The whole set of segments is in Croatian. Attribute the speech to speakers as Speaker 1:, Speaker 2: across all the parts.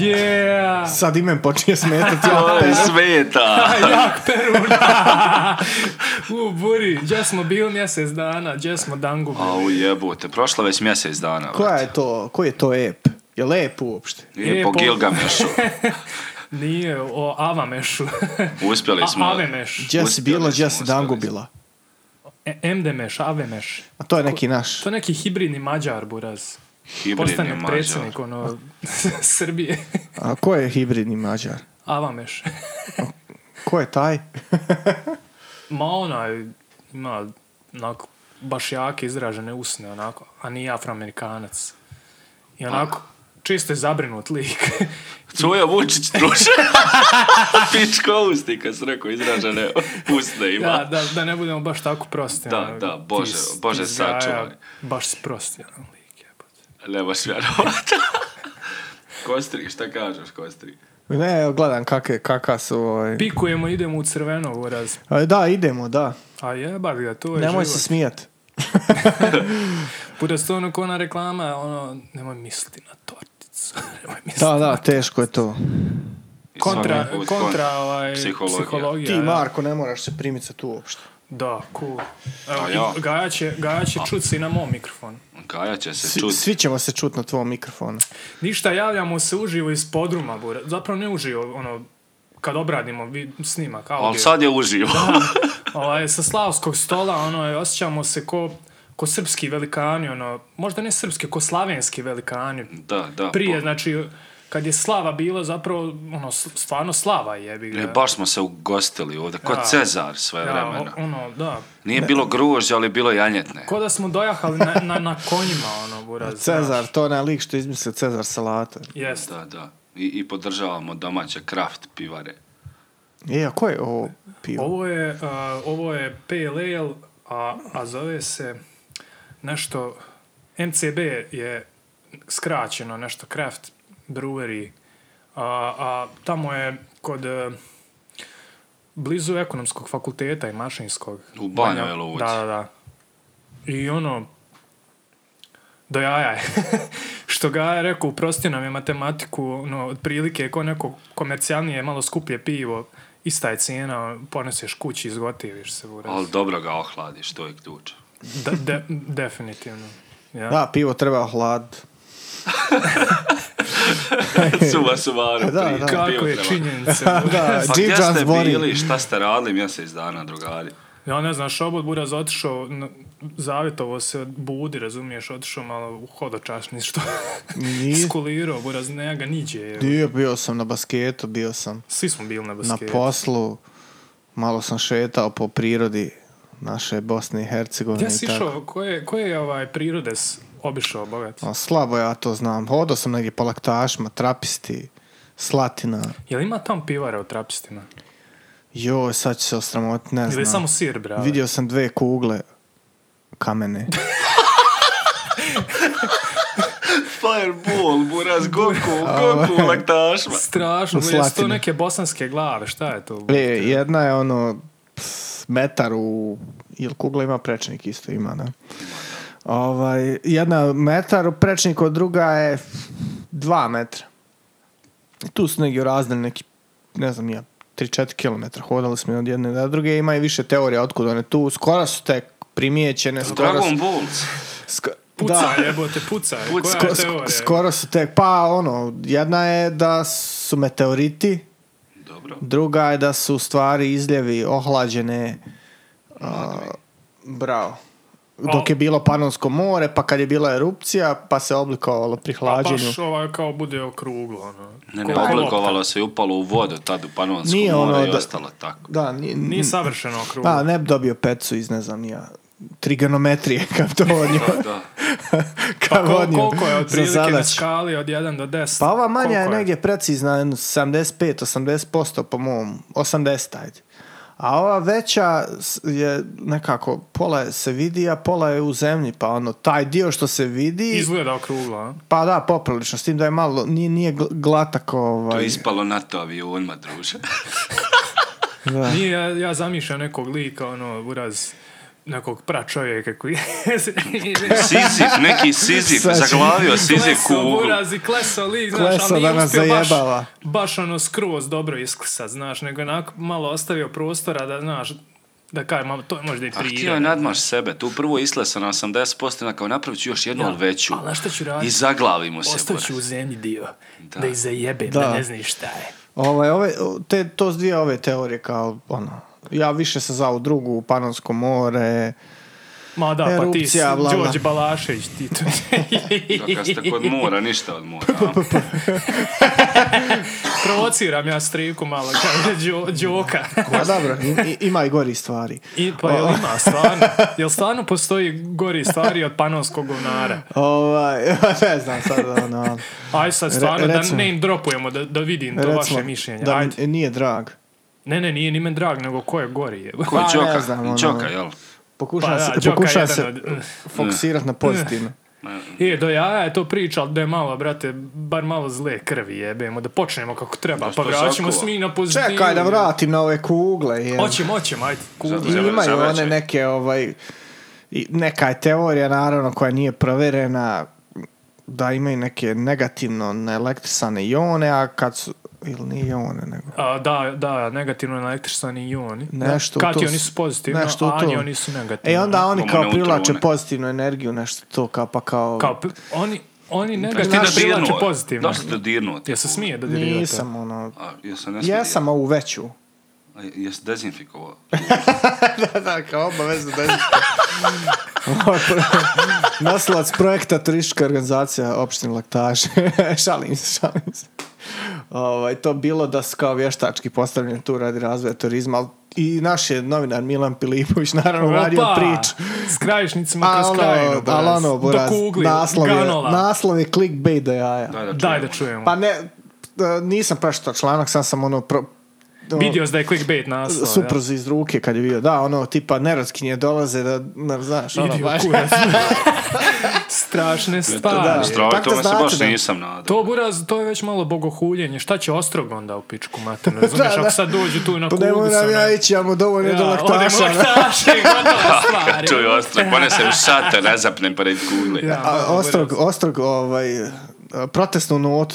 Speaker 1: Yeah!
Speaker 2: Sad ime počinje smetati.
Speaker 3: To je sveta.
Speaker 1: Jak peruna! U buri, gdje smo bili mjesec dana, gdje smo dangu bili.
Speaker 3: Au jebote, prošlo već mjesec dana.
Speaker 2: Koja je to, koji je to ep? Je li ep uopšte?
Speaker 3: Je po
Speaker 1: Epo.
Speaker 3: Gilgamešu.
Speaker 1: Nije o Avamešu.
Speaker 3: Uspjeli smo.
Speaker 1: A, Avemeš.
Speaker 2: Gdje si
Speaker 3: Uspjeli
Speaker 2: bila,
Speaker 3: smo,
Speaker 2: gdje si
Speaker 3: uspjeli
Speaker 2: dangu
Speaker 3: smo.
Speaker 2: bila?
Speaker 1: E, MDMeš, Avemeš.
Speaker 2: A to je neki naš.
Speaker 1: To je neki hibridni mađar, buraz.
Speaker 3: Hibridni
Speaker 1: Postane
Speaker 3: mađar.
Speaker 1: predsjednik, ono, Srbije.
Speaker 2: A ko je hibridni mađar?
Speaker 1: Avameš.
Speaker 2: Ko je taj?
Speaker 1: Ma onaj, ima, onako, baš jake izražene usne, onako, a nije afroamerikanac. I onako, čisto je zabrinut lik.
Speaker 3: Cujo Vučić druže. Pičko usti, kad se rekao izražene usne ima.
Speaker 1: Da, da, da ne budemo baš tako prosti.
Speaker 3: Da,
Speaker 1: ono,
Speaker 3: da, Bože,
Speaker 1: ti s-
Speaker 3: Bože,
Speaker 1: ti s jaja,
Speaker 3: sačuvaj.
Speaker 1: Baš si prosti, ono, lik jebote.
Speaker 3: Ne baš vjerovat. Kostri, šta kažeš Kostri?
Speaker 2: Ne, evo, gledam kakve, kaka su... Ovaj.
Speaker 1: Pikujemo, idemo u crveno uraz.
Speaker 2: A, Da, idemo, da.
Speaker 1: A jebat ga, to je
Speaker 2: Nemoj se
Speaker 1: život.
Speaker 2: smijat.
Speaker 1: Bude to ono ko ona reklama, ono, nemoj misliti na torticu. nemoj misliti.
Speaker 2: Da, da, teško je to.
Speaker 3: I
Speaker 1: Kontra,
Speaker 3: svaki put
Speaker 1: kontra
Speaker 3: kon-
Speaker 1: ovaj,
Speaker 3: psihologija.
Speaker 1: psihologija.
Speaker 2: Ti,
Speaker 1: da.
Speaker 2: Marko, ne moraš se primiti sa tu uopšte.
Speaker 1: Da, cool. Evo,
Speaker 3: A ja?
Speaker 1: i Gaja će, Gaja će čut se i na mom mikrofonu.
Speaker 3: Kaja će se
Speaker 2: Svi,
Speaker 3: čuti.
Speaker 2: svi ćemo se čut na tvom mikrofonu.
Speaker 1: Ništa, javljamo se uživo iz podruma, bura. zapravo ne uživo, ono, kad obradimo vi- snimak, audio.
Speaker 3: Ali sad je uživo.
Speaker 1: Ovaj, sa slavskog stola, ono, osjećamo se ko, ko srpski velikani, ono, možda ne srpski, ko slavenski velikani.
Speaker 3: Da, da.
Speaker 1: Prije,
Speaker 3: po-
Speaker 1: znači, kad je slava bila, zapravo, ono, s- stvarno slava je, jebi ga.
Speaker 3: E, baš smo se ugostili ovdje, kod
Speaker 1: Da.
Speaker 3: Cezar sve
Speaker 1: Ja,
Speaker 3: vremena.
Speaker 1: o- ono, da.
Speaker 3: Nije bilo gružđa, ali bilo janjetne.
Speaker 1: Ko da smo dojahali na, na, na konjima, ono, buraz.
Speaker 2: Cezar,
Speaker 1: znaš.
Speaker 2: to je onaj lik što je izmislio Cezar salatu.
Speaker 1: Jeste.
Speaker 3: Da, da. I, i podržavamo domaće kraft pivare.
Speaker 2: E, a ko je ovo pivo?
Speaker 1: Ovo je, a, ovo je pale ale, a, a zove se nešto, MCB je skraćeno, nešto Craft Brewery, a, a tamo je kod e, blizu ekonomskog fakulteta i mašinskog.
Speaker 3: U Banjoj Luci.
Speaker 1: Da, da, da. I ono, do jaja je. Što ga je rekao, uprosti nam je matematiku, no, otprilike, ko neko komercijalnije, malo skuplje pivo, ista je cijena, poneseš kući, izgotiviš se, buraz.
Speaker 3: Ali dobro ga ohladiš, to je ključ.
Speaker 1: De- de- definitivno. Ja.
Speaker 2: Da, pivo treba hlad.
Speaker 3: Suva suvaru
Speaker 2: Da,
Speaker 3: prije.
Speaker 2: da.
Speaker 1: Kako
Speaker 3: bio
Speaker 1: je
Speaker 3: treba.
Speaker 1: činjenica? buraz.
Speaker 2: Da,
Speaker 3: Pa
Speaker 2: Jim
Speaker 3: gdje
Speaker 2: Jones
Speaker 3: ste
Speaker 2: Bori.
Speaker 3: bili, šta ste radili mjesec dana, drugari?
Speaker 1: Ja ne znam, Šobot Buraz otišao, na- zavjetovo se budi, razumiješ, otišao malo u hodočašni, što
Speaker 2: Nije.
Speaker 1: skulirao, Buraz, ne, ga niđe. je.
Speaker 2: Dio, bio sam na basketu, bio sam
Speaker 1: Svi smo bili na
Speaker 2: na
Speaker 1: basketu.
Speaker 2: poslu, malo sam šetao po prirodi naše Bosne i Hercegovine.
Speaker 1: Gdje si
Speaker 2: i tako.
Speaker 1: išao, koje, koje je ovaj prirodes obišao, bogat?
Speaker 2: A, slabo ja to znam. Hodao sam negdje po laktašima, trapisti, slatina.
Speaker 1: Je li ima tam pivara u trapistima?
Speaker 2: Joj, sad ću se osramotiti, ne
Speaker 1: Ili
Speaker 2: znam.
Speaker 1: je samo sir, brale?
Speaker 2: Vidio sam dve kugle kamene.
Speaker 3: Fireball, buraz, Goku,
Speaker 2: ovaj.
Speaker 3: Goku, laktašma.
Speaker 1: Strašno,
Speaker 2: U
Speaker 1: bro, jesu to
Speaker 2: Slatini.
Speaker 1: neke bosanske glave, šta je to?
Speaker 2: E, jedna je ono pf, metar u... Jel kugla ima prečnik isto? Ima, da. Ovaj, jedna je metar u prečniku, druga je dva metra. I tu su negdje razdali neki, ne znam ja, 3-4 km hodali smo od jedne do druge. Ima i više teorija otkud one tu. Skoro su tek primijećene. Skoro su,
Speaker 3: Dragon Balls.
Speaker 2: sko-
Speaker 1: Puca, jebote, puca.
Speaker 3: Puca.
Speaker 1: Koja je
Speaker 2: Sko-
Speaker 1: teorija?
Speaker 2: skoro su tek, pa ono, jedna je da su meteoriti,
Speaker 3: Dobro.
Speaker 2: druga je da su u stvari izljevi ohlađene, a, bravo, dok je bilo Panonsko more, pa kad je bila erupcija, pa se oblikovalo pri
Speaker 1: Pa
Speaker 2: hlađenju.
Speaker 1: baš ovaj kao bude okruglo, ono.
Speaker 3: Ne, ne,
Speaker 1: Koliko je lopta?
Speaker 3: oblikovalo se i upalo u vodu tad u Panonskom
Speaker 2: Nije ono
Speaker 3: more i
Speaker 2: da-
Speaker 3: ostalo tako.
Speaker 2: Da, pa, nije,
Speaker 1: Nije savršeno okruglo.
Speaker 2: da, ne bi dobio pecu iz, ne znam, ni ja, trigonometrije kad to on
Speaker 3: Da, da.
Speaker 1: Pa
Speaker 2: Kad
Speaker 1: kol-
Speaker 2: on
Speaker 1: koliko je
Speaker 2: za
Speaker 1: otprilike na
Speaker 2: zadaću.
Speaker 1: skali od 1 do 10?
Speaker 2: Pa ova manja je
Speaker 1: Koliko
Speaker 2: negdje precizna, jedno 75-80% po mom, 80 ajde. A ova veća s- je nekako, pola je se vidi, a pola je u zemlji, pa ono, taj dio što se vidi,
Speaker 1: Izgleda okruglo, a?
Speaker 2: pa da, poprilično, s tim da je malo, nije, nije gl- glatak
Speaker 3: To
Speaker 2: ovaj.
Speaker 3: je ispalo NATO avionima, druže.
Speaker 2: da.
Speaker 1: Nije, ja, ja zamišljam nekog lika, ono, uraz nekog pra čovjeka koji
Speaker 3: Sizif, neki Sizif,
Speaker 2: Sad će-
Speaker 3: zaglavio Sizif
Speaker 1: klesao
Speaker 3: kuglu.
Speaker 1: uraz i klesao lik, znaš,
Speaker 2: Klesao
Speaker 1: ali
Speaker 2: da
Speaker 1: nije
Speaker 2: nas
Speaker 1: uspio baš,
Speaker 2: zajebava.
Speaker 1: baš ono skroz dobro isklesa, znaš, nego je onako malo ostavio prostora da, znaš, da kaj, malo, to je možda i
Speaker 3: A Ah, htio je
Speaker 1: prije.
Speaker 3: nadmaš sebe, tu prvo islesa na 80%, na kao napravit ću još jednu, ali veću.
Speaker 1: Ali znaš šta ću
Speaker 3: I
Speaker 1: raditi?
Speaker 3: zaglavimo se.
Speaker 1: Ostaću
Speaker 3: gore.
Speaker 1: u zemlji dio, da,
Speaker 3: Da.
Speaker 1: ih zajebem, da.
Speaker 2: Da.
Speaker 1: ne znaš šta je.
Speaker 2: Ovaj, ove, te, to su dvije ove teorije kao, ono, ja više sam za u drugu, Panonsko more,
Speaker 1: Ma da, pa ti si
Speaker 2: Erupcija, bla, bla.
Speaker 1: Đorđe Balašević, ti to.
Speaker 3: Da, kad ste kod mora, ništa od mora. a?
Speaker 1: Pa, Provociram ja striku malo, kao Đo- Đoka.
Speaker 2: pa dobro, i- i- ima i gori stvari.
Speaker 1: I, pa jel ima, stvarno? Jel stvarno postoji gori stvari od panonskog govnara?
Speaker 2: Ovaj, ne znam sad, ono,
Speaker 1: Aj sad stvarno,
Speaker 2: Re-
Speaker 1: da
Speaker 2: recimo.
Speaker 1: name dropujemo, da, da vidim to vaše mišljenje.
Speaker 2: da
Speaker 1: Ajde.
Speaker 2: mi nije drag.
Speaker 1: Ne, ne, nije ni men drag, nego ko je gori. Je.
Speaker 3: Ko je
Speaker 2: Pa, ne
Speaker 3: Đoka?
Speaker 2: znam, ono.
Speaker 3: Đoka, jel?
Speaker 2: Pokušam
Speaker 1: Pa da,
Speaker 2: se,
Speaker 1: Đoka je
Speaker 2: pokušam se
Speaker 1: jedan od...
Speaker 2: fokusirati na pozitivno.
Speaker 1: Je, do jaja je to priča, ali da je malo, brate, bar malo zle krvi jebemo, da počnemo kako treba,
Speaker 3: Da se
Speaker 1: pa
Speaker 3: to
Speaker 1: vraćamo
Speaker 3: zakuva.
Speaker 1: svi na pozitivu.
Speaker 2: Čekaj da vratim na ove kugle. Je.
Speaker 1: Hoćemo, hoćemo, ajde, kudi.
Speaker 2: I imaju
Speaker 3: Zavrćaj.
Speaker 2: one neke, ovaj, i neka je teorija naravno koja nije provjerena da imaju neke negativno naelektrisane ione, a kad su, ili nije ione, nego
Speaker 1: A, da, da, negativno na elektrisani ioni.
Speaker 2: Nešto u to
Speaker 1: Kationi
Speaker 2: s-
Speaker 1: su pozitivno,
Speaker 2: nešto u to.
Speaker 1: anioni su negativno.
Speaker 2: E onda oni
Speaker 3: Imamo
Speaker 2: kao
Speaker 3: neutrone.
Speaker 2: privlače pozitivnu energiju, nešto to kao pa kao...
Speaker 1: Kao, pri- oni, oni
Speaker 3: Jesi ti
Speaker 1: negativno privlače
Speaker 3: dodirnuo?
Speaker 1: pozitivno.
Speaker 3: Da li si dodirnuo?
Speaker 1: Jel se smije da
Speaker 2: nisam ono...
Speaker 3: A, jel se ne smije?
Speaker 2: Jesam ovu veću.
Speaker 3: A, Jel se dezinfikovao?
Speaker 2: da, da, kao obavezno da je... Naslovac projekta turistička organizacija opštine Laktaže. šalim se, šalim se. Ovaj, to bilo da se kao vještački postavljen tu radi razvoja turizma, ali i naš je novinar Milan Pilipović naravno radio priču.
Speaker 1: S krajišnicima
Speaker 2: A
Speaker 1: kroz krajinu.
Speaker 2: ono,
Speaker 1: Boraz.
Speaker 2: ali ono, Boraz,
Speaker 1: Do kugli,
Speaker 2: naslov je,
Speaker 1: ganola.
Speaker 2: naslov je clickbait do jaja.
Speaker 1: Daj da čujemo.
Speaker 2: Pa ne, e, nisam pročitao članak, sam sam ono... Pro,
Speaker 1: Vidio si da je clickbait naslov. ja.
Speaker 2: Supruz iz ruke kad je vidio, da, ono, tipa, nerotkinje dolaze da, ne, znaš, ono,
Speaker 1: Idi u
Speaker 2: baš...
Speaker 1: kurac. Strašne
Speaker 2: Da.
Speaker 1: stvari.
Speaker 3: Strava,
Speaker 2: Tako
Speaker 3: tome se
Speaker 2: znači
Speaker 3: baš
Speaker 2: da-
Speaker 3: nisam nadao.
Speaker 1: To buraz, to je već malo bogohuljenje. Šta će ostrog onda u pičku maternu? Razumiješ,
Speaker 2: da.
Speaker 1: ako sad dođu tu na
Speaker 2: Pa
Speaker 1: kuglu
Speaker 2: nemoj
Speaker 1: sa
Speaker 2: nam
Speaker 1: onom-
Speaker 2: ja ići, ja mu dovoljno do laktaša.
Speaker 1: odemo laktaše, gotova stvar.
Speaker 3: Kad čuj ostrog, ponesem šator, razapnem pored kugle.
Speaker 1: Ja.
Speaker 2: A, ostrog, ostrog, ovaj, a, protestnu notu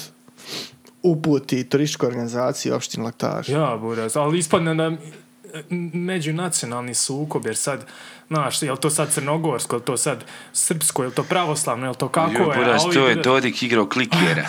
Speaker 2: uputi turističku organizaciju opštine laktaša.
Speaker 1: Ja, buraz, ali ispadne da m- međunacionalni sukob, jer sad, znaš, je li to sad crnogorsko, je li to sad srpsko, je li to pravoslavno, je li to kako
Speaker 3: Joj,
Speaker 1: je?
Speaker 3: buraz,
Speaker 1: a ovi-
Speaker 3: to je Dodik igrao klikjera.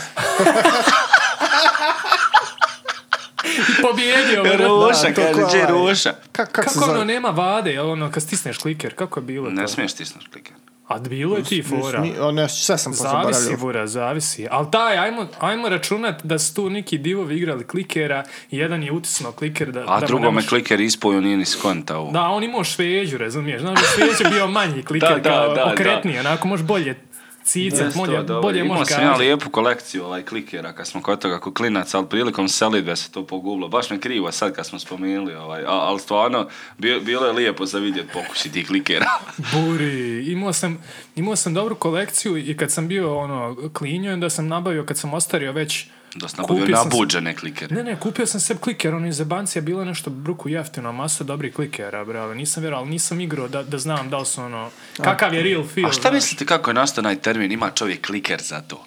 Speaker 1: Pobjedio, buraz.
Speaker 3: Roša,
Speaker 2: Da, to
Speaker 3: kaže,
Speaker 2: ko
Speaker 3: gdje je
Speaker 2: ovaj?
Speaker 3: Roša?
Speaker 2: Kako kak se
Speaker 1: Kako ono
Speaker 2: zove?
Speaker 1: nema vade, jel ono, kad stisneš kliker, kako je bilo
Speaker 3: Ne
Speaker 1: to?
Speaker 3: smiješ tisnuti kliker.
Speaker 1: A bilo je ti fora.
Speaker 2: Mi- o, ne, ono, pa sve sam
Speaker 1: Zavisi,
Speaker 2: pozaboravio.
Speaker 1: Vura, zavisi. Ali taj, ajmo, ajmo računat da su tu neki divovi igrali klikera, jedan je utisnuo kliker da... da
Speaker 3: A
Speaker 1: mu
Speaker 3: Pa, drugo
Speaker 1: ne
Speaker 3: me
Speaker 1: može-
Speaker 3: kliker ispoju, nije ni skonta ovo.
Speaker 1: Da, on imao šveđu, razumiješ? Znaš, šveđ je bio manji kliker,
Speaker 3: Da, da,
Speaker 1: kao
Speaker 3: da, da.
Speaker 1: okretniji, onako možeš bolje cicat,
Speaker 3: Jeste,
Speaker 1: bolje,
Speaker 3: dobro.
Speaker 1: bolje
Speaker 3: Imao
Speaker 1: možeš
Speaker 3: sam ja
Speaker 1: kazati.
Speaker 3: lijepu kolekciju ovaj klikera kad smo kod toga kuklinac, ali prilikom selidbe se to pogubilo. Baš me krivo sad kad smo spomenuli, ovaj, a, ali stvarno bi- bilo je lijepo za vidjeti pokuši tih klikera.
Speaker 1: Buri, imao sam, imao sam dobru kolekciju i kad sam bio ono, klinio, onda sam nabavio, kad sam ostario već...
Speaker 3: da sam nabavio
Speaker 1: kupio sam se-
Speaker 3: nabuđene klikere.
Speaker 1: Ne, ne, kupio sam sebi kliker, ono iz Ebancija bilo je nešto bruku jeftino, a masa dobrih klikera, brale. Nisam vjerovao, ali nisam igrao da, da znam da li su ono, kakav je real feel.
Speaker 3: A šta
Speaker 1: znaš.
Speaker 3: mislite kako je nastao onaj termin? Ima čovjek kliker za to.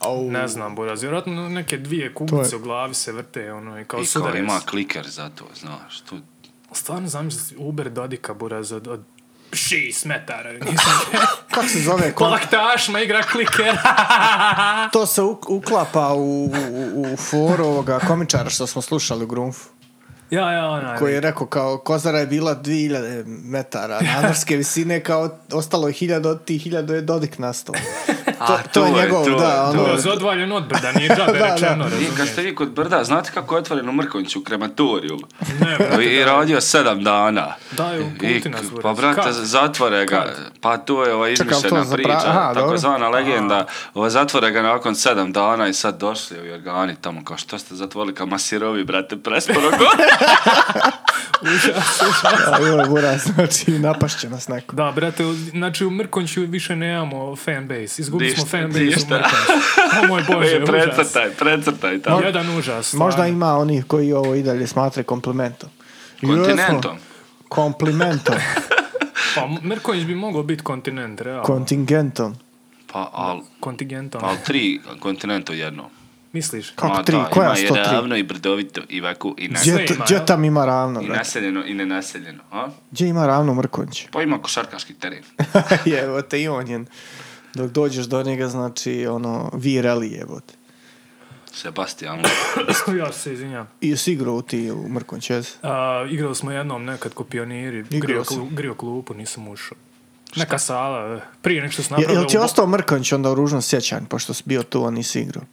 Speaker 2: Au.
Speaker 1: Ne znam, Buraz, vjerojatno neke dvije
Speaker 2: To
Speaker 1: kuglice u glavi se vrte, ono, i kao
Speaker 3: I kao
Speaker 1: sudarac.
Speaker 3: ima kliker za to, znaš. Tu,
Speaker 1: Pa Stvarno zamisli Uber Dodika, Buraz, od, od 6 metara. Nisam
Speaker 2: Kako se zove? Ko-
Speaker 1: kolaktašma igra kliker.
Speaker 2: To se u- uklapa u, u, u foru ovoga komičara što smo slušali u Grunfu.
Speaker 1: ja, ja, ona.
Speaker 2: koji je rekao kao Kozara je bila 2000 metara nadmorske visine kao ostalo je 1000 od tih 1000 je Dodik nastao. to, to je njegov, da, ono,
Speaker 1: Uraz odvaljen od brda, nije džabe
Speaker 2: Da, da.
Speaker 1: rečeno,
Speaker 3: I kad
Speaker 1: razumiješ?
Speaker 3: ste vi kod brda, znate kako je otvoren u Mrkonjiću, u krematoriju?
Speaker 1: Ne, brate,
Speaker 3: I radio sedam dana.
Speaker 1: Daju
Speaker 3: I,
Speaker 1: Putina zbog.
Speaker 3: pa brate,
Speaker 1: Znači, Kad?
Speaker 3: zatvore ga, pa to je ova
Speaker 2: Čekaj, ali to
Speaker 3: izmišljena
Speaker 2: za pra-
Speaker 3: priča,
Speaker 2: aha, dobro.
Speaker 3: takozvana legenda, ova, zatvore ga nakon sedam dana i sad došli ovi organi tamo, kao što ste zatvorili, kao masirovi, brate, presporo gore.
Speaker 2: a joj, buraz, znači napašće nas neko.
Speaker 1: Da, brate, u- znači u Mrkonću više nemamo fanbase. Izgubili smo
Speaker 3: Ništa,
Speaker 1: fanbase
Speaker 3: ništa.
Speaker 1: u Mrkonću. O moj Bože,
Speaker 3: E,
Speaker 1: užas.
Speaker 3: precrtaj, precrtaj tamo.
Speaker 1: Jedan užas. stvarno.
Speaker 2: Možda ima onih koji ovo i dalje smatre komplimentom.
Speaker 3: Kontinentom.
Speaker 2: Jesmo, Komplimentom,
Speaker 1: Pa Mrkonjić bi mogao biti kontinent, realno.
Speaker 2: kontingentom.
Speaker 3: Pa, al,
Speaker 1: Kontingentom.
Speaker 3: al tri kontinenta jedno.
Speaker 1: Misliš?
Speaker 2: Kako
Speaker 3: Ma
Speaker 2: tri?
Speaker 3: da,
Speaker 2: Koja
Speaker 3: ima
Speaker 2: sto
Speaker 3: i
Speaker 2: tri?
Speaker 3: ravno i brdovito i vaku i nas-
Speaker 1: Sve
Speaker 2: Gdje,
Speaker 1: ima, jel?
Speaker 2: gdje tam ima ravno,
Speaker 3: I
Speaker 2: brate?
Speaker 3: naseljeno i nenaseljeno, a?
Speaker 2: Gdje ima ravno Mrkonjić?
Speaker 3: Pa ima košarkaški teren.
Speaker 2: Jevo te i on je. Dok dođeš do njega, znači, ono, vireli jebote.
Speaker 3: Sebastian.
Speaker 1: ja se izvinjam.
Speaker 2: I si igrao ti u Mrkonjić, jesi?
Speaker 1: A, igrali smo jednom nekad ko pioniri.
Speaker 2: Igrao
Speaker 1: Grio,
Speaker 2: sam.
Speaker 1: klu- grio klupu, nisam ušao. Neka sala, eh, prije nek što sam
Speaker 2: Je,
Speaker 1: napravio...
Speaker 2: jel ti
Speaker 1: u-
Speaker 2: ostao Mrkonjić onda u ružnom sjećanju, pošto si bio tu, a nisi igrao?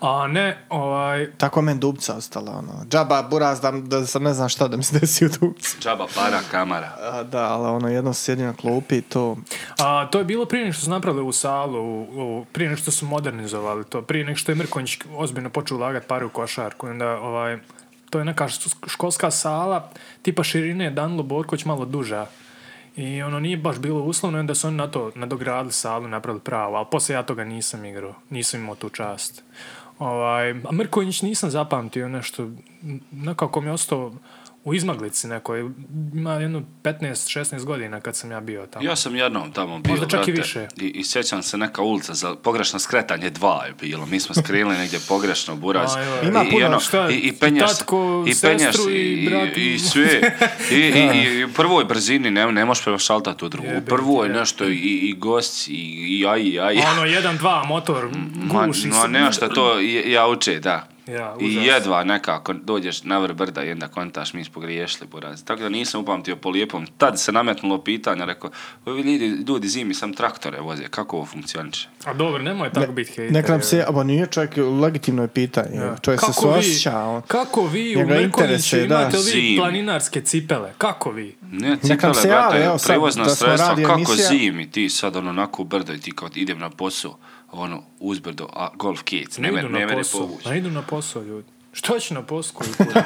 Speaker 1: A ne, ovaj...
Speaker 2: Tako men dupca ostala, ono. Džaba, buraz, da, da sam ne znam šta da mi se desi u dupcu.
Speaker 3: Džaba para, kamara.
Speaker 2: A, da, ali ono, jedno sjedi na klupi i to...
Speaker 1: A, to je bilo prije nego što su napravili u salu, u, u- prije nego što su modernizovali to, prije nego što je Mrkonjić onda počeo ulagati pare u košarku. i Onda, ovaj, to je neka š- školska sala, tipa širine Danilo Borkoć malo duža. I ono nije baš bilo uslovno, i onda su oni na to nadogradili salu, napravili pravo, ali poslije ja toga nisam igrao, nisam imao tu čast. Ovaj, a Mrkonjić nisam zapamtio nešto, m, nekako mi je ostao u izmaglici nekoj, ima jedno 15-16 godina kad sam ja bio tamo.
Speaker 3: Ja sam jednom tamo bio,
Speaker 1: Možda čak i
Speaker 3: brate,
Speaker 1: više.
Speaker 3: I, i sjećam se neka ulica za pogrešno skretanje dva je bilo. Mi smo skrenuli negdje pogrešno, buraz.
Speaker 1: Aj, aj, aj.
Speaker 3: I-
Speaker 2: Ima
Speaker 3: i
Speaker 2: puno,
Speaker 3: ono,
Speaker 1: šta,
Speaker 3: I, i penjaš,
Speaker 1: tatko,
Speaker 3: i penjaš,
Speaker 1: sestru i
Speaker 3: i,
Speaker 1: brat i-
Speaker 3: i, i sve. I, i, i, i u prvoj brzini ne, ne možeš prešaltati u drugu. U
Speaker 1: Jebe
Speaker 3: prvoj
Speaker 1: ti,
Speaker 3: nešto i, i gost, i, i aj, i aj.
Speaker 1: A ono, jedan, dva, motor,
Speaker 3: Ma,
Speaker 1: guši
Speaker 3: ma
Speaker 1: se.
Speaker 3: nešto to i- jauče, da.
Speaker 1: Ja,
Speaker 3: I
Speaker 1: užas.
Speaker 3: jedva nekako dođeš na vrh brda i onda kontaš, mi smo griješili, buraz. Tako da nisam upamtio po lijepom. Tad se nametnulo pitanje, rekao, ovi ljudi, ljudi zimi sam traktore voze, kako ovo funkcioniše?
Speaker 1: A dobro, nemoj tako biti hejter.
Speaker 2: Nek nam
Speaker 1: je.
Speaker 2: se... Aba nije čovjek, legitimno je pitanje.
Speaker 1: Da.
Speaker 2: Čovjek se
Speaker 1: e. Kako vi-
Speaker 2: suosjeća, ono. on.
Speaker 1: Kako vi u
Speaker 2: Njega
Speaker 1: Mrkonjiću
Speaker 2: interesuje, da.
Speaker 1: imate li
Speaker 3: Zim.
Speaker 1: planinarske cipele? Kako vi?
Speaker 3: Ne,
Speaker 2: Neka
Speaker 3: cipele,
Speaker 2: se
Speaker 3: brate,
Speaker 2: jave, evo sad,
Speaker 3: prevozna
Speaker 2: da smo
Speaker 3: sredstva,
Speaker 2: radio
Speaker 3: kako
Speaker 2: emisija.
Speaker 3: zimi, ti sad ono onako u brdo i ti kao idem na posao, ono, uzbrdo, a golf kids, ne,
Speaker 1: Ne,
Speaker 3: me-
Speaker 1: idu
Speaker 3: ne
Speaker 1: na
Speaker 3: mene
Speaker 1: posao. Pa
Speaker 3: povući.
Speaker 1: Ne idu na posao, ljudi. Što će na posao koji kurac?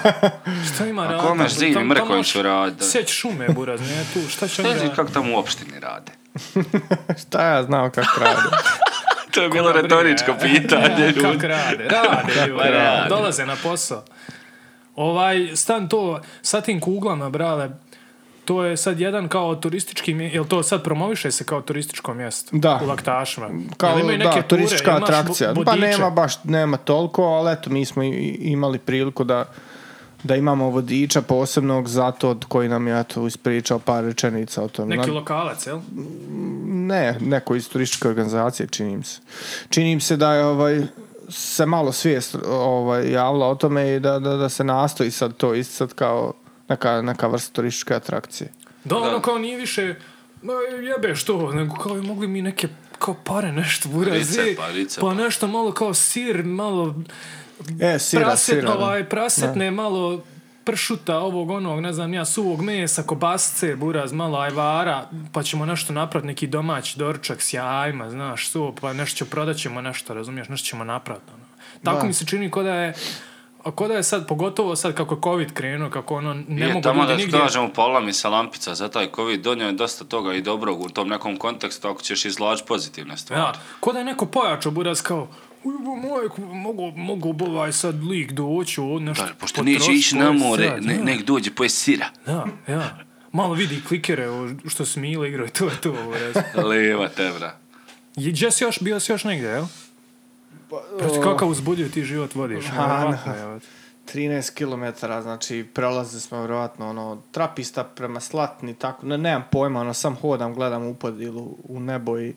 Speaker 1: Šta ima rada?
Speaker 3: kome zimi Mrkonjiću rada?
Speaker 1: Sjeć šume, buraz, ne tu. Šta će on
Speaker 3: Ne znam
Speaker 1: raditi?
Speaker 3: kako tamo u opštini rade.
Speaker 2: Šta ja znam kako radi.
Speaker 3: to je bilo retoričko pitanje, ljudi.
Speaker 1: Kako rade? Rade, ljudi,
Speaker 3: rade.
Speaker 1: Dolaze na posao. Ovaj, stan to, sa tim kuglama, brale, to je sad jedan kao turistički, mje- jel to sad promoviše se kao turističko mjesto?
Speaker 2: Da.
Speaker 1: U laktašima.
Speaker 2: Kao,
Speaker 1: Jel imaju
Speaker 2: da,
Speaker 1: neke ture,
Speaker 2: turistička
Speaker 1: imaš bo-
Speaker 2: atrakcija. Pa
Speaker 1: vodiče?
Speaker 2: nema baš, nema toliko, ali eto, mi smo i- i- imali priliku da da imamo vodiča posebnog zato od koji nam je eto ispričao par rečenica o tome.
Speaker 1: Neki
Speaker 2: Na-
Speaker 1: lokalac, jel?
Speaker 2: ne, neko iz turističke organizacije, čini mi se. Čini mi se da je ovaj, se malo svijest ovaj, javila o tome i da, da, da se nastoji sad to isticati kao neka, neka vrsta turističke atrakcije.
Speaker 1: Da, ono
Speaker 3: Da.
Speaker 1: kao nije više, ma jebe što, nego kao i mogli mi neke kao pare nešto burazi,
Speaker 3: Rice, pa, rice,
Speaker 1: pa
Speaker 3: pa.
Speaker 1: nešto malo kao sir, malo
Speaker 2: E, sira,
Speaker 1: praset,
Speaker 2: sira. da.
Speaker 1: ovaj, prasetne, malo pršuta, ovog onog, ne znam ja, suvog mesa, kobasice, buraz, malo ajvara, pa ćemo nešto napraviti, neki domaći doručak s jajima, znaš, su, pa nešto ćemo, prodat ćemo nešto, razumiješ, nešto ćemo napraviti. Ono. Tako
Speaker 2: Da.
Speaker 1: mi se čini ko da je, ko da je sad, pogotovo sad kako je COVID krenuo, kako ono, ne
Speaker 3: je,
Speaker 1: mogu
Speaker 3: tamo
Speaker 1: ljudi
Speaker 3: da
Speaker 1: nigdje...
Speaker 3: kažemo, pala mi se lampica za taj COVID, donio je dosta toga i dobrog u tom nekom kontekstu, ako ćeš izlaći pozitivne stvari.
Speaker 1: Ja, ko da je neko pojačao buraz kao Ujebo moje, k- mogu, mogu bi ovaj sad lik doći od nešto.
Speaker 3: Da, pošto neće
Speaker 1: potrošit,
Speaker 3: ići na
Speaker 1: pojest
Speaker 3: more,
Speaker 1: sad,
Speaker 3: ne,
Speaker 1: da,
Speaker 3: nek dođe poje sira.
Speaker 1: Da, ja. Malo vidi klikere o, što su Mile igrao i to je to. Buraz.
Speaker 3: Leva tebra.
Speaker 1: Je, gdje si još, bio si još negdje, jel? Prosto kakav uzbudljiv ti život vodiš.
Speaker 2: Aha.
Speaker 1: nevjerovatno je, evo.
Speaker 2: 13 km, znači prelaze smo vjerojatno ono, od trapista prema slatni, tako, ne, nemam pojma, ono, sam hodam, gledam u podilu, u nebo i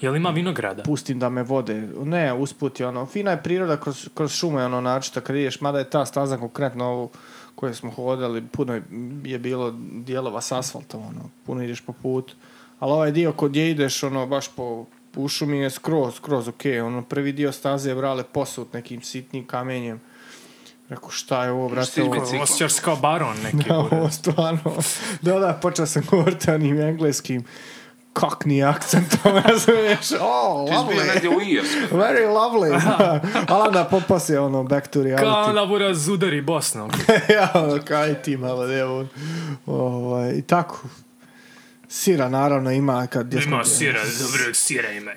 Speaker 1: Jel ima vinograda?
Speaker 2: pustim da me vode. Ne, usput je ono, fina je priroda kroz, kroz šume, ono, načito kad ideš, mada je ta staza konkretno ovu koju smo hodali, puno je- je bilo dijelova s asfaltom, ono, puno ideš po putu. Ali ovaj dio kod gdje ideš, ono, baš po u šumi je skroz, skroz okej. Ono, prvi dio staze je brale posut nekim sitnim kamenjem. Rekao, šta je ovo, brate,
Speaker 3: Stići
Speaker 2: ovo?
Speaker 3: biciklom.
Speaker 1: Osjećaš se kao baron neki.
Speaker 2: Da,
Speaker 1: buraz.
Speaker 2: ovo stvarno. Da, da, počeo sam govoriti onim engleskim kakni akcentom, razumiješ? O,
Speaker 3: Ti si bio
Speaker 2: lovely.
Speaker 3: negdje u Irskoj.
Speaker 2: Very lovely. Ali onda popase ono back to
Speaker 1: Kao
Speaker 2: reality.
Speaker 1: onda buraz udari Bosnom.
Speaker 2: ja, ono, kaj ti malo, evo. Ovaj, I tako. Sira naravno ima kad je
Speaker 1: Ima sira, dobrog sira ima.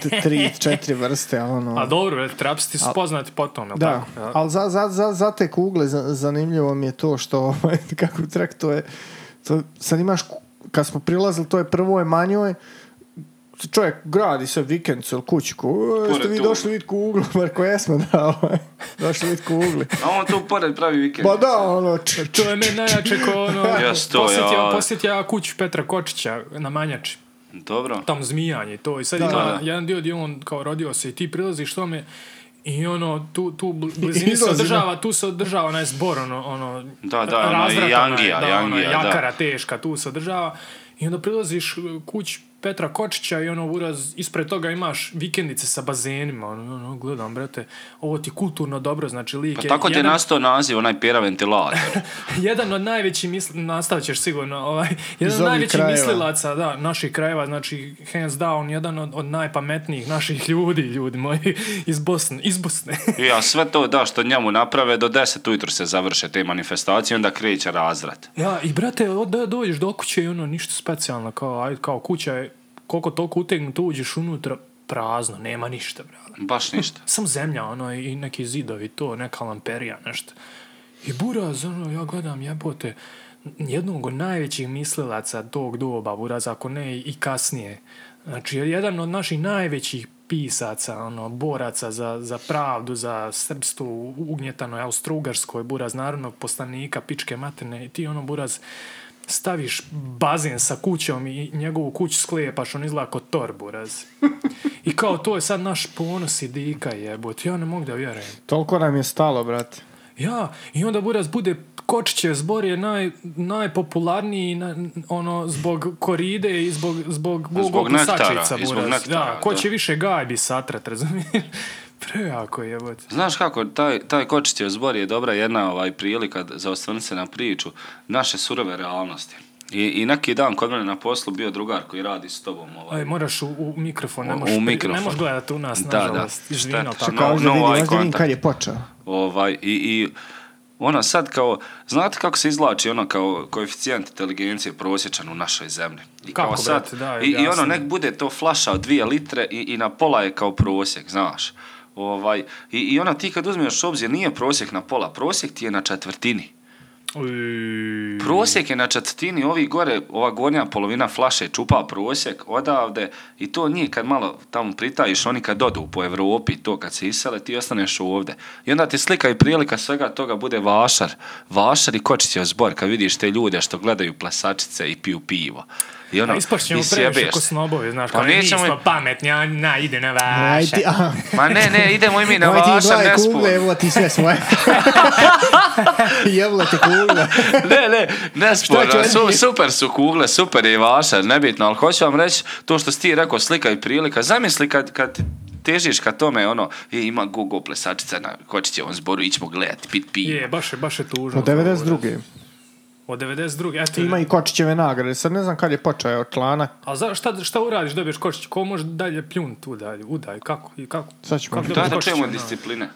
Speaker 2: skupio tri, četiri vrste, ono.
Speaker 1: A dobro, trapsti su poznati po tome, jel
Speaker 2: Da,
Speaker 1: tako? Ja.
Speaker 2: ali za, za, za, za te kugle za- zanimljivo mi je to što ovaj, kako trek to je to, sad imaš, ku- kad smo prilazili to je prvoj manjoj čovjek gradi sve vikendicu ili kućku "E, jeste
Speaker 3: Pored
Speaker 2: vi
Speaker 3: toga.
Speaker 2: došli vidjeti kuglu Marko jesmo da ovaj, došli vidjeti kugli
Speaker 3: A on tu pored pravi vikend.
Speaker 2: pa da ono č- č-
Speaker 1: To je meni najjače ko ono...
Speaker 3: Jes to,
Speaker 1: posjetio,
Speaker 3: ja.
Speaker 1: posjetio ja kuću Petra Kočića na Manjači.
Speaker 3: Dobro.
Speaker 1: Tam zmijanje i to. I sad
Speaker 2: Da.
Speaker 1: ima
Speaker 3: Da, da.
Speaker 1: jedan dio gdje on kao rodio se i ti prilaziš tome i ono, tu, tu bl- blizini se
Speaker 2: izlazi, da.
Speaker 1: održava, tu se održava onaj zbor, ono, ono
Speaker 3: Da, da, ono,
Speaker 1: razvrat,
Speaker 3: i Jangija,
Speaker 1: onaj, da, ono,
Speaker 3: Jangija, da.
Speaker 1: jakara teška, tu se održava. I onda prilaziš uh, kuć Petra Kočića i ono, uraz, ispred toga imaš vikendice sa bazenima, ono, ono, gledam, brate, ovo ti je kulturno dobro, znači, lik
Speaker 3: Pa
Speaker 1: je
Speaker 3: tako ti je
Speaker 1: jedan-
Speaker 3: nastao naziv, onaj pjera ventilator.
Speaker 1: jedan od najvećih misl... nastavit ćeš sigurno, ovaj, jedan
Speaker 2: Iz
Speaker 1: od
Speaker 2: ovih
Speaker 1: najvećih
Speaker 2: krajeva.
Speaker 1: mislilaca, da, naših krajeva, znači, hands down, jedan od, od najpametnijih naših ljudi, ljudi moji, iz Bosne, iz Bosne.
Speaker 3: I a sve to da što njemu naprave, do 10 ujutro se završe te manifestacije, onda kreće razvrat.
Speaker 1: ja, i brate, od, da dođeš do kuće i ono, ništa specijalno, kao, aj, kao kuća je, koliko toliko utegnuto uđeš unutra, prazno, nema ništa, brale.
Speaker 3: Baš ništa.
Speaker 1: Samo zemlja, ono, i neki zidovi, to, neka lamperija, nešto. I buraz, ono, ja gledam jebote, jednog od najvećih mislilaca tog doba, buraz, ako ne i kasnije. Znači, jedan od naših najvećih pisaca, ono, boraca za, za pravdu, za srpstvo u ugnjetanoj Austrougarskoj, buraz, narodnog poslanika, pičke materne, i ti, ono, buraz, staviš bazen sa kućom i njegovu kuću sklepaš, on izgleda kao Thor, buraz. I kao to je sad naš ponos i dika jebot. Ja ne mogu da vjerujem.
Speaker 2: toliko nam je stalo brate
Speaker 1: Ja, i onda Buras bude Kočiće zbor je naj, najpopularniji na, ono, zbog koride i zbog, zbog,
Speaker 3: Zbog nektara,
Speaker 1: kosačica,
Speaker 3: i zbog
Speaker 1: Buras.
Speaker 3: nektara,
Speaker 1: da, ko
Speaker 3: da.
Speaker 1: će više gajbi satrat, razumiješ? Prejako je, jebote.
Speaker 3: Znaš kako, taj, taj kočićev zbor je dobra jedna ovaj prilika za osvrnuti se na priču naše surove realnosti. I, I neki dan kod mene na poslu bio drugar koji radi s tobom. Ovaj,
Speaker 1: Aj, moraš u, u mikrofon, ne
Speaker 3: U-
Speaker 1: možeš,
Speaker 3: u
Speaker 1: pri-
Speaker 3: mikrofon.
Speaker 1: Ne možeš gledati u nas,
Speaker 3: Da, da,
Speaker 1: nažalost. Izvino,
Speaker 3: šteta.
Speaker 1: tako.
Speaker 3: No,
Speaker 2: kao no,
Speaker 3: no eye
Speaker 2: vidim, ovdje vidim
Speaker 3: contact.
Speaker 2: kad je počeo
Speaker 3: ovaj, i, i ona sad kao, znate kako se izvlači ono kao koeficijent inteligencije prosječan u našoj zemlji. I
Speaker 1: Kako,
Speaker 3: kao sad,
Speaker 1: brate, da,
Speaker 3: i, i ono
Speaker 1: jasno.
Speaker 3: nek bude to flaša od dvije litre i, i na pola je kao prosjek, znaš. Ovaj, i, I ona ti kad uzmeš u obzir nije prosjek na pola, prosjek ti je na četvrtini.
Speaker 1: Uj.
Speaker 3: Prosjek je na četvrtini, ovi gore, ova gornja polovina flaše čupa prosjek odavde i to nije kad malo tamo pritajiš, oni kad odu po Evropi i to kad se isele, ti ostaneš ovde. I onda ti slika i prilika svega toga bude vašar. Vašar i kočićev zbor kad vidiš te ljude što gledaju plasačice i piju pivo. I ono,
Speaker 1: A ispašćemo
Speaker 3: i
Speaker 1: previše
Speaker 3: sjebeš
Speaker 1: ko
Speaker 3: se.
Speaker 1: snobovi, znaš,
Speaker 3: Pa
Speaker 1: kao mi
Speaker 3: nećemo-
Speaker 1: smo pametni, a na, ide na
Speaker 2: Aj
Speaker 1: vaše.
Speaker 2: ti, a,
Speaker 3: Ma ne, ne, idemo i mi na
Speaker 2: aj ti
Speaker 3: vašar,
Speaker 2: gledaj
Speaker 3: ne
Speaker 2: kugle,
Speaker 3: sporno.
Speaker 2: evo ti sve svoje. Jebla te kugle.
Speaker 3: ne, ne, ne
Speaker 2: Šta
Speaker 3: sporno,
Speaker 2: će
Speaker 3: su,
Speaker 2: oni?
Speaker 3: super su kugle, super je i vaša, nebitno, ali hoću vam reći, to što si ti rekao, slika i prilika, zamisli kad, kad težiš ka tome, ono, i ima Google plesačica na Kočićevom zboru, ićemo gledati, pit pivo.
Speaker 1: Je, baš je, baš je tužno.
Speaker 2: Od 92.
Speaker 1: Od 92. Eto,
Speaker 2: Ima i Kočićeve nagrade. Sad ne znam kad je počeo evo, članak.
Speaker 1: A za, šta, šta uradiš, dobiješ kočić, ko može dalje pljun tu dalje, udaj, kako, i kako?
Speaker 2: Sad ćemo
Speaker 1: Kako
Speaker 2: vidjeti.
Speaker 3: Da, da
Speaker 1: dobiješ
Speaker 3: čujemo
Speaker 1: kočića, da.
Speaker 3: discipline.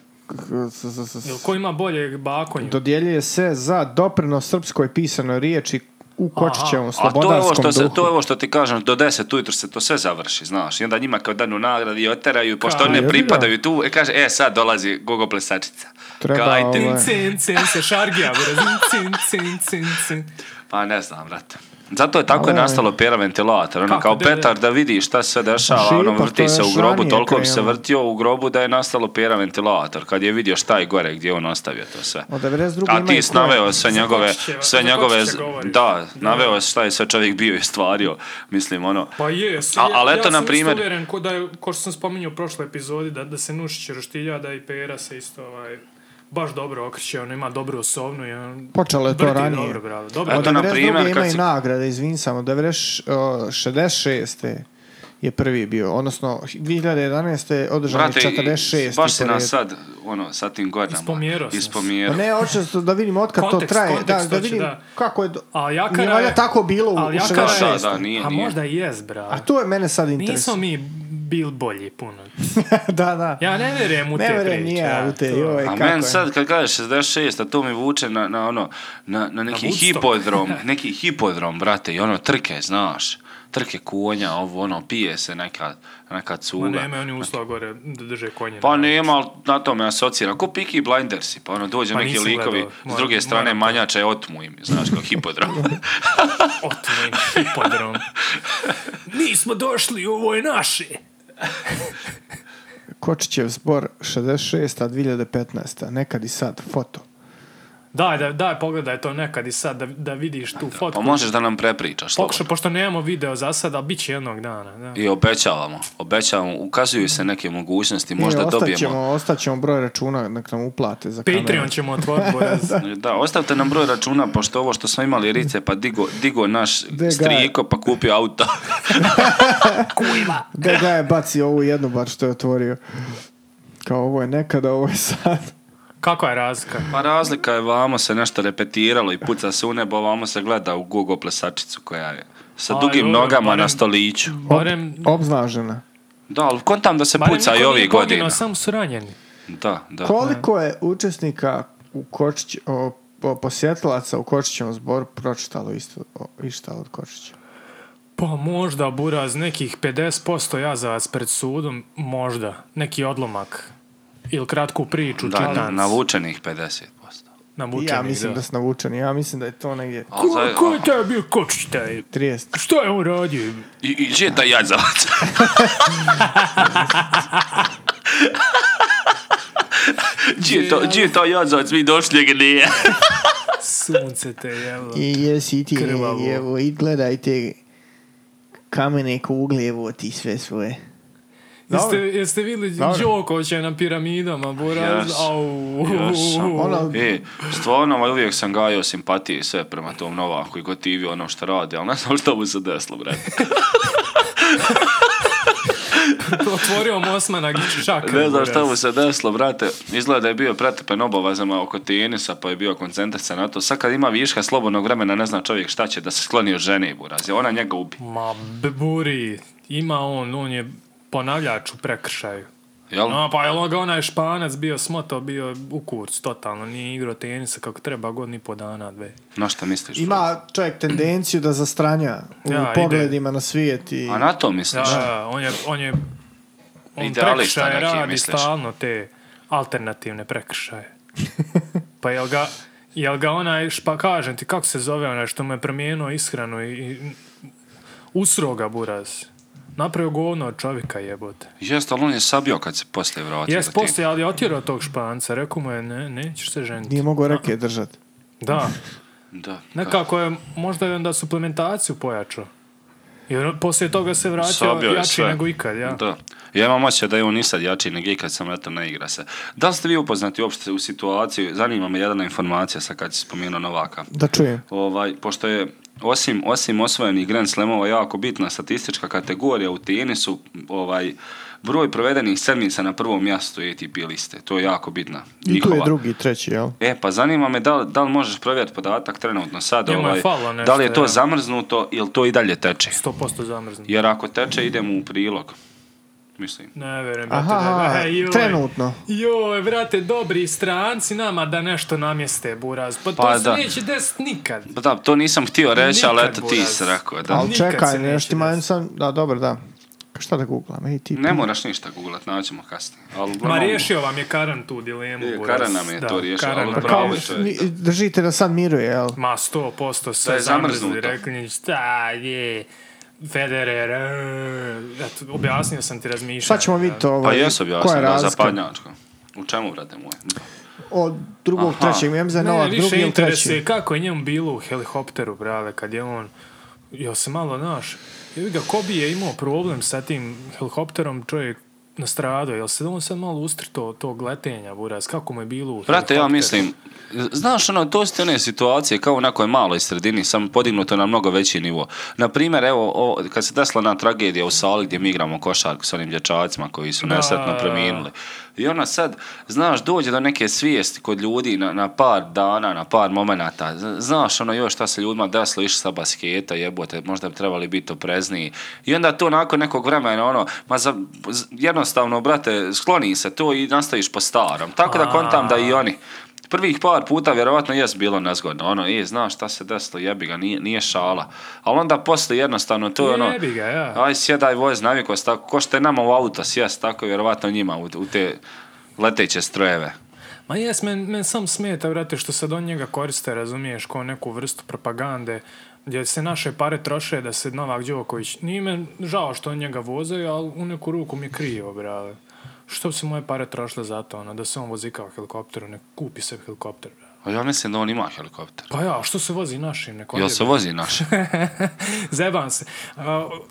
Speaker 2: S- s- s- s-
Speaker 1: Jel ko ima bolje bakonje?
Speaker 2: Dodjeljuje se za doprinos srpskoj pisanoj riječi u
Speaker 1: Aha,
Speaker 2: Kočićevom
Speaker 3: A to je, ovo
Speaker 2: slobodarskom
Speaker 3: što se,
Speaker 2: duhu.
Speaker 3: to je ovo što ti kažem, do 10 ujutro se to sve završi, znaš. I onda njima kao danu nagradi i oteraju, pošto
Speaker 1: Kao,
Speaker 3: ne
Speaker 2: jebi ga.
Speaker 3: pripadaju tu, e, kaže, e, sad dolazi Google plesačica.
Speaker 2: Treba
Speaker 3: Kao, ajde.
Speaker 2: ovo-
Speaker 1: Cin,
Speaker 2: Ovaj.
Speaker 1: cin, cin, se šargija, bro. Cin, cin, cin, cin.
Speaker 3: Pa ne znam, brate. Zato je tako
Speaker 2: Ali-
Speaker 3: je nastalo pera ventilator, ono
Speaker 1: Kako
Speaker 3: kao
Speaker 1: da je-
Speaker 3: petar da vidi šta se dešava,
Speaker 2: Šipak,
Speaker 3: ono
Speaker 2: pa to
Speaker 3: vrti se
Speaker 2: je
Speaker 3: u grobu,
Speaker 2: ranije
Speaker 3: toliko bi se
Speaker 2: krenulo.
Speaker 3: vrtio u grobu da je nastalo pera ventilator, kad je vidio šta je gore, gdje je on ostavio to sve.
Speaker 2: Od 92.
Speaker 3: A
Speaker 2: ima i
Speaker 3: ti si naveo sve
Speaker 1: Za
Speaker 3: njegove,
Speaker 1: Kočićeva-
Speaker 3: sve
Speaker 1: za
Speaker 3: njegove,
Speaker 1: Kočića govoriš.
Speaker 3: da, naveo je šta je sve čovjek bio i stvario, mislim ono,
Speaker 1: Pa jes,
Speaker 3: A-
Speaker 1: ja-
Speaker 3: ali eto,
Speaker 1: ja
Speaker 3: na
Speaker 1: sam
Speaker 3: primjer-
Speaker 1: isto uvjeren, ko, da je, ko što sam spominjao u prošloj epizodi, da, da se Nušić roštilja, da i Pera se isto ovaj, baš dobro okreće, on ima dobru osobnu i on...
Speaker 2: Počelo je to
Speaker 1: vrti
Speaker 2: ranije.
Speaker 1: Dobro, bravo. Dobro,
Speaker 3: Eto,
Speaker 2: Od
Speaker 3: na
Speaker 2: 92.
Speaker 3: primjer,
Speaker 2: ima
Speaker 3: kad
Speaker 2: i
Speaker 3: si-
Speaker 2: nagrade, izvin samo. 96. je prvi bio. Odnosno, 2011. je održano
Speaker 3: Brate, i-
Speaker 2: 46.
Speaker 3: baš si
Speaker 2: po
Speaker 3: nas
Speaker 2: redu.
Speaker 3: sad, ono, sa tim godinama.
Speaker 1: Ispomjerao si nas.
Speaker 2: Pa
Speaker 3: Ispomjerao.
Speaker 2: ne, hoće se da vidim otkad
Speaker 1: Kontekst,
Speaker 2: to traje.
Speaker 1: kontekst,
Speaker 2: da, da
Speaker 1: hoće,
Speaker 2: vidim
Speaker 1: da.
Speaker 2: kako je... Do...
Speaker 1: A Jakara
Speaker 2: Nije valjda
Speaker 1: je-
Speaker 2: tako bilo u, u
Speaker 1: Ali Jakara je-
Speaker 2: 66.
Speaker 3: Da, da, nije,
Speaker 1: A
Speaker 3: nije.
Speaker 1: možda i jes, bra.
Speaker 2: A to je mene sad
Speaker 1: Nismo
Speaker 2: interesuje.
Speaker 1: mi bil bolji puno.
Speaker 2: da, da.
Speaker 1: Ja ne vjerujem u te
Speaker 2: ne
Speaker 1: priče.
Speaker 2: vjerujem ni ja
Speaker 1: a,
Speaker 2: u te,
Speaker 1: to.
Speaker 2: joj,
Speaker 3: A
Speaker 2: kako
Speaker 3: men
Speaker 2: je.
Speaker 3: sad kad kažeš 66, a to mi vuče na, na ono, na, na neki
Speaker 1: Woodstock.
Speaker 3: hipodrom, neki hipodrom, brate, i ono trke, znaš, trke konja, ovo, ono, pije se neka, neka
Speaker 1: Ma
Speaker 3: cuga.
Speaker 1: nema oni uslova gore da drže konje.
Speaker 3: Pa
Speaker 1: na-
Speaker 3: nema, ali na to me asocira. Ko Peaky Blindersi, pa ono, dođu
Speaker 1: Pa
Speaker 3: neki
Speaker 1: nisam
Speaker 3: likovi,
Speaker 1: gledao.
Speaker 3: s
Speaker 1: Moram-
Speaker 3: druge strane
Speaker 1: moram to.
Speaker 3: manjače, otmu im, znaš, kao hipodrom.
Speaker 1: Otmem hipodrom. Mi smo došli, ovo je naše.
Speaker 2: Kočićev zbor 66. a 2015. Nekad i sad, foto.
Speaker 1: Daj, da, daj, pogledaj to nekad i sad da, da vidiš tu
Speaker 3: pa
Speaker 1: fotku.
Speaker 3: možeš da nam prepričaš, slobodno.
Speaker 1: Pokušaj, pošto nemamo video za sad, ali bit će jednog dana. Da.
Speaker 3: I obećavamo, obećavamo, ukazuju se neke mogućnosti, možda
Speaker 2: I
Speaker 3: dobijemo.
Speaker 2: E, Ostaćemo, ostaćemo broj računa, nek nam uplate za
Speaker 1: Patreon
Speaker 2: kameru.
Speaker 1: ćemo otvoriti, Boraz.
Speaker 3: E, Da, ostavite nam broj računa, pošto ovo što smo imali rice, pa digo, digo naš
Speaker 2: ga je?
Speaker 3: strijeko, pa kupio auto.
Speaker 2: Da ga je baci ovu jednu bar što je otvorio. Kao ovo je nekada, ovo je sad.
Speaker 1: Kako je razlika?
Speaker 3: Pa razlika je, vamo se nešto repetiralo i puca se u nebo, vamo se gleda u Google plesačicu koja je sa
Speaker 1: A,
Speaker 3: dugim
Speaker 1: dobro,
Speaker 3: nogama
Speaker 1: barem-
Speaker 3: na stoliću.
Speaker 1: Barem...
Speaker 2: Obznažena.
Speaker 3: Da, ali kontam da se
Speaker 1: barem
Speaker 3: puca
Speaker 1: niko
Speaker 3: i
Speaker 1: nije
Speaker 3: ovih
Speaker 1: poginuo,
Speaker 3: godina.
Speaker 1: Samo su ranjeni.
Speaker 3: Da, da.
Speaker 2: Koliko je učesnika u Kočić, o, o, posjetilaca u Kočićevom zboru pročitalo isto, o, išta od Kočića?
Speaker 1: Pa možda, Buraz, nekih 50% jazavac pred sudom, možda. Neki odlomak. Ili kratku priču,
Speaker 3: Da, na,
Speaker 1: čitanc.
Speaker 3: navučenih 50%.
Speaker 1: Navučeni,
Speaker 2: ja mislim da,
Speaker 1: da.
Speaker 2: sam navučen, ja mislim da je to negdje
Speaker 3: A
Speaker 1: Ko,
Speaker 3: za-
Speaker 1: ko je taj bio kočić taj?
Speaker 2: 30.
Speaker 1: Što je on radio?
Speaker 3: I, i gdje je taj jadzavac? Gdje je to, gdje je taj jadzavac? Mi došli gdje?
Speaker 1: Sunce te jelo.
Speaker 2: I jesi ti,
Speaker 1: Krvavo.
Speaker 2: evo, i gledajte kamene kugle, evo ti sve svoje.
Speaker 1: Jeste,
Speaker 2: Dobro.
Speaker 1: jeste vidjeli
Speaker 2: Dobro.
Speaker 1: Đokovića na piramidama, Buraz?
Speaker 3: Jas.
Speaker 1: Au.
Speaker 3: Jasno.
Speaker 2: Ono-
Speaker 3: E, stvarno, ovaj, uvijek sam gajao simpatije i sve prema tom Novaku i gotivio ono što radi, ali ne znam što mu se desilo, brate.
Speaker 1: Otvorio mu Osmana Gičak.
Speaker 3: Ne znam što mu se desilo, brate. Izgleda da je bio pretepen obavezama oko tenisa, pa je bio koncentrisan na to. Sad kad ima viška slobodnog vremena, ne zna čovjek šta će, da se skloni od žene i burazi. Ona njega ubi.
Speaker 1: Ma, b- buri. Ima on, on je ponavljač u prekršaju.
Speaker 3: Jel?
Speaker 1: No, pa je ga onaj španac bio smoto, bio u kurcu, totalno. Nije igrao tenisa kako treba, godinu i po dana, dve.
Speaker 3: Na šta misliš?
Speaker 2: Ima čovjek tendenciju da zastranja u
Speaker 1: Ja, ide.
Speaker 2: pogledima na svijet i...
Speaker 3: A na to misliš?
Speaker 1: Da, on je, on je, on
Speaker 3: Idealista
Speaker 1: prekršaje
Speaker 3: neki,
Speaker 1: radi
Speaker 3: misliš?
Speaker 1: stalno te alternativne prekršaje. Pa jel ga, jel ga onaj, pa kažem ti, kako se zove onaj što me promijenuo ishranu i, i usro ga buraz. Napravio govno od čovjeka jebote.
Speaker 3: Jeste, ali on je sabio kad se poslije vratio.
Speaker 1: Jes
Speaker 3: za tim.
Speaker 1: poslije, ali je otjerao tog španca. Rekao mu je, ne, nećeš se ženiti.
Speaker 2: Nije mogao rake držati.
Speaker 1: Da,
Speaker 3: Da.
Speaker 1: nekako je, možda je onda suplementaciju pojačao. Jer on- poslije toga se vratio
Speaker 3: Sabio je
Speaker 1: jači
Speaker 3: sve.
Speaker 1: nego ikad, ja.
Speaker 3: Da. Ja imam osjećaj da je on i sad jači nego ikad sam eto ne igra se. Da li ste vi upoznati uopšte u situaciju, zanima me jedna informacija sa kad si spomenuo Novaka.
Speaker 2: Da čujem.
Speaker 3: Ovaj, pošto je osim, osim osvojenih Grand Slamova jako bitna statistička kategorija u tenisu, ovaj, broj provedenih sedmica na prvom mjestu ATP liste. To je jako bitna.
Speaker 2: I tu je
Speaker 3: njihova.
Speaker 2: drugi, treći, jel?
Speaker 3: E, pa zanima me da li, da li možeš provjeriti podatak trenutno sad,
Speaker 1: Njemu je
Speaker 3: ovaj,
Speaker 1: falilo nešto,
Speaker 3: da li je to
Speaker 1: ja.
Speaker 3: zamrznuto ili to i dalje teče?
Speaker 1: 100% zamrznuti.
Speaker 3: Jer ako teče, idemo u prilog. Mislim.
Speaker 1: Ne verujem, brate,
Speaker 2: Aha,
Speaker 1: da
Speaker 2: aha,
Speaker 1: e, joj.
Speaker 2: trenutno.
Speaker 1: Joj, brate, dobri stranci nama da nešto namjeste, Buraz. Pa,
Speaker 3: Pa
Speaker 1: to
Speaker 3: da.
Speaker 1: se neće desit nikad.
Speaker 3: Pa Da, to nisam htio reći, ali
Speaker 1: Nikad,
Speaker 3: eto ti
Speaker 1: Buraz.
Speaker 3: si rekao, da.
Speaker 2: Ali
Speaker 1: nikad se
Speaker 2: čekaj,
Speaker 1: neće
Speaker 2: nešto ima, sam... Da, dobro, da. Šta da googlam? Ej, ti...
Speaker 3: Ne moraš ništa googlat, naćemo kasnije. Ali,
Speaker 1: Ma
Speaker 3: uglavnom-
Speaker 1: riješio vam je Karan tu dilemu,
Speaker 3: Je,
Speaker 1: Buraz.
Speaker 3: Karan nam je
Speaker 1: Da,
Speaker 3: to riješio,
Speaker 1: Karan
Speaker 3: ali
Speaker 1: nam-
Speaker 3: bravo. Bravo.
Speaker 2: Ni- Držite da sad miruje, jel?
Speaker 1: Ma, 100% sve
Speaker 3: Da je zamrznuto.
Speaker 1: zamrzli, rekli mi, šta je, Federer, e, eto, objasnio sam ti razmišljanje.
Speaker 2: Sad ćemo
Speaker 1: da.
Speaker 2: vidjeti ovo.
Speaker 3: Pa jesu
Speaker 2: koja
Speaker 3: objasnio,
Speaker 2: je
Speaker 3: da,
Speaker 2: razlika.
Speaker 3: zapadnjačko. U čemu, brate moje?
Speaker 2: Od drugog,
Speaker 3: Aha.
Speaker 2: trećeg, ja mislim da
Speaker 1: Mene
Speaker 2: je novak, drugi
Speaker 1: više
Speaker 2: ili treći.
Speaker 1: interesuje kako je njemu bilo u helikopteru, brale, kad je on, jel se malo, znaš, jevi ga, ko bi je imao problem sa tim helikopterom, čovjek nastradao, jel se on sad malo ustrto tog letenja, Buraz, kako mu je bilo? u
Speaker 3: Brate, ja
Speaker 1: helikopteru?
Speaker 3: mislim, znaš ono, to su te one situacije kao u nekoj maloj sredini, samo podignuto na mnogo veći nivo. Na primjer, evo, o, kad se desila na tragedija u sali gdje mi igramo košarku s onim dječacima koji su
Speaker 1: Da.
Speaker 3: nesretno preminuli. I ona sad, znaš, dođe do neke svijesti kod ljudi na, na par dana, na par momenata. Z- Znaš, ono, još šta se ljudima desilo, išli sa basketa, jebote, možda bi trebali biti oprezniji. I onda to nakon nekog vremena, ono, ma za, z- jednostavno, brate, skloni se to i nastaviš po starom. Tako da kontam da i oni. Prvih par puta vjerovatno jes bilo nezgodno, ono, je, znaš šta se desilo, jebi ga, nije, nije šala. Ali onda poslije jednostavno to je ono,
Speaker 1: Jebi ga, ja.
Speaker 3: aj sjedaj voz, naviko se tako, ko što je nama u auto sjest, tako je vjerovatno njima u, u te leteće strojeve.
Speaker 1: Ma jes, men, men sam smeta, brate, što sad on njega koriste, razumiješ, kao neku vrstu propagande, gdje se naše pare troše da se Novak Đoković, nije me žao što on njega vozaju, ali u neku ruku mi je krivo, brale. Što bi se moje pare trošile za to, ono, da se on vozi kao helikopteru, ne kupi se helikopter, brale.
Speaker 3: A ja mislim da on ima helikopter.
Speaker 1: Pa ja, što se vozi našim, neko
Speaker 3: Jel se vozi naš?
Speaker 1: Zebam se. Uh,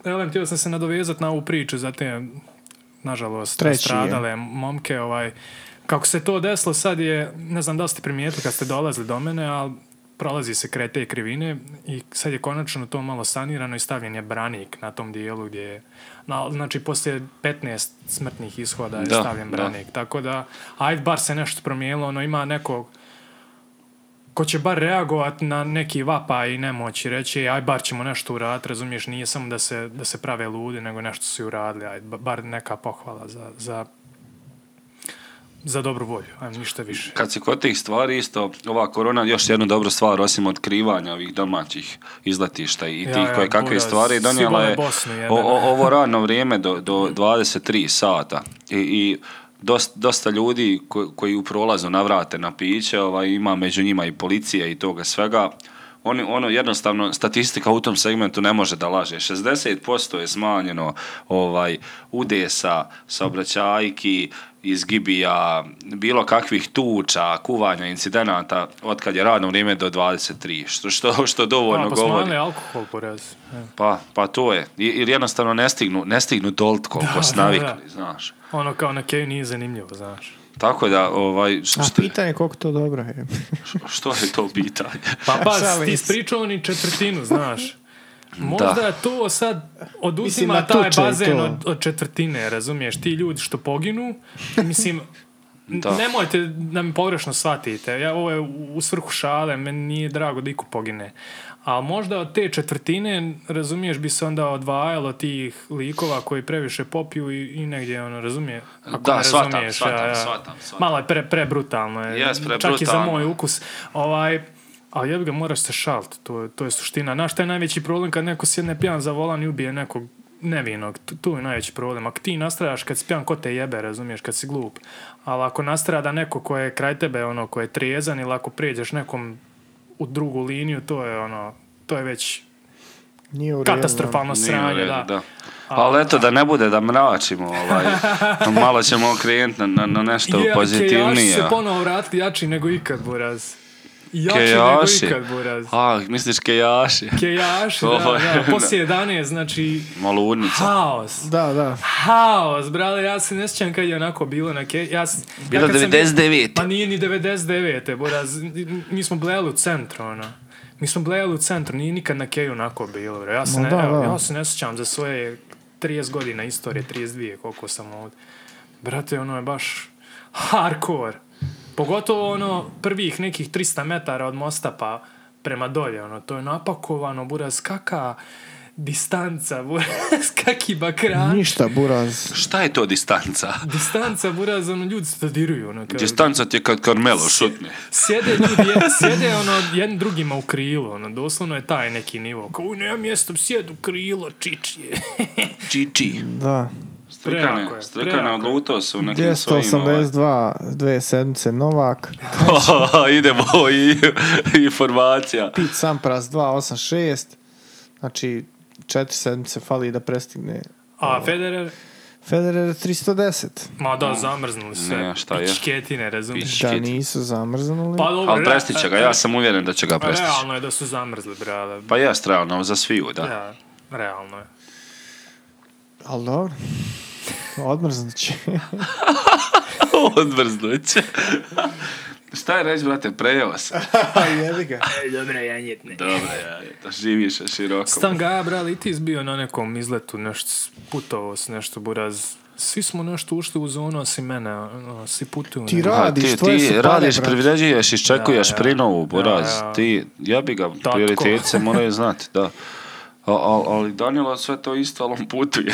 Speaker 1: Elem, htio sam se nadovezat na ovu priču, zatim, nažalost,
Speaker 2: Treći je.
Speaker 1: stradale momke, ovaj, kako se to desilo sad je, ne znam da li ste primijetili kad ste dolazili do mene, ali prolazi se kraj te krivine i sad je konačno to malo sanirano i stavljen je branik na tom dijelu gdje je, na, znači poslije 15 smrtnih ishoda je
Speaker 3: Da,
Speaker 1: stavljen
Speaker 3: da.
Speaker 1: branik, tako da ajde bar se nešto promijenilo, ono ima nekog ko će bar reagovat na neki vapa i nemoć i reći aj bar ćemo nešto uraditi, razumiješ, nije samo da se, da se prave ludi, nego nešto su i uradili, aj ba- bar neka pohvala za, za, za dobru volju, aj ništa više.
Speaker 3: Kad se kod tih stvari isto, ova korona još jednu dobru stvar, osim otkrivanja ovih domaćih izletišta i
Speaker 1: Ja,
Speaker 3: tih
Speaker 1: ja,
Speaker 3: koje kakve
Speaker 1: buraz,
Speaker 3: stvari, donijela
Speaker 1: sigurno
Speaker 3: je
Speaker 1: Bosnu jebena.
Speaker 3: o, o- ovo radno vrijeme do, do 23 sata i, i dost- dosta ljudi ko- koji u prolazu navrate na piće, ovaj, ima među njima i policije i toga svega, oni, ono jednostavno statistika u tom segmentu ne može da laže. 60% je smanjeno ovaj udesa, saobraćajki, izgibija, bilo kakvih tuča, kuvanja, incidenata od kad je radno vrijeme do 23, što, što, što dovoljno
Speaker 1: A, pa
Speaker 3: govori.
Speaker 1: smanjili alkohol porez. E.
Speaker 3: Pa, pa to je. I- Ili jednostavno ne stignu, ne stignu dolt koliko
Speaker 1: Da,
Speaker 3: su
Speaker 1: da,
Speaker 3: navikli,
Speaker 1: da.
Speaker 3: znaš.
Speaker 1: Ono kao na keju nije zanimljivo, znaš.
Speaker 3: Tako da, ovaj, š-
Speaker 2: A
Speaker 3: šta,
Speaker 2: pitanje koliko to dobro je.
Speaker 3: što je to pitanje?
Speaker 1: Pa pa,
Speaker 2: Šalim
Speaker 1: ti
Speaker 2: se.
Speaker 1: ispričao ni četvrtinu, znaš. Možda to sad
Speaker 2: Mislim,
Speaker 1: oduzima
Speaker 2: na
Speaker 1: taj
Speaker 2: tuče i
Speaker 1: bazen
Speaker 2: to.
Speaker 1: od, od četvrtine, razumiješ? Ti ljudi što poginu, mislim, n-
Speaker 3: Da.
Speaker 1: nemojte da me pogrešno shvatite. Ja, ovo je u- u svrhu šale, meni nije drago da iko pogine. A možda od te četvrtine, razumiješ, bi se onda odvajalo tih likova koji previše popiju i, i negdje, ono, razumije? Ako
Speaker 3: Da,
Speaker 1: ne
Speaker 3: shvatam,
Speaker 1: razumiješ,
Speaker 3: shvatam, shvatam, shvatam.
Speaker 1: Malo je pre, prebrutalno. Je. Čak
Speaker 3: Jes,
Speaker 1: i za
Speaker 3: prebrutalno.
Speaker 1: moj ukus. Ovaj, ali jebi ga, moraš se šalt, to, je- to je suština. Znaš, šta je najveći problem kad neko sjedne pijan za volan i ubije nekog nevinog, tu, tu je najveći problem. Ako ti nastradaš kad si pijan, ko te jebe, razumiješ, kad si glup. Ali ako nastrada neko ko je kraj tebe, ono, ko je trijezan ili ako prijeđeš nekom u drugu liniju, to je ono, to je već
Speaker 2: Nije u redu.
Speaker 1: katastrofalno
Speaker 3: Nije u
Speaker 1: sranje,
Speaker 3: redu,
Speaker 1: da.
Speaker 3: Ali eto, da ne bude da mračimo, ovaj, malo ćemo okrenuti na, na, na nešto
Speaker 1: Je, kejaši
Speaker 3: pozitivnije.
Speaker 1: se ponovo vratili jači nego ikad, Buraz. Jači
Speaker 3: Kejaši?
Speaker 1: nego ikad, Buraz.
Speaker 3: A, misliš kejaši?
Speaker 1: Kejaši, da,
Speaker 3: Ovo je-
Speaker 1: da, znaczy poslije 11, znači
Speaker 3: Maludnica.
Speaker 1: haos.
Speaker 2: ono. Da, da.
Speaker 1: Haos, brale, ja se ne sjećam kad je onako bilo na ke... Ja, s- ja
Speaker 3: Bilo
Speaker 1: kad sam-
Speaker 3: 99.
Speaker 1: Pa nije ni 99. Buraz, mi smo blejali u centru, ono. Mi smo blejali u centru, nije nikad na keju onako bilo, bre. Ja se,
Speaker 2: Ma
Speaker 1: ne,
Speaker 2: da,
Speaker 1: evo,
Speaker 2: da.
Speaker 1: ja se ne sjećam za svoje 30 godina istorije, 32, koliko sam ovdje. Brate, ono je baš hardcore. Pogotovo ono prvih nekih 300 metara od mosta pa prema dolje, ono, to je napakovano, buraz, kaka distanca, buraz, kaki bakran.
Speaker 2: Ništa, buraz.
Speaker 3: Šta je to distanca?
Speaker 1: Distanca, buraz, ono, ljudi se dodiruju, ono, kao,
Speaker 3: Distanca ti je kad Carmelo šutne.
Speaker 1: Sjede ljudi, jed, sjede ono jedni drugima u krilo, ono, doslovno je taj neki nivo. Kao, uj, nema mjesta, sjed u krilo, čičije.
Speaker 3: Čiči.
Speaker 2: Da.
Speaker 1: Prejako
Speaker 3: Strikane,
Speaker 1: je,
Speaker 3: strikane
Speaker 1: prejako je.
Speaker 3: odlutao su u nekim svojim... ovaj,
Speaker 2: 282, dve sedmice, Novak.
Speaker 3: Idemo i informacija.
Speaker 2: Pete Sampras 286. Znači, četiri sedmice fali da prestigne.
Speaker 1: A Federer,
Speaker 2: Federer 310.
Speaker 1: ma da, zamrznuli sve.
Speaker 3: Ne, šta je?
Speaker 1: Pičketine, razumiješ?
Speaker 3: Pič-
Speaker 2: Da
Speaker 3: Škit.
Speaker 2: nisu zamrznuli.
Speaker 1: Pa dobro,
Speaker 3: Ali
Speaker 1: re-
Speaker 3: prestiće ga,
Speaker 1: re-
Speaker 3: ja sam uvjeren da će ga prestići.
Speaker 1: Pa Realno je da su zamrzli, brale.
Speaker 3: Pa jest, realno, za sviju, da.
Speaker 1: Da, realno je.
Speaker 2: Ali dobro. Odmrznut će.
Speaker 3: Odmrznut će. Šta je reći, brate, prejeo sam.
Speaker 1: Pa
Speaker 2: Jebi ga.
Speaker 4: Dobra, janjetne.
Speaker 3: Dobro, ja, to živiš široko.
Speaker 1: Stan Gaja, brali, i ti bio na nekom izletu, nešto s- putovao s nešto, buraz. Svi smo nešto ušli u zonu, osim mene, ono, svi putuju.
Speaker 2: Ti
Speaker 1: ne-
Speaker 3: Ha,
Speaker 2: radiš,
Speaker 3: ti,
Speaker 2: tvoje
Speaker 3: ti
Speaker 2: su pare,
Speaker 3: radiš,
Speaker 2: brate.
Speaker 3: privilegiješ, iščekuješ
Speaker 1: Da, ja.
Speaker 3: prinovu, boraz.
Speaker 1: Da, ja.
Speaker 3: Ti, ja bi ga,
Speaker 1: Tako.
Speaker 3: prioriteti se moraju znati, da. A- a- ali Danilo sve to isto, ali on putuje.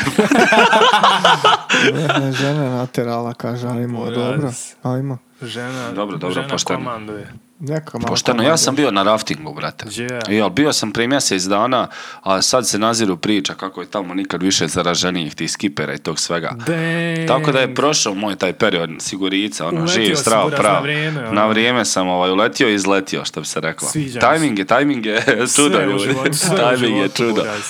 Speaker 2: Mene žena naterala, kaže, ajmo,
Speaker 1: Buraz.
Speaker 2: dobro, ajmo.
Speaker 1: Žena,
Speaker 3: Dobro, dobro,
Speaker 1: žena
Speaker 3: pošteno.
Speaker 1: komanduje.
Speaker 2: Neka malo
Speaker 3: Pošteno, ja sam bio na raftingu, brate.
Speaker 1: Yeah.
Speaker 3: Jel, bio sam prije mjesec dana, a sad se naziru priča kako je tamo nikad više zaraženijih tih skipera i tog svega.
Speaker 1: Dang.
Speaker 3: Tako da je prošao moj taj period sigurica, ono,
Speaker 1: Uletio
Speaker 3: živ,
Speaker 1: si,
Speaker 3: strav,
Speaker 1: buraz,
Speaker 3: prav.
Speaker 1: na vrijeme, ono.
Speaker 3: Na vrijeme sam ovaj, uletio i izletio, što bi se rekla.
Speaker 1: Sviđa mi se.
Speaker 3: Timing je, timing je čudo,
Speaker 1: Sve u
Speaker 3: ljudi.
Speaker 1: životu, sve u
Speaker 3: Timing je
Speaker 1: životu,
Speaker 3: čudo.
Speaker 1: buraz.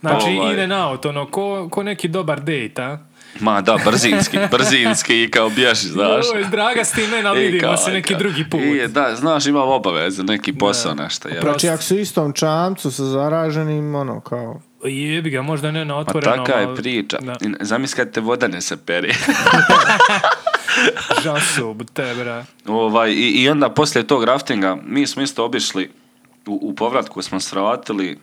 Speaker 1: Znači,
Speaker 3: Ovaj.
Speaker 1: in and out, ono, ko, ko neki dobar date, a?
Speaker 3: Ma da, brzinski, brzinski i kao bježi, znaš. E,
Speaker 1: Joj, draga s tim mena,
Speaker 3: I
Speaker 1: vidimo
Speaker 3: kao,
Speaker 1: se neki
Speaker 3: kao-
Speaker 1: drugi put.
Speaker 3: I, da, znaš, imam obaveze, neki posao, nešto. jel.
Speaker 2: Znači, ako su u istom čamcu sa zaraženim, ono, kao...
Speaker 1: Jebi ga, možda ne na
Speaker 3: Pa
Speaker 1: otvoreno.
Speaker 3: taka je
Speaker 1: ali-
Speaker 3: priča.
Speaker 1: Da.
Speaker 3: I Zamisli kad te voda ne saperi.
Speaker 1: Žasu, te, bra.
Speaker 3: ovaj, i, I onda poslije tog raftinga, mi smo isto obišli, u, u povratku smo svratili,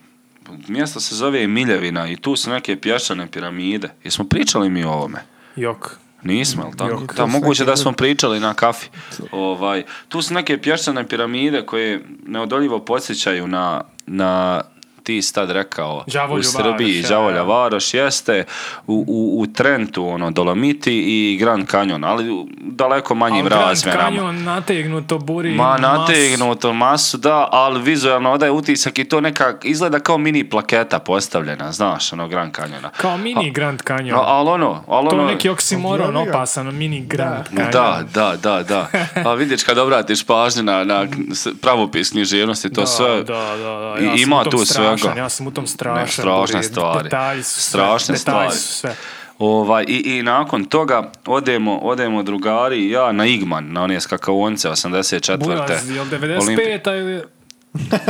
Speaker 3: mjesto se zove Emiljevina i tu su neke pješčane piramide. Jesmo pričali mi o ovome?
Speaker 1: Jok.
Speaker 3: Nismo, jel tako?
Speaker 1: Jok.
Speaker 3: da, moguće da smo pričali na kafi. Ovaj, tu su neke pješčane piramide koje neodoljivo podsjećaju na, na ti si tad rekao
Speaker 1: Đavolju
Speaker 3: u Srbiji,
Speaker 1: Varoš,
Speaker 3: Đavolja
Speaker 1: ja.
Speaker 3: Varoš jeste u, u, u Trentu ono, Dolomiti i Grand Canyon ali u daleko manjim razmjerama
Speaker 1: Grand Canyon nategnuto buri.
Speaker 3: Ma
Speaker 1: mas-
Speaker 3: nategnuto masu, da, ali vizualno odaje utisak i to neka izgleda kao mini plaketa postavljena, znaš, ono Grand Canyona.
Speaker 1: Kao mini Grand Canyon.
Speaker 3: No, ali ono, ali
Speaker 1: to
Speaker 3: ono...
Speaker 1: je neki oksimoron
Speaker 2: Jebi ga.
Speaker 1: opasan, mini Grand Canyon.
Speaker 3: Da, da, da, da. A vidiš kad obratiš pažnju na, na s- pravopis književnosti, to
Speaker 1: Da,
Speaker 3: sve...
Speaker 1: da, da, da.
Speaker 3: i-
Speaker 1: Ja sam
Speaker 3: ima
Speaker 1: u tom
Speaker 3: tu
Speaker 1: strašan,
Speaker 3: svega.
Speaker 1: Ja sam u tom strašan.
Speaker 3: Ne, strašne
Speaker 1: buri,
Speaker 3: stvari.
Speaker 1: Detalji su sve,
Speaker 3: Strašne
Speaker 1: detalji
Speaker 3: stvari.
Speaker 1: su sve.
Speaker 3: Ovaj, i, I nakon toga odemo, odemo drugari i ja na Igman, na one skakavonce 84.
Speaker 1: Buraz, jel 95-a ili...
Speaker 3: 80...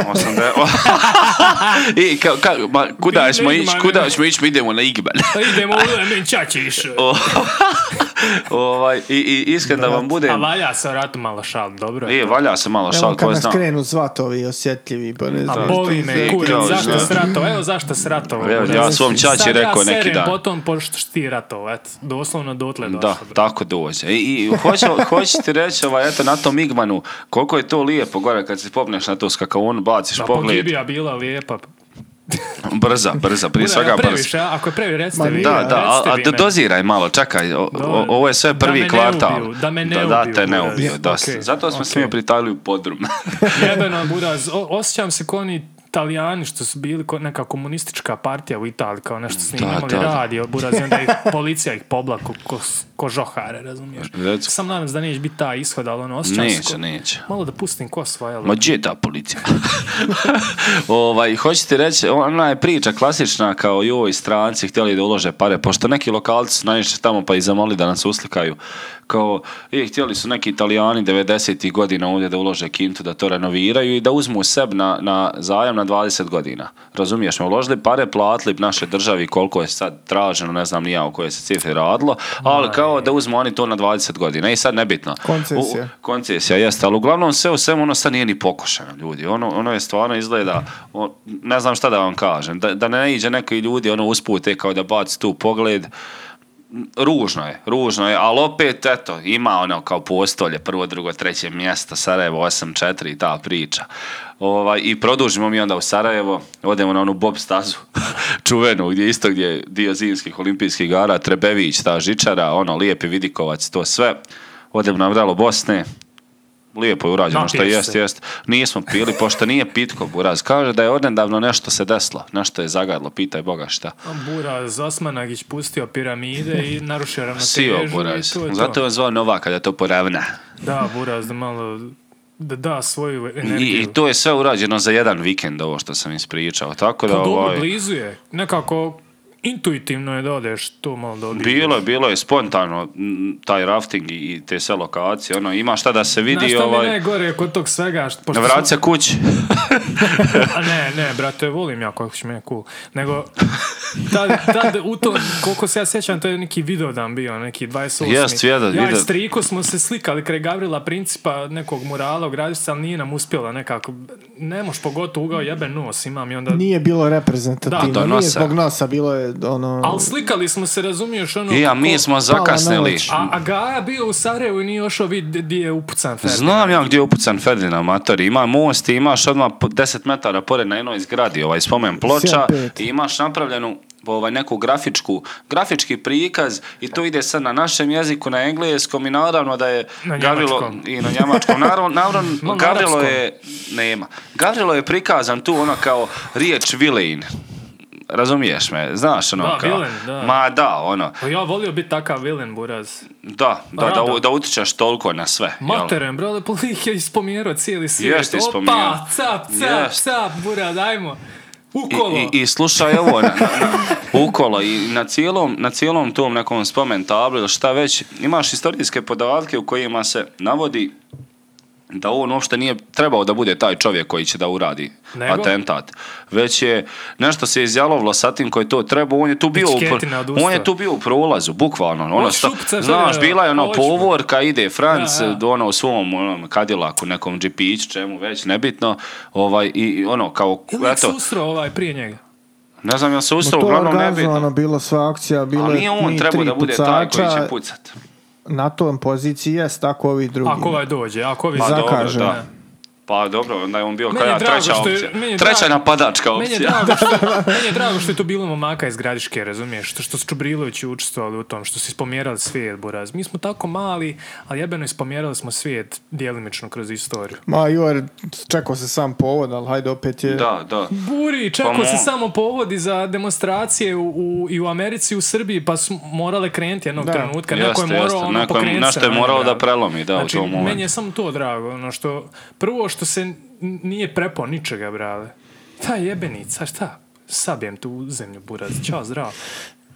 Speaker 3: I ka, ka, ma, kuda
Speaker 1: Idemo
Speaker 3: ćemo ići,
Speaker 1: Igman,
Speaker 3: kuda
Speaker 1: idemo.
Speaker 3: ćemo ići, mi idemo na Igman.
Speaker 1: Pa idemo u Lemen Čačiš.
Speaker 3: O- ovaj, i, i iskren da vam
Speaker 1: A
Speaker 3: budem...
Speaker 1: valja se vratu malo šal, dobro.
Speaker 3: E, valja se malo
Speaker 2: Evo
Speaker 3: šal,
Speaker 2: kad
Speaker 3: ko
Speaker 2: nas
Speaker 3: zna.
Speaker 2: krenu zvat ovi osjetljivi, pa ne
Speaker 1: A
Speaker 2: znam.
Speaker 1: boli
Speaker 2: šta
Speaker 1: me,
Speaker 2: za-
Speaker 3: Zeki,
Speaker 1: kurac,
Speaker 3: kao,
Speaker 1: zašto
Speaker 3: da.
Speaker 1: si ratovao? Evo zašto si ratovao?
Speaker 3: Evo, ja svom čači
Speaker 1: Sad
Speaker 3: rekao neki
Speaker 1: serem
Speaker 3: dan.
Speaker 1: potom pošto si ti ratovao, eto. Doslovno dotle došlo.
Speaker 3: Da,
Speaker 1: bro.
Speaker 3: tako dođe. I, i hoću, hoću ti reći, ovaj, eto, na tom Igmanu, koliko je to lijepo gore kad se popneš na to skakavonu, baciš
Speaker 1: Da,
Speaker 3: pogled,
Speaker 1: pogibija bila lijepa.
Speaker 3: brza, brza, prije
Speaker 1: Bude,
Speaker 3: svega
Speaker 1: ja previše,
Speaker 3: brza.
Speaker 1: a? ako je previše, recite
Speaker 2: Ma
Speaker 1: vi.
Speaker 2: nije,
Speaker 3: Da, da, a,
Speaker 1: recite
Speaker 3: a
Speaker 1: vi
Speaker 3: do-
Speaker 1: meni.
Speaker 3: doziraj malo, čekaj, o- o-
Speaker 1: Dobro.
Speaker 3: ovo je sve
Speaker 1: Da
Speaker 3: prvi
Speaker 1: me ne
Speaker 3: kvartal.
Speaker 1: ubiju, da me ne
Speaker 3: da,
Speaker 1: ubiju,
Speaker 3: te ne
Speaker 1: buraz.
Speaker 3: ubiju, da se-
Speaker 1: Okej,
Speaker 3: Zato smo se mi
Speaker 1: okej.
Speaker 3: pritajili u podrum.
Speaker 1: Jebeno, buraz, o- osjećam se kao oni Italijani što su bili ko neka komunistička partija u Italiji, kao nešto snimali
Speaker 3: da, da.
Speaker 1: radio, buraz, i onda ih policija ih poblaku ko, ko žohare, razumiješ?
Speaker 3: Reci.
Speaker 1: Sam nadam se da neće biti taj ishod, ali ono, osjećam se
Speaker 3: neće,
Speaker 1: ko-
Speaker 3: neće.
Speaker 1: Malo da pustim kosva, jel?
Speaker 3: Ma gdje je ta policija? ovaj, hoćete reći, ona je priča klasična kao joj stranci htjeli da ulože pare, pošto neki lokalci su naišli tamo pa i zamolili da nas uslikaju. Kao, i htjeli su neki italijani 90. godina ovdje da ulože kintu, da to renoviraju i da uzmu seb na, na zajam na 20 godina. Razumiješ, me, uložili pare, platili bi našoj državi koliko je sad traženo, ne znam ni ja o kojoj se cifri radilo, ali kao da uzmu oni to na 20 godina i sad nebitno.
Speaker 2: Koncesija.
Speaker 3: U- koncesija jeste, ali uglavnom sve u svemu ono sad nije ni pokušano ljudi, ono, ono je stvarno izgleda, o, ne znam šta da vam kažem, da, da ne iđe neki ljudi ono uspute kao da baci tu pogled, M, ružno je, ružno je, ali opet eto, ima ono kao postolje, prvo, drugo, treće mjesto, Sarajevo 8-4 i ta priča. Ovaj, I produžimo mi onda u Sarajevo, odemo na onu bob stazu, čuvenu, gdje isto gdje je dio zimskih olimpijskih igara, Trebević, ta žičara, ono, lijepi vidikovac, to sve. Odemo na vrelo Bosne, lijepo je urađeno što
Speaker 1: Napiješ
Speaker 3: jest,
Speaker 1: se.
Speaker 3: jest. Nismo pili, pošto nije pitko buraz. Kaže da je odnedavno nešto se desilo, nešto je zagadlo, pitaj Boga šta.
Speaker 1: Buraz Osmanagić pustio piramide i narušio
Speaker 3: Sio
Speaker 1: ravnotežu. i
Speaker 3: Buraz.
Speaker 1: to je to.
Speaker 3: Zato je on zvao Novak kada to poravna.
Speaker 1: Da, Buraz, da malo da da svoju
Speaker 3: I,
Speaker 1: energiju.
Speaker 3: I to je sve urađeno za jedan vikend ovo što sam ispričao. Tako da
Speaker 1: Pa dobro,
Speaker 3: ovaj,
Speaker 1: blizu je. Nekako intuitivno je da odeš tu malo da obiđeš.
Speaker 3: Bilo je, bilo je spontano m, taj rafting i- i te sve lokacije, ono, ima šta da se
Speaker 1: Znaš
Speaker 3: vidi,
Speaker 1: šta mi je
Speaker 3: ovaj,
Speaker 1: najgore kod tog svega? što- Pošto
Speaker 3: vrati se kući.
Speaker 1: A ne, ne, brate, volim ja kako će mene cool. Nego, tad, tad u to, koliko se ja sjećam, to je neki videodan bio, neki 28.
Speaker 3: Jest, jedan
Speaker 1: ja i
Speaker 3: video-
Speaker 1: Striko smo se slikali kraj Gavrila Principa nekog murala u gradišta, ali nije nam uspjela nekako. Ne moš pogotovo ugao jebe nos, imam i onda...
Speaker 2: Nije bilo reprezentativno,
Speaker 3: Da, do
Speaker 2: nije
Speaker 3: nosa.
Speaker 2: zbog nosa, bilo je ono...
Speaker 1: Ali slikali smo se, razumiješ, ono...
Speaker 3: I, a mi
Speaker 1: ko-
Speaker 3: smo
Speaker 2: Pala
Speaker 3: zakasnili.
Speaker 2: noć.
Speaker 1: A, a Gaja bio u Sarajevu i nije ošao vid gdje je upucan Ferdinand.
Speaker 3: Znam ja gdje je upucan Ferdinand Matori. Ima most i imaš odmah po- 10 metara pored na jednoj zgradi, ovaj spomen ploča
Speaker 2: 7-5.
Speaker 3: i imaš napravljenu ovaj neku grafičku, grafički prikaz i to ide sad na našem jeziku, na engleskom i naravno da je
Speaker 1: Na
Speaker 3: Gavrilo
Speaker 1: njemačkom.
Speaker 3: i na njemačkom. Naravno, naravno
Speaker 1: Ma, na
Speaker 3: Gavrilo
Speaker 1: arapskom.
Speaker 3: je, nema, Gavrilo je prikazan tu ono kao riječ vilein. Razumiješ me, znaš ono
Speaker 1: Da,
Speaker 3: kao,
Speaker 1: villain, da.
Speaker 3: ma da, ono,
Speaker 1: Pa Ja volio biti takav vilen, buraz.
Speaker 3: da, da, da,
Speaker 1: Rado.
Speaker 3: da utičeš toliko na sve. jel?
Speaker 1: Materen, brale, pa lik je ispomjerao cijeli svijet.
Speaker 3: Jeste ispomjerao.
Speaker 1: Opa, cap, cap,
Speaker 3: Jeste.
Speaker 1: cap, bura, dajmo.
Speaker 3: I,
Speaker 1: Ukolo.
Speaker 3: i, i slušaj ovo, na, na- na- ukolo i na cijelom, na cijelom tom nekom spomen tablu ili šta već, imaš istorijske podatke u kojima se navodi da on uopšte nije trebao da bude taj čovjek koji će da uradi
Speaker 1: Nego?
Speaker 3: atentat. Već je nešto se izjalovilo sa tim koji to trebao, on je tu bio u, pro-
Speaker 1: Etiketina odustao.
Speaker 3: on je tu bio u prolazu, bukvalno. Ono, sta-
Speaker 1: šupca,
Speaker 3: znaš,
Speaker 1: da,
Speaker 3: bila je ono
Speaker 1: hoću.
Speaker 3: povorka, ide Franc,
Speaker 1: Da, da.
Speaker 3: ono u svom onom kadilaku, nekom džipiću, čemu već, nebitno, ovaj, i- i ono kao,
Speaker 1: Ili
Speaker 3: eto,
Speaker 1: se usro ovaj prije njega?
Speaker 3: ne znam, ja se
Speaker 2: Ma
Speaker 3: ustao,
Speaker 2: to je
Speaker 3: uglavnom ne
Speaker 2: organizovano, bilo sva akcija, bilo
Speaker 3: Ali
Speaker 2: je
Speaker 3: nije on
Speaker 2: ni
Speaker 3: trebao
Speaker 2: tri
Speaker 3: da bude taj koji će
Speaker 2: pucača,
Speaker 3: pucat.
Speaker 2: Na tom poziciji jest, tako ovi drugi.
Speaker 1: Ako ovaj dođe, ako ovi
Speaker 2: Pa
Speaker 1: zakaže.
Speaker 2: dobro, Zakaže.
Speaker 3: da. Pa dobro, onda je on bio
Speaker 1: Meni
Speaker 3: kao
Speaker 1: je
Speaker 3: ja
Speaker 1: drago
Speaker 3: treća
Speaker 1: što je-
Speaker 3: opcija.
Speaker 1: meni je
Speaker 3: treća
Speaker 1: drago-
Speaker 3: napadačka
Speaker 1: Meni je,
Speaker 3: opcija.
Speaker 1: drago što, meni je drago što je tu bilo momaka iz Gradiške, razumiješ? Što, što su Čubrilovići učestvovali u tom, što su ispomjerali svijet, Buraz. Mi smo tako mali, ali jebeno ispomjerali smo svijet djelimično kroz istoriju.
Speaker 2: Ma Jor, čekao se sam povod, ali hajde opet je...
Speaker 3: Da, da.
Speaker 1: Buri, čekao
Speaker 3: mo-
Speaker 1: se samo povodi za demonstracije u, u- i u Americi i u Srbiji, pa su morale krenuti jednog
Speaker 2: Da.
Speaker 1: trenutka. neko je
Speaker 3: Jeste,
Speaker 1: morao
Speaker 3: jeste.
Speaker 1: ono
Speaker 3: Neko je,
Speaker 1: pokrenut se
Speaker 3: nešto je
Speaker 1: na
Speaker 3: morao
Speaker 1: njega.
Speaker 3: da prelomi, da,
Speaker 1: Znači,
Speaker 3: u tom
Speaker 1: meni je
Speaker 3: momentu.
Speaker 1: samo to drago, ono što, prvo što se n- nije prepao ničega, brale. Ta jebenica, šta? Sabijem tu u zemlju, buraz, čao, zdravo.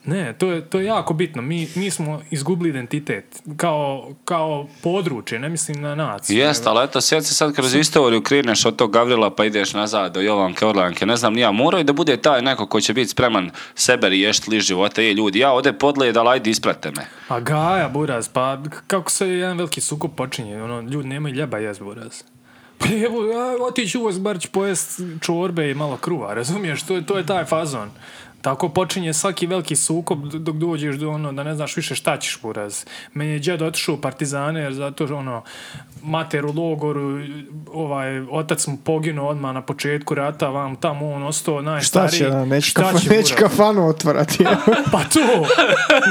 Speaker 1: Ne, to je, to je jako bitno. Mi, mi smo izgubili identitet kao, kao područje, ne mislim na naciju.
Speaker 3: Jeste, ali eto, sjeti se sad kroz istoriju, kreneš od tog Gavrila pa ideš nazad do Jovanke, Orlanke, ne znam, nija, morao je da bude taj neko koji će biti spreman sebe riješiti li života, je ljudi, ja ode podlije da lajdi isprate me.
Speaker 1: A Gaja, Buraz, pa k- kako se jedan veliki sukob počinje, ono, ljudi nemaju ljeba jest, Buraz. Pa evo, ja, otići uvoz, bar ću pojest čorbe i malo kruva, razumiješ, to je, to je taj fazon. Tako počinje svaki veliki sukob d- dok dođeš do ono da ne znaš više šta ćeš buraz. Meni je džed otišao u partizane jer zato što, ono mater u logoru ovaj otac mu poginuo odmah na početku rata vam tamo on ostao
Speaker 2: Šta
Speaker 1: najstariji.
Speaker 2: će, da, neću,
Speaker 1: Šta
Speaker 2: kafa-
Speaker 1: će,
Speaker 2: neću
Speaker 1: buraz?
Speaker 2: kafanu otvarati.
Speaker 1: Pa to,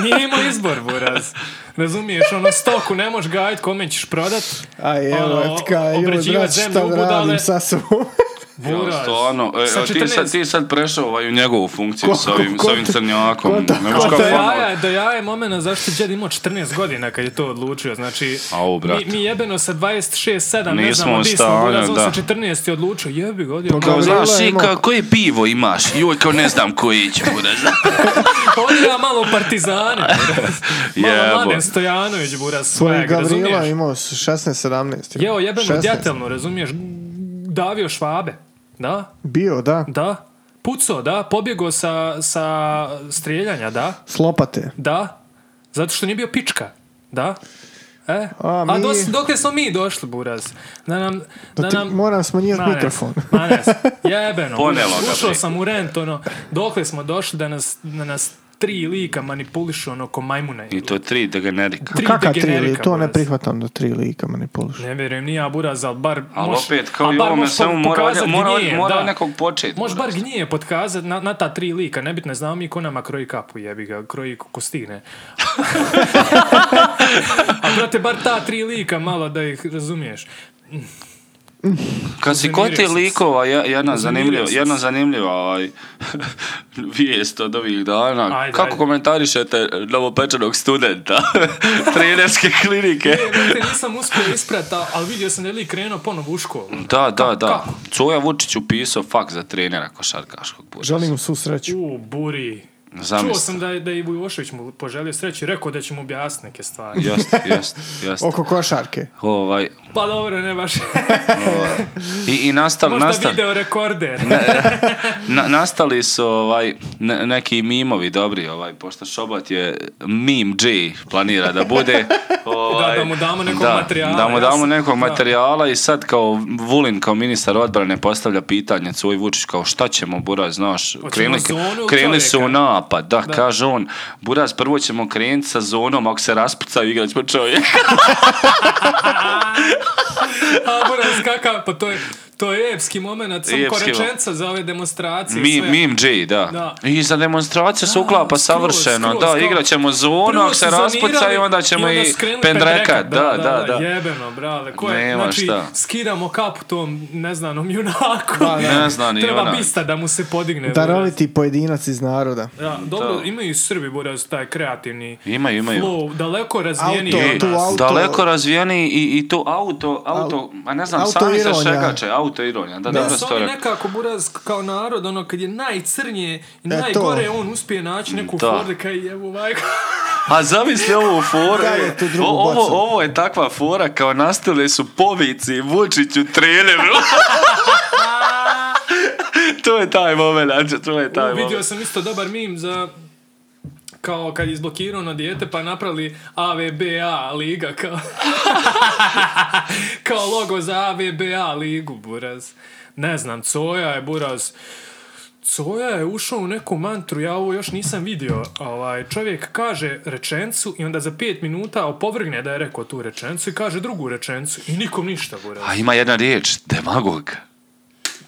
Speaker 1: nije imao izbor, buraz. Razumiješ, ono stoku ne možeš gajit, kome ćeš prodat.
Speaker 2: A evo,
Speaker 1: Ono,
Speaker 2: tka, joj,
Speaker 1: obrađivat
Speaker 2: brat,
Speaker 1: zemlju
Speaker 2: šta
Speaker 1: u
Speaker 2: da
Speaker 1: budale.
Speaker 2: radim sa sobom?
Speaker 1: Buraz.
Speaker 3: Ja, stvarno, e,
Speaker 1: Sa
Speaker 3: e, ti, sad,
Speaker 1: 14.
Speaker 3: ti sad prešao ovaj, u njegovu funkciju
Speaker 2: Ko-
Speaker 3: s ovim,
Speaker 2: ko-
Speaker 3: s ovim
Speaker 2: ko-
Speaker 3: crnjakom.
Speaker 2: ko-
Speaker 3: Ne
Speaker 2: ko-
Speaker 3: možeš
Speaker 1: Pa
Speaker 3: kao
Speaker 1: Do
Speaker 2: to
Speaker 3: fan-
Speaker 1: jaja, do jaja je momena zašto je djed imao 14 godina kad je to odlučio. Znači,
Speaker 3: Au, brate.
Speaker 1: mi, mi jebeno sa 26, 7, ne
Speaker 3: Nismo
Speaker 1: znamo
Speaker 3: u
Speaker 1: gdje smo
Speaker 3: stanju,
Speaker 1: buraz, on
Speaker 3: da.
Speaker 1: sa 14 je odlučio, jebi ga, odio.
Speaker 2: Toga-
Speaker 3: Kao,
Speaker 2: Gavrila
Speaker 3: znaš,
Speaker 2: je
Speaker 3: i
Speaker 2: imao-
Speaker 3: kao, koje pivo imaš? Joj, kao ne znam koji će bude.
Speaker 1: pa Odio ja malo u partizane. buraz.
Speaker 3: Jebo.
Speaker 1: malo Mladen Stojanović, buraz,
Speaker 2: Tvoj
Speaker 1: sveg,
Speaker 2: Gavrilo
Speaker 1: razumiješ?
Speaker 2: Pa, imao s- 16-17.
Speaker 1: Jeo jebeno
Speaker 2: 16.
Speaker 1: djetelno, razumiješ? Davio švabe, da?
Speaker 2: Bio, da.
Speaker 1: Da. Puco, da. Pobjegao sa, sa strijeljanja, da.
Speaker 2: Slopate.
Speaker 1: Da. Zato što nije bio pička. Da. E?
Speaker 2: A,
Speaker 1: A,
Speaker 2: mi-
Speaker 1: dos- dokle smo mi došli, Buraz? Da nam... Da,
Speaker 2: Da ti,
Speaker 1: nam...
Speaker 2: moram smanjivati
Speaker 1: Ma ne,
Speaker 2: mikrofon.
Speaker 1: ma ne, jebeno.
Speaker 3: Ponelo ga,
Speaker 1: Ušao
Speaker 3: bre.
Speaker 1: sam u rent, ono, dokle smo došli da nas, da nas tri lika manipulišu, ono, ko majmune.
Speaker 3: I to tri degenerika.
Speaker 1: Tri
Speaker 2: Kaka tri
Speaker 1: degenerika,
Speaker 2: lika? To ne
Speaker 1: Buraz.
Speaker 2: prihvatam da tri lika manipuliš.
Speaker 1: Ne vjerujem, nije ja Buraz, ali bar...
Speaker 3: Ali
Speaker 1: moš-
Speaker 3: opet, kao
Speaker 1: a
Speaker 3: i
Speaker 1: bar
Speaker 3: ovome,
Speaker 1: moš
Speaker 3: samo mora,
Speaker 1: pokazat
Speaker 3: mora,
Speaker 1: gnije,
Speaker 3: mora
Speaker 1: da.
Speaker 3: nekog početi.
Speaker 1: Može bar gnije potkazat na, na ta tri lika, nebitno je znamo mi ko nama kroji kapu, jebi ga, kroji ko stigne. A brate, bar ta tri lika, malo da ih razumiješ.
Speaker 3: Kad si kod
Speaker 1: Uznemirio
Speaker 3: ti
Speaker 1: sam se.
Speaker 3: likova, je- jedna zanimljiva,
Speaker 1: sam se.
Speaker 3: jedna zanimljiva ovaj, vijest od ovih dana.
Speaker 1: Ajde,
Speaker 3: Kako
Speaker 1: ajde.
Speaker 3: komentarišete novopečenog studenta trenerske klinike?
Speaker 1: E, brate, nisam uspio isprata, ali vidio sam da je lik krenuo ponovo u školu.
Speaker 3: Da, da, da.
Speaker 1: kako?
Speaker 3: Coja Vučić upisao fak za trenera košarkaškog buđa.
Speaker 2: Želim mu svu sreću.
Speaker 1: U, buri. Čuo
Speaker 3: Zamisli.
Speaker 1: sam da, je- da je i Vujošević mu poželio sreću i rekao da će mu objasniti neke stvari.
Speaker 3: Jest, jest, jest.
Speaker 2: Oko košarke.
Speaker 3: Ovaj,
Speaker 1: Pa dobro, ne baš.
Speaker 3: I, i nastali,
Speaker 1: Možda
Speaker 3: nastali,
Speaker 1: video rekorder.
Speaker 3: na, nastali su ovaj, ne- neki mimovi dobri, ovaj, pošto Šobot je meme G planira da bude. Ovaj,
Speaker 1: da mu damo nekog
Speaker 3: da,
Speaker 1: materijala,
Speaker 3: Da mu damo
Speaker 1: jasno.
Speaker 3: nekog
Speaker 1: Da.
Speaker 3: materijala i sad kao Vulin kao ministar odbrane postavlja pitanje Cuj Vučić kao šta ćemo Buraz, znaš, krenuli,
Speaker 1: zonu
Speaker 3: krenuli su u
Speaker 1: čovjeka?
Speaker 3: napad, da, kaže on, Buraz prvo ćemo krenuti sa zonom, ako se raspucaju igrat ćemo čovjeka.
Speaker 1: A Buraz kakav, pa to je, to je epski moment, samo ko
Speaker 3: Epski
Speaker 1: rečenca za ove demonstracije. i
Speaker 3: Mi,
Speaker 1: sve.
Speaker 3: meme G, da.
Speaker 1: Da.
Speaker 3: I za demonstraciju se
Speaker 1: Da,
Speaker 3: uklapa
Speaker 1: skroz,
Speaker 3: savršeno.
Speaker 1: skroz,
Speaker 3: da,
Speaker 1: skroz.
Speaker 3: igrat ćemo zonu,
Speaker 1: Prvo
Speaker 3: Ono, ako
Speaker 1: su
Speaker 3: se raspuca i
Speaker 1: zonirali
Speaker 3: onda ćemo i,
Speaker 1: onda skrenuli
Speaker 3: pendreka.
Speaker 1: pendrekat,
Speaker 3: Da, da, da.
Speaker 1: Jebeno, brale. Ko je,
Speaker 3: Nema
Speaker 1: znači,
Speaker 3: šta.
Speaker 1: skidamo kapu tom neznanom junaku.
Speaker 3: Ne znam ni
Speaker 1: Treba
Speaker 3: ona.
Speaker 1: bista da mu se podigne. Buraz.
Speaker 2: Daroviti pojedinac iz naroda.
Speaker 1: Da, dobro,
Speaker 3: Da.
Speaker 1: imaju i Srbi, Buraz, taj kreativni
Speaker 3: Imaju, imaju.
Speaker 1: flow, daleko razvijeniji
Speaker 2: Auto,
Speaker 1: od
Speaker 2: tu
Speaker 1: nas.
Speaker 2: auto-
Speaker 3: Daleko razvijeni i, i to auto, auto, a ne znam, sami se
Speaker 2: autoironija.
Speaker 3: šegače, auto ironija, da,
Speaker 1: Da,
Speaker 3: dobro
Speaker 1: su
Speaker 3: ste
Speaker 1: oni
Speaker 3: rekli.
Speaker 1: nekako buraz kao narod, ono kad je najcrnje i
Speaker 2: E,
Speaker 1: najgore,
Speaker 2: to.
Speaker 1: on uspije naći neku
Speaker 3: Da.
Speaker 1: fordu kaj jebu majku.
Speaker 3: A zamisli ovu foru,
Speaker 2: Daj je tu drugu
Speaker 3: o- ovo,
Speaker 2: bocu.
Speaker 3: ovo je takva fora, kao nastale su povici Vučiću treneru. to je taj moment, to je taj
Speaker 1: U, Vidio
Speaker 3: moment.
Speaker 1: sam isto dobar mim za kao kad je izblokirao na dijete pa napravili AVBA liga kao kao logo za AVBA ligu buraz ne znam Coja je buraz Coja je ušao u neku mantru ja ovo još nisam vidio ovaj, čovjek kaže rečencu i onda za pet minuta opovrgne da je rekao tu rečencu i kaže drugu rečencu i nikom ništa buraz
Speaker 3: A ima jedna riječ, demagog.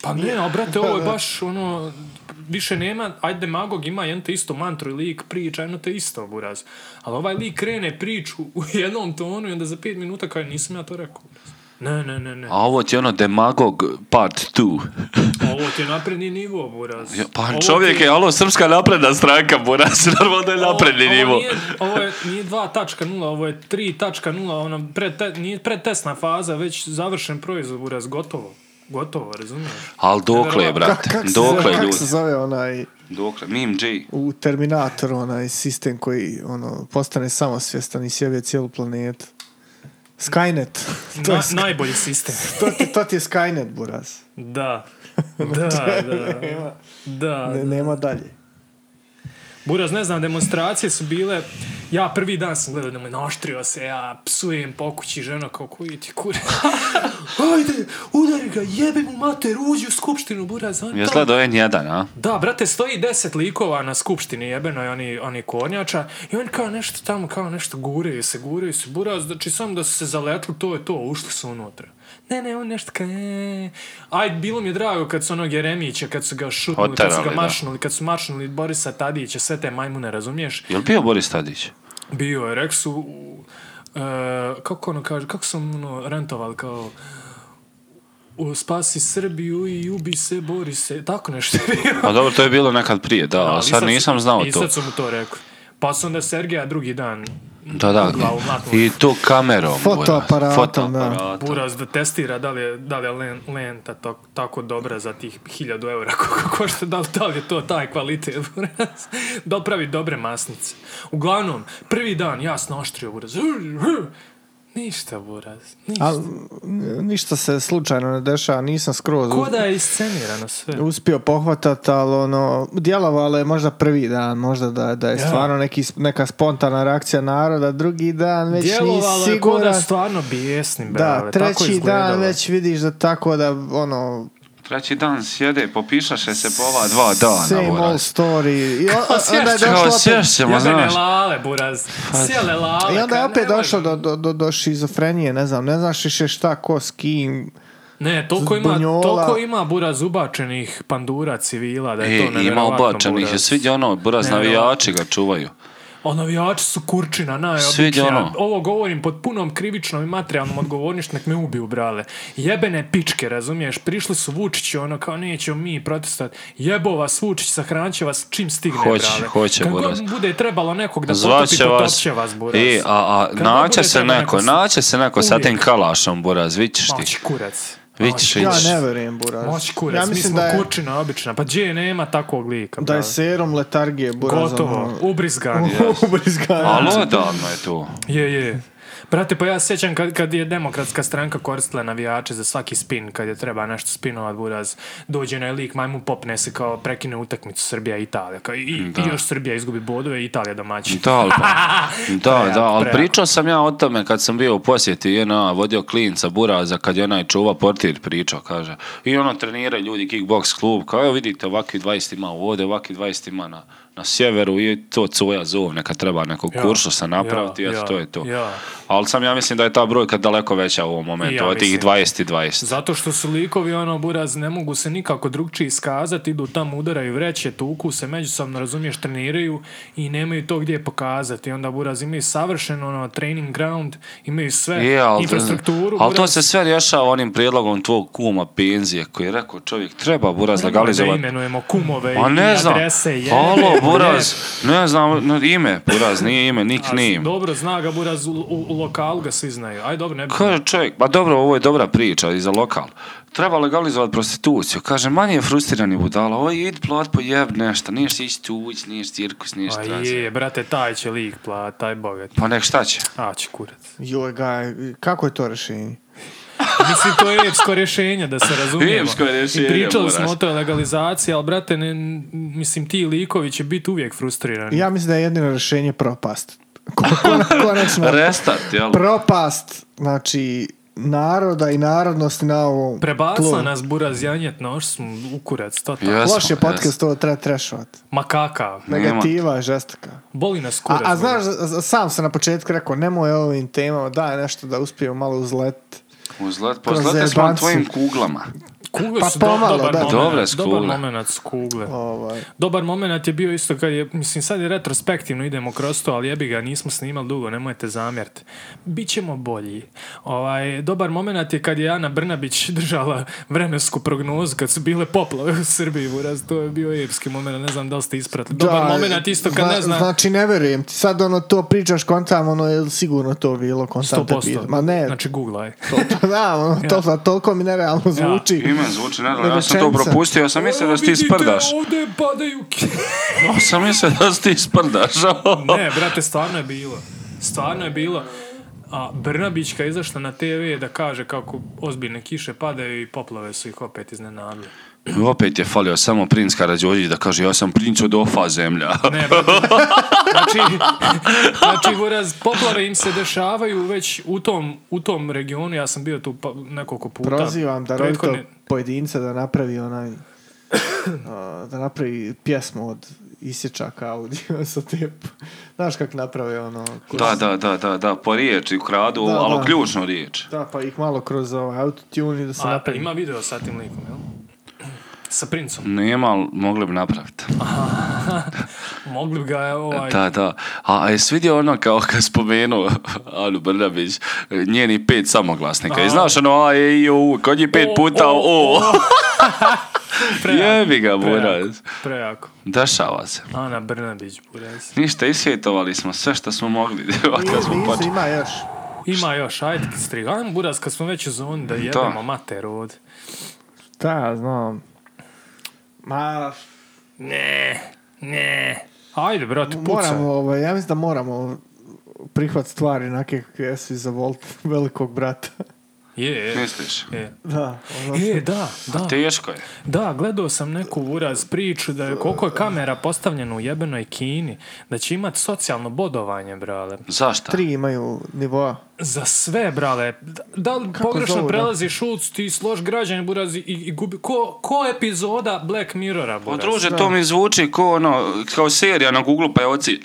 Speaker 1: pa ne, a brate, ovo je baš ono, više nema, ajde demagog ima jedno te isto mantru i lik priča, jedno te isto buraz. Ali ovaj lik krene priču u jednom tonu i onda za pet minuta kao nisam ja to rekao. buraz." Ne, ne, ne, ne.
Speaker 3: A ovo ti je ono demagog part 2.
Speaker 1: Ovo ti je napredni nivo, buraz.
Speaker 3: Pa
Speaker 1: Ovo ti-
Speaker 3: čovjek je, alo, srpska napredna stranka, buras, normalno da je
Speaker 1: ovo-
Speaker 3: napredni
Speaker 1: ovo
Speaker 3: nivo.
Speaker 1: Nije, ovo je, nije 2.0, ovo je 3.0, ono, prete, nije pretestna faza, već završen proizvod, buraz, gotovo. Gotovo, razumiješ?
Speaker 3: Al dokle, je, brate,
Speaker 2: Kako se,
Speaker 3: dokle,
Speaker 2: kako
Speaker 3: ljudi,
Speaker 2: se zove onaj
Speaker 3: dokle, meme G.
Speaker 2: u Terminatoru, onaj sistem koji ono, postane samosvjestan i sjeve cijelu planetu? Skynet. to, je,
Speaker 1: Na- najbolji sistem.
Speaker 2: to, ti- to ti je Skynet, Buraz.
Speaker 1: Da. Da, da. Da.
Speaker 2: Ne- nema dalje.
Speaker 1: Buraz, ne znam, demonstracije su bile... Ja prvi dan sam gledao da me naštrio se, ja psujem po kući žena kao koji ti kure. Ajde, udari ga, jebi mu mater, uđi u skupštinu, Buraz. on
Speaker 3: Jes
Speaker 1: tamo-
Speaker 3: gledao N1, a?
Speaker 1: Da, brate, stoji deset likova na skupštini jebenoj, oni, oni kornjača, i oni kao nešto tamo, kao nešto guraju se, guraju se, buraz, znači samo da su se zaletli, to je to, ušli su unutra. Ne, ne, on nešto kao, e, aj, bilo mi je drago kad su onog Jeremića, kad su ga šutnuli, kad su
Speaker 3: Oterali,
Speaker 1: ga
Speaker 3: da.
Speaker 1: mašnuli, kad su mašnuli Borisa Tadića, sve te majmune, razumiješ?
Speaker 3: Jel bio Boris Tadić?
Speaker 1: Bio je, rekli su, u, e, kako ono kaže, kako sam ono rentovali, kao, u, spasi Srbiju i ubi se, bori se, tako nešto je bilo.
Speaker 3: Pa dobro, to je bilo nekad prije, da, ali
Speaker 1: Ali
Speaker 3: sad nisam znao
Speaker 1: i
Speaker 3: to.
Speaker 1: sad su mu to rekli. Pa su onda Sergeja drugi dan
Speaker 3: Da, da,
Speaker 1: glavu mlatnuli.
Speaker 3: i to kamerom. buraz.
Speaker 2: Fotoaparatom,
Speaker 3: Fotoaparatom.
Speaker 1: Buraz da testira da li je, da li je len- lenta to- tako dobra za tih hiljadu eura koliko košta, da li, da li je to taj kvalitet Buraz. Dopravi dobre masnice. Uglavnom, prvi dan jasno oštrio Buraz. Ništa Buraz, ništa.
Speaker 2: Al, n- ništa se slučajno ne dešava, nisam skroz
Speaker 1: Ko
Speaker 2: uz-
Speaker 1: da je iscenirano sve.
Speaker 2: uspio pohvatat, ali ono, djelovalo je možda prvi dan, možda da, da je stvarno neki, sp- neka spontana reakcija naroda, drugi dan već
Speaker 1: Djelovalo
Speaker 2: nisi
Speaker 1: je ko da
Speaker 2: siguran.
Speaker 1: stvarno bijesnim, brale.
Speaker 2: Da,
Speaker 1: tako
Speaker 2: treći
Speaker 1: izgledalo.
Speaker 2: dan već vidiš da tako da ono
Speaker 3: Treći dan sjede, popišaše se po ova dva dana,
Speaker 2: same old
Speaker 3: Boras.
Speaker 2: story. I o-
Speaker 1: sješ
Speaker 2: onda je
Speaker 1: se.
Speaker 2: došlo
Speaker 3: Kao
Speaker 2: opet,
Speaker 3: sješ se, ma
Speaker 1: Jebene
Speaker 3: znaš. Pa-
Speaker 1: lale, buraz. Sjele lale.
Speaker 2: i onda je
Speaker 1: ka-
Speaker 2: opet
Speaker 1: nemoj.
Speaker 2: došlo do, do, do, do šizofrenije, ne znam, ne znaš više šta, ko, s kim.
Speaker 1: Ne, toliko ima,
Speaker 2: Bunjola.
Speaker 1: toliko ima buraz ubačenih pandura civila da je
Speaker 3: E,
Speaker 1: to nevjerovatno.
Speaker 3: ima obačenih, je
Speaker 1: buraz.
Speaker 3: sviđa ono, Boras
Speaker 1: Nevjerovatno.
Speaker 3: navijači ga čuvaju.
Speaker 1: A navijači su kurčina,
Speaker 3: Sviđa
Speaker 1: najobičnija.
Speaker 3: ono.
Speaker 1: Ovo govorim pod punom krivičnom i materijalnom odgovornošću, nek me ubiju, brale. Jebene pičke, razumiješ? Prišli su Vučići, ono kao nećemo mi protestat. Jebo vas Vučić, sahranit će vas čim stigne,
Speaker 3: Hoće,
Speaker 1: brale.
Speaker 3: hoće,
Speaker 1: Kad
Speaker 3: buraz.
Speaker 1: god bude trebalo nekog da potopi,
Speaker 3: Zvaće vas.
Speaker 1: potopće vas, buraz.
Speaker 3: E, a, a
Speaker 1: Kad god
Speaker 3: naće
Speaker 1: bude
Speaker 3: se
Speaker 1: trebalo
Speaker 3: neko,
Speaker 1: nekog-
Speaker 3: naće se neko sa
Speaker 1: Uvijek.
Speaker 3: tim kalašom, Boras, vićeš
Speaker 1: Ma,
Speaker 3: ti.
Speaker 1: hoće kurac.
Speaker 4: Vićeš,
Speaker 2: Ja
Speaker 4: vićeš.
Speaker 2: ne verujem, Buraz.
Speaker 1: Moć kurac,
Speaker 2: ja
Speaker 1: mi
Speaker 2: mislim
Speaker 1: smo
Speaker 2: da je,
Speaker 1: kurčina obična. Pa gdje nema takvog lika,
Speaker 2: da je
Speaker 1: brate?
Speaker 2: serum letargije, Buraz.
Speaker 1: Gotovo,
Speaker 2: ono-
Speaker 1: ubrizgan. je.
Speaker 2: Ubrizgan.
Speaker 3: Ali odavno je to.
Speaker 1: Je, je. Brate, pa ja se sjećam kad, kad je demokratska stranka koristila navijače za svaki spin, kad je treba nešto spinovat, buraz, dođe onaj lik, majmu popne se kao prekine utakmicu Srbija i Italija. Kao, i, i
Speaker 3: Da.
Speaker 1: još Srbija izgubi bodove i Italija domaći.
Speaker 3: Da, ali pa, da,
Speaker 1: Prejako,
Speaker 3: da, ali
Speaker 1: prejako.
Speaker 3: pričao sam ja o tome kad sam bio u posjeti JNA, vodio klinca Buraza kad je onaj čuva portir pričao, kaže. I ono trenira ljudi kickbox klub, kao evo vidite ovakvi 20 ima ovdje, ovakvi 20 ima na, na sjeveru i to coja zovne kad treba nekog
Speaker 1: Ja,
Speaker 3: kuršusa napraviti,
Speaker 1: ja,
Speaker 3: eto
Speaker 1: ja,
Speaker 3: to je to.
Speaker 1: ja.
Speaker 3: Ali sam ja mislim da je ta brojka daleko veća u ovom
Speaker 1: I
Speaker 3: momentu,
Speaker 1: ja
Speaker 3: od tih
Speaker 1: mislim.
Speaker 3: 20 20.
Speaker 1: Zato što su likovi, ono, buraz, ne mogu se nikako drugčije iskazati, idu tamo, udaraju vreće, tuku se, međusobno, razumiješ, treniraju i nemaju to gdje pokazati. I Onda, buraz, imaju savršen, ono, training ground, imaju sve,
Speaker 3: Je, ali,
Speaker 1: infrastrukturu.
Speaker 3: ali to
Speaker 1: buraz,
Speaker 3: se sve rješava onim prijedlogom tvog kuma penzije koji je rekao čovjek treba buraz
Speaker 1: Da
Speaker 3: legalizovati
Speaker 1: imenujemo kumove
Speaker 3: Pa
Speaker 1: i
Speaker 3: ne znam.
Speaker 1: adrese. jebe,
Speaker 3: Alo,
Speaker 1: jebe.
Speaker 3: Buraz, ne znam, no, ime, Buraz, nije ime, nik
Speaker 1: A,
Speaker 3: nije ime.
Speaker 1: Dobro, zna ga Buraz, u, u, u lokalu ga svi znaju. Aj, dobro, ne bi...
Speaker 3: Kaže čovjek, pa dobro, ovo je dobra priča i za lokal. Treba legalizovati prostituciju. Kaže, manje je frustrirani budala. Oj, idi plat po jeb nešto. Niješ ti ići tuć, niješ cirkus, niješ
Speaker 1: A
Speaker 3: trans.
Speaker 1: Pa je, brate, taj će lik plat, taj bogat.
Speaker 3: Pa nek šta će?
Speaker 1: A, će kurac.
Speaker 2: Joj, gaj, kako je to rješenje?
Speaker 1: Mislim, to je epsko rješenje, da se razumijemo.
Speaker 3: Epsko je rješenje,
Speaker 1: I pričali
Speaker 3: Buraz.
Speaker 1: smo o toj legalizaciji, ali, brate, ne, mislim, ti likovi će biti uvijek frustrirani.
Speaker 2: Ja mislim da je jedino rješenje propast. Ko- ko- Konačno.
Speaker 3: Restart, jel?
Speaker 2: propast, znači, naroda i narodnosti na ovom
Speaker 1: Prebacila
Speaker 2: tlu.
Speaker 1: nas Buraz Janjet, no, što smo u kurac, to tako.
Speaker 3: Jesmo,
Speaker 2: Loš je podcast,
Speaker 3: jesmo.
Speaker 2: ovo treba trešovat.
Speaker 1: Makaka,
Speaker 3: Nema.
Speaker 2: Negativa je žestoka.
Speaker 1: boli nas
Speaker 2: A,
Speaker 1: kurac.
Speaker 2: a
Speaker 1: Buraz.
Speaker 2: znaš, z- z- sam sam na početku rekao, nemoj o ovim temama, daj nešto da uspijemo malo uzlet.
Speaker 3: Uzlet,
Speaker 2: Kroz
Speaker 3: pozlete smo na
Speaker 2: jebanci.
Speaker 3: tvojim kuglama.
Speaker 1: Kugle
Speaker 2: Pa
Speaker 1: su do-
Speaker 2: pomalo,
Speaker 1: dobar
Speaker 2: da.
Speaker 1: moment.
Speaker 3: Dobre su
Speaker 1: Dobar
Speaker 3: kugle.
Speaker 1: moment su kugle.
Speaker 2: Ovaj.
Speaker 1: Dobar moment je bio isto kad je, mislim sad je retrospektivno idemo kroz to, ali jebi ga, nismo snimali dugo, nemojte zamjeriti. Bićemo bolji. Ovaj, dobar moment je kad je Ana Brnabić držala vremensku prognozu kad su bile poplave u Srbiji, buraz, to je bio epski moment, ne znam da li ste ispratili. Dobar
Speaker 2: Da,
Speaker 1: moment isto kad
Speaker 2: zna-
Speaker 1: ne znam...
Speaker 2: Znači, ne verujem ti. Sad ono to pričaš kontam, ono je li sigurno to bilo kontam te pita.
Speaker 1: 100%.
Speaker 2: Ma ne,
Speaker 1: Znači, googlaj.
Speaker 2: to, da, ono, to sad toliko mi nerealno zvuči.
Speaker 3: Ime zvuči, ne, ja sam to
Speaker 2: Rečenica.
Speaker 3: propustio, ja sam mislio da si ti
Speaker 1: Vidite,
Speaker 3: sprdaš.
Speaker 1: Ovdje padaju ki-
Speaker 3: Ja sam mislio da si ti sprdaš.
Speaker 1: Ne, brate, stvarno je bilo. Stvarno je bilo. A Brnabićka je izašla na TV da kaže kako ozbiljne kiše padaju i poplave su ih opet iznenadile.
Speaker 3: E, Opet je falio samo princ Karadžođić da kaže ja sam princ od ofa zemlja.
Speaker 1: Ne, brate. Znači, znači buraz, poplave im se dešavaju već u tom, u tom regionu. Ja sam bio tu pa, nekoliko puta.
Speaker 2: Prozivam da rodito
Speaker 1: Prethodne-
Speaker 2: pojedinca da napravi onaj a, da napravi pjesmu od isječaka audio sa tep. Znaš kak naprave ono... kroz-
Speaker 3: Da, da, da, da, da, po riječi ukradu,
Speaker 2: Da,
Speaker 3: ali
Speaker 2: da.
Speaker 3: ključnu riječ.
Speaker 2: Da, pa ih malo kroz ovaj autotune i da se
Speaker 1: A,
Speaker 2: napravi.
Speaker 1: ima video sa tim likom, jel? Sa princom.
Speaker 3: Nema, ali mogli bi napraviti.
Speaker 1: Mogli bi ga ovaj...
Speaker 3: Da, da. A, a jesi vidio ono kao kad spomenuo Anu Brnabić, njeni pet samoglasnika. I znaš ono, a, e, i, u, kod njih pet
Speaker 1: O,
Speaker 3: puta,
Speaker 1: o,
Speaker 3: o.
Speaker 1: prejako,
Speaker 3: Jebi ga,
Speaker 1: prejako,
Speaker 3: buraz.
Speaker 1: Prejako.
Speaker 3: Dešava se.
Speaker 1: Ana Brnabić, buraz.
Speaker 3: Ništa, isvjetovali smo sve što smo mogli. od
Speaker 2: Nije,
Speaker 3: kad smo
Speaker 2: nisu,
Speaker 3: počeli.
Speaker 2: ima još.
Speaker 1: Ima još, ajde strig. Ajmo buraz kad smo već u zoni da jedemo mater ovdje.
Speaker 2: Da, znam. Ma,
Speaker 1: Ne, ne. Ajde, brate, pucaj.
Speaker 2: moramo, ovaj, ja mislim da moramo prihvat stvari onake kakve jesu i za Volt velikog brata.
Speaker 1: Je, je,
Speaker 3: Misliš?
Speaker 1: je.
Speaker 2: Da, ono,
Speaker 1: E, da, da,
Speaker 3: Teško je.
Speaker 1: da, gledao sam neku uraz priču da je koliko je kamera postavljena u jebenoj Kini, da će imat socijalno bodovanje, brale.
Speaker 3: Zašto?
Speaker 2: tri imaju nivoa.
Speaker 1: Za sve, brale. Da- Da li pogrešno
Speaker 2: zovu, da?
Speaker 1: prelaziš šuc, ti slož građan, buraz, i, i gubi... Ko, ko epizoda Black Mirrora,
Speaker 3: Pa
Speaker 1: buraz?
Speaker 3: druže, to mi zvuči ko ono, kao serija na Google pa je oci...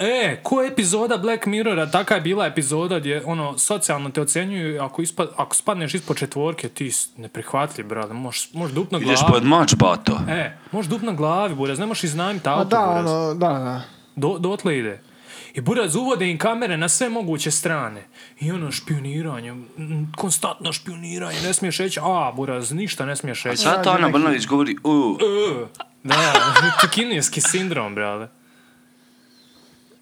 Speaker 1: E, ko je epizoda Black Mirrora, taka je bila epizoda gdje ono, socijalno te ocjenjuju, i ako, ispa, ako spadneš ispod četvorke, ti si neprihvatljiv, brate, možeš, možeš dup na glavi.
Speaker 3: Ideš pod mač, bato.
Speaker 1: E, možeš dup na glavi, buraz, ne možeš iznajmiti
Speaker 2: A
Speaker 1: auto,
Speaker 2: da,
Speaker 1: buraz.
Speaker 2: ono, da, da.
Speaker 1: Do, dotle ide. I buraz uvode im kamere na sve moguće strane. I ono špioniranje, m, konstantno špioniranje, ne smiješ reći, a, buraz, ništa ne smiješ reći.
Speaker 3: Sad to Ana Brnović govori, u,
Speaker 1: E, Da, to je kineski sindrom, brate.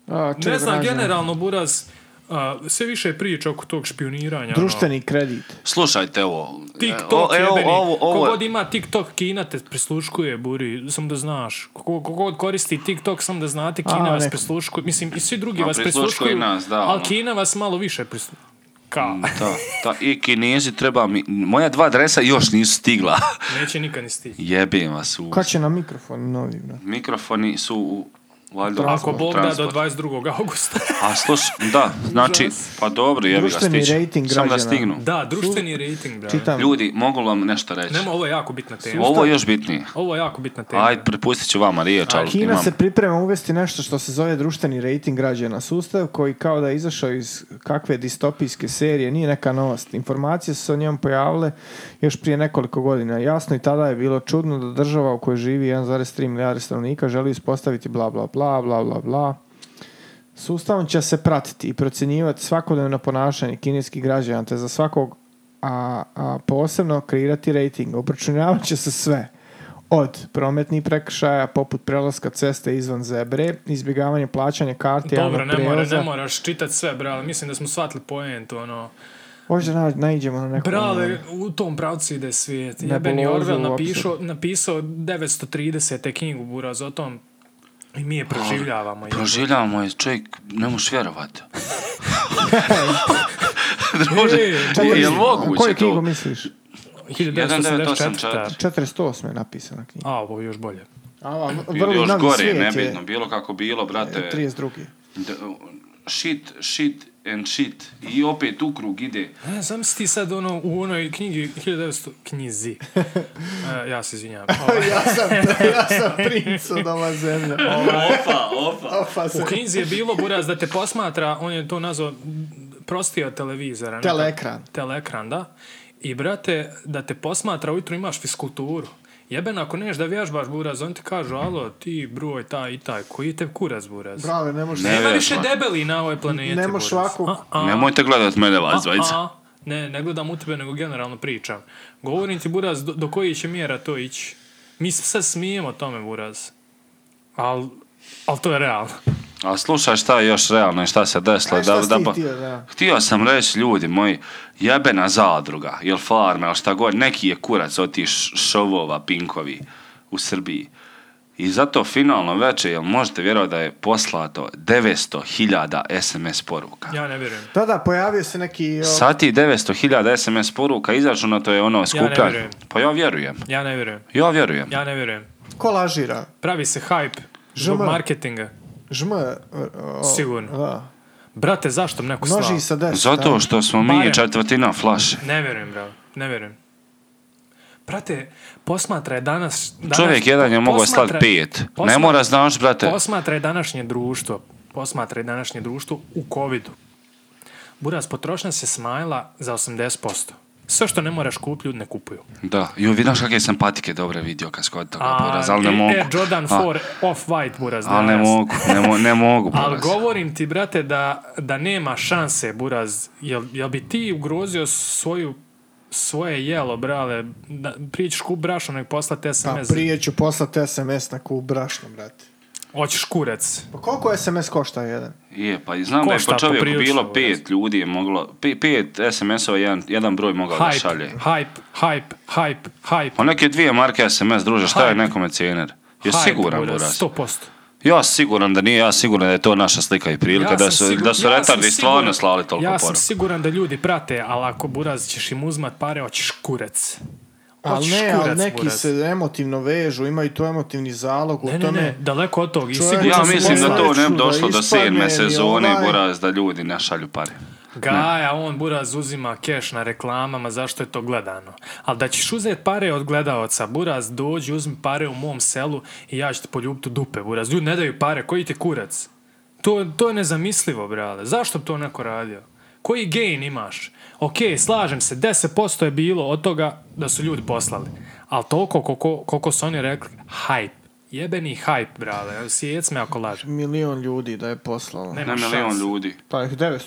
Speaker 2: A, čekaj,
Speaker 1: Ne znam,
Speaker 2: Dražen.
Speaker 1: generalno, Buraz, a, sve više priča oko tog špioniranja. ono.
Speaker 2: Društveni kredit.
Speaker 3: Slušajte ovo.
Speaker 1: TikTok,
Speaker 3: O,
Speaker 1: e,
Speaker 3: evo, ovo, ovo,
Speaker 1: Kogod ima TikTok, Kina te prisluškuje, Buri, sam da znaš. Kogo- Kogod koristi TikTok, sam da znate, Kina
Speaker 2: A,
Speaker 1: vas
Speaker 2: neko.
Speaker 1: prisluškuje. Mislim, i svi drugi
Speaker 3: Ma,
Speaker 1: vas
Speaker 3: prisluškuju
Speaker 1: prisluškuju,
Speaker 3: nas, da,
Speaker 1: ali
Speaker 3: ono. Mm.
Speaker 1: Kina vas malo više prisluškuje. Ka,
Speaker 3: Da, da, i kinezi treba mi... Moja dva dresa još nisu stigla.
Speaker 1: neće nikad ni stići.
Speaker 3: Jebim vas u...
Speaker 2: Kad će nam mikrofon novi, brate?
Speaker 3: Mikrofoni su u... Valjda,
Speaker 1: Ako Bog da do
Speaker 3: transport.
Speaker 1: 22. augusta.
Speaker 3: A sluš, da, znači, pa dobro, jebi ga
Speaker 2: Društveni
Speaker 3: stići.
Speaker 2: rejting
Speaker 3: Samo da
Speaker 2: građana.
Speaker 3: stignu.
Speaker 1: Da, društveni rating, brate.
Speaker 2: Čitam.
Speaker 3: Ljudi, mogu vam nešto reći?
Speaker 1: Nema, ovo je jako bitna tema.
Speaker 3: Ovo je još bitnije.
Speaker 1: Ovo je jako bitna tema.
Speaker 3: Ajde, prepustit ću vama riječ, ali
Speaker 2: Znači, Kina
Speaker 3: imam...
Speaker 2: se priprema uvesti nešto što se zove društveni rating građana. Sustav koji kao da je izašao iz kakve distopijske serije, nije neka novost. Informacije su se o njemu pojavile još prije nekoliko godina. Jasno i tada je bilo čudno da država u kojoj živi 1,3 milijarde stanovnika želi uspostaviti bla bla bla bla bla bla. Sustavom će se pratiti i procjenjivati svakodnevno ponašanje kineskih građana te za svakog a, a posebno kreirati rating. Obračunavat će se sve od prometnih prekršaja poput prelaska ceste izvan zebre, izbjegavanje plaćanja karte
Speaker 1: Dobro,
Speaker 2: javnog
Speaker 1: ne, mora,
Speaker 2: prijevoza.
Speaker 1: ne moraš čitat sve, brale. Mislim da smo shvatili poentu, ono.
Speaker 2: Možda na, naiđemo na neko...
Speaker 1: Brale, u tom pravcu ide svijet.
Speaker 2: Ne
Speaker 1: Jebeni
Speaker 2: polozi
Speaker 1: Orwell
Speaker 2: u
Speaker 1: napišao, napisao 930. knjigu Buraz o tom i mi je proživljavamo. jebote.
Speaker 3: Proživljavamo je, čovjek, ne možeš vjerovati. Druže,
Speaker 1: E,
Speaker 2: Čekaj,
Speaker 3: je
Speaker 2: a
Speaker 3: moguće
Speaker 2: Koju knjigu
Speaker 3: to?
Speaker 2: misliš?
Speaker 1: 1984.
Speaker 2: 48 je napisana knjiga. E,
Speaker 1: A, ovo je još bolje.
Speaker 2: A, ova
Speaker 3: Ili
Speaker 2: vrlo
Speaker 3: još
Speaker 2: novi
Speaker 3: gore,
Speaker 2: svijet je E,
Speaker 3: nebitno, bilo kako bilo, brate.
Speaker 2: 32.
Speaker 3: D- shit, shit and shit. I opet u krug ide.
Speaker 1: E, znam si ti sad ono, u onoj knjigi 1900... Knjizi. E, ja se izvinjam. Ovaj,
Speaker 2: ja sam, ja sam princ od ova zemlja.
Speaker 3: Opa, opa.
Speaker 2: Opa se.
Speaker 1: U knjizi je bilo, Buraz, da te posmatra, on je to nazvao prosti od televizora. neka-
Speaker 2: Teleekran.
Speaker 1: Teleekran, da. I, brate, da te posmatra, ujutru imaš fiskulturu. Jeben, ako neš da vježbaš, Buraz, on ti kažu, alo, ti, broj, taj i taj, koji te kuraz, Buraz?
Speaker 2: Brale, ne možeš...
Speaker 3: Ne,
Speaker 1: Nema više
Speaker 3: vježba.
Speaker 1: debeli na ovoj planeti,
Speaker 2: Ne moš
Speaker 1: Buraz.
Speaker 2: ovako-
Speaker 1: A, a,
Speaker 3: Nemojte gledat mene vas dvojica.
Speaker 1: a, ne, ne gledam u tebe, nego generalno pričam. Govorim ti, Buraz, do, do koji će mjera to ići? Mi se sad smijemo tome, Buraz. Al, al to je realno.
Speaker 3: A slušaj šta je još realno i šta se desilo.
Speaker 2: A šta
Speaker 3: da,
Speaker 2: si
Speaker 3: da,
Speaker 2: ti
Speaker 3: pa-
Speaker 2: htio, da?
Speaker 3: Htio sam reći, ljudi moji, jebena zadruga, jel farme, ili šta god, neki je kurac otiš šovova Pinkovi u Srbiji. I zato finalno večer, jel možete vjerovati da je poslato 900.000 SMS poruka.
Speaker 1: Ja ne vjerujem.
Speaker 2: Da, da, pojavio se neki... o,
Speaker 3: Sati 900.000 SMS poruka, izračunato je ono skupljanje.
Speaker 1: vjerujem.
Speaker 3: pa ja vjerujem.
Speaker 1: Ja ne vjerujem.
Speaker 3: Ja vjerujem.
Speaker 1: Ja ne vjerujem.
Speaker 2: Ko lažira?
Speaker 1: Pravi se hype zbog
Speaker 2: Žama.
Speaker 1: marketinga.
Speaker 2: Žm... o, o,
Speaker 1: Sigurno.
Speaker 2: Da.
Speaker 1: Brate, zašto me neko
Speaker 2: Množi
Speaker 1: slao?
Speaker 2: sa deset.
Speaker 3: Zato što smo mi
Speaker 1: Barem.
Speaker 3: četvrtina flaše.
Speaker 1: Ne vjerujem, bravo. Ne vjerujem. Brate, posmatra je danas... danas
Speaker 3: Čovjek jedan je mogao
Speaker 1: posmatra-
Speaker 3: slat pet. Ne
Speaker 1: posmatra-
Speaker 3: mora znaš, brate.
Speaker 1: Posmatra je današnje društvo. Posmatra je današnje društvo u covidu. Buraz, potrošnja se smajla za 80%. Sve što ne moraš kupiti, ljudi ne kupuju.
Speaker 3: Da, ju vidiš kakve sam patike dobre vidio kad skod toga poraz, ali ne
Speaker 1: i
Speaker 3: mogu.
Speaker 1: Air e, Jordan
Speaker 3: A,
Speaker 1: 4 off-white, Buraz.
Speaker 3: ali ne
Speaker 1: danas.
Speaker 3: mogu, ne, mo- ne mogu
Speaker 1: Ali
Speaker 3: poraz.
Speaker 1: govorim ti, brate, da, da nema šanse, Buraz. Jel, jel bi ti ugrozio svoju svoje jelo, brale, da, priđeš ku brašu, nek poslati
Speaker 2: Pa
Speaker 1: SMS.
Speaker 2: prije ću poslati SMS na kubu brašno, brate.
Speaker 1: Hoćeš kurec.
Speaker 2: Pa koliko SMS košta jedan?
Speaker 3: Je, pa i znam da je
Speaker 1: Košta
Speaker 3: po čovjeku
Speaker 1: poprilično,
Speaker 3: bilo
Speaker 1: poraz.
Speaker 3: pet ljudi je moglo, pe- pet SMS-ova, jedan, jedan broj mogao da
Speaker 1: Hype,
Speaker 3: šalje.
Speaker 1: hype, hype, hype, hype.
Speaker 3: Pa neke dvije marke SMS, druže, šta je
Speaker 1: Hype.
Speaker 3: nekome cijener? Je
Speaker 1: hype,
Speaker 3: siguran buraz.
Speaker 1: 100%.
Speaker 3: Ja sam siguran da nije, ja sam siguran da je to naša slika i prilika, da
Speaker 1: sam
Speaker 3: su,
Speaker 1: sigur-
Speaker 3: da su
Speaker 1: ja sam
Speaker 3: retardi
Speaker 1: siguran-
Speaker 3: stvarno slali toliko
Speaker 1: Ja sam
Speaker 3: poruka.
Speaker 1: siguran da ljudi prate, ali ako buraz ćeš im uzmat pare, hoćeš kurec.
Speaker 2: Ali
Speaker 1: Hoćeš
Speaker 2: ne, ali
Speaker 1: kurac,
Speaker 2: neki
Speaker 1: Pa buraz.
Speaker 2: se emotivno vežu, imaju tu emotivni zalog u
Speaker 1: Ne, ne,
Speaker 2: tome.
Speaker 1: ne, daleko od toga. I
Speaker 2: Čovjek-
Speaker 1: sigurno
Speaker 3: Ja
Speaker 1: su
Speaker 3: mislim da to
Speaker 1: poslali-
Speaker 3: ne bi
Speaker 2: Čuda,
Speaker 3: došlo do
Speaker 2: ispadne
Speaker 3: sedme
Speaker 2: ili
Speaker 3: sezone,
Speaker 2: ovaj-
Speaker 3: buraz, da ljudi ne šalju pare.
Speaker 1: Gaja, on buraz uzima keš na reklamama, zašto je to gledano? Ali da ćeš uzeti pare od gledaoca, buraz, dođi, uzmi pare u mom selu i ja ću te poljubiti u dupe, buraz. Ljudi ne daju pare, koji ti kurac? To, to je nezamislivo, brale. Zašto bi to neko radio? Koji gain imaš? Ok, slažem se, 10% je bilo od toga da su ljudi poslali. Ali toliko koliko, koliko su oni rekli, hype. Jebeni hype, brale. Sjec me ako lažem.
Speaker 2: Milion ljudi da je poslalo.
Speaker 1: Nema
Speaker 3: Ne
Speaker 1: šans.
Speaker 3: milion ljudi.
Speaker 2: Pa ih 900.000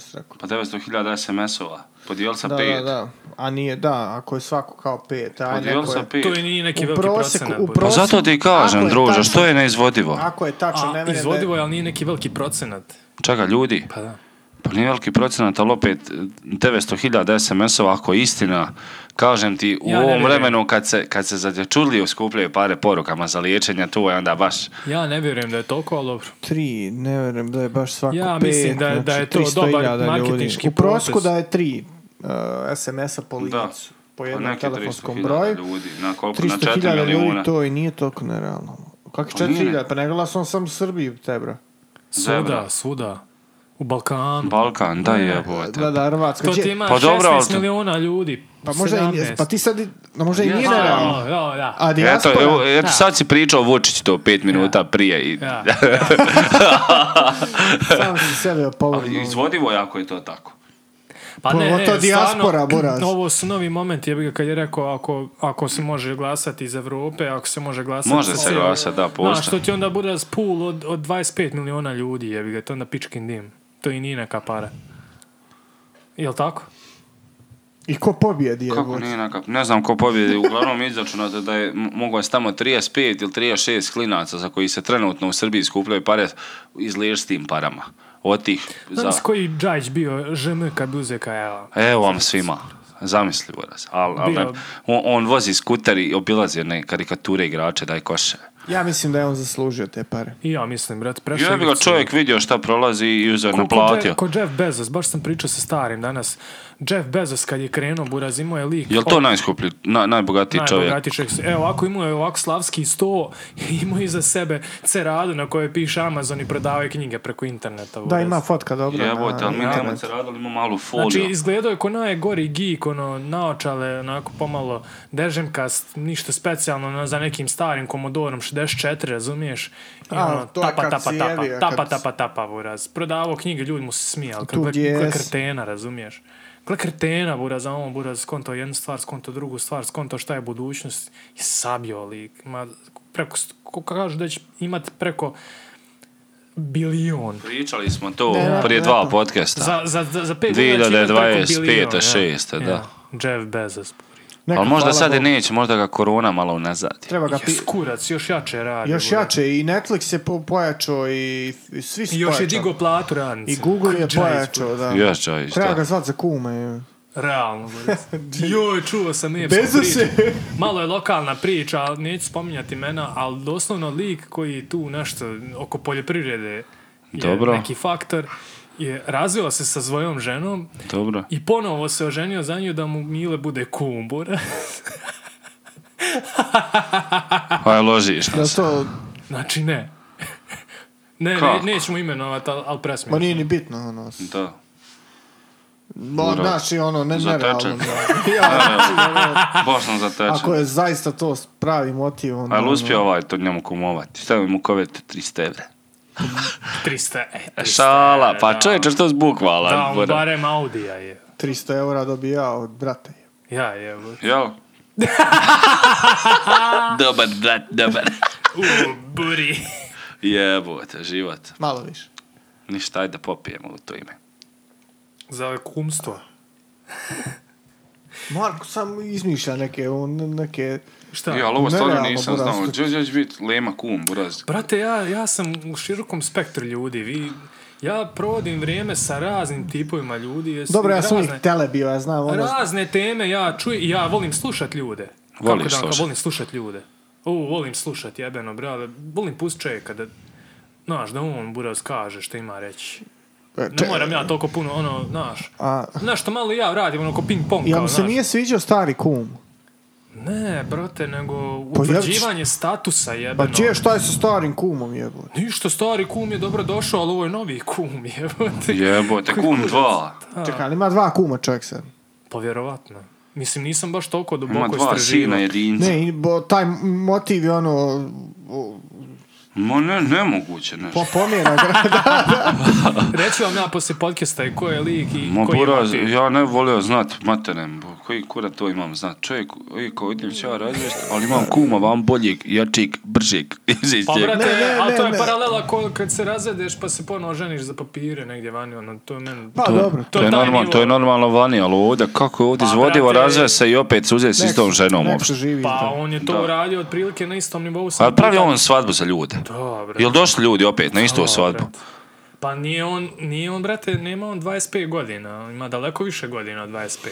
Speaker 2: si rekao.
Speaker 3: Pa 900.000 SMS-ova. Podijeli sa
Speaker 2: Da,
Speaker 3: pet.
Speaker 2: da, da. A nije, da, ako je svako kao pet, a
Speaker 3: Podijeli
Speaker 2: neko
Speaker 3: sa
Speaker 2: je...
Speaker 3: pet.
Speaker 1: To i nije neki
Speaker 2: U
Speaker 1: veliki
Speaker 2: prosjeku-
Speaker 1: procenat.
Speaker 2: u
Speaker 1: bude.
Speaker 3: Pa
Speaker 2: prosjeku-
Speaker 3: zato ti kažem,
Speaker 2: Ako je
Speaker 3: druže,
Speaker 2: tačno-
Speaker 3: što je neizvodivo?
Speaker 2: Ako je tačno, ne
Speaker 1: A,
Speaker 2: vjerujem da je-
Speaker 1: izvodivo je, ali nije neki veliki procenat.
Speaker 3: Čega, ljudi,
Speaker 1: Pa da.
Speaker 3: Pa nije veliki procenat, ali opet 900.000 SMS-ova, ako je istina, kažem ti, u
Speaker 1: Ja ne
Speaker 3: ovom
Speaker 1: vjerujem.
Speaker 3: vremenu kad se, kad se za dječudliju skupljaju pare porukama za liječenje, to je onda baš...
Speaker 1: Ja ne vjerujem da je toliko, ali dobro.
Speaker 2: Tri, ne vjerujem da je baš svako
Speaker 1: Ja
Speaker 2: pet, znači
Speaker 1: mislim da je- da je to
Speaker 2: 300.000
Speaker 1: dobar
Speaker 2: ljudi.
Speaker 1: marketinški
Speaker 2: U prosjeku
Speaker 1: proces.
Speaker 2: da je tri uh, SMS-a po licu.
Speaker 3: Da.
Speaker 2: Po
Speaker 3: Pa
Speaker 2: jednom
Speaker 3: neke
Speaker 2: telefonskom
Speaker 3: 300.000
Speaker 2: broju.
Speaker 3: ljudi, na koliko? Na 4
Speaker 2: 300.000 ljudi,
Speaker 3: milijuna.
Speaker 2: to i nije toliko nerealno. Kako
Speaker 3: Pa nije.
Speaker 2: 4.000? Pa ne glasam sam u Srbiji, te bro.
Speaker 3: Zebra.
Speaker 1: Svuda, svuda. U Balkanu.
Speaker 3: Balkan, da je, bote.
Speaker 2: Da, da, Hrvatska.
Speaker 1: To
Speaker 2: Gdje-
Speaker 1: ti ima
Speaker 3: Pa
Speaker 1: 16
Speaker 3: dobro, ali to-
Speaker 1: milijuna ljudi.
Speaker 2: Pa možda i, nije-
Speaker 1: 17.
Speaker 2: pa ti sad, i- da možda i
Speaker 3: Pa
Speaker 2: nije
Speaker 3: jeste.
Speaker 2: nerealno.
Speaker 1: Ja, ja, ja.
Speaker 2: A
Speaker 3: Eto,
Speaker 2: dijaspora?
Speaker 3: evo, eto
Speaker 1: Da.
Speaker 3: sad si pričao o Vučiću to pet minuta prije. I,
Speaker 1: Ja.
Speaker 2: Sam si sebe
Speaker 3: ali
Speaker 2: opovrnuo.
Speaker 3: izvodivo je ako je to tako.
Speaker 1: Pa
Speaker 2: Pogotovo dijaspora, Boras.
Speaker 1: Ovo su novi momenti, ja bih ga kad je rekao, ako, ako se može glasati iz Evrope, ako se može glasati...
Speaker 3: Može
Speaker 1: iz
Speaker 3: se
Speaker 1: cijele-
Speaker 3: glasati, da, postoji.
Speaker 1: Znaš, što ti onda bude pool od, od 25 miliona ljudi, jebi ga, to je onda pičkin dim. To i nije neka para. Jel tako?
Speaker 2: I ko pobjedi je
Speaker 3: Kako
Speaker 2: Vučić?
Speaker 3: nije nekak, ne znam ko pobjedi, uglavnom izračunato da je m- mogao je tamo 35 ili 36 klinaca za koji se trenutno u Srbiji skupljaju pare izliješ s tim parama. Od tih za...
Speaker 1: Znam si koji Džajić bio ŽM kad bi uzeo KL.
Speaker 3: Evo vam svima. Zamisli Boras. Al, al,
Speaker 1: Bio-
Speaker 3: ne- on, on vozi skuter i obilazi one karikature igrače, daj koše.
Speaker 2: Ja mislim da je on zaslužio te pare.
Speaker 1: I ja mislim, brat, prešao
Speaker 3: Ja bi ga
Speaker 1: ivicu.
Speaker 3: čovjek vidio šta prolazi i uzeo
Speaker 1: Ko- ko
Speaker 3: naplatio.
Speaker 1: Je- Ko Jeff Bezos, baš sam pričao sa starim danas. Jeff Bezos kad je krenuo, buraz imao je lik...
Speaker 3: Jel to najskuplji, na, najbogatiji čovjek?
Speaker 1: Najbogatiji čovjek. Evo, ovako imao je ovako slavski sto, imao je iza sebe ceradu na kojoj piše Amazon i prodavaju knjige preko interneta.
Speaker 2: Da,
Speaker 1: buraz.
Speaker 2: ima fotka dobro. na
Speaker 3: Jebote, ali mi nemamo
Speaker 2: internetu.
Speaker 3: se radili, imamo malu foliju.
Speaker 1: Znači, izgledao je ko najgori geek, ono, naočale, onako pomalo dežemkast, ništa specijalno, ono, za nekim starim Komodorom 64, razumiješ? I
Speaker 2: A,
Speaker 1: ono,
Speaker 2: to je
Speaker 1: tapa,
Speaker 2: kad
Speaker 1: tapa,
Speaker 2: si
Speaker 1: tapa,
Speaker 2: jebio,
Speaker 1: tapa,
Speaker 2: kad si-
Speaker 1: tapa, tapa, buraz. Prodavao knjige, ljudi mu se smijali,
Speaker 2: Tu
Speaker 1: kako
Speaker 2: gdje
Speaker 1: je
Speaker 2: jesi.
Speaker 1: krtena, razumiješ? Gle krtena, buraz, a on, buraz, skonto jednu stvar, skonto drugu stvar, skonto šta je budućnost i sabio lik. Ima preko, st- ko kažu da će imat preko bilion.
Speaker 3: Pričali smo to
Speaker 2: Ne, ne,
Speaker 3: prije
Speaker 2: ne,
Speaker 3: dva
Speaker 2: ne.
Speaker 3: podcasta.
Speaker 1: Za, za, za, za pet godina će imat preko
Speaker 3: 2025.,
Speaker 1: bilion, ono, ja.
Speaker 3: 6., da.
Speaker 1: Ja. Jeff Bezos.
Speaker 2: Neka,
Speaker 3: Ali možda
Speaker 2: hvala
Speaker 3: sad i
Speaker 2: Bogu.
Speaker 3: neće, možda ga korona malo unazad.
Speaker 2: Treba ga pi...
Speaker 1: Jes, kurac, još jače radi.
Speaker 2: Još
Speaker 1: bre.
Speaker 2: jače i Netflix je po- pojačao i, i svi su
Speaker 1: I Još je
Speaker 2: pojačali.
Speaker 1: digo platu radnici.
Speaker 2: I Google je
Speaker 1: Džajs, bre.
Speaker 2: pojačao, da.
Speaker 3: Još Jović,
Speaker 2: Treba ga
Speaker 3: da.
Speaker 2: zvat za kume.
Speaker 1: Realno, bre. Joj, čuo sam epsku
Speaker 2: Bezos
Speaker 1: priču.
Speaker 2: je-
Speaker 1: Malo je lokalna priča, ali neću spominjati imena, ali doslovno lik koji tu nešto oko poljoprivrede je
Speaker 3: Dobro.
Speaker 1: neki faktor, je razvio se sa svojom ženom
Speaker 3: Dobro.
Speaker 1: i ponovo se oženio za nju da mu Mile bude kumbur.
Speaker 3: Aj, Pa ložiš
Speaker 2: Da
Speaker 3: nas.
Speaker 2: to,
Speaker 1: znači, ne. ne, ne,
Speaker 3: Kako?
Speaker 1: nećemo imenovati, ali, ali presmiješno.
Speaker 2: ma nije ni bitno, ono. s-
Speaker 3: Da.
Speaker 2: Bo,
Speaker 3: Bura.
Speaker 2: znaš, i ono, ne,
Speaker 3: Zatečen.
Speaker 2: nerealno. da. Ja,
Speaker 3: Baš sam zatečen.
Speaker 2: ako je zaista to s- pravi motiv, onda...
Speaker 3: Ali
Speaker 2: ono,
Speaker 3: uspio ovaj to njemu kumovati. Stavi mu kovete 300 evre.
Speaker 1: 300, e, 300
Speaker 3: Šala,
Speaker 1: evra,
Speaker 3: pa
Speaker 1: da. ono.
Speaker 3: čovječe što zbukvala.
Speaker 1: Da, on
Speaker 3: Bura.
Speaker 1: barem Audija je.
Speaker 2: 300 eura dobija od brata.
Speaker 1: Ja je. bo-
Speaker 3: Jel? dobar, brat, dobar.
Speaker 1: U, buri.
Speaker 3: Jebote, život.
Speaker 2: Malo više.
Speaker 3: Ništa, ajde popijemo u to ime.
Speaker 1: Za kumstvo.
Speaker 2: Marko samo izmišlja neke, on, neke...
Speaker 1: Šta?
Speaker 3: Ja, ali ovo stvarno
Speaker 2: Nerealno,
Speaker 3: nisam
Speaker 2: buraz.
Speaker 3: znao. Đe- đe će biti lema kum, buraz.
Speaker 2: Pa,
Speaker 1: Brate, ja, ja sam u širokom spektru ljudi. Vi, ja provodim vrijeme sa raznim tipovima ljudi. jesu
Speaker 2: Dobro, ja sam
Speaker 1: razne,
Speaker 2: uvijek tele bio, ja znam ono...
Speaker 1: razne teme ja čujem i ja volim slušat ljude. Kako
Speaker 3: Voliš
Speaker 1: da vam kažem,
Speaker 3: slušat.
Speaker 1: Volim slušat ljude. O, volim slušat, jebeno, brale. Volim pust čovjeka da... Znaš, da on buraz kaže što ima reći. Ne moram ja toliko puno, ono, znaš.
Speaker 2: E, Pa A,
Speaker 1: Znaš što malo i ja radim, ono, ko ping pong.
Speaker 2: jel
Speaker 1: kao,
Speaker 2: mu se
Speaker 1: znaš.
Speaker 2: nije sviđao stari kum?
Speaker 1: Ne, brate, nego
Speaker 2: Pa jel-
Speaker 1: utvrđivanje statusa
Speaker 2: Pa
Speaker 1: jebeno.
Speaker 2: čije šta je sa starim kumom jebote?
Speaker 1: Ništa, stari kum je dobro došao, ali ovo je novi kum jebote.
Speaker 3: Jebote, kum 2.
Speaker 2: Čekaj, ali ima dva kuma čovjek sad.
Speaker 1: Pa vjerovatno. Mislim, nisam baš toliko
Speaker 3: Ima
Speaker 1: duboko
Speaker 3: dva sina
Speaker 1: istraživao.
Speaker 3: jedinca.
Speaker 2: Ne, i bo, taj motiv je ono... o,
Speaker 3: Ma ne, nemoguće nešto.
Speaker 2: Po, pomjera grada.
Speaker 1: Reći vam ja poslije podcasta i ko je lik i
Speaker 3: Ma
Speaker 1: koji
Speaker 3: buraz,
Speaker 1: je motiv.
Speaker 3: ja ne volio znat, materem, bo, koji kura to imam znat. Čovjek, i ko idem ću ja razvijest, ali imam kuma vam boljeg, jačijeg, bržeg.
Speaker 1: Pa brate,
Speaker 2: Ne, ne,
Speaker 1: ali
Speaker 2: ne,
Speaker 1: to je
Speaker 2: ne.
Speaker 1: paralela ko, kad se razvedeš pa se ponovo ženiš za papire negdje vani, ono, to je meni...
Speaker 2: Pa dobro.
Speaker 3: to,
Speaker 1: to
Speaker 3: je
Speaker 1: taj
Speaker 3: normalno,
Speaker 1: nivo.
Speaker 3: to je normalno vani, ali ovdje, kako je ovdje
Speaker 1: Pa,
Speaker 3: izvodivo,
Speaker 1: brate,
Speaker 3: razve se i opet se uzeti s
Speaker 2: Nek-
Speaker 3: istom ženom
Speaker 2: nek
Speaker 3: uopšte.
Speaker 2: živi.
Speaker 1: Pa
Speaker 2: da.
Speaker 1: on je to
Speaker 3: Da.
Speaker 1: uradio otprilike na istom nivou. samo
Speaker 3: Ali pravi
Speaker 1: puta-
Speaker 3: on svadbu za ljude.
Speaker 1: Dobro.
Speaker 3: Jel došli ljudi opet na istu
Speaker 1: Dobro.
Speaker 3: svadbu?
Speaker 1: Pa nije on, nije on, brate, nema on 25 godina. on Ima daleko više godina od 25.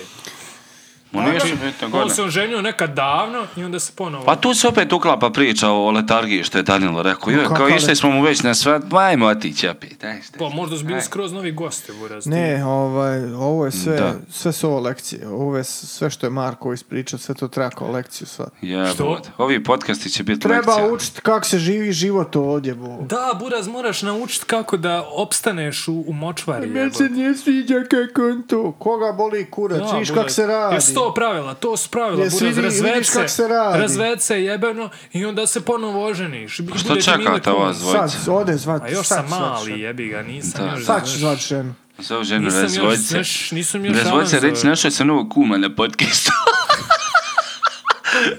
Speaker 3: Ma
Speaker 1: Znači,
Speaker 3: nije bitno
Speaker 1: On
Speaker 3: godine.
Speaker 1: se oženio nekad davno i onda se ponovo...
Speaker 3: Pa tu se opet uklapa priča o letargiji što je Danilo rekao. Jo,
Speaker 2: kako
Speaker 3: kao
Speaker 2: da?
Speaker 3: išli smo mu već na svat, ajmo otići, ja pitaj.
Speaker 1: Pa možda su bili
Speaker 3: Aj.
Speaker 1: skroz novi gosti, buraz. ti.
Speaker 2: Ne, ovaj, ovo je sve,
Speaker 3: Da.
Speaker 2: sve su ovo lekcije. Ovo je s- sve što je Marko ispričao, sve to treba kao lekciju sva.
Speaker 1: Što?
Speaker 3: Jebote. Ovi podcasti će biti
Speaker 2: Treba
Speaker 3: lekcija.
Speaker 2: učiti kako se živi život ovdje, bo.
Speaker 1: Da, buraz, moraš naučiti kako da opstaneš u, u močvari.
Speaker 2: Meni se nije sviđa kako on to. Koga boli kurac, viš kako se radi.
Speaker 1: Jer sto pravila, to su pravila,
Speaker 2: Jesi
Speaker 1: buraz,
Speaker 2: vidi- vidiš
Speaker 1: razved se,
Speaker 2: kak se radi.
Speaker 1: razved se jebeno i onda se ponovo oženiš. I
Speaker 3: Što
Speaker 1: bude ti mile
Speaker 3: Pa čekate
Speaker 1: kumac.
Speaker 3: vas dvojica?
Speaker 2: Sad, ode zvat,
Speaker 1: A još
Speaker 2: sad
Speaker 1: sam
Speaker 2: ću zvat
Speaker 1: mali,
Speaker 2: ženu.
Speaker 1: jebi ga, nisam
Speaker 3: Da.
Speaker 1: još...
Speaker 2: Sad ću
Speaker 1: znaš,
Speaker 2: zvat ženu.
Speaker 3: Zove ženu,
Speaker 1: Nisam još,
Speaker 3: razvodi se.
Speaker 1: znaš, nisam još
Speaker 3: Razvodi se,
Speaker 1: avanzovao.
Speaker 3: reći našao sam novog kuma na podcastu.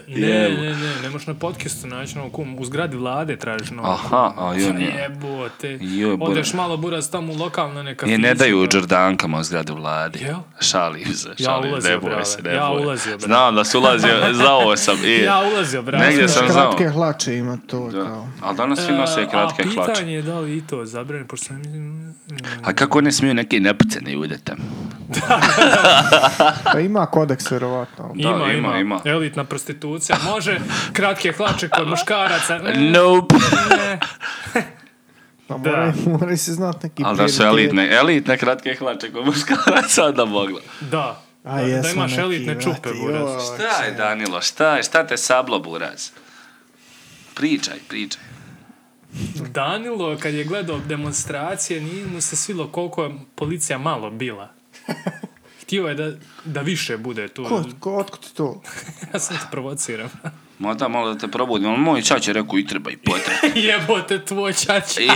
Speaker 1: Ne, ne, ne, ne možeš na podcastu naći novog kuma. U zgradi vlade tražiš novog kuma.
Speaker 3: Aha, a jo nije.
Speaker 1: Jebote.
Speaker 3: Joj, buraz.
Speaker 1: Odeš malo buraz tamo u lokalno neka
Speaker 3: Je, ne
Speaker 1: fizička.
Speaker 3: daju Đordankama u zgradu vladi.
Speaker 1: Jel?
Speaker 3: Šalim se,
Speaker 1: Ja
Speaker 3: šalim,
Speaker 1: ulazio,
Speaker 3: ne boj
Speaker 1: brale.
Speaker 3: se, ne
Speaker 1: Ja
Speaker 3: boj.
Speaker 1: ulazio, brale.
Speaker 3: Znam da si ulazio, za ovo sam. I,
Speaker 1: Ja ulazio, bravo.
Speaker 3: Negdje sam znao.
Speaker 2: Kratke hlače ima to.
Speaker 3: Da.
Speaker 2: Kao.
Speaker 3: Ali danas svi nose kratke
Speaker 1: E, a
Speaker 3: hlače.
Speaker 1: pitanje je da li i to zabrane, pošto sam... mm,
Speaker 3: A kako ne smiju neki nepuceni ljude tamo?
Speaker 2: Pa ima kodeks vjerovatno. ali-
Speaker 3: Da, ima, ima.
Speaker 1: Elitna prostitucija, može, kratke hlače kod muškaraca. Ne,
Speaker 3: Nope.
Speaker 1: ne.
Speaker 2: Pa
Speaker 1: Da.
Speaker 2: moraju, moraju se znat neki
Speaker 3: Ali da su
Speaker 2: prioriteti.
Speaker 3: elitne, elitne kratke hlače kod muškaraca da mogla.
Speaker 1: Da.
Speaker 2: A
Speaker 1: Da- da
Speaker 2: jesmo
Speaker 1: imaš
Speaker 2: neki,
Speaker 1: elitne
Speaker 2: brate,
Speaker 1: čupe, buraz.
Speaker 2: joj.
Speaker 3: Šta je Danilo, šta je, šta te sablo buraz? Pričaj, pričaj.
Speaker 1: Danilo, kad je gledao demonstracije, nije mu se svilo koliko je policija malo bila. Htio je da, da više bude tu.
Speaker 2: Ko, ko, otkud to?
Speaker 1: Ja sam te provociram.
Speaker 3: Možda malo da te probudim, ali moj čač je rekao i treba i potret.
Speaker 1: Jebote, tvoj čač.
Speaker 3: I,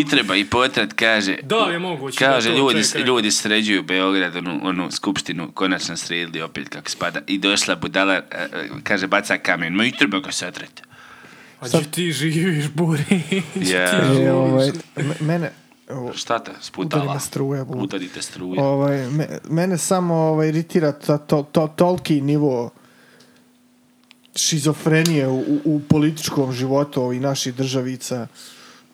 Speaker 3: i treba i potret, kaže.
Speaker 1: Da li je moguće
Speaker 3: Kaže,
Speaker 1: da to
Speaker 3: ljudi,
Speaker 1: čovjek rekao?
Speaker 3: ljudi sređuju Beograd, onu, onu skupštinu, konačno sredili opet kako spada. I došla budala, e, e, kaže, baca kamen, ma i treba ga satrati.
Speaker 1: A gdje ti živiš, Buri?
Speaker 3: Ja.
Speaker 2: E, ovaj, me- mene, o,
Speaker 3: Šta te sputala?
Speaker 2: udari me struja, bu.
Speaker 3: Udarite struje.
Speaker 2: Ovaj, me, mene samo ovaj, iritira ta, to, to, toliki nivo šizofrenije u, u- u političkom životu ovih naših državica,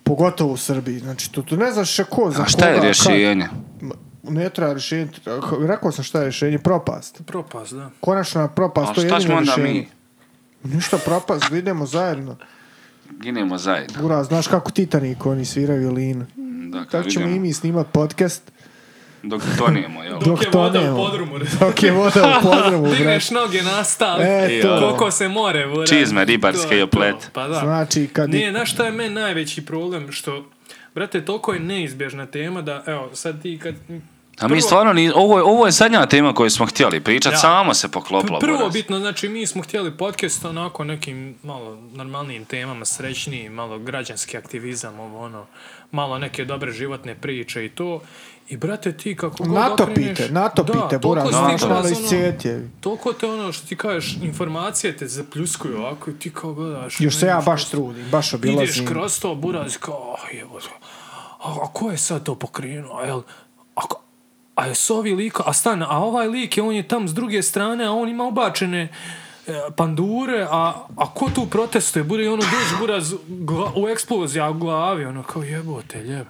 Speaker 2: pogotovo u Srbiji. Znači, tu, tu ne znaš še ko, za
Speaker 3: A šta je
Speaker 2: koga,
Speaker 3: rješenje?
Speaker 2: kad- Ma, Ne treba rješenje. Rekao sam šta je rješenje, propast.
Speaker 1: Propast, da.
Speaker 2: Konačna propast,
Speaker 3: A
Speaker 2: to je
Speaker 3: šta
Speaker 2: Pa jedino
Speaker 3: smo onda
Speaker 2: rješenje.
Speaker 3: mi?
Speaker 2: Ništa propast, idemo zajedno.
Speaker 3: Ginemo zajedno.
Speaker 2: Bura, znaš kako Titanic oni sviraju violinu.
Speaker 3: Da,
Speaker 2: Tako ćemo i mi snimat podcast
Speaker 3: Dok tonijemo, jel?
Speaker 2: Dok
Speaker 1: Dok je
Speaker 2: to
Speaker 1: voda
Speaker 2: nema.
Speaker 1: u podrumu.
Speaker 2: dok je voda u podrumu, brate.
Speaker 1: Digneš noge na stav.
Speaker 2: E,
Speaker 3: to.
Speaker 1: Koliko se more, bura.
Speaker 3: Čizme ribarske
Speaker 1: To je
Speaker 3: i oplete.
Speaker 1: to, Pa da.
Speaker 2: Znači, kad...
Speaker 1: Nije, znaš šta je meni najveći problem? Što, brate, toliko je neizbježna tema da, evo, sad ti kad...
Speaker 3: A mi
Speaker 1: Prvo-
Speaker 3: stvarno, ni, ovo, je, ovo je zadnja tema koju smo htjeli pričat,
Speaker 1: Da.
Speaker 3: samo se poklopila.
Speaker 1: Prvo
Speaker 3: Boras.
Speaker 1: bitno, znači mi smo htjeli podcast onako o nekim malo normalnijim temama, srećnijim, malo građanski aktivizam, ovo ono, malo neke dobre životne priče i to. I brate ti kako god
Speaker 2: Natopite,
Speaker 1: okreneš-
Speaker 2: natopite,
Speaker 1: Da,
Speaker 2: Bura,
Speaker 1: toliko
Speaker 2: znaš
Speaker 1: stižu
Speaker 2: malo
Speaker 1: nas,
Speaker 2: iz
Speaker 1: ono,
Speaker 2: cijetjevi.
Speaker 1: Toliko te ono što ti kažeš, informacije te zapljuskuju ovako i ti kao gledaš.
Speaker 2: Još se
Speaker 1: ne
Speaker 2: ja
Speaker 1: znaš
Speaker 2: baš
Speaker 1: što-
Speaker 2: trudim, baš
Speaker 1: Ideš
Speaker 2: obilazim.
Speaker 1: kroz to buraz kao, oh, jevo, a, a ko je sad to pokrenuo, a jel, a, ko- a je s ovi liko, a stan, a ovaj lik je, on je tam s druge strane, a on ima ubačene e, pandure, a, a ko tu protestuje, bude i ono dođe buraz gla- u eksplozija u glavi, ono kao jebote, ljeb,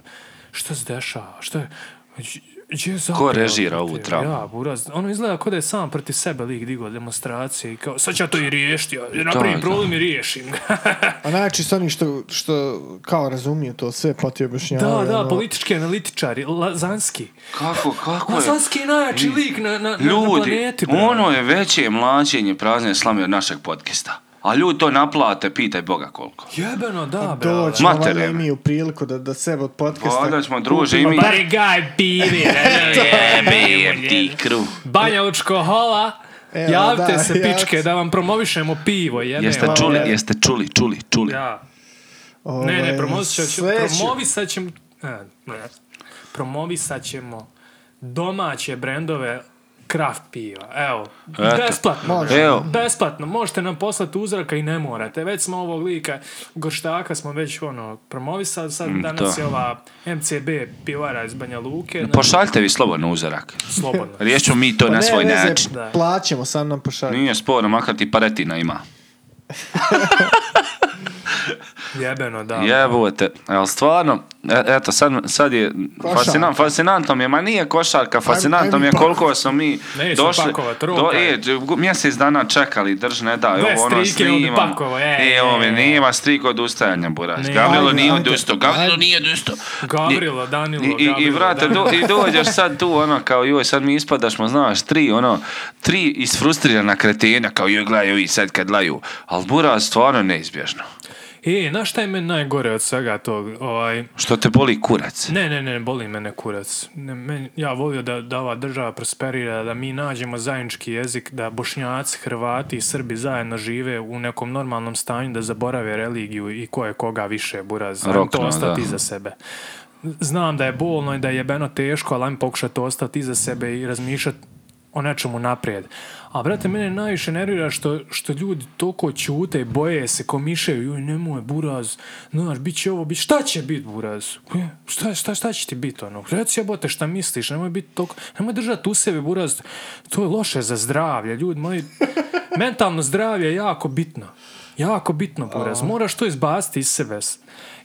Speaker 1: šta se dešava, šta je, Đ- Gdje je zapeo,
Speaker 3: režira
Speaker 1: brate?
Speaker 3: ovu tramu?
Speaker 1: Ja, buraz. Ono izgleda kao da je sam proti sebe lik digao demonstracije i kao, sad ću ja to i riješiti, ja napravim
Speaker 3: da.
Speaker 1: problem i riješim ga.
Speaker 2: A najjači su oni što, što kao razumiju to sve, pa ti
Speaker 1: Da,
Speaker 2: objašnjavaju.
Speaker 1: da,
Speaker 2: ono.
Speaker 1: politički analitičari, Lazanski.
Speaker 3: Kako, kako je?
Speaker 1: Lazanski je najjači lik na, na, na, na
Speaker 3: Ljudi,
Speaker 1: planeti. bro.
Speaker 3: ono je veće mlaćenje prazne slame od našeg podcasta. A ljudi to naplate, pitaj Boga koliko.
Speaker 1: Jebeno, da, bro.
Speaker 2: Doći ćemo
Speaker 3: Mater,
Speaker 2: valjda i
Speaker 3: em.
Speaker 2: mi u priliku da, da sebe od podcasta...
Speaker 3: Valjda ćemo, druže,
Speaker 1: Pa
Speaker 3: i mi-
Speaker 2: kupimo-
Speaker 1: Bari gaj piri,
Speaker 3: Jebem ti kru.
Speaker 1: Banja hola,
Speaker 2: Evo,
Speaker 1: javite
Speaker 2: da,
Speaker 1: se
Speaker 2: javite.
Speaker 1: pičke da vam promovišemo pivo, jebeno.
Speaker 3: Jeste čuli, jeste čuli, čuli, čuli.
Speaker 1: Da.
Speaker 2: Ovaj,
Speaker 1: Ne, ne, promovisat ćemo,
Speaker 2: sve ću-
Speaker 1: promovisat ćemo, e, ne, promovisat ćemo domaće brendove kraft piva. Evo,
Speaker 3: Eto.
Speaker 1: besplatno.
Speaker 2: Može.
Speaker 3: Evo.
Speaker 1: Besplatno, možete nam poslati uzraka i ne morate. Već smo ovog lika, Gorštaka smo već ono, promovisali, sad danas
Speaker 3: da.
Speaker 1: je ova MCB pivara iz Banja Luke. na-
Speaker 3: Pošaljte vi slobodno uzorak.
Speaker 1: Slobodno.
Speaker 3: Riješimo mi to
Speaker 2: Pa
Speaker 3: na
Speaker 2: ne,
Speaker 3: svoj
Speaker 2: veze,
Speaker 3: način.
Speaker 1: Da.
Speaker 2: Plaćemo, sam nam pošalje.
Speaker 3: Nije sporno, makar ti paretina ima.
Speaker 1: Jebeno, da.
Speaker 3: Jebote, ali stvarno, e- eto, sad, sad je,
Speaker 2: Košarka.
Speaker 3: fascinan, fascinantno mi je, ma nije košarka, fascinantno
Speaker 2: ajmo
Speaker 3: mi je
Speaker 2: pak.
Speaker 3: koliko smo mi
Speaker 1: Neću
Speaker 3: došli,
Speaker 1: pakovat,
Speaker 3: do,
Speaker 1: ruka je.
Speaker 3: e, gu- mjesec dana čekali, drž ne da,
Speaker 1: Bez
Speaker 3: ovo ono
Speaker 1: strike, onda
Speaker 3: snimam,
Speaker 1: pakovo, e, e,
Speaker 3: e, ovo mi
Speaker 1: e.
Speaker 3: nema strik od ustajanja, buraš,
Speaker 1: Ne,
Speaker 3: Gavrilo
Speaker 2: ajde,
Speaker 3: nije
Speaker 2: ajde.
Speaker 3: odustao, Gavrilo nije odustao,
Speaker 1: Gavrilo, Danilo,
Speaker 3: I, i,
Speaker 1: Gavrilo,
Speaker 3: i vrate,
Speaker 1: Danilo.
Speaker 3: do, i dođeš sad tu, ono, kao joj, sad mi ispadaš, ma znaš, tri, ono, tri isfrustrirana kretenja, kao joj, gledaj, ovi sad kad laju, ali bura stvarno neizbježno.
Speaker 1: E, znaš šta je meni najgore od svega tog? Ovaj,
Speaker 3: Što te boli kurac?
Speaker 1: ne, ne, ne, boli mene kurac. Ne, meni- ja volio da, da ova država prosperira, da mi nađemo zajednički jezik, da bošnjaci, hrvati i srbi zajedno žive u nekom normalnom stanju, da zaborave religiju i ko je koga više, buraz. Ajmo to
Speaker 3: Rokno,
Speaker 1: ostati
Speaker 3: da.
Speaker 1: iza sebe. Znam da je bolno i da je jebeno teško, ali ajmo pokušati ostati iza sebe i razmišljati o nečemu naprijed. A brate, mene najviše nervira što, što ljudi toliko ćute, boje se, komišaju, joj nemoj buraz, znaš, bit će ovo, bit će, šta će bit buraz? E, Šta, šta, šta će ti bit ono? Reci jebote šta misliš, nemoj bit toliko, nemoj držati u sebi buraz, to je loše za zdravlje, ljudi moji, mentalno zdravlje je jako bitno. Jako bitno, Buraz. Moraš to izbaciti iz sebe.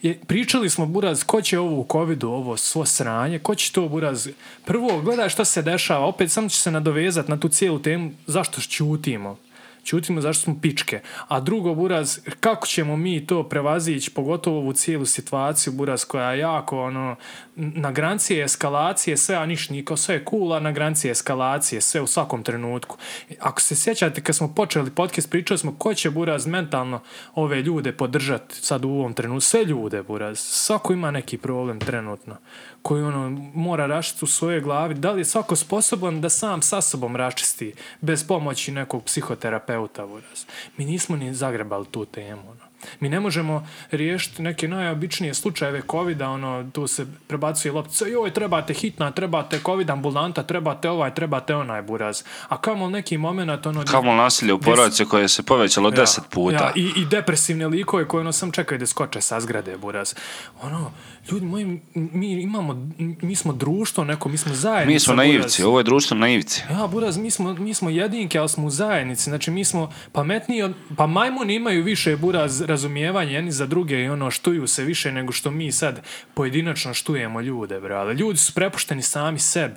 Speaker 1: Je, pričali smo, Buraz, ko će ovo u covidu, ovo svo sranje, ko će to, Buraz? Prvo, gledaj šta se dešava, opet samo će se nadovezati na tu cijelu temu, zašto ćutimo. Ćutimo zašto smo pičke. A drugo, Buraz, kako ćemo mi to prevazići, pogotovo ovu cijelu situaciju, Buraz, koja je jako, ono, n- na granci je eskalacije, sve, a niš niko, sve je cool, a na granci je eskalacije, sve u svakom trenutku. Ako se sjećate, kad smo počeli podcast, pričali smo ko će Buraz mentalno ove ljude podržati sad u ovom trenutku. Sve ljude, Buraz. Svako ima neki problem trenutno koji ono mora rašiti u svojoj glavi. Da li je svako sposoban da sam sa sobom račisti bez pomoći nekog psihoterapeuta, Buraz? Mi nismo ni zagrebali tu temu, ono. Mi ne možemo riješiti neke najobičnije slučajeve covid ono, tu se prebacuje loptica, joj, trebate hitna, trebate covid ambulanta, trebate ovaj, trebate onaj buraz. A kamo neki moment, ono...
Speaker 3: Kamo nasilje u porodici koje se povećalo
Speaker 1: Ja,
Speaker 3: deset puta.
Speaker 1: ja, i, I depresivne likove koje ono sam čekaju da skoče sa zgrade, buraz. Ono, ljudi moji, m- mi imamo, mi smo društvo neko, mi smo zajednica.
Speaker 3: Mi smo
Speaker 1: buraz.
Speaker 3: naivci, ovo je društvo naivci.
Speaker 1: Ja, Buraz, mi smo, mi smo jedinke, ali smo u zajednici. Znači, mi smo pametniji od... Pa majmuni imaju više, Buraz, razumijevanja jedni za druge i ono, štuju se više nego što mi sad pojedinačno štujemo ljude, brale. Ljudi su prepušteni sami sebi.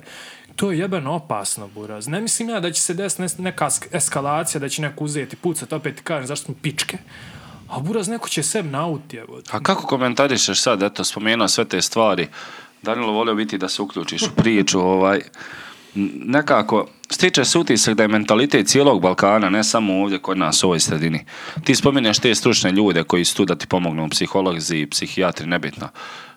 Speaker 1: To je jebeno opasno, Buraz. Ne mislim ja da će se desiti nes- neka sk- eskalacija, da će neko uzeti pucat, opet ti kažem, zašto smo pičke? A Buraz, neko će sebi nauti, evo.
Speaker 3: A kako komentarišeš sad, eto, spomenuo sve te stvari? Danilo, volio biti da se uključiš u priču, ovaj... n- Nekako, stiče se utisak da je mentalitet cijelog Balkana, ne samo ovdje kod nas u ovoj sredini. Ti spominješ te stručne ljude koji su tu da ti pomognu, psiholozi, psihijatri, nebitno.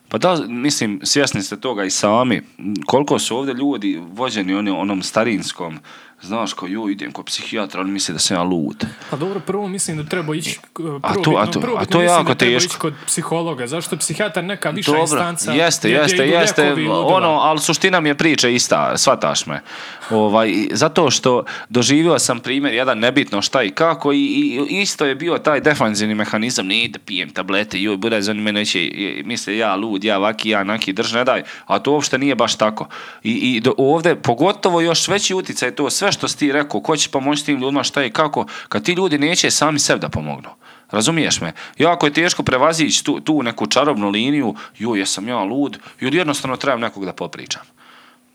Speaker 3: Pa da, mislim, svjesni ste toga i sami, m, koliko su ovdje ljudi vođeni oni, onom starinskom, znaš, ko ju idem kod psihijatra, on misli da sam ja lud.
Speaker 1: Pa dobro, prvo mislim da treba ići prvobitno,
Speaker 3: A to- a to- a
Speaker 1: prvobitno
Speaker 3: to je
Speaker 1: mislim da
Speaker 3: jako
Speaker 1: treba
Speaker 3: teško.
Speaker 1: ići kod psihologa, zašto je psihijatar neka viša
Speaker 3: Dobro,
Speaker 1: instanca.
Speaker 3: jeste,
Speaker 1: gdje
Speaker 3: jeste,
Speaker 1: idu
Speaker 3: jeste,
Speaker 1: lijekovi i ludila.
Speaker 3: ono, ali suština mi je priče ista, shvataš me. Ovaj, i- zato što doživio sam primjer, jedan nebitno šta i kako, i, i- i isto je bio taj defanzivni mehanizam, ne da pijem tablete, joj, bude za mene neće, i- misle ja lud, ja vaki, ja naki, drž, ne daj, a to uopšte nije baš tako. I, i do, ovdje, pogotovo još veći uticaj je to, sve što si ti rekao, ko će pomoći tim ljudima, šta i kako, kad ti ljudi neće sami sebi da pomognu. Razumiješ me? Jako je teško prevazići tu, tu neku čarobnu liniju, ju, jesam ja lud, ili jednostavno trebam nekog da popričam.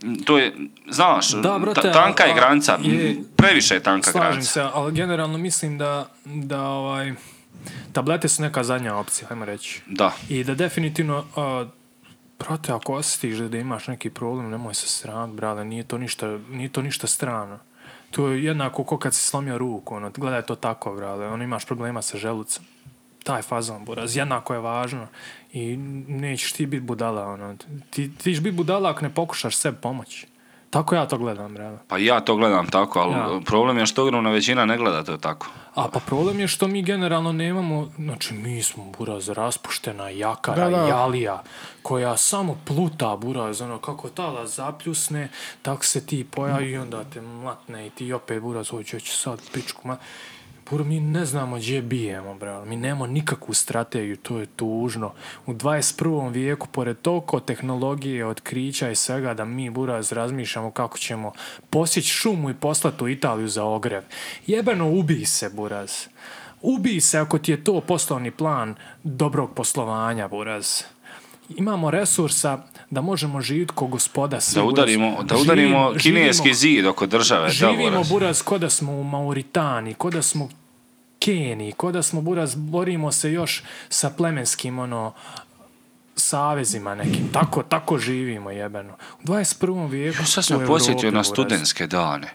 Speaker 3: M, To je, znaš,
Speaker 1: Da, brate,
Speaker 3: ta- tanka
Speaker 1: a-
Speaker 3: je granica,
Speaker 1: a- je-
Speaker 3: m, previše je tanka
Speaker 1: Slažem
Speaker 3: granica.
Speaker 1: se, ali generalno mislim da, da ovaj, tablete su neka zadnja opcija, ajmo reći.
Speaker 3: Da.
Speaker 1: I da definitivno, uh, brate, ako osjetiš da, da imaš neki problem, nemoj se sram, brale, nije to ništa, nije to ništa strano. To je jednako ko kad si slomio ruku, ono, gledaj to tako, brale, ono, imaš problema sa želucem. Taj fazon, buraz, jednako je važno i nećeš ti biti budala, ono, ti, ti ćeš biti budala ako ne pokušaš sebi pomoći. Tako ja to gledam, brale.
Speaker 3: Pa ja to gledam tako, ali
Speaker 1: Ja.
Speaker 3: problem je što ogromna većina ne gleda to tako.
Speaker 1: A pa problem je što mi generalno nemamo, znači mi smo buraz raspuštena jakara,
Speaker 2: Da, da.
Speaker 1: jalija, koja samo pluta buraz, ono kako tala zapljusne, tak se ti pojavi i onda te matne i ti opet buraz, oj će sad pičku, ma... Bur, mi ne znamo gdje bijemo, bravo. Mi nemamo nikakvu strategiju, to je tužno. U 21. vijeku, pored toliko tehnologije, otkrića i svega, da mi, buraz, razmišljamo kako ćemo posjeći šumu i poslati u Italiju za ogrev. Jebeno ubi se, buraz. Ubi se ako ti je to poslovni plan dobrog poslovanja, Buraz. Imamo resursa da možemo živjeti ko gospoda. sve,
Speaker 3: Da
Speaker 1: Buraz.
Speaker 3: udarimo, da
Speaker 1: Živimo-
Speaker 3: udarimo
Speaker 1: živimo-
Speaker 3: kineski zid oko države. da,
Speaker 1: Živimo,
Speaker 3: Boras.
Speaker 1: Buraz, ko da smo u Mauritani, ko da smo u Keniji, ko da smo, Buraz, borimo se još sa plemenskim, ono, savezima nekim. Tako, tako živimo, jebeno. U 21. vijeku
Speaker 3: Jo, sad
Speaker 1: u
Speaker 3: sam
Speaker 1: Evropi,
Speaker 3: posjetio na
Speaker 1: Buraz.
Speaker 3: studentske dane.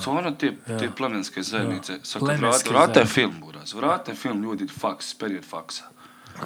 Speaker 3: Stvarno te, te plemenske zajednice. Sad kad
Speaker 1: Plemenske
Speaker 3: vrate, vrate
Speaker 1: zajednice.
Speaker 3: film, buraz. Vrate film, ljudi, faks, period faksa.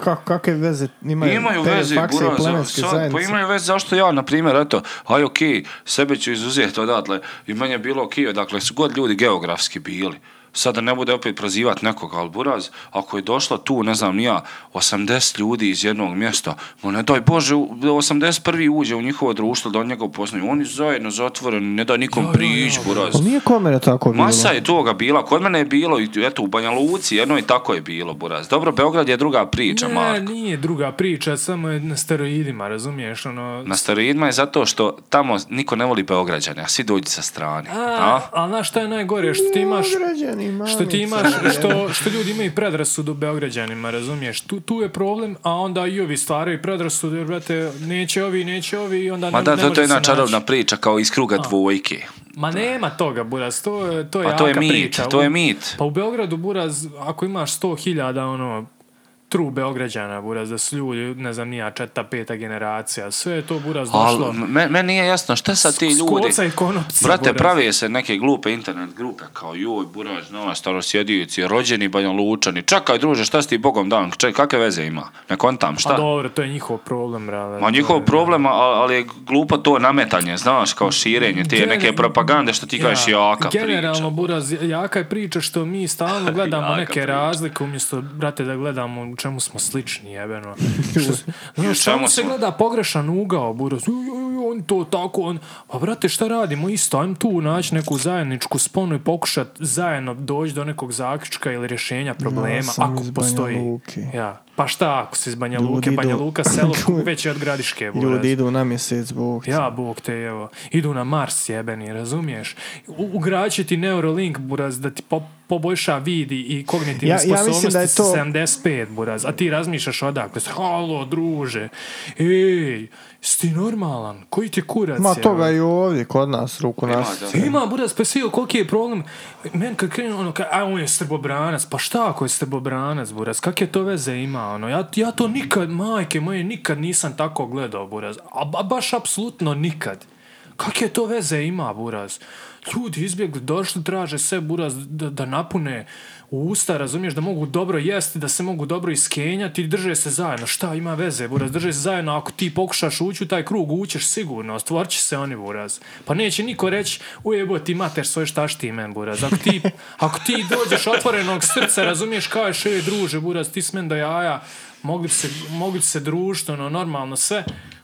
Speaker 2: Kako, kakve veze imaju,
Speaker 3: imaju
Speaker 2: te
Speaker 3: veze,
Speaker 2: fakse i
Speaker 3: buraz.
Speaker 2: plemenske
Speaker 3: Sad, pa
Speaker 2: zajednice?
Speaker 3: imaju veze zašto ja, na primjer, eto, aj okej, sebe ću izuzeti odatle. I meni je bilo okej, dakle, su god ljudi geografski bili. Sada ne bude opet prozivat nekoga, ali buraz, ako je došlo tu, ne znam, ni ja, 80 ljudi iz jednog mjesta, ma ne daj Bože, u- 81. uđe u njihovo društvo da on njega upoznaju. Oni zajedno zatvoreni, ne da nikom prić, buraz.
Speaker 2: Ali Pa nije kod mene tako bilo.
Speaker 3: Masa je toga bila, kod mene je bilo, i eto, u Banja Luci jedno i tako je bilo, Buraz. Dobro, Beograd je druga priča,
Speaker 1: Ne,
Speaker 3: Marko.
Speaker 1: nije druga priča, samo je na steroidima, razumiješ, ono...
Speaker 3: Na steroidima je zato što tamo niko ne voli Beograđane, a svi dođu sa strane.
Speaker 1: A,
Speaker 3: A?
Speaker 1: ali znaš šta je najgore, što ti imaš...
Speaker 2: Beograđani,
Speaker 1: Što ti
Speaker 2: mamice.
Speaker 1: imaš, što, što ljudi imaju predrasudu Beograđanima, razumiješ? Tu, tu je problem, a onda i ovi stvaraju predrasudu, jer brate, neće ovi, neće ovi, i onda ne,
Speaker 3: Ma da,
Speaker 1: ne
Speaker 3: to,
Speaker 1: može
Speaker 3: to je
Speaker 1: se
Speaker 3: jedna
Speaker 1: naći.
Speaker 3: čarobna priča, kao iz kruga dvojke.
Speaker 1: Ma nema toga, Buraz, to, je- to je
Speaker 3: Pa to je
Speaker 1: jaka
Speaker 3: mit,
Speaker 1: priča.
Speaker 3: to je
Speaker 1: U-
Speaker 3: mit.
Speaker 1: Pa u Beogradu, Buraz, ako imaš 100.000, ono, tru Beograđana, Buraz, da su ljudi, ne znam, nija četa, peta generacija, sve je to, Buraz, došlo.
Speaker 3: Ali me- meni nije jasno, šta sad ti
Speaker 1: S- s
Speaker 3: ljudi...
Speaker 1: koca i konopca,
Speaker 3: Brate,
Speaker 1: Buraz.
Speaker 3: prave se neke glupe internet grupe, kao joj, Buraz, nova starosjedivici, rođeni Banja Lučani, čekaj druže, šta si ti bogom dan, čekaj, kakve veze ima, ne kontam, šta?
Speaker 1: A Pa dobro, to je njihov problem, brale.
Speaker 3: Ma njihov problem, a- ali je glupo to nametanje, znaš, kao širenje te
Speaker 1: Gener-
Speaker 3: neke propagande što ti kažeš jaka
Speaker 1: Generalno,
Speaker 3: priča.
Speaker 1: Buraz, jaka je priča što mi stalno gledamo
Speaker 3: Jaka
Speaker 1: neke
Speaker 3: priča.
Speaker 1: razlike umjesto, brate, da gledamo u čemu smo slični, jebeno. Što,
Speaker 3: u
Speaker 1: znaš,
Speaker 3: čemu
Speaker 1: stalno se
Speaker 3: smo?
Speaker 1: gleda pogrešan ugao, Buraz. Ju, ju, ju, on to tako, on... Pa, brate, šta radimo isto? Ajmo tu naći neku zajedničku sponu i pokušat zajedno doći do nekog zaključka ili rješenja problema,
Speaker 2: sam
Speaker 1: ako
Speaker 2: iz Banja
Speaker 1: postoji.
Speaker 2: Luke.
Speaker 1: Ja. Pa šta ako si iz Banja Luke?
Speaker 2: Ljudi
Speaker 1: Banja
Speaker 2: idu-
Speaker 1: Luka, selo veće od Gradiške, Buraz.
Speaker 2: Ljudi idu na mjesec, bog.
Speaker 1: Ja, bog te, evo, idu na Mars jebeni, razumiješ? U, ugraće ti Neuralink, buraz, da ti po, poboljša vid i- i kognitivne
Speaker 2: Ja- ja mislim
Speaker 1: sposobnosti
Speaker 2: da je
Speaker 1: sa
Speaker 2: to-
Speaker 1: 75, buraz, a ti razmišljaš odakle, halo, druže, ej, si ti normalan, koji ti kurac
Speaker 2: Ma
Speaker 1: je,
Speaker 2: toga i ovdje, kod nas, ruku
Speaker 3: Ima,
Speaker 2: nas.
Speaker 3: da.
Speaker 1: ima, buraz, pa svi, koliki je problem? Men kad krenu, ono, ka, a on je srbobranac, pa šta ako je srbobranac, buraz, kakve to veze ima, ono, ja, ja to nikad, majke moje, nikad nisam tako gledao, buraz, a, ba- baš apsolutno nikad. Kakve to veze ima, buraz? Ljudi izbjegli, došli, traže se, buraz, da, da napune usta, razumiješ, da mogu dobro jesti, da se mogu dobro iskenjati, drže se zajedno. Šta ima veze, buraz, drže se zajedno, ako ti pokušaš ući u taj krug, ućeš sigurno, stvorit će se oni, buraz. Pa neće niko reći, ujebo ti mater svoje šta šti men, buraz. Ako ti, ako ti dođeš otvorenog srca, razumiješ, kao je še druže, buraz, ti smen do jaja, mogli bi se, mogli bi se društvo, ono, normalno sve.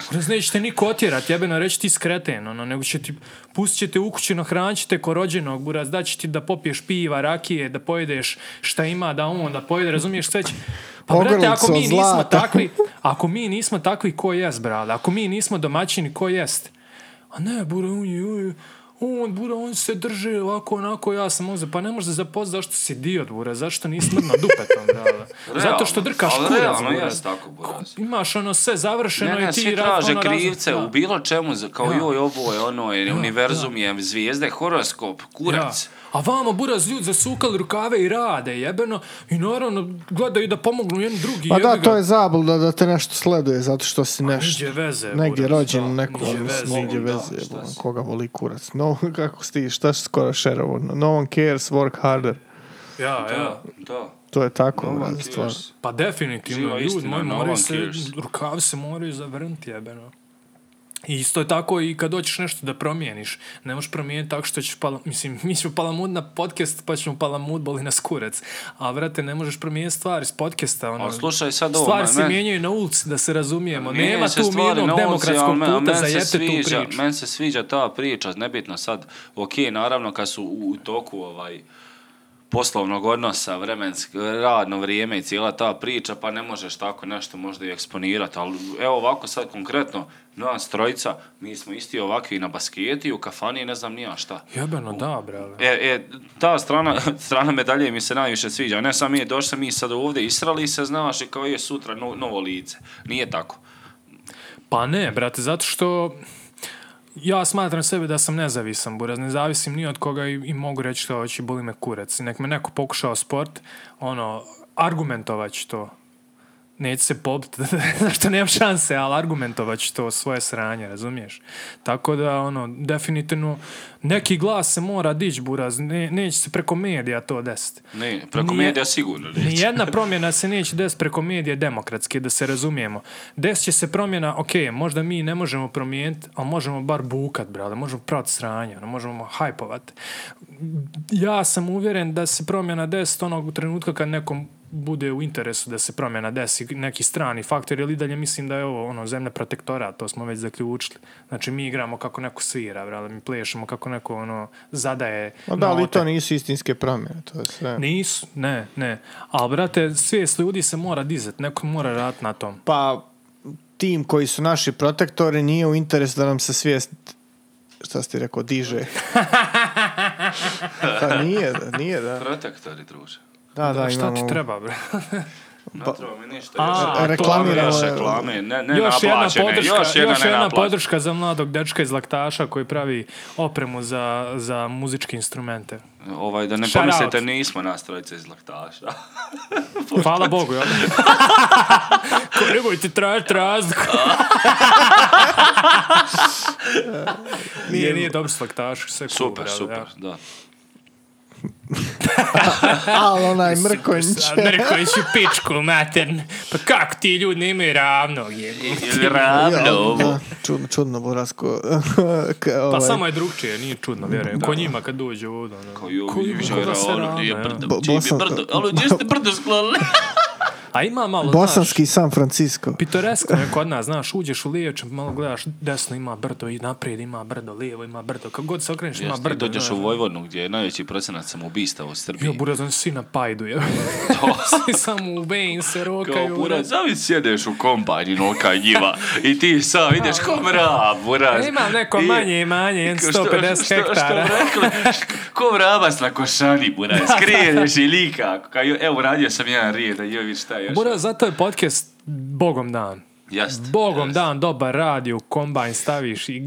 Speaker 1: Buraz, neće te niko otjerat, jebeno reći ti skreten, ono, nego će ti, pustit će te u kućino, hranit će te ko rođenog, buraz, daće ti da popiješ piva, rakije, da pojedeš šta ima, da on, da pojede, razumiješ, sve će... Pa brate,
Speaker 2: Ogrlicu
Speaker 1: ako mi
Speaker 2: od
Speaker 1: nismo
Speaker 2: zlata.
Speaker 1: takvi, ako mi nismo takvi, ko jest, brale? Ako mi nismo domaćini, ko jest? A ne, bura, on je, on je- on, bura, on se drže ovako, onako, ja sam uzeo. Pa ne možeš zapoznat zašto si idiot, bura, zašto nisi mrdno dupetom, brale. Zato što
Speaker 3: Pa Realno,
Speaker 1: drkaš
Speaker 3: ali
Speaker 1: kurac,
Speaker 3: realno
Speaker 1: bura.
Speaker 3: jest tako, buraz.
Speaker 1: Imaš ono sve završeno
Speaker 3: Ne, ne,
Speaker 1: i ti...
Speaker 3: svi
Speaker 1: ra-
Speaker 3: traže
Speaker 1: ono, razum-
Speaker 3: krivce
Speaker 1: Da.
Speaker 3: u bilo čemu, za- kao
Speaker 1: Ja.
Speaker 3: joj, ovo je ono, je, univerzum je, zvijezde, horoskop, kurac.
Speaker 1: A vamo buraz ljudi zasukali rukave i rade jebeno i naravno gledaju da pomognu jedni drugi.
Speaker 2: Pa da,
Speaker 1: jebi ga.
Speaker 2: to je zabluda da te nešto sleduje zato što si nešto.
Speaker 1: Niđe veze.
Speaker 2: Negdje
Speaker 1: buraz,
Speaker 2: rođen,
Speaker 1: da,
Speaker 2: neko,
Speaker 1: niđe veze.
Speaker 2: mislim, niđe
Speaker 3: Da,
Speaker 2: veze,
Speaker 3: šta
Speaker 2: bolan,
Speaker 3: si.
Speaker 2: koga voli kurac. No, kako sti, šta si skoro šerovo? No one cares, work harder.
Speaker 1: Ja, ja.
Speaker 3: Da, da.
Speaker 2: To je tako,
Speaker 3: Novan
Speaker 2: no, stvar.
Speaker 3: Kirš.
Speaker 1: Pa definitivno,
Speaker 3: Živa
Speaker 1: ljudi
Speaker 3: istina,
Speaker 1: moji
Speaker 3: no
Speaker 1: moraju
Speaker 3: one
Speaker 1: se,
Speaker 3: cares.
Speaker 1: rukavi se moraju zavrnuti jebeno. I isto je tako i kad hoćeš nešto da promijeniš. Ne možeš promijeniti tako što ćeš pala, mislim, mi ćemo palamud na podcast, pa ćemo palamud boli nas kurac. A vrate, ne možeš promijeniti stvari s podcasta. Ono,
Speaker 3: A slušaj sad ovo,
Speaker 1: stvari
Speaker 3: ma-
Speaker 1: se
Speaker 3: men-
Speaker 1: mijenjaju na ulici, da se razumijemo.
Speaker 3: Mijenjaju
Speaker 1: Nema
Speaker 3: se
Speaker 1: tu
Speaker 3: stvari na
Speaker 1: mirnog
Speaker 3: ulici,
Speaker 1: demokratskog
Speaker 3: ali men- ali
Speaker 1: puta
Speaker 3: men
Speaker 1: za
Speaker 3: se
Speaker 1: jebete tu
Speaker 3: sviđa-
Speaker 1: priču.
Speaker 3: Meni se sviđa ta priča, nebitno sad, ok, naravno kad su u, u toku ovaj poslovnog odnosa, vremenski, radno vrijeme i cijela ta priča, pa ne možeš tako nešto možda i eksponirati. Ali evo ovako sad konkretno, nas trojica, mi smo isti ovakvi na basketi, u kafani, ne znam nija šta.
Speaker 1: Jebeno da, brale.
Speaker 3: E, e, ta strana, strana medalje mi se najviše sviđa. Ne sam mi je došli, mi sad ovdje israli se, znaš, i kao je sutra no- novo lice. Nije tako.
Speaker 1: Pa ne, brate, zato što ja smatram sebe da sam nezavisan, buraz, ne zavisim ni od koga i, i mogu reći što hoće, boli me kurac. I Nek me neko pokušao sport, ono, argumentovat ću to. Neću se pobiti, zašto nemam šanse, ali argumentovat ću to svoje sranje, razumiješ? Tako da, ono, definitivno, neki glas se mora dići, buraz, ne, neće se preko medija to desiti.
Speaker 3: Ne, preko
Speaker 1: Nije-
Speaker 3: medija sigurno neće.
Speaker 1: Nijedna promjena se neće desiti preko medije demokratski, da se razumijemo. Desit će se promjena, ok, možda mi ne možemo promijeniti, ali možemo bar bukat, brale, možemo praviti sranje, ono, možemo hajpovat. Ja sam uvjeren da se promjena desit onog trenutka kad nekom bude u interesu da se promjena desi neki strani faktor, ili dalje mislim da je ovo ono, zemlja protektora, to smo već zaključili. Znači mi igramo kako neko svira, brale, mi plešemo kako neko ono, zadaje.
Speaker 2: Ma da, ali
Speaker 1: note.
Speaker 2: to nisu istinske promjene, to je sve.
Speaker 1: Nisu, ne, ne. Ali, brate, svijest ljudi se mora dizat, neko mora raditi na tom.
Speaker 2: Pa, tim koji su naši protektori nije u interesu da nam se svijest šta si ti rekao, diže. pa nije, da, nije, da.
Speaker 3: Protektori, druže.
Speaker 2: Da, da,
Speaker 1: Pa Šta ti
Speaker 2: imamo...
Speaker 1: treba, bre?
Speaker 3: Ne
Speaker 2: Pa-
Speaker 3: treba mi ništa.
Speaker 1: A,
Speaker 3: još-
Speaker 1: to-
Speaker 2: Reklamiramo
Speaker 3: još
Speaker 2: je-
Speaker 3: reklame, ne, ne
Speaker 1: još jedna
Speaker 3: naplaćene,
Speaker 1: podrška,
Speaker 3: još jedna,
Speaker 1: još jedna
Speaker 3: nenaplaćena.
Speaker 1: podrška za mladog dečka iz Laktaša koji pravi opremu za, za muzičke instrumente.
Speaker 3: Ovaj, da ne
Speaker 1: Shout
Speaker 3: pomislite,
Speaker 1: out.
Speaker 3: nismo nas trojica iz laktaša.
Speaker 1: Hvala Bogu, jel? Ko- Nemojte tražiti razliku. nije, nije dobro s Laktaša, sve cool,
Speaker 3: Super,
Speaker 1: brate,
Speaker 3: super,
Speaker 1: ja.
Speaker 3: da.
Speaker 2: Ali onaj mrkonj
Speaker 1: Sad Mrković u pičku, matern. Pa kako ti ljudi nemaju ravnog, jebo?
Speaker 3: Ili ravno ovo.
Speaker 2: Da, čudno, čudno ovaj, burasko.
Speaker 1: Pa
Speaker 3: Ovaj.
Speaker 1: samo je drugčije, nije čudno, vjerujem. Ko njima kad dođe ovdje. Ono.
Speaker 3: Kao ju, ju,
Speaker 1: koga se
Speaker 3: ono,
Speaker 1: rane,
Speaker 3: nije
Speaker 1: ja?
Speaker 3: brdo,
Speaker 2: Bo-
Speaker 3: čim je
Speaker 2: Bosan-
Speaker 3: brdo, ali gdje ste brdo sklonili?
Speaker 1: A ima malo, znaš,
Speaker 2: Bosanski San Francisco.
Speaker 1: pitoresko je kod nas, znaš, uđeš u liječ, malo gledaš, desno ima brdo i naprijed ima brdo, lijevo ima brdo, kako god se okreneš ima
Speaker 3: Jeste,
Speaker 1: brdo.
Speaker 3: dođeš u
Speaker 1: znaš.
Speaker 3: Vojvodnu gdje je najveći procenat samoubistava u Srbiji.
Speaker 1: Jo, buraz, oni svi na pajdu, je. svi samo u vein se
Speaker 3: Kao
Speaker 1: rokaju. ono.
Speaker 3: buraz,
Speaker 1: brate.
Speaker 3: zavis sjedeš u kombajn i noka njiva i ti sam ideš ko mrav, buraz.
Speaker 1: Ima neko
Speaker 3: I-
Speaker 1: manje imanje,
Speaker 3: Ko što-
Speaker 1: 150
Speaker 3: što-
Speaker 1: hektara.
Speaker 3: Što rekli, ko vrabac na košani, buraz, kreneš i likako. Kao, jo, evo, radio sam jedan rijed, a joj, vidi šta još.
Speaker 1: Buraz, zato je podcast Bogom dan.
Speaker 3: Jeste.
Speaker 1: Bogom dan, dobar radi, u kombajn staviš i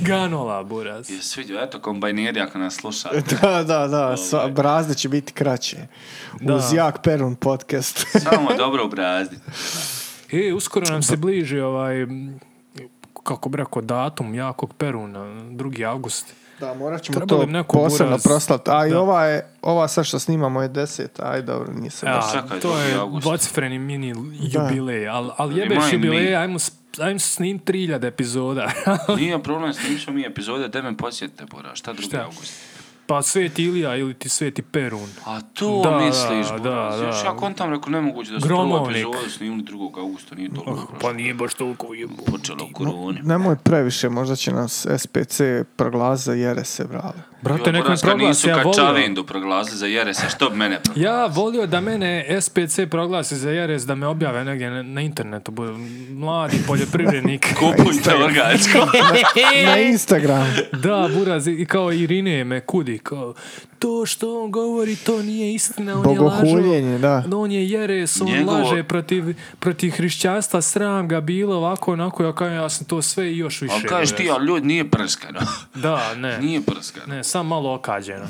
Speaker 1: ganola, buraz.
Speaker 3: Jesi vidio, eto kombajneri ako nas slušate.
Speaker 2: Da, da, da, sva, brazde će biti kraće.
Speaker 1: Ovaj. Da.
Speaker 2: Uz Jak Perun podcast.
Speaker 3: Samo dobro obrazni.
Speaker 1: E, uskoro nam se bliži ovaj, m, kako bi rekao, datum jakog Peruna, 2. august.
Speaker 2: da, morat ćemo
Speaker 1: Trebalo
Speaker 2: to
Speaker 1: bi neko
Speaker 2: posebno
Speaker 1: buraz-
Speaker 2: proslaviti. A i
Speaker 1: Da.
Speaker 2: ova, je, ova sad što snimamo je 10, aj dobro, nisam
Speaker 1: Ja,
Speaker 2: baš.
Speaker 3: čekaj,
Speaker 1: to
Speaker 3: 2.
Speaker 1: je
Speaker 3: august.
Speaker 1: dvocifreni mini jubilej, ali al jebeš
Speaker 3: Remind me.
Speaker 1: jubilej, ajmo, s- ajmo snim 3000 epizoda.
Speaker 3: Nije problem, snimit ćemo mi epizode, da me posjetite, buraz, šta drugi
Speaker 1: Šta?
Speaker 3: august?
Speaker 1: pa Sveti Ilija ili ti Sveti Perun.
Speaker 3: A to
Speaker 1: Da,
Speaker 3: misliš,
Speaker 1: da,
Speaker 3: buraz.
Speaker 1: da,
Speaker 3: Još
Speaker 1: da.
Speaker 3: ja kontam, rekao, nemoguće da su prvu
Speaker 1: Gromovnik.
Speaker 3: epizodu snimili 2. augusta, nije toliko. prošlo.
Speaker 1: Pa nije baš toliko jebo.
Speaker 3: Počelo u koroni.
Speaker 2: Nemoj previše, možda će nas SPC proglaza za jerese, brale.
Speaker 1: Brate, nek me proglasi,
Speaker 3: nisu
Speaker 1: ja volio.
Speaker 3: kačavindu proglasili za Jeresa, što bi mene proglasili?
Speaker 1: Ja volio da mene SPC proglasi za Jerez da me objave negdje na, na internetu. Bude mladi poljoprivrednik.
Speaker 3: Kupujte organsko.
Speaker 1: E!
Speaker 2: Na Instagram.
Speaker 1: Da, Buraz, i kao Irine me kudi, kao, to što on govori, to nije istina, on je
Speaker 2: Bogohuljenje,
Speaker 1: lažo.
Speaker 2: da.
Speaker 1: On je jeres, on
Speaker 3: Njegovo-
Speaker 1: laže protiv, protiv hrišćanstva, sram ga bilo, ovako, onako, ja kažem, ja sam to sve i još više.
Speaker 3: Ali kažeš ti,
Speaker 1: Buraz.
Speaker 3: ali ljudi nije prskano.
Speaker 1: Da, ne,
Speaker 3: Nije prskano.
Speaker 1: ne, sam malo okađeno.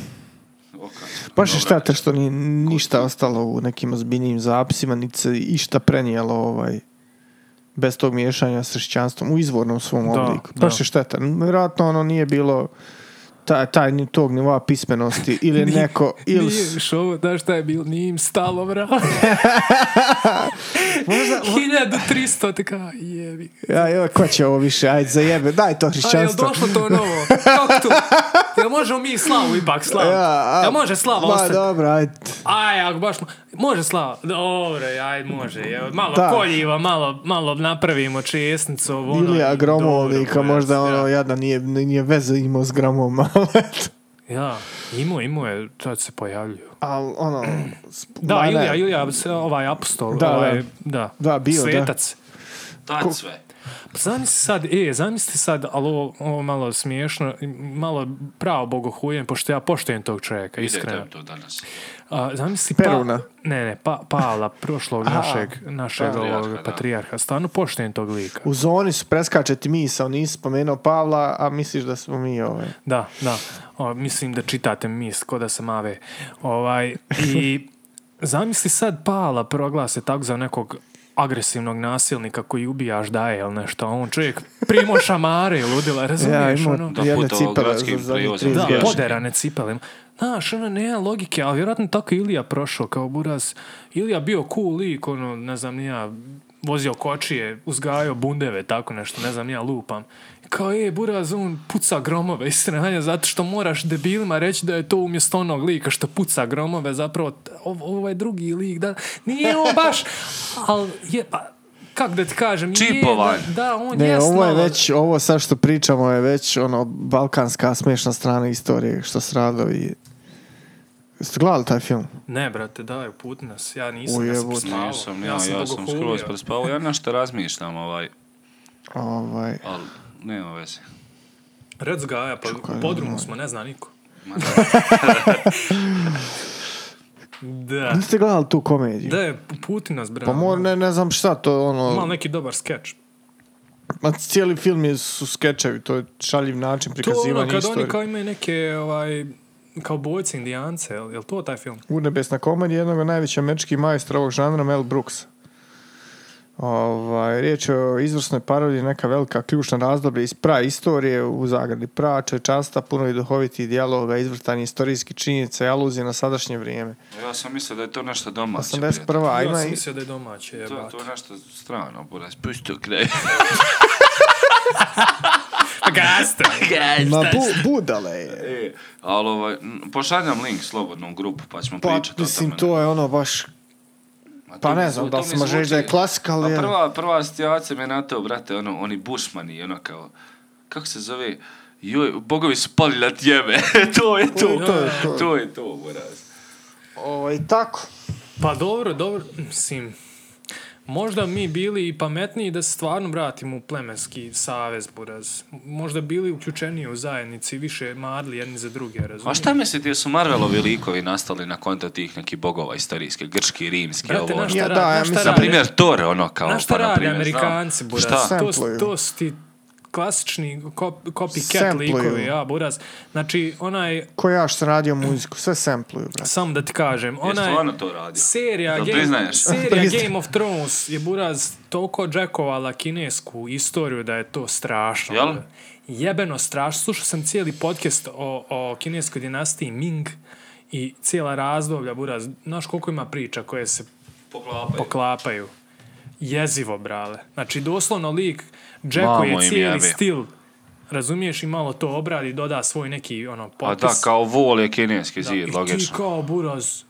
Speaker 3: Okačeno.
Speaker 2: Baš je
Speaker 3: Dobra.
Speaker 2: šteta što nije ništa ostalo u nekim ozbiljnijim zapisima, niti se išta prenijelo ovaj, bez tog miješanja s hrišćanstvom u izvornom svom
Speaker 1: Da,
Speaker 2: obliku.
Speaker 1: da.
Speaker 2: Baš je šteta. Vjerojatno ono nije bilo taj, taj ni tog nivoa pismenosti ili je neko ili
Speaker 1: Nije
Speaker 2: s-
Speaker 1: još ovo, znaš šta je bilo, nije im stalo, bra.
Speaker 2: možda
Speaker 1: 1300, te kao, jebi. ga.
Speaker 2: ja, ja, ko će ovo više, ajde zajebe, daj to
Speaker 1: A jel
Speaker 2: hrišćanstvo.
Speaker 1: došlo to novo? Kako to? Jel možemo mi slavu ipak slavu?
Speaker 2: Ja, a-
Speaker 1: Jel može slava
Speaker 2: Ma,
Speaker 1: ostati?
Speaker 2: dobro, ajde.
Speaker 1: Aj, ako baš... mo- Može Slava? Dobro, aj, može. Evo, malo
Speaker 2: Da.
Speaker 1: koljiva, malo, malo napravimo česnicu. Ono,
Speaker 2: Ili
Speaker 1: i dobro,
Speaker 2: agromolika,
Speaker 1: buraz,
Speaker 2: možda ono,
Speaker 1: ja.
Speaker 2: jadan nije, nije veze imao s gramom, ali eto.
Speaker 1: Ja, imao, imao je, tad se pojavljuju.
Speaker 2: Ali ono...
Speaker 1: Da,
Speaker 2: ma ne.
Speaker 1: Ilija, Ilija, s- ovaj apostol,
Speaker 2: Da, da.
Speaker 1: ovaj, da.
Speaker 2: Da, bio, da.
Speaker 1: Svetac.
Speaker 3: Tad sve.
Speaker 1: Pa Zamisli sad, e, zamisli sad, ali ovo, ovo malo smiješno, malo pravo bogohujem, pošto ja poštujem tog čovjeka,
Speaker 3: Ide
Speaker 1: iskreno.
Speaker 3: tebi to danas.
Speaker 1: A, zamisli
Speaker 2: Peruna.
Speaker 1: Pa, ne, ne, pa, Pavla, prošlog našeg, našeg
Speaker 3: Patrijarha,
Speaker 1: ovog
Speaker 3: da.
Speaker 1: patrijarha. Stvarno poštujem tog lika.
Speaker 2: U zoni su preskače ti misao, nisi spomenuo Pavla, a misliš da smo mi ovaj.
Speaker 1: Da, da. O, mislim da čitate mis, ko da sam ave. Ovaj, I zamisli sad Pala proglase tako za nekog agresivnog nasilnika koji ubijaš daje ili nešto, a on čovjek primo šamare, ludila,
Speaker 2: Ja,
Speaker 1: razumiješ? ono?
Speaker 2: imao
Speaker 3: Da,
Speaker 2: jedne
Speaker 3: putovao
Speaker 2: cipele za
Speaker 3: gradskim
Speaker 2: zadnjih
Speaker 3: prijevozom.
Speaker 2: 30
Speaker 1: Da,
Speaker 3: Izgleda.
Speaker 2: godina.
Speaker 1: poderane cipele. Znaš, ono, nema logike, ali vjerojatno tako je Ilija prošao kao buraz. Ilija bio cool lik, ono, ne znam, ni ja vozio kočije, uzgajao bundeve, tako nešto, ne znam, ni ja lupam. Kao, je, buraz, on puca gromove, istina, zato što moraš debilima reći da je to umjesto onog lika što puca gromove, zapravo, t- ov- ovaj drugi lik, da, nije on baš, ali je, pa, kak da ti kažem, je,
Speaker 3: Čipovan.
Speaker 1: da, da, on
Speaker 2: Ne,
Speaker 1: jest
Speaker 2: ovo je
Speaker 1: malo-
Speaker 2: već, ovo sad što pričamo je već ono balkanska smiješna strana istorije što se radilo i... Jeste gledali taj film?
Speaker 1: Ne, brate, daj, uputi nas. Ja nisam, ja sam
Speaker 2: Ujebote.
Speaker 1: prespavao.
Speaker 3: Nisam, ja, ja sam,
Speaker 1: bogohulio.
Speaker 3: skroz prespavao. Ja nešto razmišljam, ovaj,
Speaker 2: Ovaj,
Speaker 3: ali nema veze.
Speaker 1: Rec Gaja, pa
Speaker 2: Čukaj,
Speaker 1: podrumu
Speaker 2: nemoj.
Speaker 1: smo, ne zna niko.
Speaker 3: Ma da,
Speaker 1: Da.
Speaker 2: niste gledali tu komediju?
Speaker 1: Da je Putin nas brano.
Speaker 2: Pa mor, ne, ne znam šta, to je
Speaker 1: Malo
Speaker 2: ono...
Speaker 1: neki dobar skeč.
Speaker 2: Ma cijeli film je, su skečevi, to je šaljiv način
Speaker 1: To je ono
Speaker 2: prikazivanja
Speaker 1: kad
Speaker 2: istorije.
Speaker 1: oni kao imaju neke ovaj, kao bojci indijance, je li to taj film?
Speaker 2: Unebesna komedija jednog od najvećih američkih majstora ovog žanra, Mel Brooks. Ovaj, riječ je o izvrsnoj parodiji neka velika ključna razdoblja iz pra istorije u zagradi pra časta puno i duhovitih dijaloga, izvrtanje istorijskih činjenica i aluzije na sadašnje vrijeme.
Speaker 3: ja sam mislio da je to nešto domaće. prijatelj.
Speaker 2: 81. a Pa
Speaker 1: Pa ja
Speaker 2: ima
Speaker 1: sam
Speaker 2: i
Speaker 1: mislio da je domaće,
Speaker 3: To,
Speaker 1: jebate.
Speaker 3: to je nešto strano, buraz. Pusti to kraj.
Speaker 1: Pa Gaste!
Speaker 2: ma bu- budale je.
Speaker 3: E, ali ovaj, m, pošaljam link slobodno u grupu, pa ćemo
Speaker 2: Pa,
Speaker 3: pričati
Speaker 2: mislim,
Speaker 3: o tome.
Speaker 2: to je ono baš...
Speaker 3: Ma, to
Speaker 2: Pa
Speaker 3: mi
Speaker 2: ne
Speaker 3: zvu-
Speaker 2: znam
Speaker 3: to
Speaker 2: da li
Speaker 3: mi
Speaker 2: se može reći da je
Speaker 3: zvuči-
Speaker 2: klasika, ali...
Speaker 3: A
Speaker 2: je-
Speaker 3: prva, prva asocijacija me na to, brate, ono, oni bušmani, ono kao, kako se zove, joj, bogovi su pali na tjeme, to je to,
Speaker 2: To je to.
Speaker 3: to je to, buraz.
Speaker 2: Ovaj, tako.
Speaker 1: Pa dobro, dobro, mislim, možda mi bili i pametniji da se stvarno vratimo u plemenski savez, buraz. Možda bili uključeniji u zajednici, više madli jedni za druge, razumiješ?
Speaker 3: A šta mislite, jesu Marvelovi likovi nastali na konta tih nekih bogova istorijske, grčki, rimski,
Speaker 1: Brate,
Speaker 3: ovo,
Speaker 1: znaš
Speaker 3: ono?
Speaker 1: šta
Speaker 2: Ja,
Speaker 1: radi-
Speaker 2: da, ja
Speaker 1: znaš šta
Speaker 2: mislim-
Speaker 3: Na
Speaker 1: radi-
Speaker 3: primjer, Thor, ono, kao,
Speaker 1: Znaš šta
Speaker 3: pa, na
Speaker 1: rade
Speaker 3: primjer, znam.
Speaker 1: Amerikanci, buraz?
Speaker 3: Šta?
Speaker 1: To, su-
Speaker 2: Sampluju.
Speaker 1: to su ti klasični kop, copycat
Speaker 2: Sampluju.
Speaker 1: likovi, ja, buraz. Znači, onaj,
Speaker 2: Ko ja što sam radio muziku, sve sampluju, brate.
Speaker 1: sam da ti kažem,
Speaker 3: Je
Speaker 1: onaj...
Speaker 3: stvarno to radio.
Speaker 1: Serija,
Speaker 3: Jel
Speaker 1: Game,
Speaker 3: priznaješ?
Speaker 1: serija
Speaker 2: Priznajem.
Speaker 1: Game of Thrones je buraz toliko džekovala kinesku istoriju da je to strašno.
Speaker 3: Jel?
Speaker 1: Jebeno strašno. Slušao sam cijeli podcast o, o kineskoj dinastiji Ming i cijela razdoblja, buraz. Znaš koliko ima priča koje se
Speaker 3: Poklapaj.
Speaker 1: poklapaju. Jezivo, brale. Znači, doslovno lik Jacko
Speaker 3: Mamo
Speaker 1: je
Speaker 3: im
Speaker 1: cijeli
Speaker 3: jebi.
Speaker 1: stil. Razumiješ i malo to obradi, doda svoj neki ono
Speaker 3: A
Speaker 1: potpis.
Speaker 3: da, kao vol je kineski
Speaker 1: I
Speaker 3: zid,
Speaker 1: ti
Speaker 3: logično.
Speaker 1: kao buraz,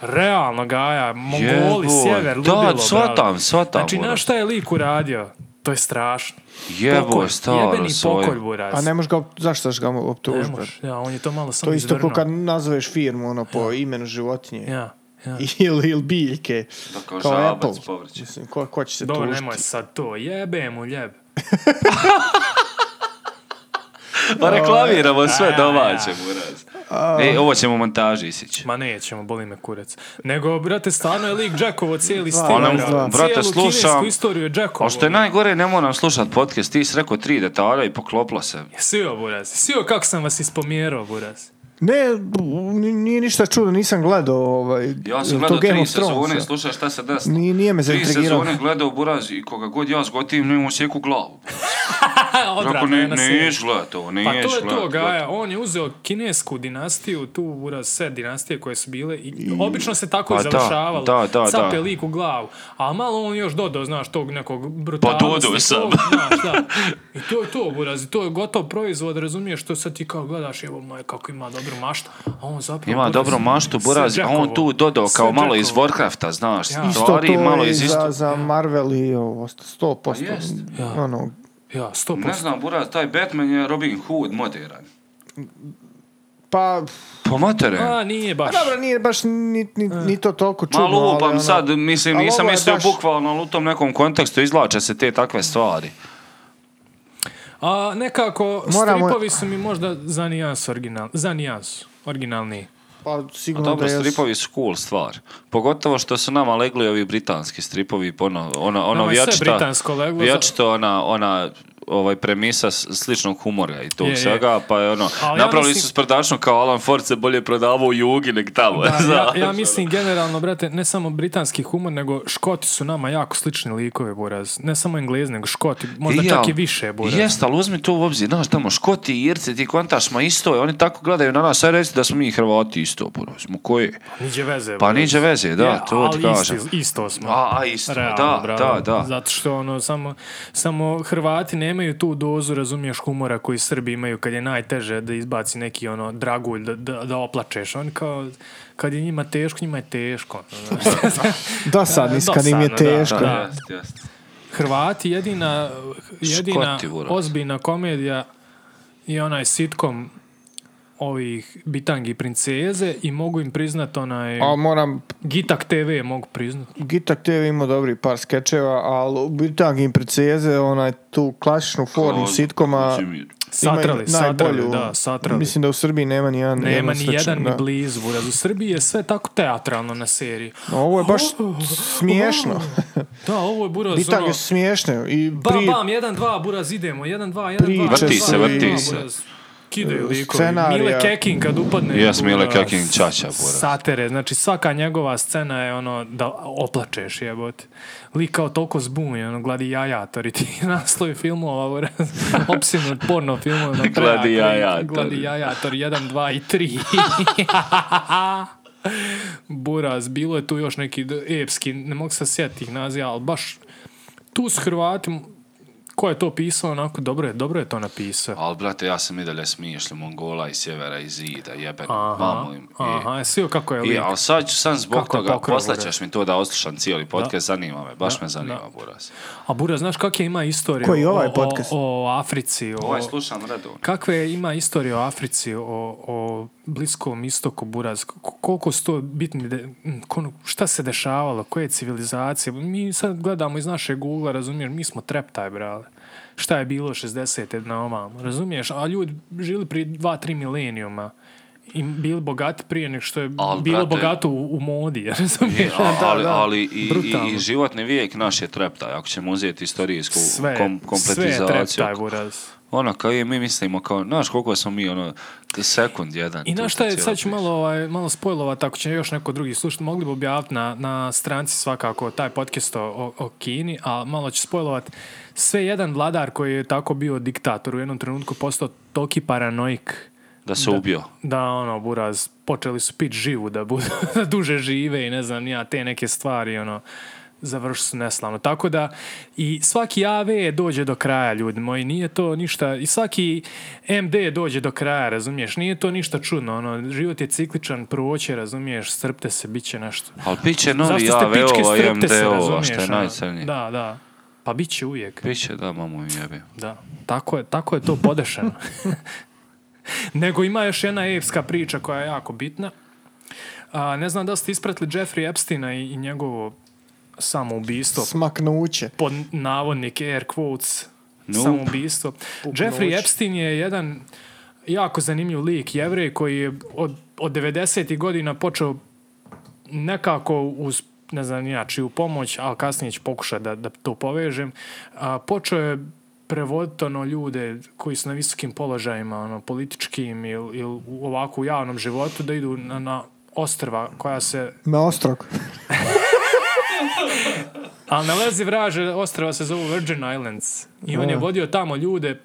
Speaker 1: realno gaja, Mongoli,
Speaker 3: Jeboj,
Speaker 1: sjever,
Speaker 3: da,
Speaker 1: ludilo, brale.
Speaker 3: shvatam, shvatam,
Speaker 1: Znači,
Speaker 3: buraz.
Speaker 1: znaš šta je lik uradio? To je strašno.
Speaker 3: Jebo,
Speaker 1: Pokolj,
Speaker 3: staro
Speaker 1: Jebeni
Speaker 3: svoje.
Speaker 1: pokolj, buraz.
Speaker 2: A ne možeš ga, op- zašto ćeš ga
Speaker 1: Ne
Speaker 2: optužiti?
Speaker 1: moš, ja, on je to malo
Speaker 2: To
Speaker 1: sam
Speaker 2: je isto
Speaker 1: izvrnuo.
Speaker 2: kao kad nazoveš firmu ono po imenu životinje.
Speaker 1: Ja, ja.
Speaker 2: ili, ili biljke.
Speaker 3: Da, kao žabac, povrće.
Speaker 2: Mislim, ko, ko će se
Speaker 1: Dobro,
Speaker 2: tužiti?
Speaker 1: nemoj sad to, jebe mu, jebe.
Speaker 3: Pa reklamiramo sve
Speaker 1: A,
Speaker 3: domaće, buraz. E, ovo ćemo u montaži isići.
Speaker 1: Ma nećemo, boli me kurec. Nego, brate, stvarno je lik Jackovo cijeli stil.
Speaker 2: Ono,
Speaker 1: brate.
Speaker 2: da.
Speaker 1: Cijelu
Speaker 3: Brate,
Speaker 1: kinesku
Speaker 3: slušam.
Speaker 1: istoriju je Jackovo.
Speaker 3: A što je najgore, ne moram slušat podcast, ti si rekao tri detalja i poklopilo se.
Speaker 1: Sio, buraz. Sio, kako sam vas ispomjerao, buraz. E,
Speaker 2: Ne, b- n- nije ništa čudo, nisam gledao ovaj,
Speaker 3: Ja sam
Speaker 2: to
Speaker 3: gledao
Speaker 2: Game
Speaker 3: tri
Speaker 2: of Thronesa.
Speaker 3: sezone, slušaj šta se desilo.
Speaker 2: Ni- nije me
Speaker 3: Tri
Speaker 2: zaintrigirao.
Speaker 3: sezone gledao Buraz i koga god ja zgotivim, nemam sjeku glavu.
Speaker 1: Ha,
Speaker 3: Rekao,
Speaker 1: odvratno
Speaker 3: ne,
Speaker 1: je na sjeću.
Speaker 3: neš gledat ovo, neš
Speaker 1: Pa
Speaker 3: gledat.
Speaker 1: to je to,
Speaker 3: gledat.
Speaker 1: Gaja. On je uzeo kinesku dinastiju, tu buraz, sve dinastije koje su bile. I, obično se tako
Speaker 3: Pa
Speaker 1: i
Speaker 3: da,
Speaker 1: završavalo.
Speaker 3: da, da, da.
Speaker 1: Cape lik u glavu. A malo on još dodao, znaš, tog nekog brutalnosti.
Speaker 3: Pa dodao sam.
Speaker 1: tog, znaš, da. I to je to, buraz. I to je gotov proizvod, razumiješ, što sad ti kao gledaš, evo maj, kako ima dobru maštu. A on zapravo...
Speaker 3: Ima
Speaker 1: buraz,
Speaker 3: dobro maštu,
Speaker 1: sve
Speaker 3: Buraz, a on
Speaker 1: Jackovo.
Speaker 3: tu dodao
Speaker 1: Sve
Speaker 3: kao malo iz
Speaker 1: Jackovo.
Speaker 3: Warcrafta, znaš,
Speaker 2: Isto to
Speaker 3: stvari, malo
Speaker 2: je
Speaker 3: iz
Speaker 2: za,
Speaker 3: isto.
Speaker 2: za Marvel i ovo, sto posto.
Speaker 3: Pa jest.
Speaker 2: Ono,
Speaker 1: Ja, sto
Speaker 3: Ne
Speaker 1: posto.
Speaker 3: znam, Buraz, taj Batman je Robin Hood moderan.
Speaker 2: Pa,
Speaker 3: Po matere.
Speaker 1: A, nije
Speaker 2: pa
Speaker 1: baš.
Speaker 2: dobro, nije baš ni, ni,
Speaker 1: E.
Speaker 2: ni to toliko čudno.
Speaker 3: Ma lupam
Speaker 2: ali ono-
Speaker 3: sad, mislim,
Speaker 2: ali
Speaker 3: nisam
Speaker 2: ovo je
Speaker 3: mislio
Speaker 2: baš-
Speaker 3: bukvalno, ali u tom nekom kontekstu izvlače se te takve stvari.
Speaker 1: A nekako
Speaker 2: Moramo-
Speaker 1: stripovi su mi možda za nijans original, za nijans originalni.
Speaker 2: Pa
Speaker 3: A
Speaker 2: sigurno
Speaker 3: dobro,
Speaker 2: da jesu.
Speaker 3: stripovi su cool stvar. Pogotovo što su nama legli ovi britanski stripovi, ono, ono, ono
Speaker 1: Nama je sve
Speaker 3: vječita,
Speaker 1: britansko leglo, za-
Speaker 3: vječito ona, ona ovaj premisa s- sličnog humora i tog
Speaker 1: Je, je.
Speaker 3: svega, pa je ono,
Speaker 1: Ali ja
Speaker 3: napravili
Speaker 1: mislim-
Speaker 3: su s prdašom kao Alan Ford se bolje prodavao u jugi nek tamo.
Speaker 1: Da, Pa ja,
Speaker 3: znaš,
Speaker 1: ja
Speaker 3: ono.
Speaker 1: mislim generalno, brate, ne samo britanski humor, nego škoti su nama jako slični likovi, buraz. Ne samo englezi, nego škoti, možda
Speaker 3: I
Speaker 1: čak
Speaker 3: ja-
Speaker 1: i više, buraz.
Speaker 3: Jeste, ali uzmi to u obzir, znaš, tamo Škoti i Irci, ti kontaš, ma isto je, oni tako gledaju na nas, aj reci da smo mi Hrvati isto, puno smo koje.
Speaker 1: Niđe veze.
Speaker 3: Pa
Speaker 1: buraz.
Speaker 3: niđe veze, da,
Speaker 1: Je,
Speaker 3: to ti
Speaker 1: ali
Speaker 3: kažem.
Speaker 1: isti- isto smo.
Speaker 3: A, a isto,
Speaker 1: Realno,
Speaker 3: da,
Speaker 1: bravo.
Speaker 3: da, da.
Speaker 1: Zato što ono, samo, samo Hrvati nemaju tu dozu, razumiješ, humora koji Srbi imaju kad je najteže da izbaci neki ono dragulj, da, da, da oplačeš. On kao, kad je njima teško, njima je teško. ono,
Speaker 2: Dosadni s kad im je
Speaker 1: E, Dosadno, da,
Speaker 2: teško.
Speaker 1: da.
Speaker 3: Jest, jest.
Speaker 1: Hrvati jedina, jedina
Speaker 3: Škoti, buraz.
Speaker 1: ozbiljna komedija je onaj sitkom ovih bitangi i princeze i mogu im priznat onaj
Speaker 2: A moram,
Speaker 1: Gitak TV mogu priznat.
Speaker 2: Gitak TV imao dobri par skečeva, ali Bitang im preceze, onaj tu klasičnu formu
Speaker 3: Kao-
Speaker 2: sitkoma,
Speaker 3: Mislim,
Speaker 1: Satrali,
Speaker 2: imaju najbolju.
Speaker 1: satrali, da, satrali.
Speaker 2: Mislim da u Srbiji nema ni jedan.
Speaker 1: Nema ni
Speaker 2: sličan,
Speaker 1: jedan
Speaker 2: da.
Speaker 1: ni blizu. Buraz. U Srbiji je sve tako teatralno na seriji.
Speaker 2: Ovo je baš smiješno.
Speaker 1: Da, ovo je buraz.
Speaker 2: Bitang
Speaker 1: ono,
Speaker 2: je smiješno. I
Speaker 1: bam,
Speaker 2: pri,
Speaker 1: bam, jedan, dva, buraz, idemo. Jedan, dva, jedan, dva.
Speaker 2: Priče
Speaker 1: jedan,
Speaker 2: su
Speaker 1: dva,
Speaker 2: i-
Speaker 1: jedan, dva, buraz. Kidaju likovi.
Speaker 2: Scenarija.
Speaker 1: Mile Kekin kad upadne.
Speaker 3: Jes, Mile
Speaker 1: buraz,
Speaker 3: Kekin, čača, buraz.
Speaker 1: Satere, znači svaka njegova scena je ono da oplačeš jebote. Lik kao toliko zbunjen, ono gladi jajator i ti naslovi filmova, buraz, opsinut porno filmova. na
Speaker 3: Gladi
Speaker 1: prejak,
Speaker 3: jajator.
Speaker 1: Gladi jajator, 1, 2 i 3. Buraz, bilo je tu još neki d- epski, ne mogu se sjetiti ih naziva, ali baš tu s Hrvatima, ko je to pisao, onako, dobro je, dobro je to napisao.
Speaker 3: Ali, brate, ja sam i dalje smiješljen Mongola i Sjevera i Zida, jeben,
Speaker 1: Aha,
Speaker 3: vamo im. I-
Speaker 1: aha, jesi joj kako je
Speaker 3: I,
Speaker 1: lik.
Speaker 3: ali sad ću sam zbog
Speaker 1: Kako je
Speaker 3: toga,
Speaker 1: pokrao,
Speaker 3: poslaćeš mi to da oslušam cijeli podcast, zanima me, baš me zanima, buraz.
Speaker 1: A Buraz, znaš kakve ima istorije
Speaker 2: Koji je ovaj
Speaker 1: o, o,
Speaker 2: podcast?
Speaker 1: o Africi, o,
Speaker 3: Ovaj slušam redovno.
Speaker 1: kakve ima istorije o Africi, o, o Bliskom istoku, Buraz, K- koliko su to bitni, de- m, kono- šta se dešavalo, koje civilizacije, mi sad gledamo iz našeg ugla, razumiješ, mi smo treptaj, brale. Šta je bilo 60. na ovamo, razumiješ, a ljudi žili prije 2-3 milenijuma i bili bogati prije nego što je
Speaker 3: Al,
Speaker 1: bilo
Speaker 3: brate-
Speaker 1: bogato u, u modi, razumiješ?
Speaker 3: A- ali,
Speaker 1: Da, da.
Speaker 3: ali i- i,
Speaker 1: Brutalno.
Speaker 3: i, životni vijek naš je treptaj, ako ćemo uzeti istorijsku
Speaker 1: sve, sve
Speaker 3: kom,
Speaker 1: je
Speaker 3: kompletizaciju.
Speaker 1: treptaj, Buraz.
Speaker 3: Ono, kao i mi mislimo, kao, znaš koliko smo mi, ono, sekund jedan.
Speaker 1: I
Speaker 3: tu
Speaker 1: na šta je,
Speaker 3: cijela
Speaker 1: sad ću
Speaker 3: priča.
Speaker 1: malo, ovaj, malo spojlovat, ako će još neko drugi slušati, mogli bi objaviti na, na stranci svakako taj podcast o, o- o Kini, a malo ću spojlovat sve jedan vladar koji je tako bio diktator u jednom trenutku postao toki paranoik
Speaker 3: Da se ubio.
Speaker 1: da ono, buraz, počeli su pit živu da, budu, da duže žive i ne znam ni ja, te neke stvari, ono, završili su neslavno. Tako da i svaki AV dođe do kraja, ljudi moji, nije to ništa, i svaki MD dođe do kraja, razumiješ, nije to ništa čudno, ono, život je cikličan, proće, razumiješ, strpte se, bit će nešto.
Speaker 3: Ali bit će novi
Speaker 1: Zašto ste pičke,
Speaker 3: AVO,
Speaker 1: strpte se,
Speaker 3: MDO,
Speaker 1: razumiješ,
Speaker 3: što je
Speaker 1: ono.
Speaker 3: najcrnije.
Speaker 1: Da, da, pa bit će uvijek.
Speaker 3: Bit će da, mamu im jebim.
Speaker 1: Da, tako je, tako je to podešeno. Nego ima još jedna epska priča koja je jako bitna. A, ne znam da li ste ispratili Jeffrey Epsteina i, i njegovo samoubistvo.
Speaker 2: smaknuće.
Speaker 1: Pod navodnike air quotes
Speaker 3: Nope.
Speaker 1: samoubistvo. Jeffrey
Speaker 2: noć.
Speaker 1: Epstein je jedan jako zanimljiv lik, jevrej koji je od, od 90. godina počeo nekako uz ne znam ni ja čiju pomoć, ali kasnije ću pokušati da, da to povežem, a, počeo je prevoditi ono ljude koji su na visokim položajima, ono, političkim ili il ovako u javnom životu, da idu na, na ostrva koja se
Speaker 2: Na ostrog.
Speaker 1: Ali na lezi vraže ostrava se zovu Virgin Islands. I on je vodio tamo ljude,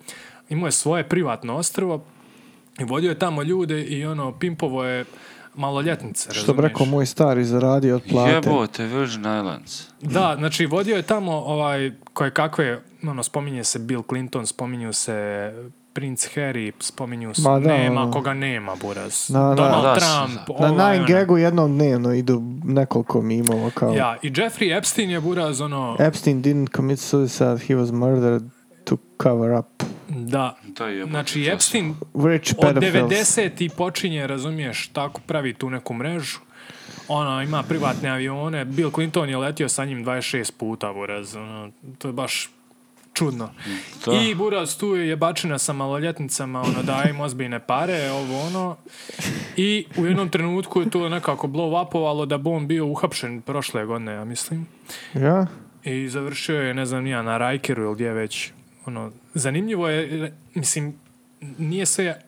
Speaker 1: imao je svoje privatno ostrvo i vodio je tamo ljude i ono, pimpovo je maloljetnice,
Speaker 2: Što bi
Speaker 1: razumiješ?
Speaker 2: rekao moj stari zaradio od plate.
Speaker 3: Jebote, Virgin Islands.
Speaker 1: Da, znači vodio je tamo ovaj, koje kakve, ono, spominje se Bill Clinton, spominju se princ Harry, spominju se,
Speaker 2: Ma da,
Speaker 1: nema
Speaker 2: ono.
Speaker 1: koga nema, buraz.
Speaker 2: Na- na-
Speaker 1: Donald
Speaker 3: Da,
Speaker 1: Trump,
Speaker 3: da.
Speaker 2: Na
Speaker 1: ovaj,
Speaker 2: Nine
Speaker 1: onaj.
Speaker 2: Gagu jednom dnevno idu nekoliko mimova kao E.
Speaker 1: Ja, i Jeffrey Epstein je buraz, ono,
Speaker 2: Epstein didn't commit suicide, he was murdered to cover up.
Speaker 1: Da.
Speaker 3: To je jebote,
Speaker 1: Znači,
Speaker 3: to su-
Speaker 1: Epstein
Speaker 2: Rich
Speaker 1: od
Speaker 2: pedophiles.
Speaker 1: 90 i počinje, razumiješ, tako pravi tu neku mrežu. Ono, ima privatne avione. Bill Clinton je letio sa njim 26 puta, buraz. Ono, to je baš čudno.
Speaker 3: To.
Speaker 1: I buraz tu je bačena sa maloljetnicama, ono, daje im ozbiljne pare, ovo ono. I u jednom trenutku je to nekako blow upovalo da bi on bio uhapšen prošle godine, ja mislim.
Speaker 2: Ja?
Speaker 1: I završio je, ne znam, nija na Rajkeru ili gdje već. Ono, zanimljivo je, e, mislim, nije sve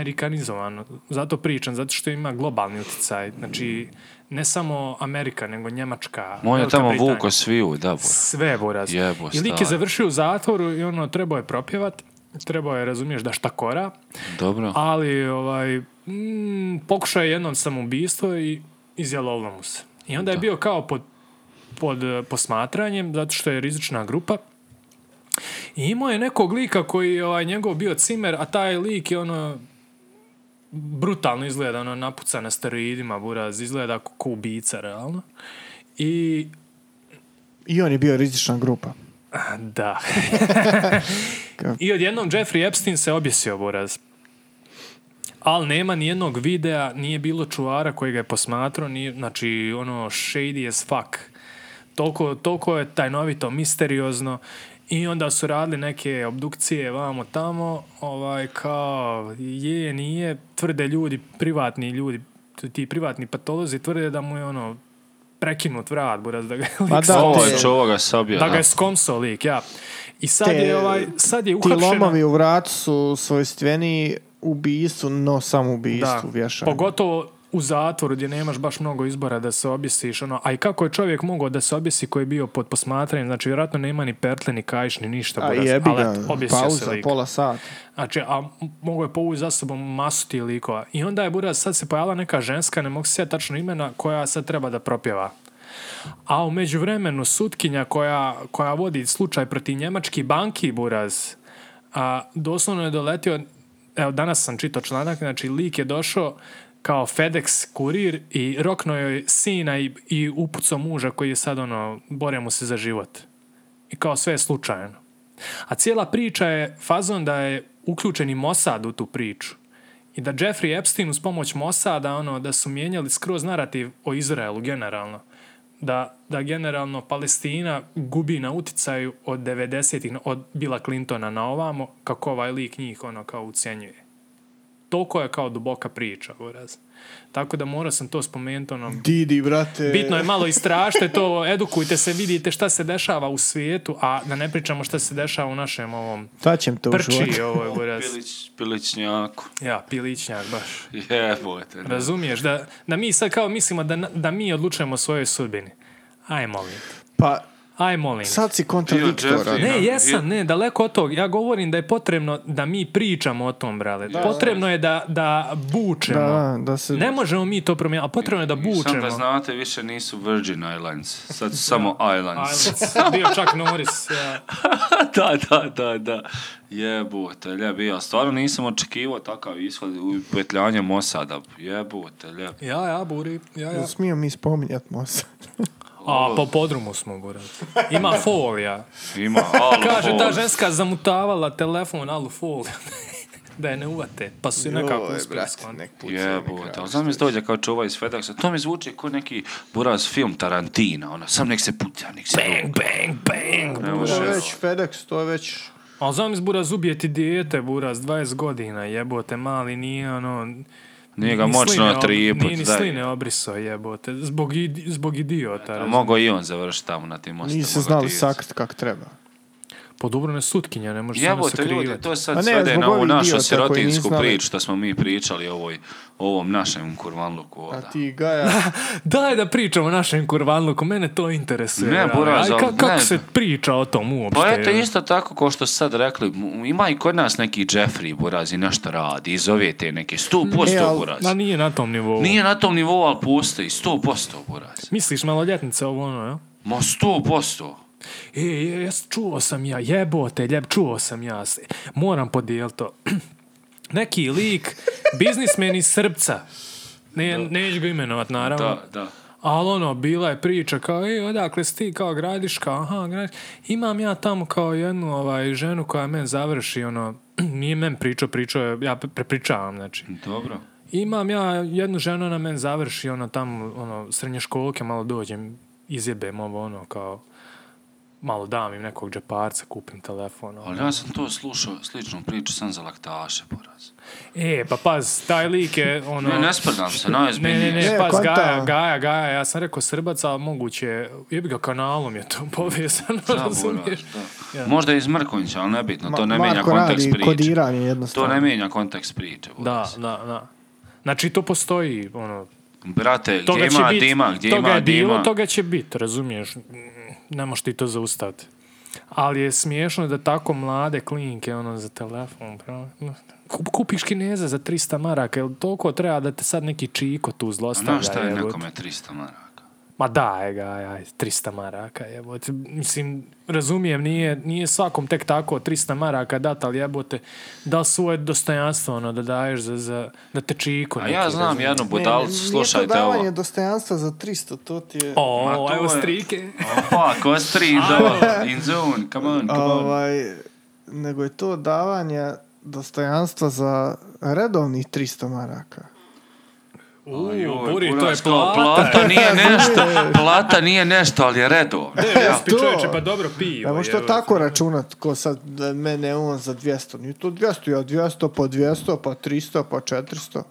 Speaker 1: amerikanizovano. Zato pričam, zato što ima globalni utjecaj. Znači, ne samo Amerika, nego Njemačka,
Speaker 3: On je
Speaker 1: Velika
Speaker 3: tamo
Speaker 1: Britanija.
Speaker 3: vuko sviju, da, bura.
Speaker 1: Sve, buraz.
Speaker 3: Jebo,
Speaker 1: I lik je
Speaker 3: stari.
Speaker 1: završio u zatvoru i ono, trebao je propjevat, trebao je, razumiješ, da štakora,
Speaker 3: Dobro.
Speaker 1: ali ovaj, mm, pokušao je jednom samoubistvo i izjalovilo mu se. I onda je bio kao pod, pod eh, posmatranjem, zato što je rizična grupa. I imao je nekog lika koji je ovaj, njegov bio cimer, a taj lik je ono brutalno izgleda, ono napuca na steroidima, buraz, izgleda ko, ko ubica, realno. I
Speaker 2: I on je bio rizična grupa.
Speaker 1: da.
Speaker 2: Kako?
Speaker 1: I odjednom Jeffrey Epstein se objesio buraz. Ali nema nijednog videa, nije bilo čuvara koji ga je posmatrao, nije, znači ono shady as fuck. Toliko, toliko je tajnovito, misteriozno. I onda su radili neke obdukcije vamo tamo, ovaj, kao je, nije, tvrde ljudi, privatni ljudi, ti privatni patolozi tvrde da mu je ono prekinut vrat, buraz, da ga je lik
Speaker 2: Pa da,
Speaker 1: skomso.
Speaker 3: Ovo
Speaker 2: te-
Speaker 3: je čovoga sabio,
Speaker 1: Da
Speaker 3: da.
Speaker 1: ga je skomso lik, ja. I sad
Speaker 2: Te-
Speaker 1: je, ovaj, sad je
Speaker 2: Ti
Speaker 1: uhapšena...
Speaker 2: lomovi u vratu su svojstveni ubijstvu, no samo ubijstvu, vješanju.
Speaker 1: Pogotovo u zatvoru gdje nemaš baš mnogo izbora da se objesiš. Ono, a i kako je čovjek mogao da se objesi koji je bio pod posmatranjem? Znači, vjerojatno nema ni pertle, ni kajš, ni ništa.
Speaker 2: A
Speaker 1: buraz,
Speaker 2: jebi
Speaker 1: ali
Speaker 2: ga,
Speaker 1: eto, objesio se
Speaker 2: pauza,
Speaker 1: lik.
Speaker 2: pola sata.
Speaker 1: Znači, a m- mogo je povući za sobom masu tih likova. I onda je buraz, sad se pojavila neka ženska, ne mogu se sjetiti tačno imena, koja sad treba da propjeva. A u međuvremenu sutkinja koja, koja vodi slučaj protiv njemački banki buraz, a, doslovno je doletio, evo danas sam čitao članak, znači lik je došao kao FedEx kurir i rokno joj sina i, i upucao muža koji je sad ono, bore mu se za život. I kao sve je slučajno. A cijela priča je fazon da je uključen i Mossad u tu priču. I da Jeffrey Epstein uz pomoć Mossada, ono, da su mijenjali skroz narativ o Izraelu generalno. Da, da generalno Palestina gubi na uticaju od 90-ih, na- od Billa Clintona na ovamo, kako ovaj lik njih ono kao ucijenjuje. Toliko je kao duboka priča, uraz. Tako da morao sam to spomenuti, ono,
Speaker 2: Didi, brate.
Speaker 1: Bitno je malo istražite to, edukujte se, vidite šta se dešava u svijetu, a da ne pričamo šta se dešava u našem ovom
Speaker 2: Šta će mi to u
Speaker 1: prči
Speaker 2: životu?
Speaker 1: ovo je buraz.
Speaker 3: Pilić, pilićnjaku.
Speaker 1: Ja, pilićnjak baš.
Speaker 3: Jebote. da.
Speaker 1: Razumiješ da, da mi sad kao mislimo da, na- da mi odlučujemo o svojoj sudbini. Aj molim. te.
Speaker 2: Pa,
Speaker 1: Aj molim. te.
Speaker 2: sad si
Speaker 3: Jeffrey.
Speaker 2: kontradiktoran.
Speaker 1: Ne,
Speaker 3: Ja-
Speaker 1: jesam, ne, daleko od tog. Ja govorim da je potrebno da mi pričamo o tom, brale. potrebno je da, da bučemo.
Speaker 2: Da, da se...
Speaker 1: Ne možemo mi to promijeniti, a potrebno je da
Speaker 3: Samo da
Speaker 1: bučemo.
Speaker 3: znate, više nisu Virgin Islands. Sad su samo Islands.
Speaker 1: Islands, bio čak Norris. Ja.
Speaker 3: da, da, da, da. Jebote, ljep. Ja stvarno nisam očekivao takav ishod u petljanje Mosada. Jebote, ljep.
Speaker 1: ja, ja, buri. Ja, ja.
Speaker 2: Smijem mi spominjat Mosa.
Speaker 1: A, po podrumu smo, buraz. Ima folija.
Speaker 3: Ima alu
Speaker 1: Kaže, ta
Speaker 3: fol.
Speaker 1: ženska zamutavala telefon, alu folija. da je ne uvate. Pa su je nekako uspjeli skloniti.
Speaker 3: Jebote, ali znam mi dođe kao čuva iz FedExa. To mi zvuči kao neki buraz film Tarantina. Ono, sam nek se puca, nek se...
Speaker 1: Bang, bang, bang.
Speaker 3: Ne
Speaker 2: To
Speaker 3: može.
Speaker 2: je već FedEx, to je već...
Speaker 1: Ali znam buraz, ubije ti dijete, buraz, 20 godina, jebote, mali, nije ono...
Speaker 3: Nije ga
Speaker 1: ni
Speaker 3: moćno
Speaker 1: sline
Speaker 3: na
Speaker 2: ono,
Speaker 1: ob-
Speaker 3: tri
Speaker 1: Nije ni
Speaker 3: put.
Speaker 1: sline obriso, jebote. Zbog, id- zbog idiota. razumiješ?
Speaker 3: Mogu i on završiti tamo na tim mostima.
Speaker 2: Nisu ono. znali sakrit kak treba.
Speaker 1: Pa dobro, ne sutkinja, ne može se ne
Speaker 3: Jebote ljudi,
Speaker 1: sakrivati.
Speaker 3: to je
Speaker 2: A
Speaker 3: sad
Speaker 2: ne,
Speaker 3: svede
Speaker 2: zbog
Speaker 3: na ovu
Speaker 2: ovih idiota
Speaker 3: našu
Speaker 2: koji nisu
Speaker 3: sirotinsku
Speaker 2: znali.
Speaker 3: priču što smo mi pričali o ovoj, ovom našem kurvanluku ovdje.
Speaker 2: A ti Gaja...
Speaker 1: Daj da pričamo o našem kurvanluku, mene to interesuje.
Speaker 3: Ne,
Speaker 1: ali-
Speaker 3: buraz,
Speaker 1: Aj, ka-
Speaker 3: ali
Speaker 1: kako
Speaker 3: ne.
Speaker 1: se priča o tom uopšte?
Speaker 3: Pa eto,
Speaker 1: je?
Speaker 3: isto tako kao što ste sad rekli, m- ima i kod nas neki Jeffrey Burazi nešto radi, i zove te neke, 100%
Speaker 2: E, al-
Speaker 3: Burazi.
Speaker 1: Ma nije na tom nivou.
Speaker 3: Znači. Nije na tom nivou, ali postoji, 100% Burazi.
Speaker 1: Misliš maloljetnice ovo ono, ja?
Speaker 3: Ma 100%.
Speaker 1: E, je, jes, čuo sam ja, jebote, ljeb, čuo sam ja. se. Moram podijeliti to. Neki lik, biznismen iz Srpca. Ne, neću ga imenovat, naravno.
Speaker 3: Da, da.
Speaker 1: Ali ono, bila je priča kao, e, odakle si ti kao gradiška, aha, gradiška. Imam ja tamo kao jednu ovaj, ženu koja men završi, ono, nije men pričao, pričao je, ja pre- prepričavam, znači.
Speaker 3: Dobro.
Speaker 1: Imam ja jednu ženu, ona men završi, ono, tamo, ono, srednje školke, malo dođem, izjebem ovo, ono, kao, malo dam im nekog džeparca, kupim telefon. ono.
Speaker 3: Ali ja sam to slušao, sličnu priču, sam za laktaše, poraz.
Speaker 1: E, pa paz, taj lik je, ono...
Speaker 3: Ne, ne sprdam se,
Speaker 1: Ne, ne,
Speaker 3: najozbiljnije.
Speaker 1: ne,
Speaker 2: Ne,
Speaker 1: pas
Speaker 2: konta.
Speaker 1: Gaja, Gaja, Gaja, ja sam rekao Srbac, ali moguće, jebi ga kanalom je to povezano,
Speaker 3: Da,
Speaker 1: razumiješ?
Speaker 3: Borac, da.
Speaker 1: Ja.
Speaker 3: Možda iz Mrkonjića, ali nebitno, to ne
Speaker 2: Ma-
Speaker 3: mijenja
Speaker 2: Marko
Speaker 3: kontekst
Speaker 2: radi
Speaker 3: priče.
Speaker 2: kodiranje
Speaker 3: To
Speaker 2: jednostavno.
Speaker 3: ne mijenja kontekst priče.
Speaker 1: Da,
Speaker 3: Borac.
Speaker 1: da, da. Znači to postoji, ono,
Speaker 3: Brate,
Speaker 1: toga
Speaker 3: gdje
Speaker 1: će
Speaker 3: ima
Speaker 1: biti,
Speaker 3: dima, gdje
Speaker 1: toga
Speaker 3: ima
Speaker 1: je bilo,
Speaker 3: dima.
Speaker 1: toga će biti, razumiješ, Mm, ne možeš ti to zaustaviti. Ali je smiješno da tako mlade klinike, ono, za telefon, pravo, no, kup- kupiš kineza za 300 maraka, jel toliko treba da te sad neki čiko tu
Speaker 3: A
Speaker 1: zlostavlja?
Speaker 3: Znaš šta je
Speaker 1: jebote?
Speaker 3: nekome 300 maraka?
Speaker 1: Ma daje ga, aj, 300 maraka, jebote. Mislim, razumijem, nije, nije svakom tek tako 300 maraka dat, ali jebote, da li svoje dostojanstvo, ono, da daješ za, za da te čiko
Speaker 3: A ja znam jednu budalcu, Ono, slušajte
Speaker 2: Nije to
Speaker 3: ovo.
Speaker 2: davanje dostojanstva za 300, to ti je...
Speaker 3: Ma to
Speaker 1: O, evo
Speaker 3: je-
Speaker 1: strike.
Speaker 3: Opa, kostri, in zone, in zone, come on, come on.
Speaker 2: Ovaj, nego je to davanje dostojanstva za redovnih 300 maraka.
Speaker 1: U,
Speaker 3: Joj,
Speaker 1: Buri, to je
Speaker 3: kurac, kao,
Speaker 1: plata.
Speaker 3: Plata nije nešto, plata nije nešto, ali je redovno.
Speaker 1: Ja,
Speaker 2: E, to.
Speaker 1: čovječe, pa dobro pivo.
Speaker 2: Ne možeš to
Speaker 1: jebote.
Speaker 2: tako računat, ko sad da mene on za 200. Nije to 200, ja 200, pa 200, pa 300, pa 400.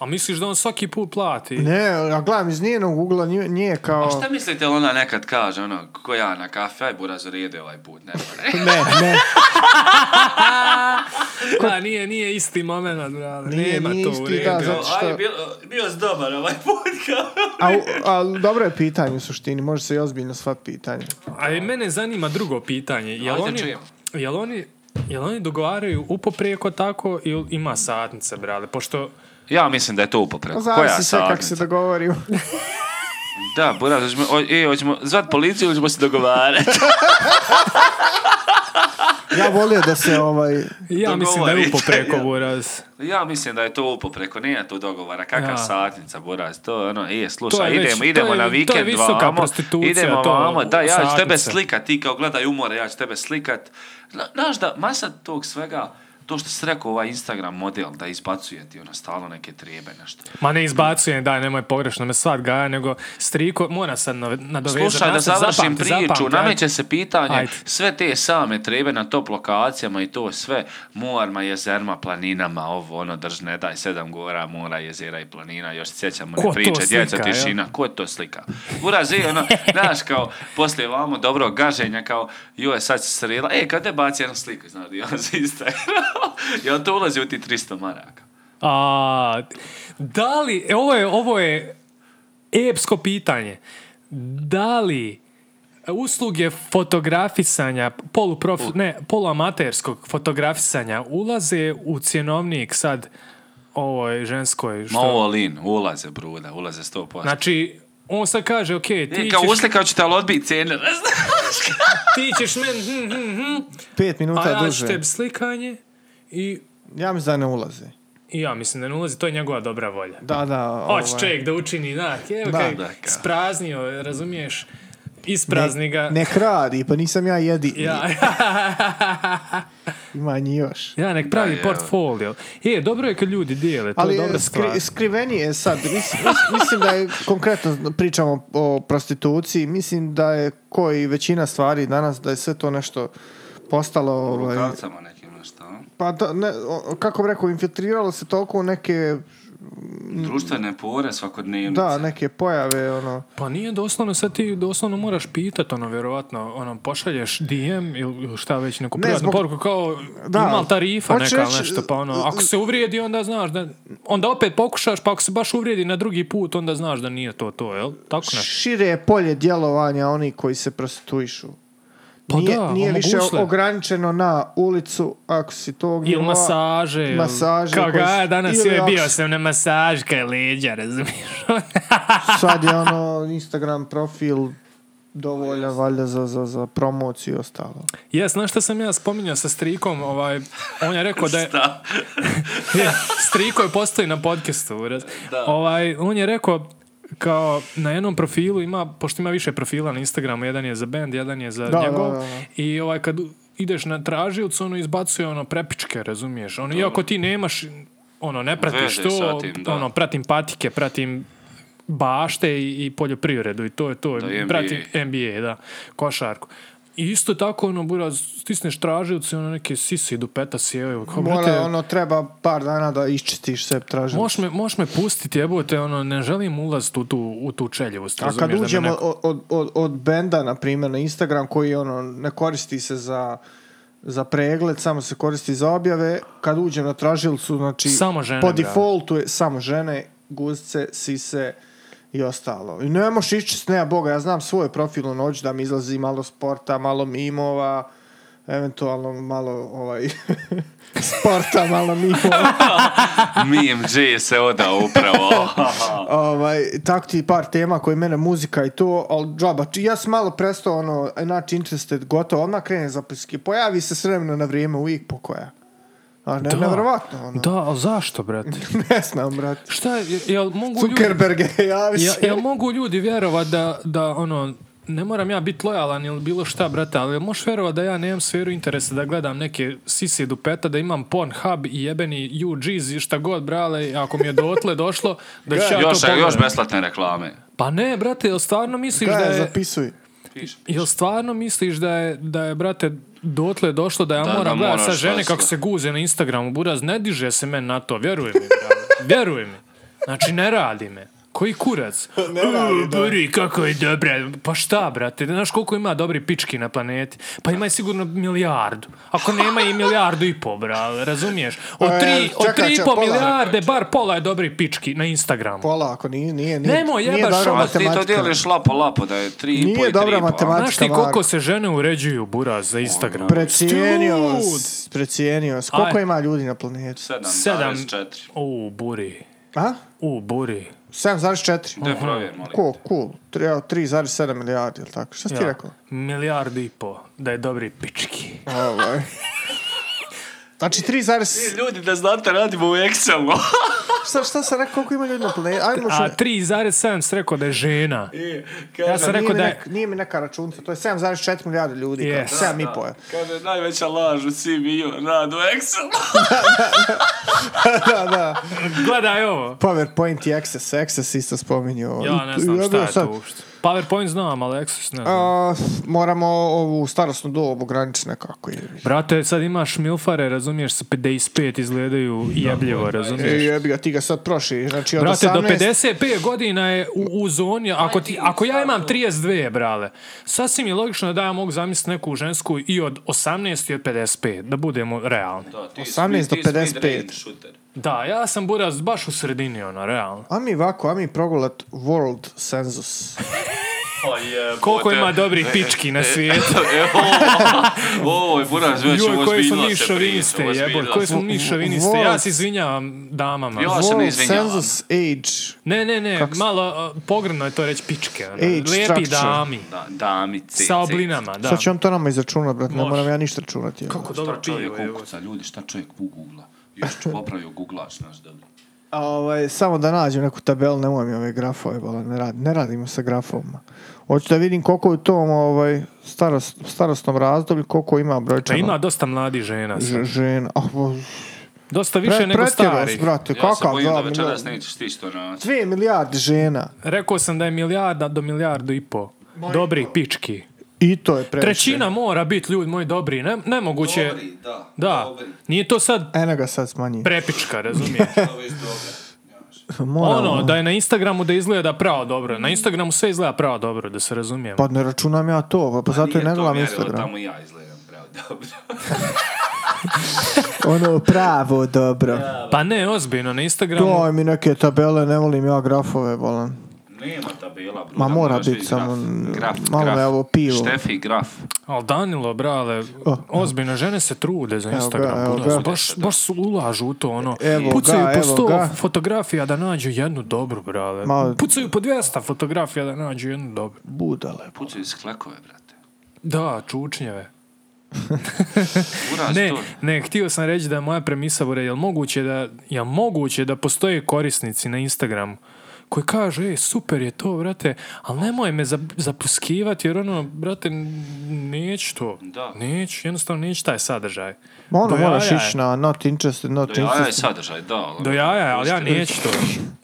Speaker 1: A misliš da on svaki put plati?
Speaker 2: Ne, ja gledam iz njenog ugla, nije, nije kao...
Speaker 3: A šta mislite, jel ona nekad kaže, ono, ko ja na kafe, aj buraz rede ovaj put, ne more.
Speaker 2: Ne, ne,
Speaker 1: Da, nije, nije isti moment, brale.
Speaker 2: Nije,
Speaker 1: Nema
Speaker 2: nije
Speaker 1: to
Speaker 2: isti,
Speaker 1: u
Speaker 2: da,
Speaker 1: redu.
Speaker 2: zato što-
Speaker 3: Aj, bio, bio si dobar ovaj put, kao.
Speaker 2: a, u- a dobro je pitanje u suštini, može se i ozbiljno sva pitanje.
Speaker 1: A i mene zanima drugo pitanje. Jel
Speaker 3: Ajde,
Speaker 1: oni,
Speaker 3: čujemo.
Speaker 1: jel oni, jel oni dogovaraju upoprijeko tako ili ima satnice, brale? Pošto
Speaker 3: Ja mislim da je to upopreko. Koja
Speaker 2: Pa Zavisi sve kako
Speaker 3: satnica?
Speaker 2: se dogovorimo.
Speaker 3: Da, buraz, hoćemo, o, e, hoćemo zvat policiju ili ćemo se dogovarati?
Speaker 2: Ja volio da se ovaj...
Speaker 1: ja mislim da je
Speaker 3: Dogovorite,
Speaker 1: upoprijeko
Speaker 3: ja.
Speaker 1: buraz.
Speaker 3: ja mislim da je to upopreko, nije tu dogovara. Kakav
Speaker 1: Ja.
Speaker 3: satnica, buraz, to je ono, e,
Speaker 1: To
Speaker 3: slušaj,
Speaker 1: je već-
Speaker 3: idemo,
Speaker 1: to je-
Speaker 3: idemo
Speaker 1: to
Speaker 3: na
Speaker 1: je
Speaker 3: vikend,
Speaker 1: visoka
Speaker 3: vamo,
Speaker 1: prostitucija,
Speaker 3: idemo
Speaker 1: to,
Speaker 3: vamo, da, ja ću tebe
Speaker 1: satnica.
Speaker 3: slikat, ti kao gledaj umore, ja ću tebe slikat. Zna- Znaš da, masa tog svega, to što si rekao, ovaj Instagram model, da izbacuje ti ono stalno neke trijebe, nešto.
Speaker 1: Ma ne izbacujem, daj, nemoj pogrešno me svat gaja, nego striko, mora sad nove- nadovezati.
Speaker 3: Slušaj,
Speaker 1: Ja
Speaker 3: da
Speaker 1: sam
Speaker 3: završim
Speaker 1: zapamti, zapamti,
Speaker 3: priču,
Speaker 1: ajde.
Speaker 3: nameće se pitanje,
Speaker 1: Ajde.
Speaker 3: sve te same trebe na top lokacijama i to sve, morma, jezerma, planinama, ovo, ono, drž, ne daj, sedam gora, mora, jezera i planina, još se sjećamo
Speaker 1: Ko
Speaker 3: one
Speaker 1: to
Speaker 3: priče, djeca,
Speaker 1: slika,
Speaker 3: tišina, ko to slika? Buraz je, ono, znaš, kao, poslije vamo dobro gaženja, kao, joj, sad se srela, e, kad te baci jednu sliku, znaš, i on se Instagram, jel to ulazi u ti 300 maraka?
Speaker 1: A, da li, e, ovo je, ovo je epsko pitanje. Da li usluge fotografisanja, poluprof, ne, poluamaterskog fotografisanja ulaze u cjenovnik sad ovoj ženskoj?
Speaker 3: Ma
Speaker 1: Što,
Speaker 3: ovo, Lin, ulaze, bruda, ulaze 100%.
Speaker 1: znači, on sad kaže, ok, ti,
Speaker 3: E, kao
Speaker 1: ćeš,
Speaker 3: uslikao ću te, ali odbij cijene, ne znam.
Speaker 1: ti ćeš men, hm, hm, hm,
Speaker 2: Pet
Speaker 1: a
Speaker 2: minuta
Speaker 1: ja ću
Speaker 2: duže.
Speaker 1: tebi slikanje i,
Speaker 2: Ja mislim da ne ulazi.
Speaker 1: i ja mislim da ne ulazi, to je njegova dobra volja.
Speaker 2: Da, da. Ovaj.
Speaker 1: Hoće čovjek da učini, da, evo
Speaker 2: Da.
Speaker 1: kaj,
Speaker 3: Da, kao.
Speaker 1: ispraznio, razumiješ, isprazni ga.
Speaker 2: Ne, nek radi, pa nisam ja jedini.
Speaker 1: Ja,
Speaker 2: Ima njih još.
Speaker 1: ja nek pravi
Speaker 3: je.
Speaker 1: portfolio. E, dobro je kad ljudi dijele, to
Speaker 2: Ali e,
Speaker 1: je dobra
Speaker 2: skri,
Speaker 1: stvar.
Speaker 2: skrivenije je sad, mislim, mislim da je, konkretno pričamo o prostituciji, mislim da je koji većina stvari danas, da je sve to nešto postalo, ovaj,
Speaker 3: rukavcama nekim ono? nešto, a?
Speaker 2: pa da, ne, o- kako bi rekao, infiltriralo se toliko u neke,
Speaker 3: društvene pore svakodnevnice.
Speaker 2: da, neke pojave, ono,
Speaker 1: Pa nije doslovno, sad ti doslovno moraš pitat, ono, vjerovatno, ono, pošalješ DM ili ili šta već, neku
Speaker 2: Ne,
Speaker 1: privatnu
Speaker 2: zbog-
Speaker 1: poruku, kao
Speaker 2: Da.
Speaker 1: ima li tarifa
Speaker 2: Hoću
Speaker 1: neka ili
Speaker 2: reći-
Speaker 1: nešto, pa ono, ako se uvrijedi, onda znaš da, onda opet pokušaš, pa ako se baš uvrijedi na drugi put, onda znaš da nije to to, jel? Tako nešto.
Speaker 2: šire je polje djelovanja oni koji se prostituišu.
Speaker 1: Pa
Speaker 2: nije,
Speaker 1: da,
Speaker 2: nije više
Speaker 1: omogućile.
Speaker 2: ograničeno na ulicu, ako si to
Speaker 1: Ili masaže. Ili,
Speaker 2: masaže
Speaker 1: Kao
Speaker 2: koje
Speaker 1: ga,
Speaker 2: su-
Speaker 1: "A, danas
Speaker 2: ili
Speaker 1: je
Speaker 2: ako
Speaker 1: bio
Speaker 2: su-
Speaker 1: sam na masaži kaj leđa, razumiješ?
Speaker 2: sad je ono Instagram profil dovoljan valjda za, za, za promociju i ostalo.
Speaker 1: Jes, znaš šta sam ja spominjao sa Strikom, ovaj, on je rekao da je...
Speaker 3: Šta?
Speaker 1: Striko je postoji na podcastu. raz-
Speaker 3: Da.
Speaker 1: Ovaj, on je rekao, kao na jednom profilu ima, pošto ima više profila na Instagramu, jedan je za band, jedan je za
Speaker 2: Da, da,
Speaker 1: njegov,
Speaker 2: da, da.
Speaker 1: i ovaj, kad ideš na tražilcu, ono izbacuje ono prepičke, razumiješ? Ono, iako ti nemaš, ono, ne pratiš
Speaker 3: Veze
Speaker 1: to,
Speaker 3: sa tim, da.
Speaker 1: ono, pratim patike, pratim bašte i, i poljoprivredu i to je to.
Speaker 3: Da, i NBA.
Speaker 1: pratim NBA, da, košarku. I isto tako, ono, buraz, stisneš tražilce, ono, neke sise i dupeta sjevaju. Kao, Pa brate,
Speaker 2: Mora, ono, treba par dana da iščitiš sve tražim.
Speaker 1: Moš me, moš me pustiti, jebote, ono, ne želim ulaz tu, tu, u tu čeljivost.
Speaker 2: A kad
Speaker 1: razumiješ, da me
Speaker 2: uđemo
Speaker 1: neko-
Speaker 2: od, od, od, od benda, na primjer, na Instagram, koji ono, ne koristi se za, za pregled, samo se koristi za objave, kad uđem na tražilcu, znači,
Speaker 1: Samo žene,
Speaker 2: po
Speaker 1: brate.
Speaker 2: defaultu je samo žene, guzice, sise i ostalo. I ne moš iščist, nema boga, ja znam svoj profil u noć da mi izlazi malo sporta, malo mimova, eventualno malo ovaj sporta, malo mimova.
Speaker 3: Mim J se odao upravo.
Speaker 2: ovaj, tako ti par tema koji mene muzika i to, ali džaba, či- ja sam malo prestao ono, not interested, gotovo, odmah krene zapiske, pojavi se s vremena na vrijeme uvijek pokoja. A ne,
Speaker 1: Da.
Speaker 2: nevjerovatno, ono,
Speaker 1: Da, ali zašto, brate?
Speaker 2: ne znam, brate.
Speaker 1: Šta, je- jel mogu ljudi...
Speaker 2: Zuckerberg je, javi
Speaker 1: Jel,
Speaker 2: se.
Speaker 1: jel mogu ljudi vjerovat da, da, ono, ne moram ja biti lojalan ili bilo šta, brate, ali jel možeš vjerovat da ja nemam sferu interesa da gledam neke sisi dupeta, da imam Pornhub i jebeni UGs i šta god, brale, ako mi je dotle došlo, da ću ja to
Speaker 3: još, još
Speaker 1: pogledam.
Speaker 3: besplatne reklame.
Speaker 1: Pa ne, brate, jel stvarno misliš da
Speaker 2: Gledaj,
Speaker 1: je...
Speaker 2: zapisuj.
Speaker 1: Jel stvarno misliš da je, da je brate, dotle došlo da ja
Speaker 3: Da, da
Speaker 1: moram gledati sa
Speaker 3: moraš,
Speaker 1: žene
Speaker 3: jasno.
Speaker 1: kako se guze na Instagramu, buraz, ne diže se men na to, vjeruj mi, brale. vjeruj mi. Znači, ne radi me. Koji kurac?
Speaker 2: Ne radi,
Speaker 1: U,
Speaker 2: da.
Speaker 1: Buri, kako je dobra. Pa šta, brate, znaš koliko ima dobri pički na planeti? Pa ima je sigurno milijardu. Ako nema i milijardu i po, brale, razumiješ? Od
Speaker 2: E,
Speaker 1: tri, od
Speaker 2: čekaj,
Speaker 1: tri i
Speaker 2: čekaj,
Speaker 1: po
Speaker 2: pola.
Speaker 1: milijarde, bar pola je dobri pički na Instagramu.
Speaker 2: Pola, ako nije, nije, nije,
Speaker 1: Nemoj,
Speaker 2: nije
Speaker 1: jebaš,
Speaker 2: dobra
Speaker 1: ono,
Speaker 3: A Pa ti to
Speaker 2: matematika.
Speaker 3: dijeliš lapo lapo da je 3,5 i 3,5.
Speaker 2: Pa Nije dobra matematika.
Speaker 1: Znaš ti
Speaker 2: Marko.
Speaker 1: koliko se žene uređuju, buraz, za Instagram?
Speaker 2: Precijenio
Speaker 1: Stud!
Speaker 2: vas, precijenio vas. Koliko
Speaker 1: Aj.
Speaker 2: ima ljudi na planetu?
Speaker 3: 7,4.
Speaker 1: U, buri.
Speaker 2: A?
Speaker 1: U, buri.
Speaker 2: 7,4.
Speaker 3: Da provjerim, molim.
Speaker 2: Cool, cool. Treba 3,7 milijardi, ili tako? Šta si ti
Speaker 1: Ja.
Speaker 2: rekao?
Speaker 1: Milijardu i po. Da je dobri pički.
Speaker 2: Ovaj. Znači 3,
Speaker 3: Ljudi da znate radimo u Excelu.
Speaker 2: šta, šta sam rekao, koliko ima ljudi na planeti? Ajmo
Speaker 1: A
Speaker 2: što...
Speaker 1: 3,7 si rekao da je žena. Ja sam
Speaker 2: Nije, mi
Speaker 1: rekao da je...
Speaker 2: nek- nije mi neka računca, to je 7,4 milijarde ljudi, yes.
Speaker 1: Yes.
Speaker 2: 7,5 je.
Speaker 3: Kaže, najveća laž u CV-u, rad u Excelu.
Speaker 1: Gledaj ovo.
Speaker 2: PowerPoint i Access, Access isto spominju. ovaj.
Speaker 1: Ja ne znam šta je to uopšte. PowerPoint znam, ali Access ne znam.
Speaker 2: moramo ovu starostnu dobu ograničiti nekako. je.
Speaker 1: Brate, sad imaš milfare, razumiješ, sa 55 izgledaju jebljivo,
Speaker 2: E,
Speaker 1: razumiješ?
Speaker 2: jebi ga, ti ga sad proširiš. Znači, od
Speaker 1: Brate,
Speaker 2: 18...
Speaker 1: do 55 godina je u, u zoni, ako, ti, ako ja imam 32, brale, sasvim je logično da ja mogu zamisliti neku žensku i od 18 i od 55, da budemo realni.
Speaker 2: 18 do 55.
Speaker 1: Da, ja sam buraz baš u sredini, ono, realno.
Speaker 2: A mi ovako, a mi progulat World Census.
Speaker 1: Koliko ima
Speaker 3: E,
Speaker 1: dobrih pički na svijetu?
Speaker 3: Ovo je buraz, već
Speaker 1: Joj, koji smo
Speaker 3: ozbiljno
Speaker 1: mi
Speaker 3: se priča.
Speaker 1: šoviniste, jeboj, koji smo mi šoviniste. Ja se izvinjavam damama.
Speaker 3: Jo, Ja Pa se ne
Speaker 2: World
Speaker 3: izvinjavam.
Speaker 2: Census Age.
Speaker 1: Ne, ne, ne, malo uh, pogrdno je to reći pičke. ono.
Speaker 2: Age
Speaker 1: Lijepi
Speaker 2: structure.
Speaker 1: dami,
Speaker 3: Da, damice.
Speaker 1: sa oblinama, da.
Speaker 2: Sad će on to nama izračunat, brat, ne moram ja ništa računati. jel?
Speaker 1: Kako dobro
Speaker 3: Šta čovjek
Speaker 1: pivo, evo.
Speaker 3: ukuca, ljudi, šta čovjek ugugla? Još ću popravio guglač, znaš, da bi.
Speaker 2: A, ovaj, samo da nađem neku tabelu, nemoj mi ove grafove, bola, ne, rad, ne radimo sa grafovima. Hoću da vidim koliko je u tom ovaj, starost, starostnom razdoblju, koliko ima
Speaker 1: Ma
Speaker 2: brojčano.
Speaker 1: Pa Ima dosta mladih žena. sad.
Speaker 2: ž- žena. Oh,
Speaker 1: Dosta više nego starih.
Speaker 2: brate,
Speaker 3: Ja se
Speaker 2: kakav
Speaker 3: bojim da
Speaker 2: dva
Speaker 3: večeras
Speaker 2: milijarda.
Speaker 3: nećeš ti što naći.
Speaker 2: Dvije milijarde žena.
Speaker 1: Rekao sam da je milijarda do milijardu i po. Dobrih pički.
Speaker 2: I to je previše.
Speaker 1: Trećina mora biti, ljudi moji, dobri. Ne, nemoguće.
Speaker 3: Dobri, da.
Speaker 1: Da,
Speaker 3: Dobri,
Speaker 1: nije to sad
Speaker 2: Eno ga sad smanji.
Speaker 1: prepička, razumiješ?
Speaker 3: to već dobro.
Speaker 2: Moramo.
Speaker 1: ono, da je na Instagramu da izgleda pravo dobro. Na Instagramu sve izgleda pravo dobro, da se razumijemo.
Speaker 2: Pa ne računam ja to, pa, pa zato i
Speaker 3: Nije
Speaker 2: ne
Speaker 3: to
Speaker 2: gledam
Speaker 3: mjerilo,
Speaker 2: Instagram.
Speaker 3: Tamo i ja izgledam pravo dobro.
Speaker 2: Ono pravo dobro.
Speaker 1: Pa ne, ozbiljno, na Instagramu...
Speaker 2: Daj mi neke tabele, ne volim ja grafove, bolan.
Speaker 3: Nema tabela, bro.
Speaker 2: Ma mora
Speaker 3: da moraš
Speaker 2: bit
Speaker 3: vidjeti
Speaker 2: samo,
Speaker 3: graf, graf,
Speaker 2: malo
Speaker 3: graf.
Speaker 2: me ovo pivo.
Speaker 3: Štefi, graf.
Speaker 1: Ali Danilo, brale, ozbiljno, žene se trude za
Speaker 2: ga,
Speaker 1: Instagram.
Speaker 2: evo
Speaker 1: buraz.
Speaker 2: ga.
Speaker 1: baš, baš su ulažu u to, ono.
Speaker 2: Evo
Speaker 1: Pucaju
Speaker 2: ga,
Speaker 1: po
Speaker 2: evo
Speaker 1: 100
Speaker 2: ga.
Speaker 1: fotografija da nađu jednu dobru, brale.
Speaker 2: Ma-
Speaker 1: Pucaju po 200 fotografija da nađu jednu dobru.
Speaker 2: Budale.
Speaker 3: Pucaju iz klekove, brate.
Speaker 1: Da, čučnjeve.
Speaker 3: Uraz
Speaker 1: Ne,
Speaker 3: to.
Speaker 1: ne, htio sam reći da je moja premisa, bure, jel moguće da, jel moguće da postoje korisnici na Instagramu koji kažu, ej, super je to, brate, ali nemoj me zap- zapuskivati, jer ono, brate, n- neću to.
Speaker 3: Da.
Speaker 1: Neću, jednostavno neću taj sadržaj.
Speaker 2: Ono
Speaker 1: Do
Speaker 2: moraš
Speaker 1: jaja je.
Speaker 2: ići na not interested, not
Speaker 3: Do jaja je
Speaker 2: interested.
Speaker 3: sadržaj, da. ali-
Speaker 1: Do jaja, je, ali ja
Speaker 3: Hoćete-
Speaker 1: neću to.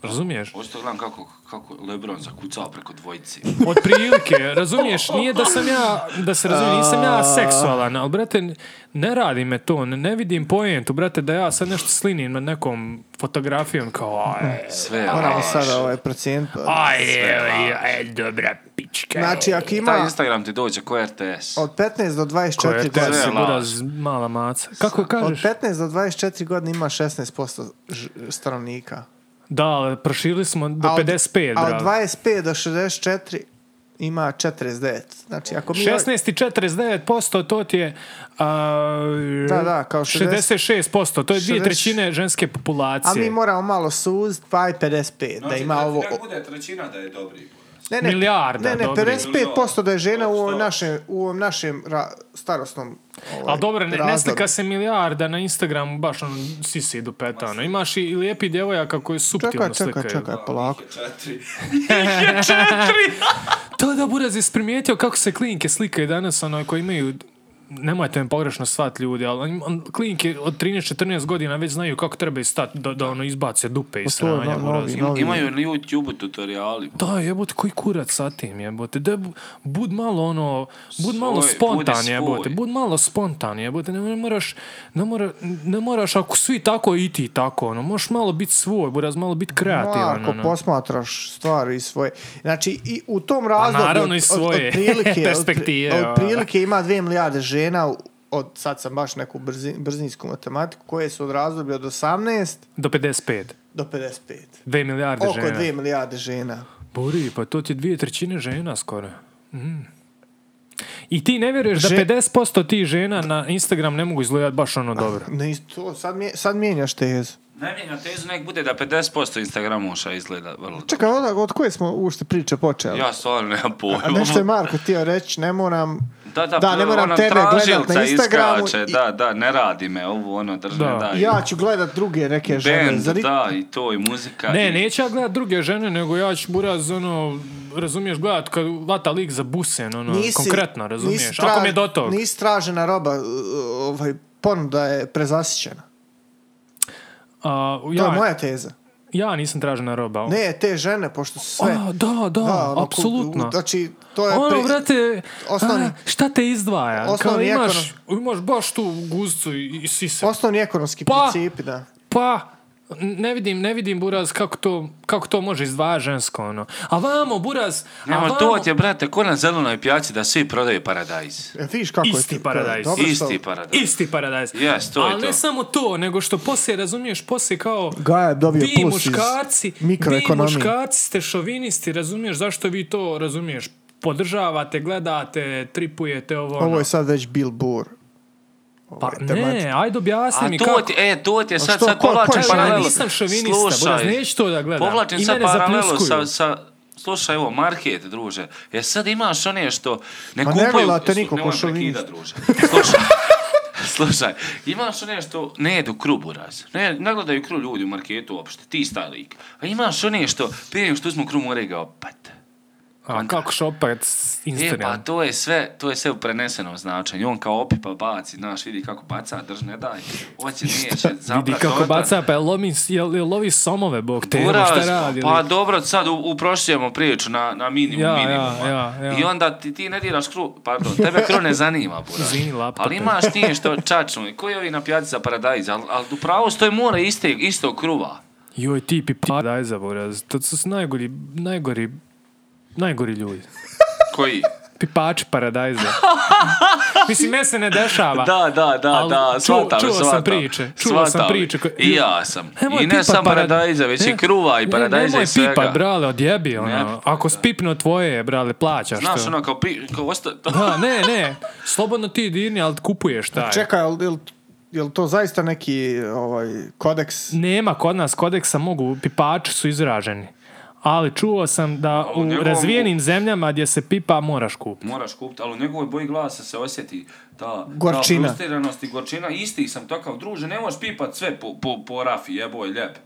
Speaker 1: Razumiješ?
Speaker 3: Hoćete gledam kako, kako Lebron zakucao preko dvojici.
Speaker 1: Od prilike, razumiješ, nije da sam ja, da se razumije, nisam ja seksualan, ali brate, ne radi me to, ne, ne vidim pojentu, brate, da ja sad nešto slinim nad nekom fotografijom kao,
Speaker 2: Mhm.
Speaker 1: aj,
Speaker 3: Sve je
Speaker 2: Moramo
Speaker 3: laž.
Speaker 2: sad ovaj procijent.
Speaker 1: aj, aj, aj, dobra pička.
Speaker 2: Znači, ako
Speaker 3: Taj
Speaker 2: ima
Speaker 3: Instagram ti dođe ko RTS.
Speaker 2: od 15 do
Speaker 1: Koja
Speaker 2: 24
Speaker 1: je te
Speaker 3: Sve
Speaker 2: godine,
Speaker 3: je
Speaker 1: sigura
Speaker 3: laž.
Speaker 1: z- mala maca. Kako
Speaker 2: od
Speaker 1: kažeš?
Speaker 2: 15 do 24 godine ima 16% ž- stanovnika.
Speaker 1: Da, ali proširili smo do
Speaker 2: A od-
Speaker 1: 55,
Speaker 2: A od
Speaker 1: bravo.
Speaker 2: 25 do 64 ima 49. Znači, ako mi...
Speaker 1: 16 i 49% to ti je a,
Speaker 2: Da, da, kao
Speaker 1: 66%, to je dvije
Speaker 2: 60
Speaker 1: trećine ženske
Speaker 2: A
Speaker 1: populacije.
Speaker 2: mi moramo malo suzit, pa i 55, da
Speaker 3: Znači,
Speaker 2: ima ovo...
Speaker 3: bude trećina da je dobri.
Speaker 2: Ne,
Speaker 1: Milijarda,
Speaker 2: ne, ne,
Speaker 1: dobri.
Speaker 2: 55% da je žena u ovom
Speaker 3: Sto.
Speaker 2: našem, u ovom našem ra- starosnom ovaj,
Speaker 1: Ali Pa dobro, ne, ne
Speaker 2: razdoblju.
Speaker 1: slika se milijarda na Instagramu, baš ono sisi dupetano. ono. Imaš i lijepi djevojaka koji suptilno
Speaker 2: Čekaj, čekaj,
Speaker 1: ono, slikaju.
Speaker 2: čekaj, polako.
Speaker 3: znači Četiri.
Speaker 1: To da Buraz je primijetio kako se klinike slikaju danas, ono, koji imaju nemojte me pogrešno svat ljudi, ali on- on- klinike od 13-14 godina već znaju kako treba i stat da, da ono izbace dupe i
Speaker 2: Pa To je
Speaker 1: sranja.
Speaker 2: no-
Speaker 1: Buraz.
Speaker 2: novi, novi.
Speaker 3: Imaju na YouTube tutoriali.
Speaker 1: Da, jebote, koji kurac sa tim, jebote. Da, bu- bud malo ono, bud malo
Speaker 3: Svoj,
Speaker 1: spontan,
Speaker 3: budi svoj.
Speaker 1: jebote. Bud malo spontan, jebote. Ne, ne moraš, ne, mora, ne moraš, ako svi tako i ti tako, ono. Možeš malo biti svoj, buraz, malo biti kreativan,
Speaker 2: Marko, pa-
Speaker 1: ono.
Speaker 2: posmatraš stvari iz svoje. Znači, i u tom
Speaker 1: Pa naravno
Speaker 2: razdoblju...
Speaker 1: iz svoje
Speaker 2: prilike,
Speaker 1: perspektive,
Speaker 2: Od,
Speaker 1: ono.
Speaker 2: prilike ima dvije milijarde žena, u- od, sad sam baš neku brzi, brzinsku matematiku, koje su od razdoblja od 18
Speaker 1: Do 55.
Speaker 2: do 55.
Speaker 1: 2 milijarde
Speaker 2: Oko
Speaker 1: žena.
Speaker 2: dvije milijarde žena.
Speaker 1: Buri, pa to ti je dvije trećine žena skoro. Mm. I ti ne vjeruješ
Speaker 2: Že-
Speaker 1: da 50% tih žena na Instagram ne mogu izgledati baš ono dobro.
Speaker 2: Ne, ist- to, sad, mje, sad mijenjaš tezu.
Speaker 3: Najmjenja tezu nek bude da 50% Instagramuša izgleda vrlo dobro.
Speaker 2: Čekaj, od, od koje smo ušte priče počeli?
Speaker 3: Ja stvarno nemam
Speaker 2: A
Speaker 3: pojma.
Speaker 2: nešto je Marko htio reći, ne moram...
Speaker 3: Da, da,
Speaker 2: da ne moram
Speaker 3: ona
Speaker 2: tebe gledat na
Speaker 3: tražilca
Speaker 2: Instagramu.
Speaker 3: Iskače,
Speaker 2: i-
Speaker 3: Da, da, ne radi me ovo, ono, držne,
Speaker 1: Da.
Speaker 3: da. i
Speaker 2: Ja ću gledat druge neke žene.
Speaker 3: band,
Speaker 2: Zar i-
Speaker 3: da, i to, i muzika.
Speaker 1: Ne,
Speaker 3: i-
Speaker 1: neću ja gledat druge žene, nego ja ću buraz, ono, razumiješ, gledat kad vata lik za busen, ono, konkretno, razumiješ,
Speaker 2: nisi
Speaker 1: ako mi je
Speaker 2: traž-
Speaker 1: do tog.
Speaker 2: Nisi tražena roba, uh, ovaj, ponuda je prezasićena.
Speaker 1: A,
Speaker 2: To je
Speaker 1: ja,
Speaker 2: moja teza.
Speaker 1: ja nisam tražena roba. ono.
Speaker 2: Ne, te žene, pošto su sve...
Speaker 1: A, da, da,
Speaker 2: ono,
Speaker 1: apsolutno.
Speaker 2: ku- Znači, to je...
Speaker 1: Ono,
Speaker 2: pri-
Speaker 1: brate,
Speaker 2: osnovni-
Speaker 1: a, šta te izdvaja? Kao
Speaker 2: osnovni
Speaker 1: imaš, imaš baš tu guzcu i, i sise.
Speaker 2: Osnovni ekonomski
Speaker 1: Pa!
Speaker 2: principi, da.
Speaker 1: Pa, ne vidim, ne vidim, Buraz, kako to, kako to može izdvaja žensko, ono. A vamo, Buraz, a
Speaker 3: Nema,
Speaker 1: vamo...
Speaker 3: to ti je, brate, ko na zelenoj pijaci da svi prodaju paradajz.
Speaker 2: E, vidiš kako
Speaker 1: Isti
Speaker 2: je to-
Speaker 1: paradajz.
Speaker 2: dobro što-
Speaker 3: Isti paradajz.
Speaker 1: Isti paradajz.
Speaker 3: Yes, to je
Speaker 1: Ali ne
Speaker 3: to.
Speaker 1: samo to, nego što poslije, razumiješ, poslije kao...
Speaker 2: Gaja je dobio
Speaker 1: vi
Speaker 2: plus iz
Speaker 1: muškarci, vi
Speaker 2: mikroekonomije.
Speaker 1: muškarci ste šovinisti, razumiješ, zašto vi to, razumiješ, podržavate, gledate, tripujete ovo, ono.
Speaker 2: Ovo je sad već Bill Burr.
Speaker 1: Pa
Speaker 2: ovaj, tematika.
Speaker 1: ne, ajde objasni
Speaker 3: A
Speaker 1: mi kako...
Speaker 3: to ti, e, to ti je sad,
Speaker 2: što,
Speaker 3: sad
Speaker 2: ko- ko je
Speaker 3: povlačim
Speaker 1: Evo, ja
Speaker 3: paralelu.
Speaker 1: nisam šovinista, Buraz, neću to da gledam.
Speaker 3: Povlačim
Speaker 1: I
Speaker 3: sad
Speaker 1: mene
Speaker 3: paralelu sa,
Speaker 1: zapljuskuju.
Speaker 3: sa, slušaj, evo, market, druže. Jer sad imaš one što ne
Speaker 2: Ma Pa ne
Speaker 3: kupuju...
Speaker 2: gleda te niko ko
Speaker 3: Nemoj me
Speaker 2: šovinist.
Speaker 3: prekidat, druže. Slušaj, slušaj, imaš one što ne jedu kru, buraz. Ne, ne gledaju kru ljudi u marketu uopšte, ti staj lik. A imaš one što, prije nego što uzmu kru, moraju ga opet.
Speaker 1: A kako šopat s
Speaker 3: E, pa
Speaker 1: Instagram?
Speaker 3: to je sve, to je sve u prenesenom značenju. On kao opipa baci, znaš, vidi kako baca, drž ne daj. Hoće neće, zabrat.
Speaker 1: Vidi kako
Speaker 3: odat.
Speaker 1: baca, pa je lomi, jel, jel lovi somove, bog te, jel,
Speaker 3: Buraz,
Speaker 1: šta radi?
Speaker 3: pa
Speaker 1: lik?
Speaker 3: dobro, sad u- uprošćujemo priču na, na minimum,
Speaker 1: Ja, ja,
Speaker 3: minimuma.
Speaker 1: ja, ja.
Speaker 3: I onda ti, ti ne diraš kru, pardon, tebe kru ne zanima, Buraz.
Speaker 1: Izvini, laptope.
Speaker 3: Ali imaš ti što čačnu, i koji ovi na pijaci za paradajz, ali al, upravo stoji mora iste, isto kruva.
Speaker 1: Joj, ti pi pa daj za buraz. To su najgori, najgori, najgori ljudi.
Speaker 3: Koji?
Speaker 1: Pipači paradajza. Mislim, meni se ne dešava.
Speaker 3: Da, da, da,
Speaker 1: Al
Speaker 3: da,
Speaker 1: čuo-
Speaker 3: shvatam,
Speaker 1: čuo sam
Speaker 3: shvatam,
Speaker 1: priče, čuo sam
Speaker 3: shvatam.
Speaker 1: priče koje-
Speaker 3: I ja sam.
Speaker 1: Nemoj
Speaker 3: I ne
Speaker 1: pipat parad-
Speaker 3: sam paradajza, već
Speaker 1: Ne,
Speaker 3: i kruva i
Speaker 1: ne,
Speaker 3: paradajza i svega.
Speaker 1: Nemoj pipat, brale, odjebi, ono.
Speaker 3: Ne,
Speaker 1: Ako spipno tvoje, brale, plaćaš
Speaker 3: Znaš,
Speaker 1: to.
Speaker 3: ono, kao, pri, kao osta...
Speaker 1: Da, ne, ne. Slobodno ti dirni, ali kupuješ taj.
Speaker 2: Čekaj, jel, jel, jel to zaista neki ovaj, kodeks?
Speaker 1: Nema kod nas kodeksa, mogu, pipači su izraženi. Ali čuo sam da
Speaker 3: u
Speaker 1: u
Speaker 3: njegovom-
Speaker 1: razvijenim zemljama gdje se pipa moraš kupiti.
Speaker 3: Moraš kupiti, ali u njegovoj boji glasa se osjeti ta,
Speaker 2: Gorčina.
Speaker 3: ta frustriranost i gorčina. Isti sam takav, druže, ne možeš pipat sve po, po, po rafi, jeboj, ljep.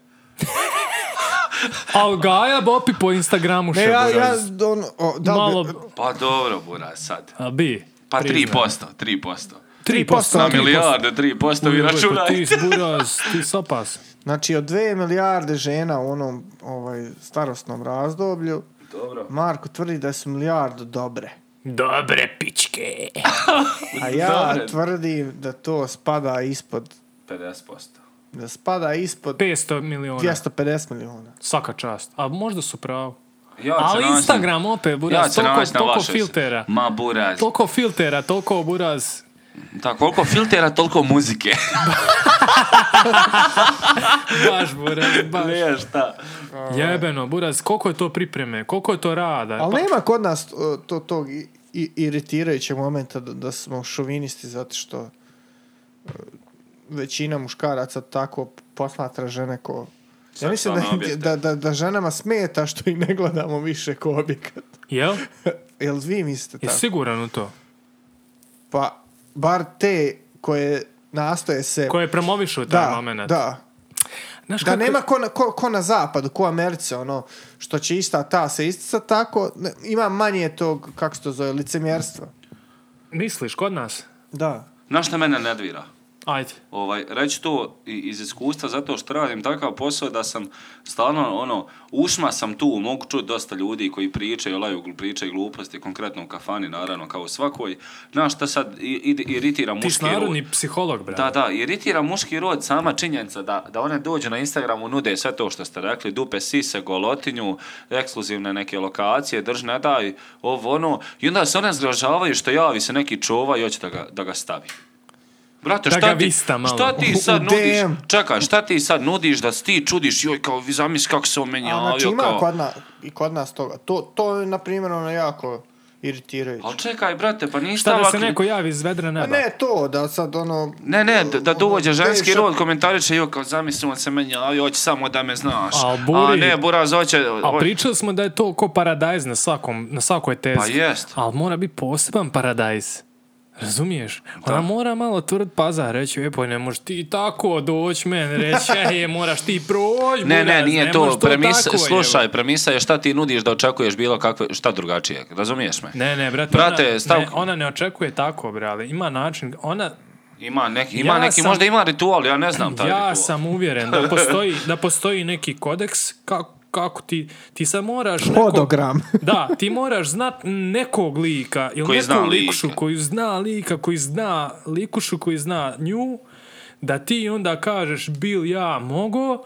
Speaker 1: Al Gaja Bopi po Instagramu
Speaker 2: Ne,
Speaker 1: še
Speaker 2: ja, ja,
Speaker 1: buraz.
Speaker 2: on, o, da,
Speaker 1: Malo...
Speaker 2: Malo...
Speaker 3: Pa dobro, Buraz, sad.
Speaker 1: A, bi.
Speaker 3: Pa
Speaker 1: priznaj.
Speaker 3: 3%, 3%.
Speaker 2: 3%.
Speaker 1: 3%.
Speaker 3: Na
Speaker 2: Tri
Speaker 3: milijarde 3%, vi
Speaker 1: Ujoj, pa Ti si
Speaker 3: računajte.
Speaker 1: buraz, ti si opas.
Speaker 2: Znači, od dve milijarde žena u onom ovaj, starostnom razdoblju,
Speaker 3: Dobro.
Speaker 2: Marko tvrdi da su milijardu dobre.
Speaker 1: Dobre pičke.
Speaker 2: A ja
Speaker 3: Dobre.
Speaker 2: tvrdim da to spada ispod,
Speaker 3: 50%.
Speaker 2: da spada ispod
Speaker 1: 500 miliona. E,
Speaker 2: 250 miliona.
Speaker 1: Svaka čast. A možda su pravo.
Speaker 3: Ja ću
Speaker 1: Ali
Speaker 3: naći na-
Speaker 1: Instagram opet, buraz,
Speaker 3: Ja ću
Speaker 1: toliko,
Speaker 3: naći na
Speaker 1: toliko
Speaker 3: vašoj-
Speaker 1: filtera.
Speaker 3: Ma Buraz.
Speaker 1: Toliko filtera, toliko buraz.
Speaker 3: Da, koliko filtera, toliko muzike.
Speaker 1: Baš buraz, baš.
Speaker 3: Ne, šta.
Speaker 1: Jebeno, buraz, koliko je to pripreme, koliko je to rada.
Speaker 2: Ali
Speaker 1: Pa-
Speaker 2: nema kod nas o, to, tog i- i- iritirajućeg momenta da, da smo šovinisti zato što e, većina muškaraca tako posmatra žene ko... Ja mislim da,
Speaker 3: Seksualne objekte.
Speaker 2: da, da, da ženama smeta što ih ne gledamo više ko objekat.
Speaker 1: Jel?
Speaker 2: Jel vi mislite
Speaker 1: Je
Speaker 2: tako?
Speaker 1: siguran u to?
Speaker 2: Pa, bar te koje nastoje se...
Speaker 1: Koje promovišu taj
Speaker 2: da,
Speaker 1: moment.
Speaker 2: da,
Speaker 1: Znaš
Speaker 2: Da
Speaker 1: kako-
Speaker 2: nema ko na, ko, ko na zapadu, ko u Americi, ono, što će ista ta se istica tako, ne, ima manje tog, kako se to zove, licemjerstva.
Speaker 1: Misliš, kod nas?
Speaker 2: Da.
Speaker 3: Znaš šta mene nervira?
Speaker 1: Ajde.
Speaker 3: Ovaj, reći to i- iz iskustva zato što radim takav posao da sam stalno ono, ušma sam tu, mogu čuti dosta ljudi koji pričaju, laju, glu- pričaju gluposti, konkretno u kafani naravno kao u svakoj. Znaš šta sad i, i- iritira
Speaker 1: Ti
Speaker 3: muški
Speaker 1: si
Speaker 3: rod?
Speaker 1: narodni psiholog, brate.
Speaker 3: Da, da, iritira muški rod sama činjenica da, da one dođu na Instagramu, nude sve to što ste rekli, dupe sise, golotinju, ekskluzivne neke lokacije, drž ne daj, ovo ono, i onda se one zgražavaju što javi se neki čova i hoće da ga, da ga stavi. Brate,
Speaker 1: Da
Speaker 3: šta,
Speaker 1: ga
Speaker 3: ti,
Speaker 1: vista malo.
Speaker 3: šta ti
Speaker 2: U- u
Speaker 3: sad nudiš?
Speaker 2: DM.
Speaker 3: Čekaj, šta ti sad nudiš da se ti čudiš, joj, kao, vi zamisli kako se on meni
Speaker 2: A,
Speaker 3: javio,
Speaker 2: znači, ima
Speaker 3: kao...
Speaker 2: kod, na, i kod nas toga. To, to je, na primjer, ono, jako iritirajuće.
Speaker 3: Ali čekaj, brate, pa nisi
Speaker 1: Šta da se
Speaker 3: ovako-
Speaker 1: neko javi iz vedra
Speaker 2: Pa
Speaker 1: neba?
Speaker 2: ne to, da sad, ono...
Speaker 3: Ne, ne, da, da dođe
Speaker 2: ono,
Speaker 3: ženski
Speaker 2: teško-
Speaker 3: rod, komentariše, jo, kao zamislim on se meni javio, hoće samo da me znaš.
Speaker 1: Al buri.
Speaker 3: A ne, buraz, hoće...
Speaker 1: A
Speaker 3: hoće-
Speaker 1: pričali smo da je to ko paradajz na, svakom, na svakoj tezi.
Speaker 3: Pa jest.
Speaker 1: Ali mora biti poseban paradajz. Razumiješ? Ona
Speaker 3: Da.
Speaker 1: mora malo tvrd pazar reći, e pa ne možeš ti tako doći meni reći, e moraš ti proći.
Speaker 3: Ne, ne, nije to. Premisa,
Speaker 1: tako,
Speaker 3: slušaj,
Speaker 1: jebe.
Speaker 3: premisa je šta ti nudiš da očekuješ bilo kakve, šta drugačije, razumiješ me?
Speaker 1: Ne, ne, brate,
Speaker 3: Brate,
Speaker 1: ona,
Speaker 3: stav-
Speaker 1: ne, ona ne očekuje tako, brale. Ima način, ona,
Speaker 3: Ima neki, ima
Speaker 1: Ja
Speaker 3: neki
Speaker 1: sam-
Speaker 3: možda ima ritual, ja ne znam taj
Speaker 1: ja
Speaker 3: ritual.
Speaker 1: sam uvjeren da postoji, da postoji neki kodeks kako, kako ti, ti sad moraš... neko-
Speaker 2: Hodogram.
Speaker 1: da, ti moraš znat nekog lika ili
Speaker 3: Koji
Speaker 1: neku
Speaker 3: zna lika.
Speaker 1: likušu koji zna lika, koji zna likušu, koji zna nju, da ti onda kažeš bil ja mogo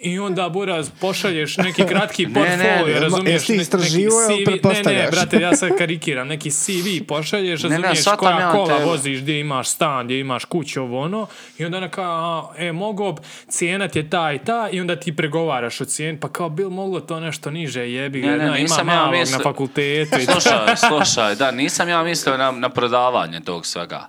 Speaker 1: i onda buraz pošalješ neki kratki
Speaker 3: Ne, ne,
Speaker 1: portfolio,
Speaker 3: ne,
Speaker 1: razumiješ?
Speaker 2: jesi ti
Speaker 1: ne-
Speaker 2: istraživo ili
Speaker 1: neki CV, ne, ne,
Speaker 2: pretpostavljaš?
Speaker 1: brate, ja sad karikiram, neki CV pošalješ,
Speaker 3: ne,
Speaker 1: razumiješ
Speaker 3: shvatam
Speaker 1: koja
Speaker 3: ja
Speaker 1: kola
Speaker 3: te.
Speaker 1: voziš, gdje imaš stan, gdje imaš kuću, ovo ono, i onda ona kao, a, e, mogo, bi, cijena ti je ta i ta, i onda ti pregovaraš o cijeni, pa kao, bil moglo to nešto niže, jebi ga,
Speaker 3: Ne, ne,
Speaker 1: na, ima
Speaker 3: nisam ja
Speaker 1: malog
Speaker 3: mislio.
Speaker 1: na fakultetu i
Speaker 3: Slušaj, slušaj, da, nisam ja mislio na, na prodavanje tog svega.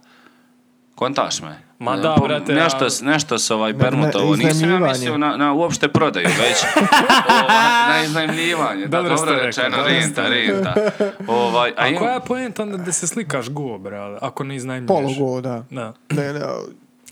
Speaker 3: Kontaš me?
Speaker 1: Ma da,
Speaker 3: Po-
Speaker 1: brate,
Speaker 3: Nešto,
Speaker 1: a-
Speaker 3: s- nešto se ovaj permutovo. Nisam ja
Speaker 2: iznajmljivanje.
Speaker 3: mislio na, na uopšte prodaju, već o, na, na iznajmljivanje. Da,
Speaker 1: Dobro
Speaker 3: dobro,
Speaker 1: ste rekli,
Speaker 3: rečeno,
Speaker 1: dobro
Speaker 3: renta, renta. Ovaj, a,
Speaker 1: A
Speaker 3: im-
Speaker 1: koja je poenta onda da se slikaš go, brale, ako ne iznajmljuješ?
Speaker 2: Polugo, da.
Speaker 1: Da.
Speaker 2: Ne, ne,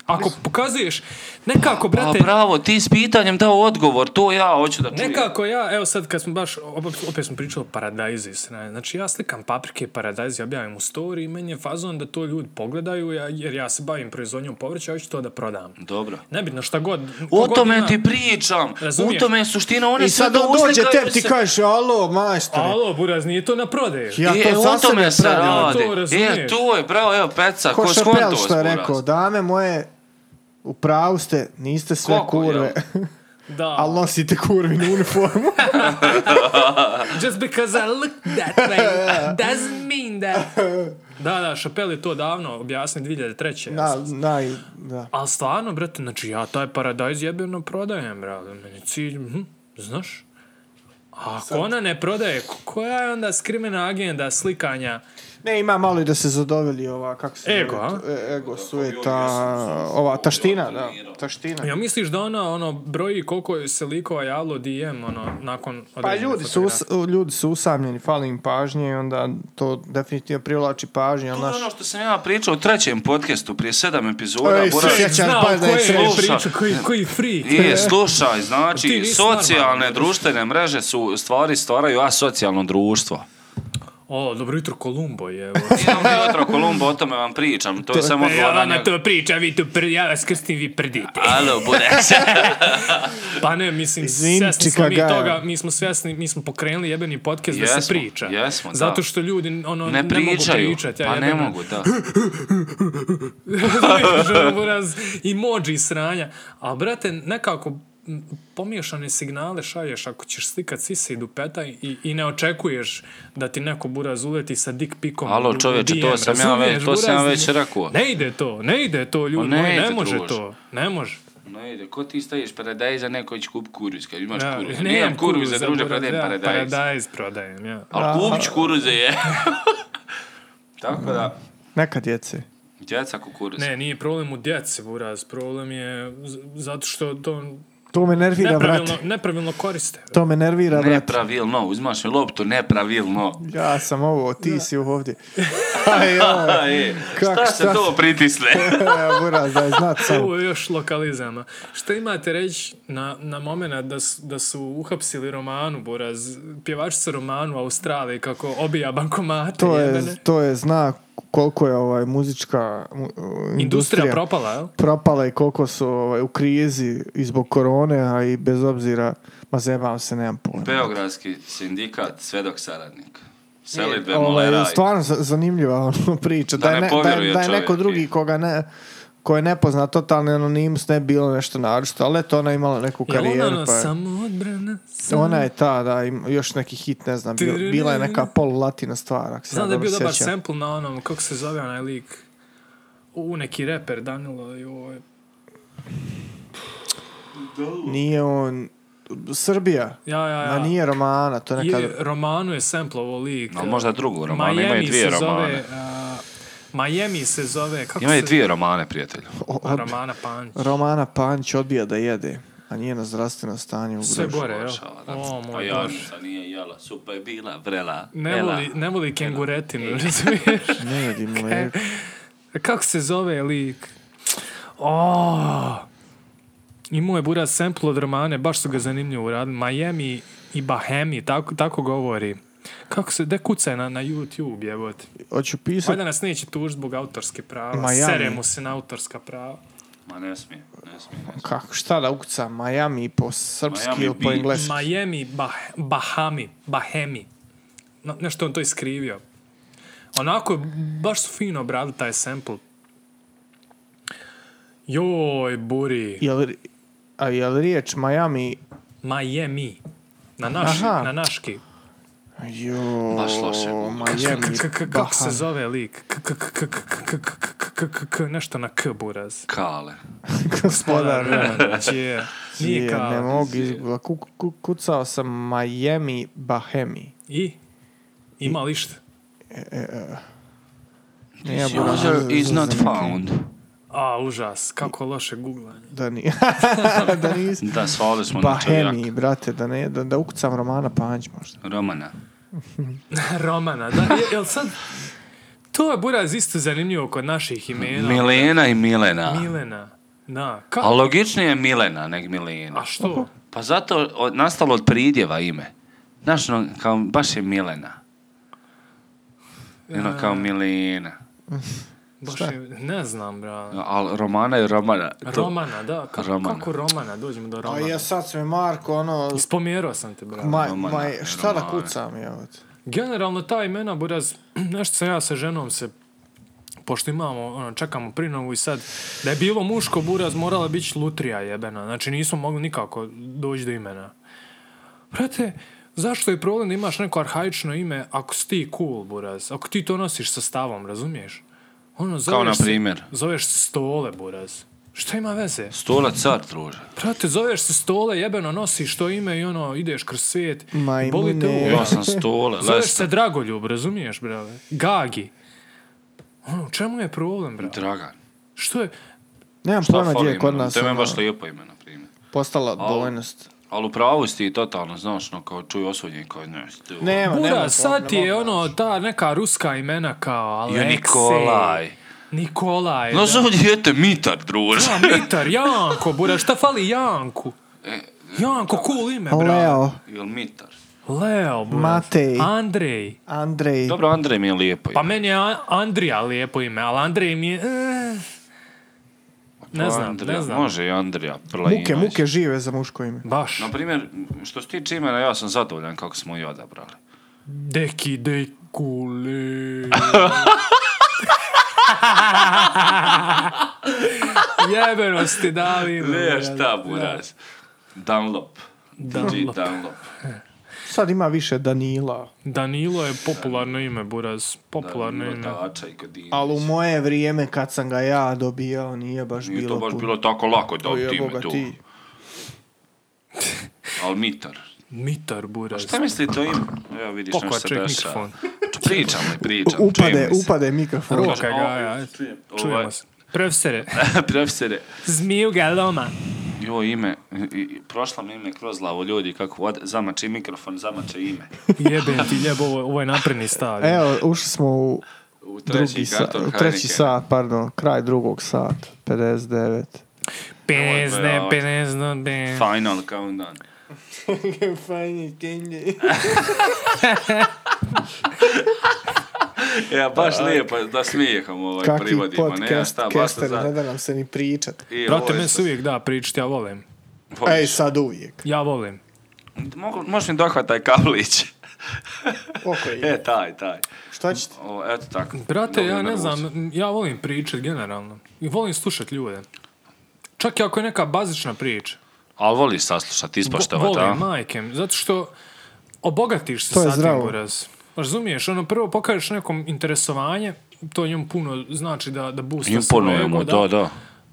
Speaker 1: Ako pokazuješ, nekako,
Speaker 3: A
Speaker 1: brate,
Speaker 3: bravo, ti s pitanjem dao odgovor, to ja hoću da čujem.
Speaker 1: nekako ja, evo sad kad smo baš, opet, opet smo pričali o paradajzi, sranje. znači ja slikam paprike, paradajzi, objavim u story i meni je fazon da to ljudi pogledaju, ja, jer ja se bavim proizvodnjom povrća, ja ću to da prodam.
Speaker 3: Dobro.
Speaker 1: Nebitno šta god.
Speaker 3: O
Speaker 1: kogod
Speaker 3: tome
Speaker 1: ima-
Speaker 3: ti pričam.
Speaker 1: Razumiješ?
Speaker 3: U tome je suština. One
Speaker 2: I
Speaker 3: sve
Speaker 2: sad
Speaker 3: to
Speaker 2: on dođe
Speaker 3: uslikaju
Speaker 2: tebi, ti
Speaker 3: se-
Speaker 2: kažeš, alo, majstore.
Speaker 1: Alo, buraz, nije to na prodaju.
Speaker 2: Ja
Speaker 3: E,
Speaker 2: to
Speaker 3: o
Speaker 2: za sebe
Speaker 3: tome se
Speaker 2: pravim.
Speaker 3: radi.
Speaker 1: To razumiješ.
Speaker 3: E, to je, bravo, evo, peca, ko,
Speaker 2: Ko
Speaker 3: ko
Speaker 2: Šapel
Speaker 3: skonto
Speaker 2: što je rekao, dame moje, u pravu ste, niste sve
Speaker 3: Koliko,
Speaker 2: kurve,
Speaker 1: Da.
Speaker 2: ali nosite kurvinu uniformu.
Speaker 1: Just because I look that way doesn't mean that. Da, da, Chappelle je to davno objasnio 2003.
Speaker 2: da, da, i- da.
Speaker 1: Ali stvarno, brate, znači ja taj paradajz jebeno prodajem, brate. Meni je cilj, mhm, znaš? A ako ona ne prodaje, ko- koja je onda skrimena agenda slikanja
Speaker 2: Ne, ima malo i da se zadovolji ova, kako se
Speaker 1: Ego,
Speaker 2: zove,
Speaker 1: a?
Speaker 2: to- e- ego sujeta, ova taština, da, taština.
Speaker 1: Ja misliš da ona ono broji koliko je se likova javilo DM ono nakon
Speaker 2: Pa
Speaker 1: određene
Speaker 2: ljudi su,
Speaker 1: fotografije?
Speaker 2: us- ljudi su usamljeni, fali im pažnje i onda to definitivno privlači pažnje. ali
Speaker 3: To je
Speaker 2: naš-
Speaker 3: ono što sam ja pričao u trećem podcastu prije sedam epizoda.
Speaker 2: Ej,
Speaker 3: Borac.
Speaker 2: sjećam
Speaker 1: Znao
Speaker 2: pa da je
Speaker 1: koje
Speaker 2: sve-
Speaker 1: priču, koji, koji freak.
Speaker 3: Nije, slušaj,
Speaker 1: Ti
Speaker 3: znači,
Speaker 1: nisi
Speaker 3: socijalne
Speaker 1: normalan.
Speaker 3: društvene mreže su u stvari stvaraju asocijalno društvo.
Speaker 1: O, dobro jutro Kolumbo je. evo.
Speaker 3: Imam jutro Kolumbo, o tome vam pričam, to je samo
Speaker 1: E, ja
Speaker 3: odgovor na
Speaker 1: vama
Speaker 3: njega.
Speaker 1: to pričam, vi tu prdi, ja vas krstim, vi prdite.
Speaker 3: Alo, Burek.
Speaker 1: Pa ne, mislim,
Speaker 2: Izvini,
Speaker 1: svjesni smo mi
Speaker 2: Chicago.
Speaker 1: toga, mi smo svjesni, mi smo pokrenuli jebeni podcast da se
Speaker 3: Jesmo,
Speaker 1: priča.
Speaker 3: jesmo, da.
Speaker 1: Zato što ljudi ono, ne,
Speaker 3: Ne pričaju,
Speaker 1: mogu pričati.
Speaker 3: pa ne mogu, da.
Speaker 1: Buraz, emoji sranja. A brate, nekako m, pomiješane signale šalješ ako ćeš slikat sise i dupeta i, i ne očekuješ da ti neko buraz uleti sa dick pikom.
Speaker 3: Alo,
Speaker 1: u- u
Speaker 3: čovječe, to
Speaker 1: DM,
Speaker 3: sam ja već-
Speaker 1: razumiješ,
Speaker 3: to sam ja
Speaker 1: buraz?
Speaker 3: već rekao.
Speaker 1: Ne ide to, ne ide to, ljudi,
Speaker 3: ne
Speaker 1: moji, ne,
Speaker 3: ide,
Speaker 1: može
Speaker 3: druže.
Speaker 1: to, ne može.
Speaker 3: No ide, ko ti stojiš paradajza, neko će kup kuruz, kad imaš
Speaker 1: Ja,
Speaker 3: kuruz.
Speaker 1: nemam
Speaker 3: Nemam kuruz, za
Speaker 1: kuruza,
Speaker 3: druže,
Speaker 1: buraz,
Speaker 3: prodajem
Speaker 1: ja
Speaker 3: paradajz.
Speaker 1: Paradajz prodajem, ja.
Speaker 3: Ali kupit ću kuruze, je. Tako da,
Speaker 2: Neka djece.
Speaker 3: djeca kukuruz.
Speaker 1: Ne, nije problem u djeci, Buraz. Problem je z- zato što to
Speaker 2: To me nervira,
Speaker 1: nepravilno,
Speaker 2: brate.
Speaker 1: nepravilno koriste.
Speaker 2: To me nervira, brate.
Speaker 3: Nepravilno, uzmaš mi loptu, nepravilno.
Speaker 2: Ja sam ovo, ti si ovdje. Aj, joj.
Speaker 3: A, e,
Speaker 2: Kako,
Speaker 3: šta se
Speaker 2: šta
Speaker 3: to pritisne?
Speaker 2: E, Buraz, daj znat sam.
Speaker 1: Ovo je još lokalizama. Šta imate reći na, na momena da, su- da su uhapsili Romanu, Buraz? Pjevačica Romanu u Australiji kako obija bankomate.
Speaker 2: To je,
Speaker 1: jebene.
Speaker 2: to je znak koliko je ovaj muzička mu-
Speaker 1: Industrija
Speaker 2: industrija
Speaker 1: propala, jel?
Speaker 2: propala i koliko su ovaj, u krizi i zbog korone, a i bez obzira, ma zebam se, nemam pojma.
Speaker 3: Beogradski sindikat, svedok saradnik. Selidbe,
Speaker 2: Ovaj,
Speaker 3: mole raj.
Speaker 2: Stvarno za- zanimljiva ono, priča.
Speaker 3: Da
Speaker 2: Da, je,
Speaker 3: ne
Speaker 2: ne, da, je,
Speaker 3: povjeruje
Speaker 2: da je neko
Speaker 3: čovjek,
Speaker 2: drugi
Speaker 3: je.
Speaker 2: koga ne, ko je nepoznat, totalni anonimus, ne bilo nešto naročito, ali eto, ona je imala neku
Speaker 1: Jel ona
Speaker 2: karijeru.
Speaker 1: ono
Speaker 2: pa je-
Speaker 1: samo odbrana? samo-
Speaker 2: Ona je ta, da, im- još neki hit, ne znam, bio- bila je neka polu-latina stvar, ako se ja
Speaker 1: Znam da je
Speaker 2: dobro
Speaker 1: bio dobar
Speaker 2: sjećam.
Speaker 1: sample na onom, kako se zove onaj lik? U, neki reper Danilo, joj.
Speaker 2: Nije on... Srbija.
Speaker 1: Ja, ja, Pa ja.
Speaker 2: Ma nije Romana, to je neka...
Speaker 1: Je, romanu je samplovo lik.
Speaker 3: No, možda drugu romanu, imaju dvije
Speaker 1: se Zove,
Speaker 3: romane.
Speaker 1: a, Miami se zove, kako
Speaker 3: Imaju
Speaker 1: se
Speaker 3: dvije romane, prijatelju.
Speaker 2: o-
Speaker 1: A,
Speaker 2: od-
Speaker 1: pa Romana Panić.
Speaker 2: Romana Panić odbija da jede, a njeno zdravstveno stanje
Speaker 1: Sve
Speaker 2: ugroženo.
Speaker 1: gore, jel? O,
Speaker 3: A
Speaker 1: moj
Speaker 3: ja
Speaker 1: Bože.
Speaker 3: nije jela, supa je bila, vrela,
Speaker 1: Ne voli, ne voli kenguretinu, razumiješ?
Speaker 2: Ne jedi mlijeko.
Speaker 1: Kako se zove lik? O, imao je buraz sample od romane, baš su ga zanimljivo uradili. Miami i Bahemi, tako, tako govori. Kako se, de kucaj na, na YouTube, jebote.
Speaker 2: Hoću pisat...
Speaker 1: Valjda nas neće tužiti zbog autorske prava.
Speaker 2: Miami.
Speaker 1: Sere mu se na autorska prava.
Speaker 3: Ma ne smije, ne smije. ne smije.
Speaker 2: Kako, šta da ukuca Miami po srpski
Speaker 3: Miami
Speaker 2: ili po
Speaker 3: Beach.
Speaker 2: engleski?
Speaker 1: Miami, bah, Bahami, Bahemi. No, nešto on to iskrivio. Onako, baš su fino obradili taj sample. Joj, buri.
Speaker 2: Jel, a jel riječ Miami...
Speaker 1: Miami. Na naš,
Speaker 2: Aha.
Speaker 1: na naški.
Speaker 2: Jo,
Speaker 3: Baš loše.
Speaker 2: Miami,
Speaker 1: K- k- k-
Speaker 2: Baha.
Speaker 1: Kako se zove lik? K- k- k- k- k- k- k- k- k- k- k- Nešto na K, buraz.
Speaker 3: Kale.
Speaker 2: Gospodar,
Speaker 1: Đe. Nije
Speaker 2: je, ne
Speaker 1: kao.
Speaker 2: mogu izgledati. Ku- ku- Kucao sam Miami Bahemi. E,
Speaker 1: I? Ima li šta?
Speaker 2: Nije Buraz,
Speaker 3: User is
Speaker 2: za- za
Speaker 3: not
Speaker 2: neki-
Speaker 3: found.
Speaker 1: A, užas. Kako loše googlanje.
Speaker 2: Da, ni, da nis...
Speaker 3: Da, svali smo na čovjak.
Speaker 2: Bahemi, brate, da, ne, da, da ukucam Romana Panć možda.
Speaker 3: Romana.
Speaker 1: Romana, da. Je, jel sad... To je buraz isto zanimljivo kod naših imena.
Speaker 3: Milena i Milena.
Speaker 1: Milena. Da. Kako?
Speaker 3: A logičnije je Milena neg Milena.
Speaker 1: A što?
Speaker 3: Pa zato od, nastalo od pridjeva ime. Znaš, ono, kao, baš je Milena. Ono
Speaker 1: E.
Speaker 3: kao Milena.
Speaker 1: Baš je, ne znam, bra.
Speaker 3: Ali Romana je Romana. To-
Speaker 1: Romana, da. Kako,
Speaker 3: Romana.
Speaker 1: kako Romana? Dođemo do
Speaker 2: A
Speaker 1: Romana.
Speaker 2: ja sad sam Marko, ono...
Speaker 1: Ispomjerao sam te, bra.
Speaker 2: Ma,
Speaker 3: Romana,
Speaker 2: ma, šta da
Speaker 3: Romana.
Speaker 2: kucam, jel?
Speaker 1: Generalno ta imena, buraz, nešto sam ja sa ženom se pošto imamo, ono, čekamo prinovu i sad, da je bilo muško buraz, morala biti lutrija jebena. Znači nismo mogli nikako doći do imena. Brate, zašto je problem da imaš neko arhaično ime ako si ti cool, buraz? Ako ti to nosiš sa stavom, razumiješ? Ono, zoveš
Speaker 3: na
Speaker 1: se-
Speaker 3: primjer?
Speaker 1: Zoveš se stole, buraz. Šta ima veze?
Speaker 3: Stola car, druže.
Speaker 1: Prate, zoveš se stole, jebeno nosiš to ime i ono, ideš kroz svijet.
Speaker 2: Majmune.
Speaker 1: Boli te uvo.
Speaker 3: Ja sam stole,
Speaker 1: Zoveš
Speaker 3: lesta.
Speaker 1: se Dragoljub, razumiješ, brale? Gagi. Ono, u čemu je problem, brale?
Speaker 3: Dragan.
Speaker 1: Što je...
Speaker 2: Nemam
Speaker 3: Šta
Speaker 2: pojma gdje
Speaker 3: fali
Speaker 2: je kod
Speaker 3: imenom?
Speaker 2: nas
Speaker 3: To je
Speaker 2: ono,
Speaker 3: baš lijepo ime, na primjer.
Speaker 2: postala dovoljnost.
Speaker 3: Ali u pravu si ti totalno, znaš, no, kao čuj osuđen, kao ne, stu.
Speaker 2: Nema, nema.
Speaker 1: Bura,
Speaker 2: to,
Speaker 1: sad ti je
Speaker 2: ne mogu.
Speaker 1: ono, ta neka ruska imena kao Aleksej.
Speaker 3: Jo, Nikolaj.
Speaker 1: Nikolaj.
Speaker 3: No,
Speaker 1: da.
Speaker 3: zovni jete mitar, druže.
Speaker 1: A, Mitar, Janko, bura, šta fali Janku? Janko, cool ime, brale.
Speaker 2: Leo,
Speaker 3: Jel mitar?
Speaker 1: Leo, bura.
Speaker 2: Matej.
Speaker 1: Andrej.
Speaker 2: Andrej.
Speaker 3: Dobro, Andrej mi je lijepo
Speaker 1: Pa
Speaker 3: ime.
Speaker 1: meni je An- Andrija lijepo ime, ali Andrej mi je... eh, ne znam,
Speaker 3: Andrija,
Speaker 1: ne znam.
Speaker 3: Može i Andrija Prlajinović.
Speaker 2: Muke, muke žive za muško ime.
Speaker 1: Baš.
Speaker 3: Na primjer, što se tiče imena, ja sam zadovoljan kako smo i odabrali.
Speaker 1: Deki, dekule. Jebeno ste dali.
Speaker 3: Ne, šta buraz. Dunlop.
Speaker 1: Dunlop.
Speaker 3: Dunlop. Dunlop.
Speaker 2: Sad ima više Danila.
Speaker 1: Danilo je popularno ime, Buraz. Popularno ime.
Speaker 3: Dača i Kodin.
Speaker 2: Ali u moje vrijeme kad sam ga ja dobijao nije baš
Speaker 3: Nije
Speaker 2: bilo
Speaker 3: to baš
Speaker 2: puno.
Speaker 3: bilo tako lako da
Speaker 2: O,
Speaker 3: ti
Speaker 2: jebo
Speaker 3: ime
Speaker 2: ga
Speaker 3: tu.
Speaker 2: ti.
Speaker 3: Ali mitar.
Speaker 1: Mitar, Buraz.
Speaker 3: Šta mislite o ime? Evo vidiš nešto se
Speaker 1: Pokvaček
Speaker 3: dešava.
Speaker 1: mikrofon.
Speaker 3: Pričam li, pričam.
Speaker 2: Upade,
Speaker 3: čujemo se.
Speaker 2: upade mikrofon.
Speaker 1: Roka
Speaker 3: Kaže,
Speaker 1: ga,
Speaker 3: "Au,
Speaker 1: ja, ajde,
Speaker 3: čujem." Ovaj,
Speaker 1: Čujemo se. Profesore,
Speaker 3: Profesore,
Speaker 1: zmiju ga loma.
Speaker 3: jo ime, i- i- prošlo mi ime kroz glavu ljudi kako vode, zamači mikrofon, zamače ime.
Speaker 1: Jebem ti, jebo, ovo, ovo je napredni stav.
Speaker 2: Evo, ušli smo u
Speaker 3: U treći
Speaker 2: drugi sat,
Speaker 3: karton
Speaker 2: treći
Speaker 3: Heineken.
Speaker 2: sat, pardon, kraj drugog sata, 59.
Speaker 1: Penezne,
Speaker 3: Ovo je
Speaker 1: penezno, ben.
Speaker 3: Final countdown.
Speaker 2: Fajni kenji.
Speaker 3: Ja, E, baš lijepo da smijehom ovaj
Speaker 2: Kakvi
Speaker 3: privodimo. ne,
Speaker 2: podcast,
Speaker 3: šta, baš
Speaker 2: kester, ne
Speaker 3: za...
Speaker 2: da nam se ni pričat.
Speaker 3: I ovaj ovo
Speaker 1: Brate,
Speaker 3: je
Speaker 1: me se
Speaker 3: sad-
Speaker 1: uvijek da pričati, ja volim.
Speaker 3: Voliš.
Speaker 2: Ej, sad uvijek.
Speaker 1: Ja volim.
Speaker 3: Mogu, možeš mi dohvataj kablić.
Speaker 2: Oko je.
Speaker 3: e, taj, taj.
Speaker 2: Šta ćete?
Speaker 3: O, eto tako.
Speaker 1: Brate,
Speaker 3: Dobro,
Speaker 1: ja ne
Speaker 3: nervoza.
Speaker 1: znam, m, ja volim pričat generalno. I volim slušat ljude. Čak i ako je neka bazična priča.
Speaker 3: Ali voliš saslušati, ispoštovati,
Speaker 1: volim,
Speaker 3: a?
Speaker 1: majke. mi, Zato što obogatiš se
Speaker 2: To je
Speaker 1: sa tim
Speaker 2: zdravo.
Speaker 1: buraz. Razumiješ, ono prvo pokažeš nekom interesovanje, to njemu puno znači da, da boosta
Speaker 3: Imponuje
Speaker 1: svoje
Speaker 3: mu,
Speaker 1: ego,
Speaker 3: da, da.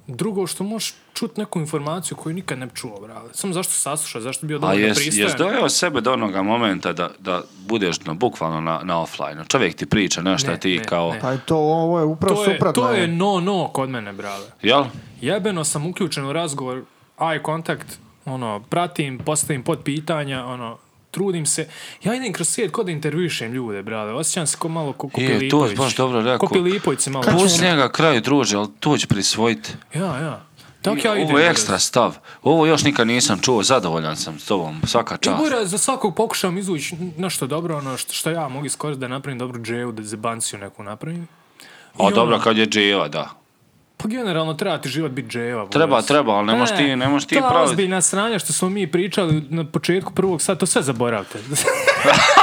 Speaker 1: Drugo, što možeš čut neku informaciju koju nikad ne bi čuo, brale. Samo zašto sasluša, zašto bi bio
Speaker 3: A
Speaker 1: dovoljno
Speaker 3: jes,
Speaker 1: pristojan.
Speaker 3: jes dojeo sebe do onoga momenta da, da budeš na, bukvalno na, na offline. Čovjek ti priča nešto,
Speaker 1: Ne,
Speaker 3: a ti
Speaker 1: ne,
Speaker 3: kao...
Speaker 1: ne.
Speaker 2: Pa je to, ovo je upravo
Speaker 1: to, je,
Speaker 2: suprotno.
Speaker 1: to je
Speaker 2: evo.
Speaker 1: no-no kod mene, brale.
Speaker 3: Jel?
Speaker 1: Jebeno sam uključen u razgovor, eye contact, ono, pratim, postavim pod pitanja, ono, trudim se. Ja idem kroz svijet kod da intervjušem ljude, brale. Osjećam se ko malo ko
Speaker 3: Je, to
Speaker 1: Kopilipović.
Speaker 3: je baš dobro rekao.
Speaker 1: Kopilipović se malo... Znači,
Speaker 3: Pusti njega kraju, druže, ali to će prisvojiti.
Speaker 1: Ja, ja. Tako ja idem.
Speaker 3: Ovo je
Speaker 1: brate.
Speaker 3: ekstra stav. Ovo još nikad nisam čuo, zadovoljan sam s tobom, svaka
Speaker 1: I
Speaker 3: čast.
Speaker 1: bura, za svakog pokušam izvući nešto dobro, ono što, što ja mogu iskoristiti da napravim dobru džeju, da zebanciju neku napravim. I
Speaker 3: A dobro,
Speaker 1: ono,
Speaker 3: kad je dževa, da.
Speaker 1: Pa generalno treba ti život biti dževa. bura.
Speaker 3: Treba, treba, ali ne možeš ti, ne možeš ti
Speaker 1: E, Ta
Speaker 3: praviti.
Speaker 1: ozbiljna sranja što smo mi pričali na početku prvog sata, to sve zaboravite.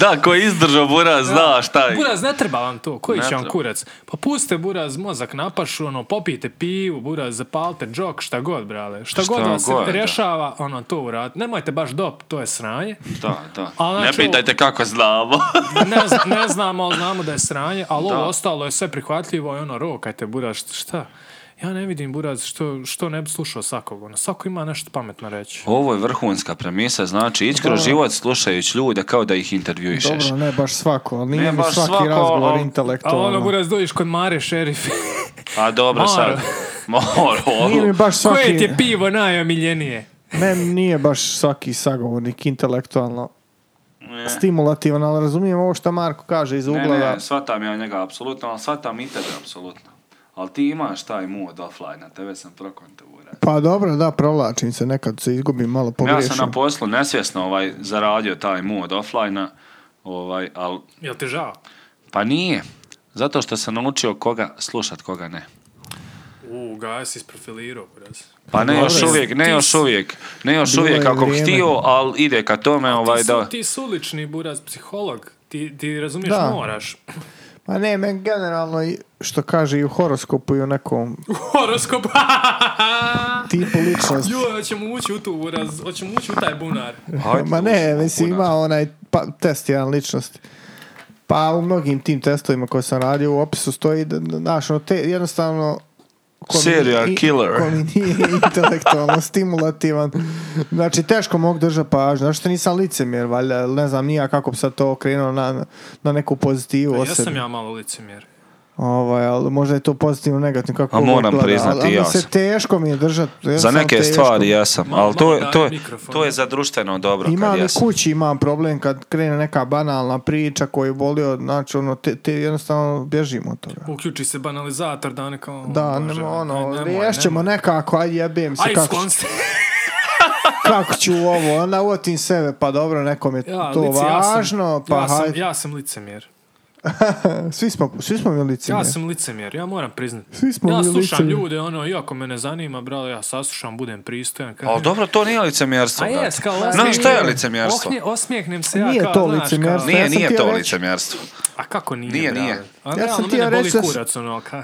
Speaker 3: Da, ko je izdržao buraz, zna šta je.
Speaker 1: buraz, ne treba vam to, koji
Speaker 3: Ne
Speaker 1: će vam
Speaker 3: treba.
Speaker 1: kurac? Pa puste buraz mozak napašu, ono, popijte pivu, buraz, zapalite džok, šta god, brale. Šta,
Speaker 3: Šta
Speaker 1: god vam
Speaker 3: god,
Speaker 1: se
Speaker 3: da.
Speaker 1: rješava, ono, to uradite. Nemojte baš dop, to je sranje.
Speaker 3: Da, da.
Speaker 1: Ali
Speaker 3: ne
Speaker 1: znači ovo-
Speaker 3: pitajte kako znamo.
Speaker 1: Ne, z- ne znamo, ali znamo da je sranje, ali
Speaker 3: Da.
Speaker 1: ovo ostalo je sve prihvatljivo i ono, rokajte, buraz, št- šta? Ja ne vidim, buraz, što, što ne bi slušao svakog, ono, svako ima nešto pametno reći.
Speaker 3: Ovo je vrhunska premisa, znači ići kroz život slušajući ljude kao da ih intervjuišeš.
Speaker 2: Dobro, ne baš svako, ali
Speaker 3: Ne
Speaker 2: nije mi
Speaker 3: baš
Speaker 2: svaki
Speaker 3: svako,
Speaker 2: razgovor
Speaker 3: ali-
Speaker 1: A ono,
Speaker 2: intelektualno.
Speaker 1: buraz, dođeš kod Mare Šerif.
Speaker 3: A Pa dobro
Speaker 1: Mora.
Speaker 3: sad. Moro.
Speaker 2: Nije mi baš svaki...
Speaker 1: Koje ti je pivo najomiljenije?
Speaker 2: Ne, nije baš svaki sagovornik intelektualno stimulativan, ali razumijem ovo što Marko kaže iz
Speaker 3: Ne,
Speaker 2: ugla da
Speaker 3: ne, shvatam ja njega apsolutno, ali shvatam i tebe apsolutno. Ali ti imaš taj mod offline, a tebe sam prokonto buraz.
Speaker 2: Pa dobro, da, provlačim se, nekad se izgubim, malo
Speaker 3: Ja
Speaker 2: pogriješim.
Speaker 3: sam na poslu nesvjesno ovaj, zaradio taj mod offline ovaj, ali
Speaker 1: Jel ti žao?
Speaker 3: Pa nije. Zato što sam naučio koga slušat, koga ne.
Speaker 1: U, gaj si isprofilirao, buraz.
Speaker 3: Pa ne
Speaker 2: Dobro,
Speaker 3: još
Speaker 2: jes-
Speaker 3: uvijek, ne
Speaker 1: ti
Speaker 3: još
Speaker 1: si-
Speaker 3: uvijek, ne još
Speaker 2: Bilo
Speaker 3: uvijek
Speaker 2: je
Speaker 3: kako
Speaker 2: vrijeme.
Speaker 3: htio, ali ide ka tome ovaj
Speaker 1: Ti su,
Speaker 3: da...
Speaker 1: ti su ulični, buraz, psiholog. Ti, ti razumiješ,
Speaker 2: Da.
Speaker 1: moraš.
Speaker 2: Pa ne, men generalno, i- što kaže i u horoskopu i u nekom
Speaker 1: Horoskop!
Speaker 2: tipu ličnosti.
Speaker 1: Ju, hoćemo ući u tu, buraz. Hoćemo ući u taj bunar.
Speaker 3: Hajde,
Speaker 2: Ma ne,
Speaker 3: slušaj,
Speaker 2: mislim,
Speaker 3: kuda.
Speaker 2: ima onaj pa, test jedan ličnosti. Pa u mnogim tim testovima koje sam radio u opisu stoji da, da, znaš, ono, te, jednostavno ko mi-
Speaker 3: Serial
Speaker 2: i-
Speaker 3: killer.
Speaker 2: Ko mi nije intelektualno stimulativan. Znači, teško mogu držati pažnju. Znači, što nisam licemjer, valjda, ili ne znam nija kako bi sad to okrenuo na, na neku pozitivu o
Speaker 1: Ja
Speaker 2: sebi.
Speaker 1: sam ja malo licemjer.
Speaker 2: Ovaj, ali možda je to pozitivno, negativno, kako
Speaker 3: A
Speaker 2: god
Speaker 3: moram
Speaker 2: gleda.
Speaker 3: priznati,
Speaker 2: ali, ali
Speaker 3: ja
Speaker 2: se
Speaker 3: sam.
Speaker 2: teško mi je držati.
Speaker 3: Za neke stvari ja sam,
Speaker 1: Malo-
Speaker 3: ali to,
Speaker 1: malo
Speaker 3: je- to,
Speaker 1: daje
Speaker 3: je,
Speaker 1: mikrofon.
Speaker 3: to je za društveno dobro.
Speaker 2: Imam
Speaker 3: kad
Speaker 2: i
Speaker 3: ja sam-
Speaker 2: kući, imam problem kad krene neka banalna priča koju volio, znači ono, te, te jednostavno bježimo od toga.
Speaker 1: Uključi se banalizator da neka... ono,
Speaker 2: Da,
Speaker 1: Bože,
Speaker 2: nemo,
Speaker 1: aj,
Speaker 2: ono,
Speaker 1: nemoj,
Speaker 2: riješćemo
Speaker 1: nemoj.
Speaker 2: nekako, aj jebem se,
Speaker 1: Aj,
Speaker 2: kako,
Speaker 1: sklon se.
Speaker 2: kako ću ovo, onda uotim sebe, pa dobro, nekom je
Speaker 1: Ja,
Speaker 2: to
Speaker 1: lice, ja sam-
Speaker 2: važno, pa
Speaker 1: ja sam,
Speaker 2: hajde.
Speaker 1: ja sam licemjer.
Speaker 2: Svi smo, svi smo mi
Speaker 1: Ja
Speaker 2: licemjeri.
Speaker 1: sam licemjer, ja moram priznati.
Speaker 2: Svi smo
Speaker 1: ja
Speaker 2: mi
Speaker 1: slušam
Speaker 2: licemjeri.
Speaker 1: ljude, ono, iako me ne zanima, brale, ja saslušam, budem pristojan. kažem-
Speaker 3: Ali dobro, to nije licemjerstvo.
Speaker 1: A
Speaker 3: brate.
Speaker 1: jes, kao
Speaker 3: Znaš
Speaker 1: osmijeh-
Speaker 3: šta je licemjerstvo?
Speaker 1: Ohni- osmijehnem se ja
Speaker 2: Nije
Speaker 1: kao,
Speaker 2: to
Speaker 1: znaš, kao-
Speaker 2: licemjerstvo. Ja
Speaker 3: Nije,
Speaker 2: sam
Speaker 3: nije
Speaker 2: htio
Speaker 3: to
Speaker 2: reći-
Speaker 3: licemjerstvo.
Speaker 1: A kako nije,
Speaker 3: Nije,
Speaker 1: brale?
Speaker 3: nije.
Speaker 1: A
Speaker 2: Ja
Speaker 1: realno,
Speaker 2: sam ti ja
Speaker 1: mene boli
Speaker 2: reći da s-
Speaker 1: kurac, ono, ka...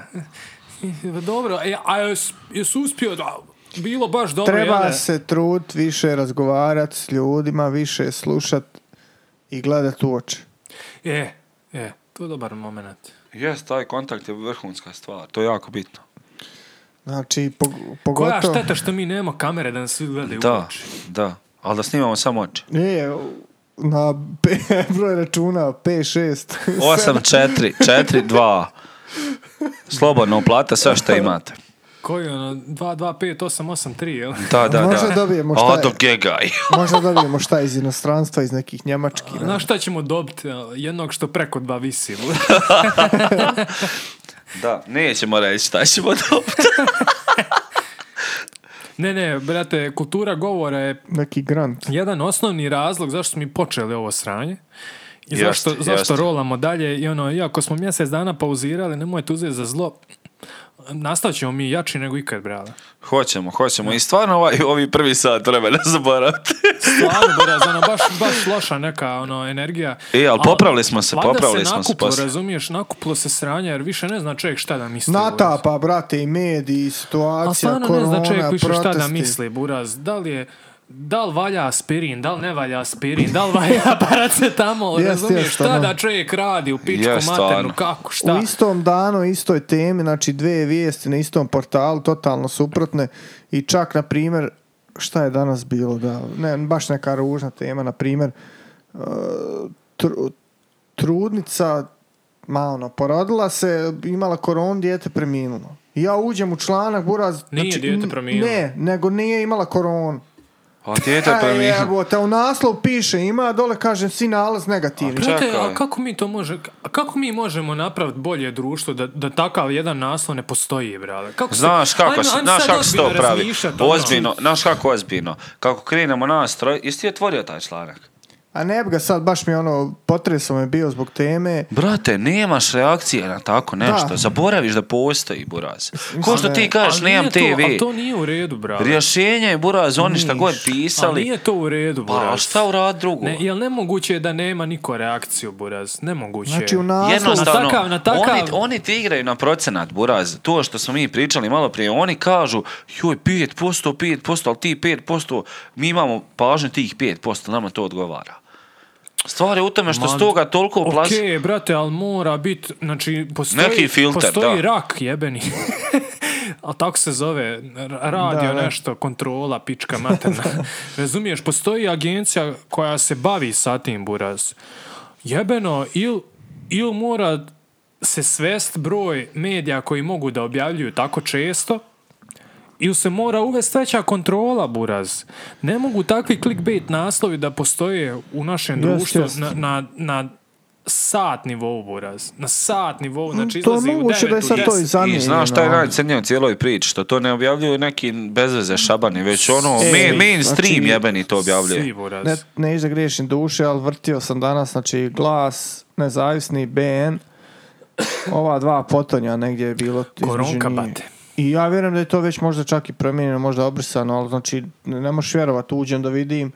Speaker 1: dobro, e, a jes, jes uspio da... Bilo baš dobro,
Speaker 2: Treba
Speaker 1: jel da?
Speaker 2: se trud više razgovarat s ljudima, više slušat i gledat u oči.
Speaker 1: E, e, to je dobar moment.
Speaker 3: Jes, taj kontakt je vrhunska stvar, to je jako bitno.
Speaker 2: Znači, pog-
Speaker 1: Koja
Speaker 2: pogotovo...
Speaker 1: šteta što mi nemamo kamere da nas svi gledaju u
Speaker 3: Da,
Speaker 1: oči.
Speaker 3: da. Ali da snimamo samo oči.
Speaker 2: Nije, na p- broj računa 5-6.
Speaker 3: 8, 4, 4, 2. Slobodno uplate sve što imate.
Speaker 1: Koji je ono, 2258883, jel?
Speaker 3: Da, da,
Speaker 2: Možda
Speaker 3: da.
Speaker 2: dobijemo šta je.
Speaker 3: Odo gegaj.
Speaker 2: Možda dobijemo šta iz inostranstva, iz nekih njemačkih. ne?
Speaker 1: Znaš šta ćemo dobiti? Jednog što preko dva visi.
Speaker 3: Da, nećemo reći šta ćemo dobiti.
Speaker 1: ne, ne, brate, kultura govora je
Speaker 2: Neki grant.
Speaker 1: jedan osnovni razlog zašto smo mi počeli ovo sranje. I
Speaker 3: Jeste,
Speaker 1: zašto, zašto
Speaker 3: jeste.
Speaker 1: rolamo dalje. I ono, iako smo mjesec dana pauzirali, nemojte uzeti za zlo. Nastavit ćemo mi jači nego ikad, brale.
Speaker 3: Hoćemo, hoćemo. I stvarno ovaj, ovi prvi sat vremena zaboravite.
Speaker 1: Stvarno, brez, ono, baš, baš loša neka ono, energija.
Speaker 3: E, ali
Speaker 1: Al-
Speaker 3: popravili smo se,
Speaker 1: Valjda
Speaker 3: popravili smo se
Speaker 1: nakuplo,
Speaker 3: poslije.
Speaker 1: razumiješ, nakupilo se sranje, jer više ne zna čovjek šta da misli. buraz.
Speaker 2: Natapa, pa, brate, i mediji,
Speaker 1: Ali
Speaker 2: situacija,
Speaker 1: stvarno ne
Speaker 2: korona,
Speaker 1: zna čovjek više šta da
Speaker 2: protesti.
Speaker 1: misli, buraz. Da li je da li valja aspirin, da li ne valja aspirin, da li valja paracetamol,
Speaker 2: Jest,
Speaker 1: razumiješ
Speaker 2: jest,
Speaker 1: šta
Speaker 2: ono.
Speaker 1: da čovjek radi u pičku
Speaker 3: Jest,
Speaker 1: maternu,
Speaker 3: stvarno.
Speaker 1: kako, šta.
Speaker 2: U istom danu, istoj temi, znači dve vijesti na istom portalu, totalno suprotne i čak, na primjer, šta je danas bilo, da, ne, baš neka ružna tema, na primjer, e, tr- trudnica, ma ono, porodila se, imala koronu, dijete preminulo. Ja uđem u članak, buraz... znači,
Speaker 1: Nije dijete
Speaker 2: n-
Speaker 1: preminulo.
Speaker 2: Ne, nego nije imala koronu.
Speaker 3: A djete
Speaker 2: E, jebote, u naslov piše, ima dole, kažem, svi nalaz negativni.
Speaker 1: Brate,
Speaker 3: Čekaj.
Speaker 1: a kako mi to može, a kako mi možemo napraviti bolje društvo da, da takav jedan naslov ne postoji, brale? Kako se-
Speaker 3: Znaš kako,
Speaker 1: Ajmo-
Speaker 3: se-
Speaker 1: ajmo
Speaker 3: znaš
Speaker 1: sad
Speaker 3: kako se to
Speaker 1: ozbiljno
Speaker 3: pravi.
Speaker 1: razmišljat, ono.
Speaker 3: Ozbiljno, znaš kako ozbiljno. Kako krenemo nastroj, jesi ti otvorio taj članak?
Speaker 2: A ne bi ga sad, baš mi ono, potresom je bio zbog teme.
Speaker 3: Brate, nemaš reakcije na tako nešto.
Speaker 2: Da.
Speaker 3: Zaboraviš da postoji buraz. Ko što
Speaker 2: da
Speaker 3: ti
Speaker 2: je-
Speaker 3: kažeš,
Speaker 1: Ali
Speaker 3: nemam
Speaker 1: nije to- ali
Speaker 3: TV.
Speaker 1: to nije u redu, brale.
Speaker 3: Rješenje je buraz, oni šta
Speaker 2: Niš.
Speaker 3: god
Speaker 1: Ali
Speaker 3: pisali.
Speaker 1: nije to u redu,
Speaker 3: Pa,
Speaker 1: buraz.
Speaker 3: ali šta urad drugo?
Speaker 1: Ne, jel nemoguće je da nema niko reakciju, Buraz? Nemoguće.
Speaker 2: Znači u naslovu,
Speaker 3: Jednostavno,
Speaker 1: Na takav- na takav-
Speaker 3: Oni, oni ti igraju na procenat, buraz. To što smo mi pričali malo prije, oni kažu, joj, 5%, 5%, ali ti 5%, mi imamo pažnju tih 5%, nama to odgovara. Stvar je u tome što
Speaker 1: Ma,
Speaker 3: s toga toliko
Speaker 1: Okej,
Speaker 3: plas...
Speaker 1: brate, ali mora bit, znači, postoji,
Speaker 3: Neki filter,
Speaker 1: postoji
Speaker 3: da.
Speaker 1: rak jebeni. ali tako se zove, r- radio
Speaker 2: Da, da.
Speaker 1: nešto, kontrola, pička materna. Razumiješ, postoji agencija koja se bavi sa tim, Buraz. Jebeno, il, il mora se svest broj medija koji mogu da objavljuju tako često, ili se mora uvesti veća kontrola, Buraz. Ne mogu takvi clickbait naslovi da postoje u našem
Speaker 2: Jest,
Speaker 1: društvu
Speaker 2: jest.
Speaker 1: Na, na, na sat nivou, Buraz. Na sat nivou, znači
Speaker 2: Mm, to
Speaker 1: izlazi u
Speaker 2: moguće da je
Speaker 1: devet u
Speaker 2: sad to i
Speaker 1: deset.
Speaker 2: zamijenjeno.
Speaker 3: I znaš šta je
Speaker 2: ono.
Speaker 3: najcrnije u cijeloj priči, što to ne objavljuju neki bezveze šabani, već ono,
Speaker 2: Svi.
Speaker 3: main, mainstream
Speaker 2: Znači,
Speaker 3: jebeni to
Speaker 1: Svi,
Speaker 3: objavljuje.
Speaker 1: Buraz.
Speaker 2: Ne, ne iš da griješim duše, ali vrtio sam danas, znači glas, nezavisni, BN, ova dva potonja negdje je bilo. između
Speaker 1: Koronka,
Speaker 2: njih.
Speaker 1: bate.
Speaker 2: I ja vjerujem da je to već možda čak i promijenjeno, možda obrisano, ali znači ne ne možeš vjerovat, uđem da vidim,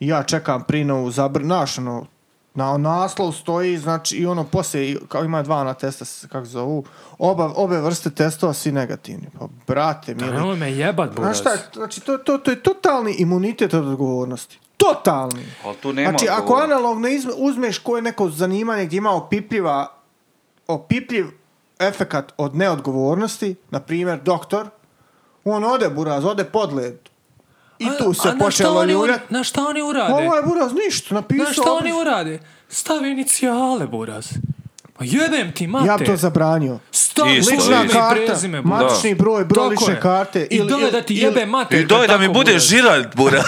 Speaker 2: ja čekam prinovu, zabr... Znaš, ono, na naslov stoji, znači, i ono, poslije, i- kao ima dva na testa, s- kako se zovu, oba, obe vrste testova, svi negativni. Pa, brate, mili,
Speaker 1: Nemoj me jebat, Buraz.
Speaker 2: Znaš šta, znači to, to, to je totalni imunitet od odgovornosti. Totalni.
Speaker 3: Ali tu nema
Speaker 2: znači, ako
Speaker 3: odgovora.
Speaker 2: analogno izme- uzmeš koje neko zanimanje gdje ima opipljiva, opipljiv efekat od neodgovornosti, na primjer, doktor, on ode buraz, ode podled. I tu se počelo ljuljat.
Speaker 1: Na šta oni urade?
Speaker 2: Ovo je buraz ništa, napisao.
Speaker 1: Znaš šta oni
Speaker 2: opis.
Speaker 1: urade? Stavi inicijale, buraz. Ma jebem ti, mate.
Speaker 2: Ja bi to zabranio.
Speaker 1: Stavi
Speaker 3: Isto,
Speaker 1: lično
Speaker 3: isto.
Speaker 1: ime
Speaker 2: Lična
Speaker 1: i
Speaker 2: karta,
Speaker 1: prezime, buraz.
Speaker 2: matični broj, broj
Speaker 1: Tako
Speaker 2: lične
Speaker 1: je.
Speaker 2: karte.
Speaker 1: I
Speaker 2: ili-
Speaker 1: dove da ti
Speaker 2: ili-
Speaker 1: jebe mater.
Speaker 4: I doj da
Speaker 1: tako,
Speaker 4: mi bude
Speaker 1: buraz.
Speaker 4: žiralj, buraz.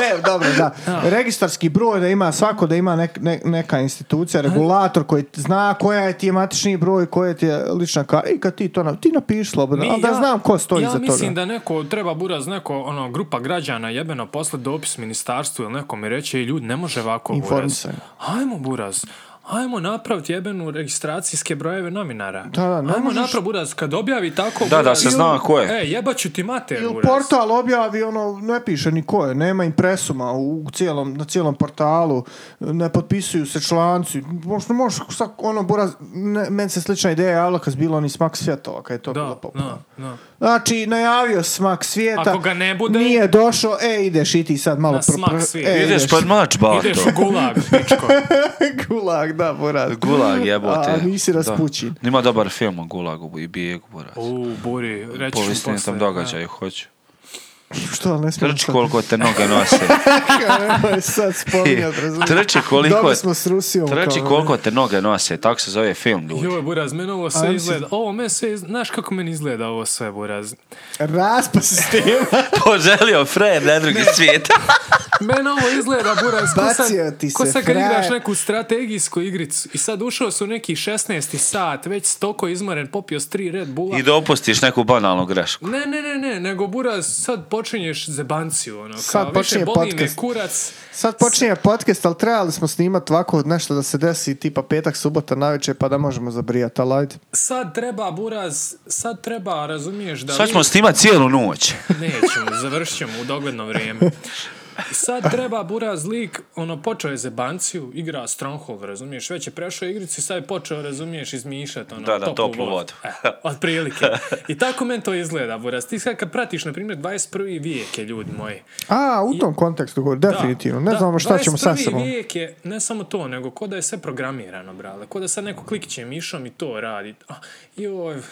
Speaker 2: ne, dobro, da. Registarski broj da ima svako, da ima nek, ne- neka institucija, regulator koji zna koja je ti je matični broj, koja ti je lična karta. I kad ti to na, ti napiši slobodno,
Speaker 1: Mi-
Speaker 2: ali da
Speaker 1: ja-
Speaker 2: znam ko stoji
Speaker 1: ja
Speaker 2: za toga.
Speaker 1: mislim da neko, treba buraz neko, ono, grupa građana jebeno posle dopis ministarstvu ili nekom i reći, "Ej, ljudi, ne može ovako buraz.
Speaker 2: Informisanje.
Speaker 1: Ajmo buraz. Ajmo napraviti jebenu registracijske brojeve novinara.
Speaker 2: Da, da, ne
Speaker 1: Ajmo
Speaker 2: možeš-
Speaker 1: napraviti buraz. Kad objavi tako
Speaker 3: Da, da
Speaker 1: buraz-
Speaker 3: se zna ko je.
Speaker 1: E, jebaću ti mater,
Speaker 2: Ili
Speaker 1: buraz.
Speaker 2: portal objavi ono, ne piše ni ko je, nema impresuma u cijelom, na cijelom portalu, ne potpisuju se članci, možda možeš sad ono, buraz, ne, meni se slična ideja javila kad su bilo oni smak svjetova, kad je to bilo
Speaker 1: Da,
Speaker 2: popularno.
Speaker 1: da, da.
Speaker 2: Znači, najavio smak svijeta.
Speaker 1: Ako ga ne bude-
Speaker 2: Nije došao, e, ideš i ti sad malo...
Speaker 1: Na smak
Speaker 2: pro-
Speaker 1: svijeta.
Speaker 2: E,
Speaker 4: Ideš
Speaker 3: pa-
Speaker 4: pod mač, bato.
Speaker 1: Ideš u gulag, pičko.
Speaker 2: Gulag, da, porad.
Speaker 3: Gulag jebote.
Speaker 2: A, a nisi
Speaker 3: Da.
Speaker 2: raspućin.
Speaker 3: Nima dobar film o Gulagu i bijegu, buraz.
Speaker 1: U, buri, reći ću
Speaker 3: Povistini
Speaker 1: posle.
Speaker 3: tam događaju, hoću.
Speaker 2: Što, ne smijem
Speaker 3: Trči
Speaker 2: sad-
Speaker 3: koliko te noge nose.
Speaker 2: Nemoj sad spominjat, razumiješ?
Speaker 3: Trči koliko-
Speaker 2: Dobro smo s Rusijom.
Speaker 3: Trči
Speaker 2: kao-
Speaker 3: koliko te noge nose, tako se zove film, ljudi.
Speaker 1: Joj, Buraz, meni ovo
Speaker 2: A,
Speaker 1: sve
Speaker 2: mislim-
Speaker 1: izgleda, ovo me sve, iz- znaš kako meni izgleda ovo sve, Buraz?
Speaker 2: Raspa sistema.
Speaker 4: Poželio Fred na drugi svijet.
Speaker 1: Meni ovo izgleda, Buraz, ko sad,
Speaker 2: Bacio ti
Speaker 1: ko
Speaker 2: se,
Speaker 1: sad kad
Speaker 2: frajer.
Speaker 1: igraš neku strategijsku igricu i sad ušao su neki 16. sat, već stoko izmaren, popio s tri Red Bulla.
Speaker 4: I dopustiš neku banalnu grešku.
Speaker 1: Ne, ne, ne, ne, nego Buraz, sad počinješ zebanciju, ono, kao,
Speaker 2: Sad počinje
Speaker 1: više boli me
Speaker 2: podcast.
Speaker 1: kurac.
Speaker 2: Sad počinje podcast, ali trebali smo snimat ovako nešto da se desi tipa petak, subota, naveče, pa da možemo zabrijat, ali ajde.
Speaker 1: Sad treba, Buraz, sad treba, razumiješ da...
Speaker 4: Sad
Speaker 1: vi-
Speaker 4: ćemo snimat cijelu noć.
Speaker 1: Nećemo, završit ćemo u dogledno vrijeme. Sad treba Buraz lik, ono, počeo je zebanciju, igra Stronghold, razumiješ, već je prešao igricu i sad je počeo, razumiješ, izmišljati, ono,
Speaker 4: Da, da, toplu vodu.
Speaker 1: E, otprilike. I tako men to izgleda, Buraz. Ti sad kad pratiš, na primjer, 21. vijek je, ljudi moji.
Speaker 2: A, u tom kontekstu govori,
Speaker 1: Da,
Speaker 2: definitivno. Ne
Speaker 1: da,
Speaker 2: znamo šta ćemo sa
Speaker 1: 21.
Speaker 2: sobom.
Speaker 1: vijek je, ne samo to, nego ko da je sve programirano, brale. Ko da sad neko klikiće mišom i to radi. A, joj,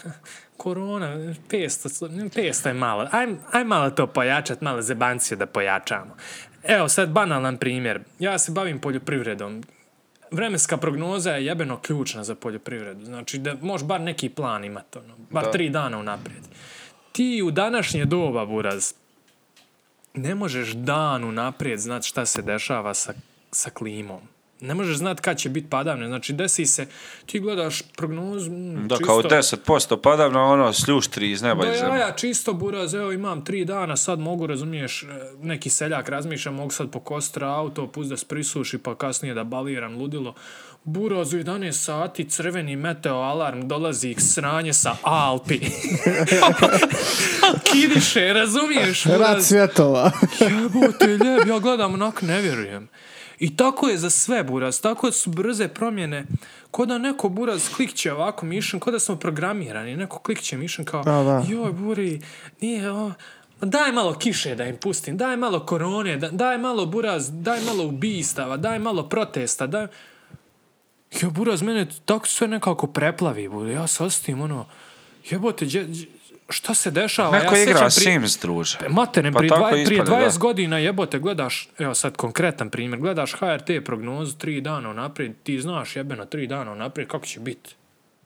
Speaker 1: korona, pesta, pesta je malo. Aj, aj malo to pojačat, malo zebancije da pojačamo. Evo, sad banalan primjer. Ja se bavim poljoprivredom. Vremenska prognoza je jebeno ključna za poljoprivredu. Znači, da možeš bar neki plan imati, ono, bar tri dana unaprijed. Ti u današnje doba, Buraz, ne možeš dan unaprijed znat šta se dešava sa, sa klimom. Ne možeš znat kad će biti padavne. Znači, desi se, ti gledaš prognozu, mm,
Speaker 3: Da,
Speaker 1: čisto...
Speaker 3: kao 10% padam na ono sljuštri iz neba
Speaker 1: Do
Speaker 3: i zemlje.
Speaker 1: jaja, čisto buraz, evo imam tri dana, sad mogu, razumiješ, e, neki seljak razmišlja, mogu sad pokostra auto, pust da sprisuši, pa kasnije da baliram ludilo. Buraz u 11 sati, crveni meteo alarm, dolazi ih sranje sa Alpi. Kidiše, razumiješ?
Speaker 2: Rad
Speaker 1: buraz?
Speaker 2: svjetova.
Speaker 1: Jebote, ljeb, ja gledam, onak ne vjerujem. I tako je za sve, Buraz. Tako su brze promjene. Ko da neko, Buraz, klikće ovako mišem, ko da smo programirani. Neko klikće mišem kao,
Speaker 2: Da, da.
Speaker 1: joj, Buri, nije o... ma Daj malo kiše da im pustim, daj malo korone, da, daj malo buraz, daj malo ubistava, daj malo protesta, daj... Jo, buraz, mene tako sve nekako preplavi, bude. Ja se ostim, ono, jebote, đe- đe- šta se dešava?
Speaker 3: Neko
Speaker 1: ja
Speaker 3: igra
Speaker 1: sjećam prije-
Speaker 3: Sims, druže.
Speaker 1: Materem,
Speaker 3: Pa
Speaker 1: prije,
Speaker 3: tako
Speaker 1: dva, prije
Speaker 3: ispada, da.
Speaker 1: 20 godina jebote gledaš, evo sad konkretan primjer, gledaš HRT prognozu tri dana unaprijed, ti znaš jebeno tri dana unaprijed kako će biti.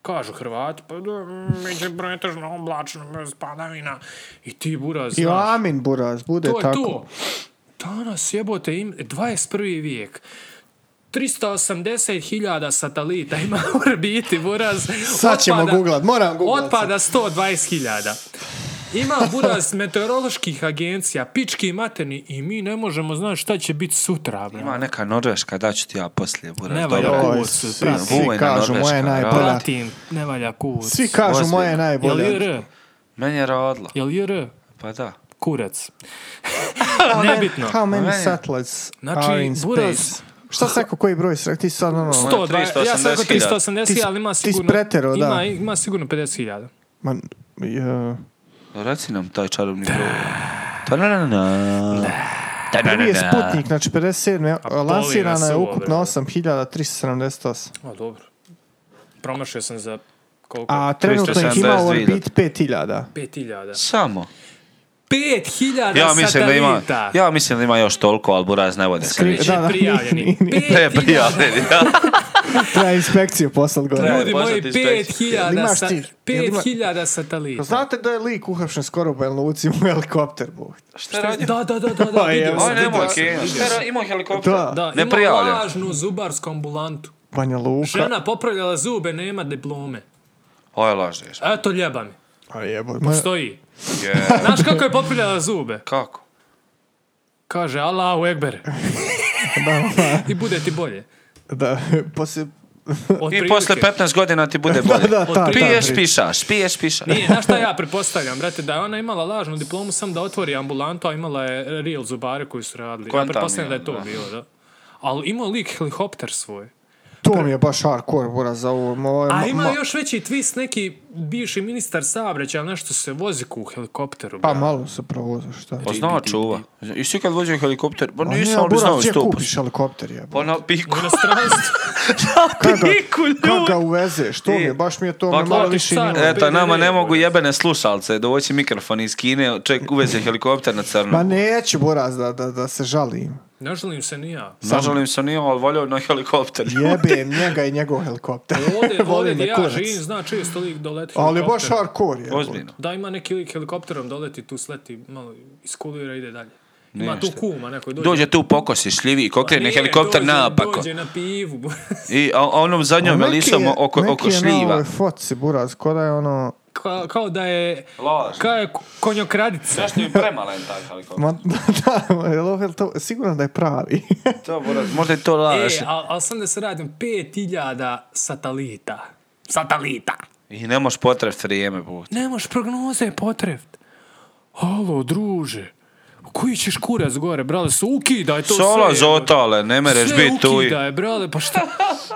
Speaker 1: Kažu Hrvati, pa da, mm, bit će pretežno oblačno, bez padavina. I ti buraz,
Speaker 2: I
Speaker 1: znaš,
Speaker 2: amin, buraz, bude
Speaker 1: to je
Speaker 2: tako.
Speaker 1: to. Danas jebote, im, 21. vijek. 380.000 satelita ima u orbiti, buraz.
Speaker 2: Sad ćemo googlat, moram googlat
Speaker 1: Otpada 120.000. Ima buraz meteoroloških agencija, pički i materni i mi ne možemo znati šta će biti sutra. Bro.
Speaker 4: Ima neka norveška, daću ti ja poslije, buraz.
Speaker 1: Ne valja
Speaker 4: Dobro.
Speaker 1: ovo.
Speaker 2: Oj,
Speaker 1: Kurac,
Speaker 2: svi,
Speaker 1: brate.
Speaker 2: svi
Speaker 4: Vujna
Speaker 2: kažu
Speaker 4: Norveška,
Speaker 2: moja je najbolja.
Speaker 1: Pratim, ne valja kurac.
Speaker 2: Svi kažu
Speaker 4: Ozbiljno.
Speaker 2: moja je
Speaker 1: Jel
Speaker 2: najbolja.
Speaker 1: JR?
Speaker 4: Meni je rodila.
Speaker 1: Jel JR?
Speaker 4: Pa da.
Speaker 1: Kurac.
Speaker 2: How
Speaker 1: Nebitno.
Speaker 2: many
Speaker 4: Meni-
Speaker 2: satellites
Speaker 1: Znači,
Speaker 2: are in
Speaker 1: buraz-
Speaker 2: space? Šta se rekao, koji broj si rekao? Ti sad ono...
Speaker 1: 120, ja sam rekao
Speaker 4: 380.000.
Speaker 1: 380, ali ima
Speaker 2: Ti si
Speaker 1: sigurno,
Speaker 2: pretero, da.
Speaker 1: ima, ima sigurno 50.000.
Speaker 2: Ma, ja.
Speaker 4: Reci nam taj čarobni broj. Ta na na na. Ta na
Speaker 2: Prvi je
Speaker 4: na na.
Speaker 2: Sputnik, znači 57.
Speaker 1: A boli nas
Speaker 2: Lansirana je
Speaker 1: ovo,
Speaker 2: ukupno
Speaker 1: bre.
Speaker 2: 8378.
Speaker 1: O, dobro. Promašio sam za Koliko?
Speaker 2: A trenutno ih ima u
Speaker 3: 372.000.
Speaker 2: Orbit 5000.
Speaker 1: 5000.
Speaker 3: Samo.
Speaker 1: 5000
Speaker 3: Ja mislim, da ima,
Speaker 1: satelita.
Speaker 3: ja mislim da ima još toliko, ali Buraz ne vode se
Speaker 2: Skri-
Speaker 3: više.
Speaker 2: Da, da.
Speaker 1: Prijavljeni.
Speaker 3: Ne,
Speaker 1: 5000.
Speaker 3: prijavljeni.
Speaker 2: Treba inspekciju poslat gore.
Speaker 3: Treba.
Speaker 1: Ljudi moji,
Speaker 3: Poznati inspektor.
Speaker 1: 5000
Speaker 2: Imaš
Speaker 1: sa,
Speaker 2: ti- jel
Speaker 1: 5000 satelita.
Speaker 2: Znate da je lik uhapšen skoro u Banja Luci u helikopter, bog.
Speaker 3: Šta radi?
Speaker 1: Da, da, da, da, da,
Speaker 2: Pa je,
Speaker 1: vidio sam,
Speaker 2: aj,
Speaker 3: Aj, nemoj,
Speaker 1: vidio sam,
Speaker 3: Kenja.
Speaker 1: vidio sam.
Speaker 3: Šta imao helikopter?
Speaker 2: Da.
Speaker 1: Da,
Speaker 3: Ne
Speaker 1: ima
Speaker 3: prijavljen.
Speaker 1: lažnu zubarsku ambulantu.
Speaker 2: Banja Luka.
Speaker 1: Žena popravljala zube, nema diplome.
Speaker 3: Oj, lažeš. pa
Speaker 1: Eto ljeba mi,
Speaker 2: A Pa jeboj.
Speaker 1: stoji.
Speaker 3: Je,
Speaker 1: Znaš kako je popravljala zube?
Speaker 3: kako?
Speaker 1: Kaže, Allahu Ekber. I bude ti bolje.
Speaker 2: Da, pa poslije...
Speaker 1: Od
Speaker 3: I posle 15 godina ti bude bolje.
Speaker 2: Da, ta, ta
Speaker 3: Piješ,
Speaker 2: priča.
Speaker 3: pišaš, piješ, pišaš.
Speaker 1: Nije, znaš šta ja pretpostavljam, brate, da je ona imala lažnu diplomu sam da otvori ambulantu, a imala je real zubare koji su radili. Ja
Speaker 3: Kontam
Speaker 1: pretpostavljam da
Speaker 3: je,
Speaker 1: je to
Speaker 3: da.
Speaker 1: bilo, da. Ali imao lik helikopter svoj.
Speaker 2: To mi je baš hardcore, bora, za ovo. Ovo je
Speaker 1: A
Speaker 2: ma-
Speaker 1: ima
Speaker 2: ma-
Speaker 1: još veći twist, neki bivši ministar saobraćaja, nešto se vozi ku helikopteru.
Speaker 2: Pa
Speaker 1: brate.
Speaker 2: malo se provoza, šta?
Speaker 3: Pa znao čuva. I svi kad vođe helikopter, pa
Speaker 2: A
Speaker 3: nisam, ali bi
Speaker 2: Buras,
Speaker 3: znao
Speaker 2: gdje
Speaker 3: sto
Speaker 2: kupiš helikopter, jebo?
Speaker 3: Pa na piku.
Speaker 1: U inostranstvu.
Speaker 2: Kad ga,
Speaker 3: piku,
Speaker 2: kad
Speaker 3: Pa ljudi.
Speaker 2: ga uvezeš? To mi je, baš mi je to
Speaker 3: Pa
Speaker 2: me malo
Speaker 3: platiš
Speaker 2: više
Speaker 1: car.
Speaker 2: nije.
Speaker 1: E,
Speaker 3: Eto, nama ne
Speaker 1: PDV,
Speaker 3: mogu
Speaker 1: Buras.
Speaker 3: jebene slušalce, dovoći mikrofon iz Kine, čovjek uveze helikopter na
Speaker 2: Ma
Speaker 3: crno.
Speaker 2: neću, Boraz, da, da, da se žalim.
Speaker 1: Ne želim se ni ja.
Speaker 3: Nažalim se nije, ali voljao na helikopter.
Speaker 2: Jebem njega i njegov helikopter.
Speaker 1: Ovdje,
Speaker 2: Voli
Speaker 1: ovdje
Speaker 2: me
Speaker 1: gdje ja
Speaker 2: kurac.
Speaker 1: živim, zna često lik doleti
Speaker 2: Ali je
Speaker 1: helikopterom.
Speaker 2: baš hardcore, jebo.
Speaker 3: Ozbiljno.
Speaker 1: Da, ima neki lik helikopterom doleti, tu sleti, malo iskulira, ide dalje. Ima
Speaker 3: Ne,
Speaker 1: tu
Speaker 3: šta.
Speaker 1: kuma, neko dođe.
Speaker 3: Dođe tu pokosi, šljivi, kokrene
Speaker 1: Nije,
Speaker 3: helikopter
Speaker 1: dođe-
Speaker 3: napako.
Speaker 1: Dođe na pivu.
Speaker 3: I a, a onom zadnjom
Speaker 2: A neki
Speaker 3: elisom
Speaker 2: je-
Speaker 3: oko, oko
Speaker 2: Neki je na
Speaker 3: šljiva.
Speaker 2: ovoj foci, Buraz, ko da je ono...
Speaker 1: Ka, kao da je...
Speaker 3: Laž.
Speaker 1: Kao je ko- konjokradica.
Speaker 3: Nešto je premalen taj helikopter.
Speaker 2: Ma, da, da, je li ovo hel- to, sigurno da je pravi.
Speaker 3: To, buraz, možda je to laž.
Speaker 1: E, ali al sam da se radim, 5000 satelita. Satelita.
Speaker 3: I ne moš potrefiti vrijeme, bud.
Speaker 1: Ne možeš prognoze potreft. Alo, druže. Koji ćeš kurac gore, brale, su ukidaj to
Speaker 3: Sola
Speaker 1: sve. evo.
Speaker 3: zotale, ne mereš
Speaker 1: Sve
Speaker 3: biti tu. i-
Speaker 1: ukidaj, brale, pa šta,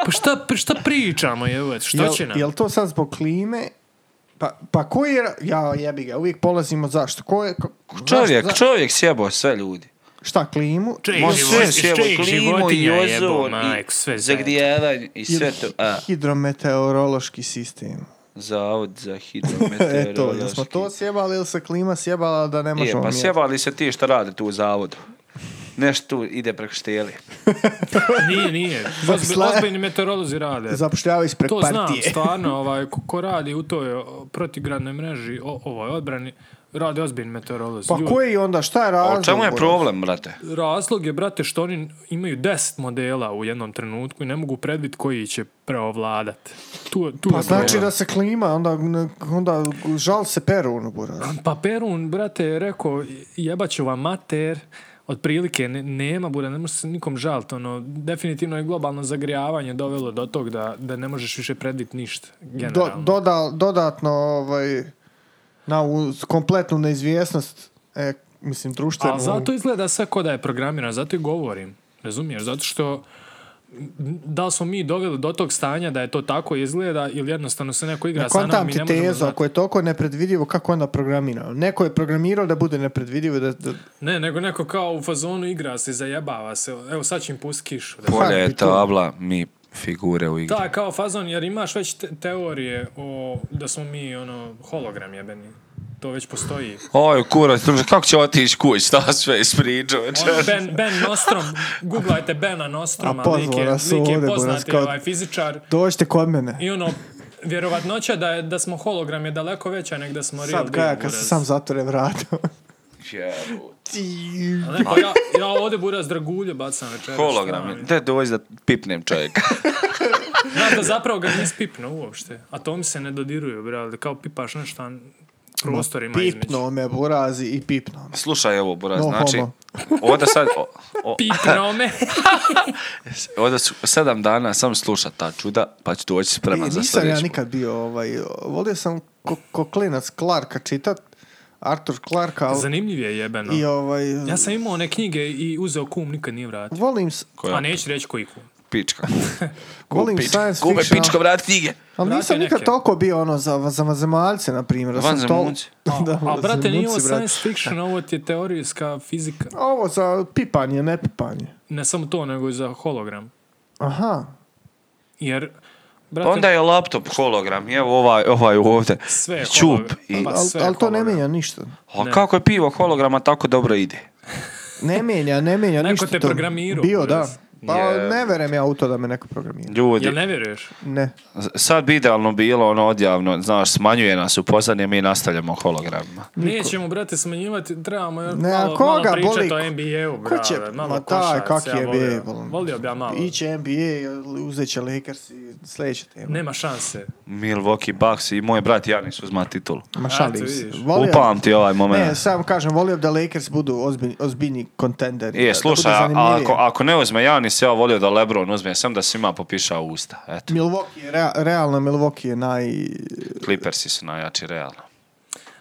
Speaker 1: pa šta, pa šta pričamo, jevac, šta
Speaker 2: jel,
Speaker 1: će nam?
Speaker 2: jel to sad zbog klime? Pa, pa koji je... ra- Ja, jebi ga, uvijek polazimo zašto. Ko je... ko-
Speaker 3: Čovjek,
Speaker 2: zašto- za-
Speaker 3: čovjek sjebao sve ljudi.
Speaker 2: Šta, klimu?
Speaker 1: Čovjek,
Speaker 3: Ma
Speaker 1: Iz
Speaker 3: sve
Speaker 1: život- iz
Speaker 3: sjebao,
Speaker 1: čijeg
Speaker 3: klimu i
Speaker 1: životinja jebo,
Speaker 3: ozon
Speaker 1: majk, sve
Speaker 3: i
Speaker 1: zajedno.
Speaker 3: zagrijavanje i sve
Speaker 2: Ili
Speaker 3: to. A,
Speaker 2: hidrometeorološki sistem.
Speaker 3: zavod za
Speaker 2: E, to, jel
Speaker 3: hidrometeorološki.
Speaker 2: smo to sjebali ili se klima sjebala da ne
Speaker 3: E,
Speaker 2: možemo
Speaker 3: pa
Speaker 2: mjeriti?
Speaker 3: sjebali se ti što rade tu u zavodu. Nešto tu ide preko šteli.
Speaker 1: Nije, nije. Ozbi,
Speaker 2: Zapisla-
Speaker 1: ozbiljni meteorolozi rade.
Speaker 2: Zapošljava ispred
Speaker 1: To znam,
Speaker 2: partije.
Speaker 1: stvarno, ovaj, ko, ko radi u toj o, protigradnoj mreži, o, ovoj odbrani, rade ozbiljni meteorolozi.
Speaker 2: Pa
Speaker 1: Ljudi,
Speaker 2: koji onda, šta je razlog?
Speaker 3: O čemu je
Speaker 2: Boris?
Speaker 3: problem, brate?
Speaker 1: Razlog je, brate, što oni imaju 10 modela u jednom trenutku i ne mogu predvidjeti koji će preovladat. Tu, tu
Speaker 2: Pa
Speaker 1: je
Speaker 2: znači
Speaker 1: problem.
Speaker 2: da se klima, onda, onda žal se peru, ono, buraz.
Speaker 1: Pa Perun, brate, je rekao, jebaću vam mater, otprilike ne- nema, bude, ne može se nikom žaliti, ono, definitivno je globalno zagrijavanje dovelo do tog da, da ne možeš više predviti ništa,
Speaker 2: Do,
Speaker 1: generalno.
Speaker 2: doda, dodatno ovaj, na u, kompletnu neizvjesnost e, mislim društvenu
Speaker 1: Ali zato izgleda sve ko da je programirano, zato i govorim, razumiješ, zato što m, da li smo mi doveli do tog stanja da je to tako izgleda ili jednostavno se neko igra sa
Speaker 2: kontam
Speaker 1: nama i
Speaker 2: ti
Speaker 1: ono ne možemo
Speaker 2: tezu,
Speaker 1: znati.
Speaker 2: ako je toliko nepredvidivo, kako je onda programirao? Neko je programirao da bude nepredvidivo, i da, da
Speaker 1: Ne, nego neko kao u fazonu igra se, zajebava se, evo sad će im pustiti kišu. da
Speaker 3: Polje je
Speaker 2: bi to.
Speaker 3: tabla, mi figure u igri.
Speaker 1: Da, kao fazon, jer imaš već te- teorije o, da smo mi ono, hologram jebeni. To već postoji.
Speaker 3: Oj, kurac, druže, kako će otići kuć, šta sve ispričao
Speaker 1: Ono,
Speaker 3: večer?
Speaker 1: ben, ben Nostrom, googlajte Bena Nostroma,
Speaker 2: A pozvao
Speaker 1: lik je,
Speaker 2: nas
Speaker 1: lik je
Speaker 2: ovdje, Boras,
Speaker 1: poznati
Speaker 2: kao-
Speaker 1: ovaj fizičar.
Speaker 2: dođite kod mene.
Speaker 1: I ono, vjerovatnoća da, je, da smo hologram je daleko veća nek da smo real
Speaker 2: Sad Gaja
Speaker 1: deal,
Speaker 2: kad se
Speaker 1: Buraz.
Speaker 2: sam zatvore vrata.
Speaker 3: Jebote.
Speaker 2: Ti-
Speaker 1: Ali neko, ja, ja ovdje buraz dragulje bacam večeras. šta
Speaker 3: Hologram,
Speaker 1: mi?
Speaker 3: da dođi da pipnem čovjeka.
Speaker 1: Znaš da zapravo ga nisi pipno uopšte. A to mi se ne dodiruju, brale. Kao pipaš nešto, a prostor ima između.
Speaker 2: Pipno me, burazi, i pipno me.
Speaker 3: Slušaj ovo, Buraz,
Speaker 2: No
Speaker 3: znači,
Speaker 2: homo.
Speaker 3: ovdje sad, o, o,
Speaker 1: Pipno me.
Speaker 3: ovdje su sedam dana sam sluša ta čuda, pa ću doći spreman
Speaker 2: E,
Speaker 3: za
Speaker 2: nisam ja
Speaker 3: sljedeću.
Speaker 2: nikad bio ovaj, volio sam ko, ko klinac Clarka čitat, Artur Clarka, ali-
Speaker 1: Zanimljiv je jebeno.
Speaker 2: i ovaj,
Speaker 1: Ja sam imao one knjige i uzeo kum, nikad nije vratio.
Speaker 2: volim, s-
Speaker 3: Koja?
Speaker 1: A neću reći koji kum.
Speaker 3: Pička.
Speaker 2: volim
Speaker 3: Pička.
Speaker 2: science
Speaker 3: Kume
Speaker 2: fiction,
Speaker 3: pička, vrat knjige.
Speaker 2: ali
Speaker 1: Vratio
Speaker 2: nisam nikad
Speaker 1: neke.
Speaker 2: toliko bio ono za, za vanzemaljce, na primjer. da sam
Speaker 3: Vanzemaljci?
Speaker 2: tol- Da,
Speaker 1: A brate, nije ovo
Speaker 2: vanzemaljci, brate.
Speaker 1: science fiction, ovo ti je teorijska fizika.
Speaker 2: Ovo za pipanje, ne pipanje.
Speaker 1: Ne samo to, nego i za hologram.
Speaker 2: Aha.
Speaker 1: Jer Brate,
Speaker 3: Onda je laptop hologram, evo ovaj, ovaj ovdje.
Speaker 1: Sve je
Speaker 3: Ćup.
Speaker 1: hologram.
Speaker 3: I,
Speaker 1: Pa
Speaker 2: Ali
Speaker 1: sve
Speaker 2: al to ne
Speaker 1: hologram.
Speaker 2: mijenja ništa.
Speaker 3: a kako je pivo holograma tako dobro ide?
Speaker 2: Ne mijenja, ne mijenja
Speaker 1: Neko
Speaker 2: ništa.
Speaker 1: te
Speaker 2: to.
Speaker 1: programirao,
Speaker 2: Bio,
Speaker 1: brez.
Speaker 2: da. Pa
Speaker 3: Je.
Speaker 2: ne verem ja u to da me neko programira.
Speaker 3: Ljudi,
Speaker 1: Jel ne vjeruješ?
Speaker 2: Ne.
Speaker 3: sad bi idealno bilo ono odjavno, znaš, smanjuje nas u pozadnje, mi nastavljamo hologramima.
Speaker 1: Nećemo, brate, smanjivati, trebamo još
Speaker 2: Ne, a
Speaker 1: malo,
Speaker 2: koga
Speaker 1: malo pričati
Speaker 2: boli?
Speaker 1: o NBA-u,
Speaker 2: Ko će-
Speaker 1: brate. Malo
Speaker 2: ma taj,
Speaker 1: košarac,
Speaker 2: kak
Speaker 1: ja
Speaker 2: je
Speaker 1: volio.
Speaker 2: NBA, volim.
Speaker 1: Volio bi ja malo.
Speaker 2: Iće NBA, uzet će Lakers i sljedeća tema.
Speaker 1: Nema šanse.
Speaker 3: Milwaukee Bucks i moj brat Janis uzma titul.
Speaker 2: Ma
Speaker 1: A,
Speaker 2: šalim
Speaker 1: eto,
Speaker 2: se.
Speaker 1: vidiš.
Speaker 2: Volio-
Speaker 3: Upamti ovaj
Speaker 2: Ne,
Speaker 3: moment.
Speaker 2: samo kažem, volio bi da Lakers budu ozbiljni, ozbiljni kontenderi. da-
Speaker 3: Je,
Speaker 2: da
Speaker 3: slušaj,
Speaker 2: bude
Speaker 3: a-
Speaker 2: zanimljivije.
Speaker 3: ako, ako ne uzme Janis, ja volio da Lebron uzme, sam da svima popiša usta. Eto,
Speaker 2: Milwaukee, je rea- realno Milwaukee je naj...
Speaker 3: Clippersi su najjači, realno.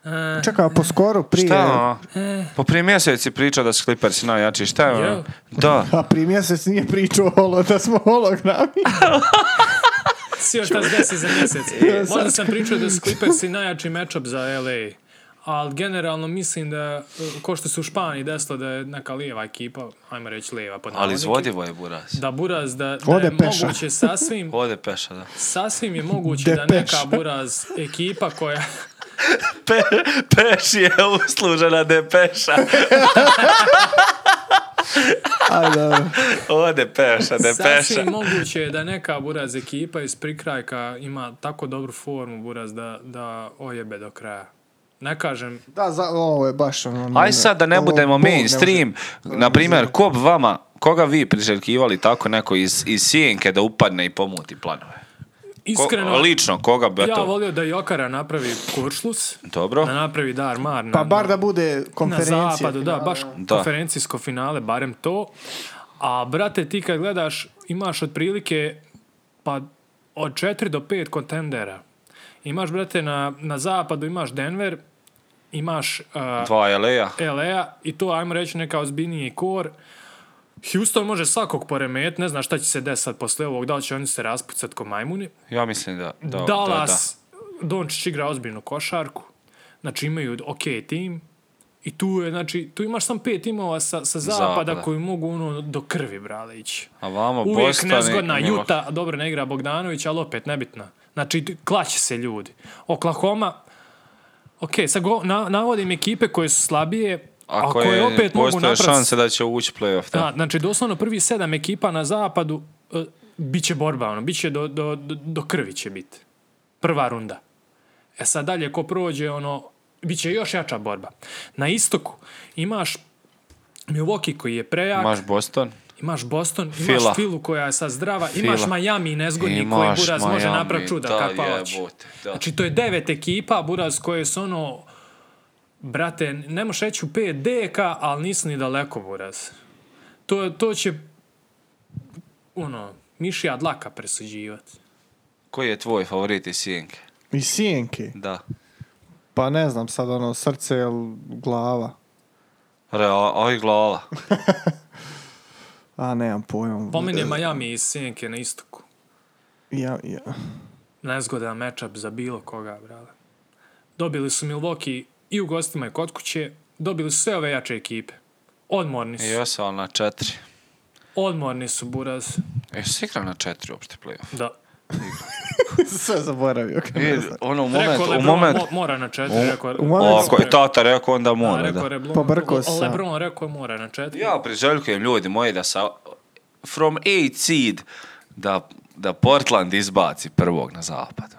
Speaker 1: E,
Speaker 2: Čekaj, a po skoru prije...
Speaker 3: Šta ono? Po prije mjeseci pričao da su Clippersi najjači, šta je ono?
Speaker 1: Eh. Jel?
Speaker 3: Da.
Speaker 2: A prije mjesec nije pričao holo, da smo hologrami.
Speaker 1: Sio ta s 10 za
Speaker 3: E,
Speaker 1: mjesec. Možda sam pričao da su Clippersi najjači matchup za LA. Ali generalno mislim da, e, ko što su u Španiji desilo da je neka lijeva ekipa, ajmo reći lijeva pod
Speaker 3: Ali
Speaker 1: navodnike,
Speaker 3: izvodivo je Buras.
Speaker 1: Da Buraz, da, da
Speaker 2: Ode
Speaker 1: je
Speaker 2: peša.
Speaker 1: moguće sasvim,
Speaker 3: Ode peša, da.
Speaker 1: sasvim je moguće
Speaker 2: De
Speaker 1: da neka
Speaker 2: peša.
Speaker 1: Buraz ekipa koja...
Speaker 3: Pe, peš je uslužena depeša.
Speaker 2: Aj, dobro.
Speaker 3: Ode peša, depeša.
Speaker 1: Sasvim moguće je da neka Buraz ekipa iz prikrajka ima tako dobru formu Buraz da, da ojebe do kraja. Ne kažem,
Speaker 2: Da, za, ovo je baš ono...
Speaker 3: Aj sad da ne
Speaker 2: ovo
Speaker 3: budemo
Speaker 2: Bog ne
Speaker 3: mainstream, na primjer, ko bi vama, koga vi priželjkivali tako neko iz, iz sjenke da upadne i pomuti planove? Ko-
Speaker 1: iskreno,
Speaker 3: lično, koga bi
Speaker 1: ja
Speaker 3: to...
Speaker 1: volio da Jokara napravi kuršlus,
Speaker 3: Dobro.
Speaker 1: da napravi dar mar na,
Speaker 2: Pa bar
Speaker 1: na,
Speaker 2: da bude
Speaker 1: na
Speaker 2: konferencija.
Speaker 1: zapadu, da, baš
Speaker 3: Da.
Speaker 1: konferencijsko finale, barem to. A brate, ti kad gledaš, imaš otprilike pa od 4 do 5 kontendera. Imaš, brate, na, na zapadu imaš Denver, imaš uh,
Speaker 3: Dva Eleja.
Speaker 1: LA i to ajmo reći neka ozbiljniji kor. Houston može svakog poremet, ne znam šta će se desati posle ovog, da li će oni se raspucat ko majmuni.
Speaker 3: Ja mislim da... da
Speaker 1: Dallas, Dončić igra ozbiljnu košarku, znači imaju ok tim i tu je, znači, tu imaš sam pet timova sa, sa zapada,
Speaker 3: Zapada.
Speaker 1: koji mogu ono do krvi, brale, ići.
Speaker 3: Da, da. A vamo
Speaker 1: Uvijek
Speaker 3: Boston... i-
Speaker 1: nezgodna
Speaker 3: i
Speaker 1: Juta,
Speaker 3: Milwaukee.
Speaker 1: a dobro ne igra Bogdanović, ali opet nebitna. Znači, t- klaće se ljudi. Oklahoma, ok, sad go, na, navodim ekipe koje su slabije, a,
Speaker 3: Ako
Speaker 1: koje
Speaker 3: je,
Speaker 1: opet mogu
Speaker 3: postoje
Speaker 1: napraviti...
Speaker 3: šanse da će ući playoff. Da.
Speaker 1: Da, znači, doslovno prvi sedam ekipa na zapadu e, bit će borba, ono, bit će do, do, do, do krvi će biti. Prva runda. E sad dalje ko prođe, ono, bit će još jača borba. Na istoku imaš Milwaukee koji je prejak,
Speaker 3: Imaš Boston.
Speaker 1: Imaš Boston, imaš
Speaker 3: Fila.
Speaker 1: Filu koja je sad zdrava, imaš
Speaker 3: Fila.
Speaker 1: Miami nezgodni
Speaker 3: Imaš
Speaker 1: koji Buraz može
Speaker 3: Miami,
Speaker 1: napraviti čuda
Speaker 3: da,
Speaker 1: kakva hoće.
Speaker 3: jebote, da.
Speaker 1: Znači to je devet ekipa Buraz koje su ono brate, ne možeš reći u 5 DK, ali nisu ni daleko Buraz. To, to će ono, mišija dlaka presuđivati.
Speaker 3: Koji je tvoj favorit iz sjenke?
Speaker 2: I sijenke.
Speaker 3: Da.
Speaker 2: Pa ne znam sad ono, srce ili glava.
Speaker 3: Real, oj glava.
Speaker 2: A, nemam pojma.
Speaker 1: Po meni je Miami iz Sjenke na istoku.
Speaker 2: Ja, ja.
Speaker 1: nezgodan matchup za bilo koga, brale. Dobili su Milwaukee i u gostima i kod kuće, dobili su sve ove jače ekipe. Odmorni su.
Speaker 3: I osal na četiri.
Speaker 1: Odmorni su, buraz.
Speaker 3: E, si igra na četiri uopšte playoff.
Speaker 1: Da.
Speaker 2: Sve zaboravio. kad ne
Speaker 3: I,
Speaker 2: znam.
Speaker 3: ono, u moment,
Speaker 1: Rekao
Speaker 3: u
Speaker 1: Lebron
Speaker 3: moment,
Speaker 1: mo- mora na četiri. Rekao,
Speaker 2: u momentu-
Speaker 3: Ako je tata rekao, onda
Speaker 1: Da,
Speaker 3: mora,
Speaker 1: rekao
Speaker 3: da.
Speaker 1: Lebron,
Speaker 2: Pobrkao sam.
Speaker 1: Lebron rekao mora na četiri.
Speaker 3: Ja priželjkujem ljudi moji da sa from eight seed da, da Portland izbaci prvog na zapadu.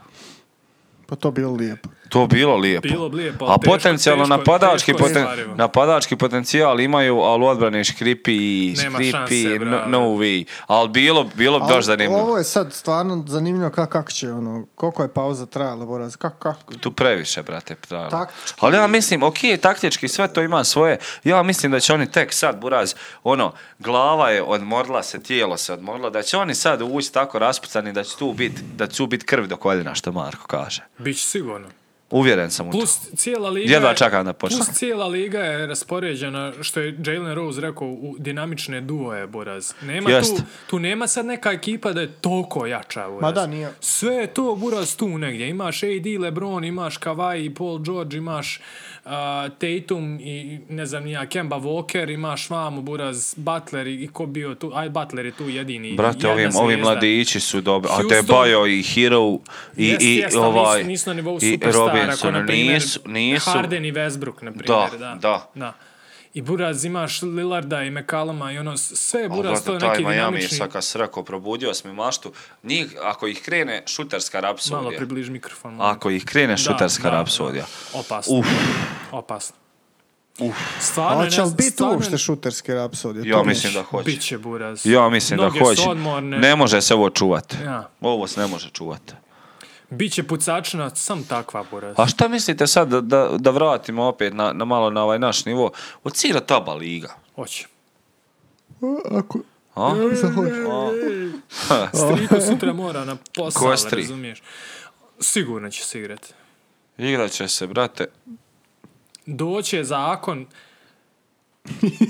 Speaker 2: Pa to bilo lijepo.
Speaker 3: To bilo lijepo.
Speaker 1: Bilo bi lijepo, ali
Speaker 3: A
Speaker 1: teško-
Speaker 3: potencijalno
Speaker 1: teško-
Speaker 3: napadački,
Speaker 1: teško je
Speaker 3: poten-
Speaker 1: ostvarivo.
Speaker 3: napadački potencijal imaju, ali odbrane škripi i
Speaker 1: Nema
Speaker 3: škripi,
Speaker 1: šanse,
Speaker 3: no,
Speaker 1: bravo.
Speaker 3: no way. Ali bilo, bilo bi baš zanimljivo.
Speaker 2: Ovo je sad stvarno zanimljivo kako kak će ono, koliko je pauza trajala, Boraz, kako, kako.
Speaker 3: Tu previše, brate, trajalo.
Speaker 2: Taktički.
Speaker 3: Ali ja mislim, ok, taktički, sve to ima svoje. Ja mislim da će oni tek sad, Buraz, ono, glava je odmorila se, tijelo se odmorilo, da će oni sad ući tako raspucani da će tu biti, da će tu biti krv do koljena, što Marko kaže.
Speaker 1: Biće sigurno.
Speaker 3: Uvjeren sam u to.
Speaker 1: Plus cijela liga...
Speaker 3: Jedva
Speaker 1: je-
Speaker 3: čekam da počne.
Speaker 1: Plus cijela liga je raspoređena, što je Jalen Rose rekao, u dinamične duoje, Buraz. Nema
Speaker 3: Jest.
Speaker 1: tu, tu nema sad neka ekipa da je toliko jača, Buraz.
Speaker 2: Ma da, nije.
Speaker 1: Sve je to, Buraz, tu negdje. Imaš AD, LeBron, imaš Kawhi, Paul George, imaš a, Tatum i, ne znam, ni ja, Kemba Walker, imaš vamo, Buraz, Butler i, i ko bio tu? Aj, Butler je tu jedini.
Speaker 3: Brate,
Speaker 1: jedna
Speaker 3: ovi, ovi
Speaker 1: zvijezda.
Speaker 3: mladići su dobri. A
Speaker 1: Houston-
Speaker 3: Debajo i Hero i,
Speaker 1: Jest,
Speaker 3: i
Speaker 1: jest, ali
Speaker 3: ovaj...
Speaker 1: nisu, nisu na nivou
Speaker 3: I
Speaker 1: superstara,
Speaker 3: Robinson,
Speaker 1: ko, na primjer,
Speaker 3: nisu, nisu.
Speaker 1: Harden i Westbrook, na primjer, da.
Speaker 3: da.
Speaker 1: I Buraz imaš Lillarda i McCalluma i ono, s- sve je
Speaker 3: Al,
Speaker 1: Buraz, to
Speaker 3: brate,
Speaker 1: je
Speaker 3: taj
Speaker 1: neki
Speaker 3: Miami,
Speaker 1: dinamični...
Speaker 3: sad kad se rekao, probudio sam i maštu. Njih, ako ih krene šutarska
Speaker 1: Malo
Speaker 3: rapsodija.
Speaker 1: približi mikrofon. molim.
Speaker 3: Ako ih krene
Speaker 1: Da,
Speaker 3: šutarska
Speaker 1: da, da.
Speaker 3: rapsodija.
Speaker 1: Opasno.
Speaker 3: Uf.
Speaker 1: Opasno.
Speaker 3: Uf.
Speaker 1: Stvarno,
Speaker 2: Hoće li
Speaker 1: ne,
Speaker 2: biti
Speaker 1: stvarno,
Speaker 2: uopšte šuterske rapsodije?
Speaker 3: Ja
Speaker 2: To
Speaker 3: mislim da
Speaker 2: neće.
Speaker 3: hoće.
Speaker 1: Bit će Buraz.
Speaker 3: Ja mislim
Speaker 1: Noge
Speaker 3: da
Speaker 1: su
Speaker 3: hoće.
Speaker 1: odmorne.
Speaker 3: Ne može se ovo čuvati.
Speaker 1: Ja.
Speaker 3: Ovo se ne može čuvati.
Speaker 1: Biće pucačna, sam takva Buraz.
Speaker 3: A šta mislite sad da, da, da vratimo opet na, na malo na ovaj naš nivo? Ocira taba liga.
Speaker 1: Hoće.
Speaker 2: A, Ako...
Speaker 3: A?
Speaker 1: Mm.
Speaker 2: Sad hoće.
Speaker 3: A?
Speaker 1: Striko sutra mora na posao,
Speaker 3: Kostri.
Speaker 1: razumiješ. Sigurno će se igrati.
Speaker 3: Igrat će se, brate.
Speaker 1: doće zakon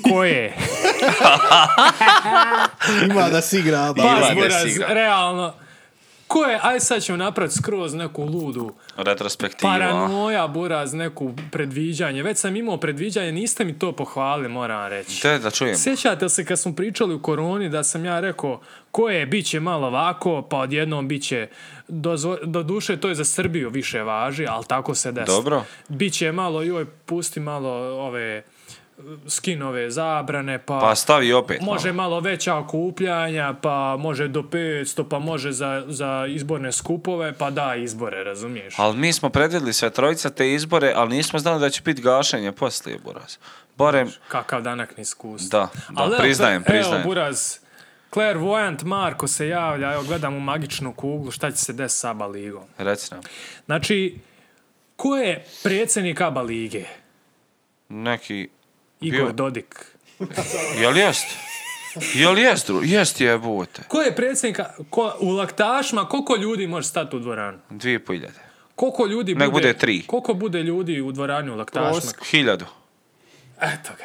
Speaker 1: koje?
Speaker 2: Ima da si igra, ba.
Speaker 3: Ivan
Speaker 1: Pas
Speaker 3: je
Speaker 1: Buraz,
Speaker 3: sigra.
Speaker 1: Pa, realno. Koje, aj sad ćemo napraviti skroz neku ludu
Speaker 3: Retrospektiva.
Speaker 1: paranoja, buraz, neku predviđanje. Već sam imao predviđanje, niste mi to pohvalili, moram reći.
Speaker 3: Te da čujem.
Speaker 1: Sjećate li se kad smo pričali u koroni da sam ja rekao koje bit će malo ovako, pa odjednom bit će, dozvo- do duše to je za Srbiju više važi, ali tako se desi.
Speaker 3: Dobro.
Speaker 1: Biće malo, joj, pusti malo ove skinove zabrane, pa...
Speaker 3: Pa stavi opet.
Speaker 1: Može
Speaker 3: malo.
Speaker 1: malo veća okupljanja, pa može do 500, pa može za, za izborne skupove, pa da, izbore, razumiješ?
Speaker 3: Ali mi smo predvidjeli sve trojica te izbore, ali nismo znali da će biti gašenje poslije, Buraz. Barem,
Speaker 1: Kakav danak niskus.
Speaker 3: Da, da, priznajem, priznajem.
Speaker 1: Evo, Buraz, Clairvoyant Marko se javlja, evo, gledam u magičnu kuglu, šta će se desiti s ABA ligom.
Speaker 3: reci nam,
Speaker 1: Znači, ko je predsjednik ABA lige?
Speaker 3: neki...
Speaker 1: Igor
Speaker 3: Bio.
Speaker 1: Dodik.
Speaker 3: Jel jest? Jel jest, dru- Jest jebote.
Speaker 1: Ko je predsjednik, ko, u laktašima, koliko ljudi može stati u dvoranu?
Speaker 3: Dvije i po hiljade.
Speaker 1: Koliko ljudi
Speaker 3: Nek bude tri.
Speaker 1: Koliko bude ljudi u dvorani u laktašima?
Speaker 3: Hiljadu.
Speaker 1: Eto ga.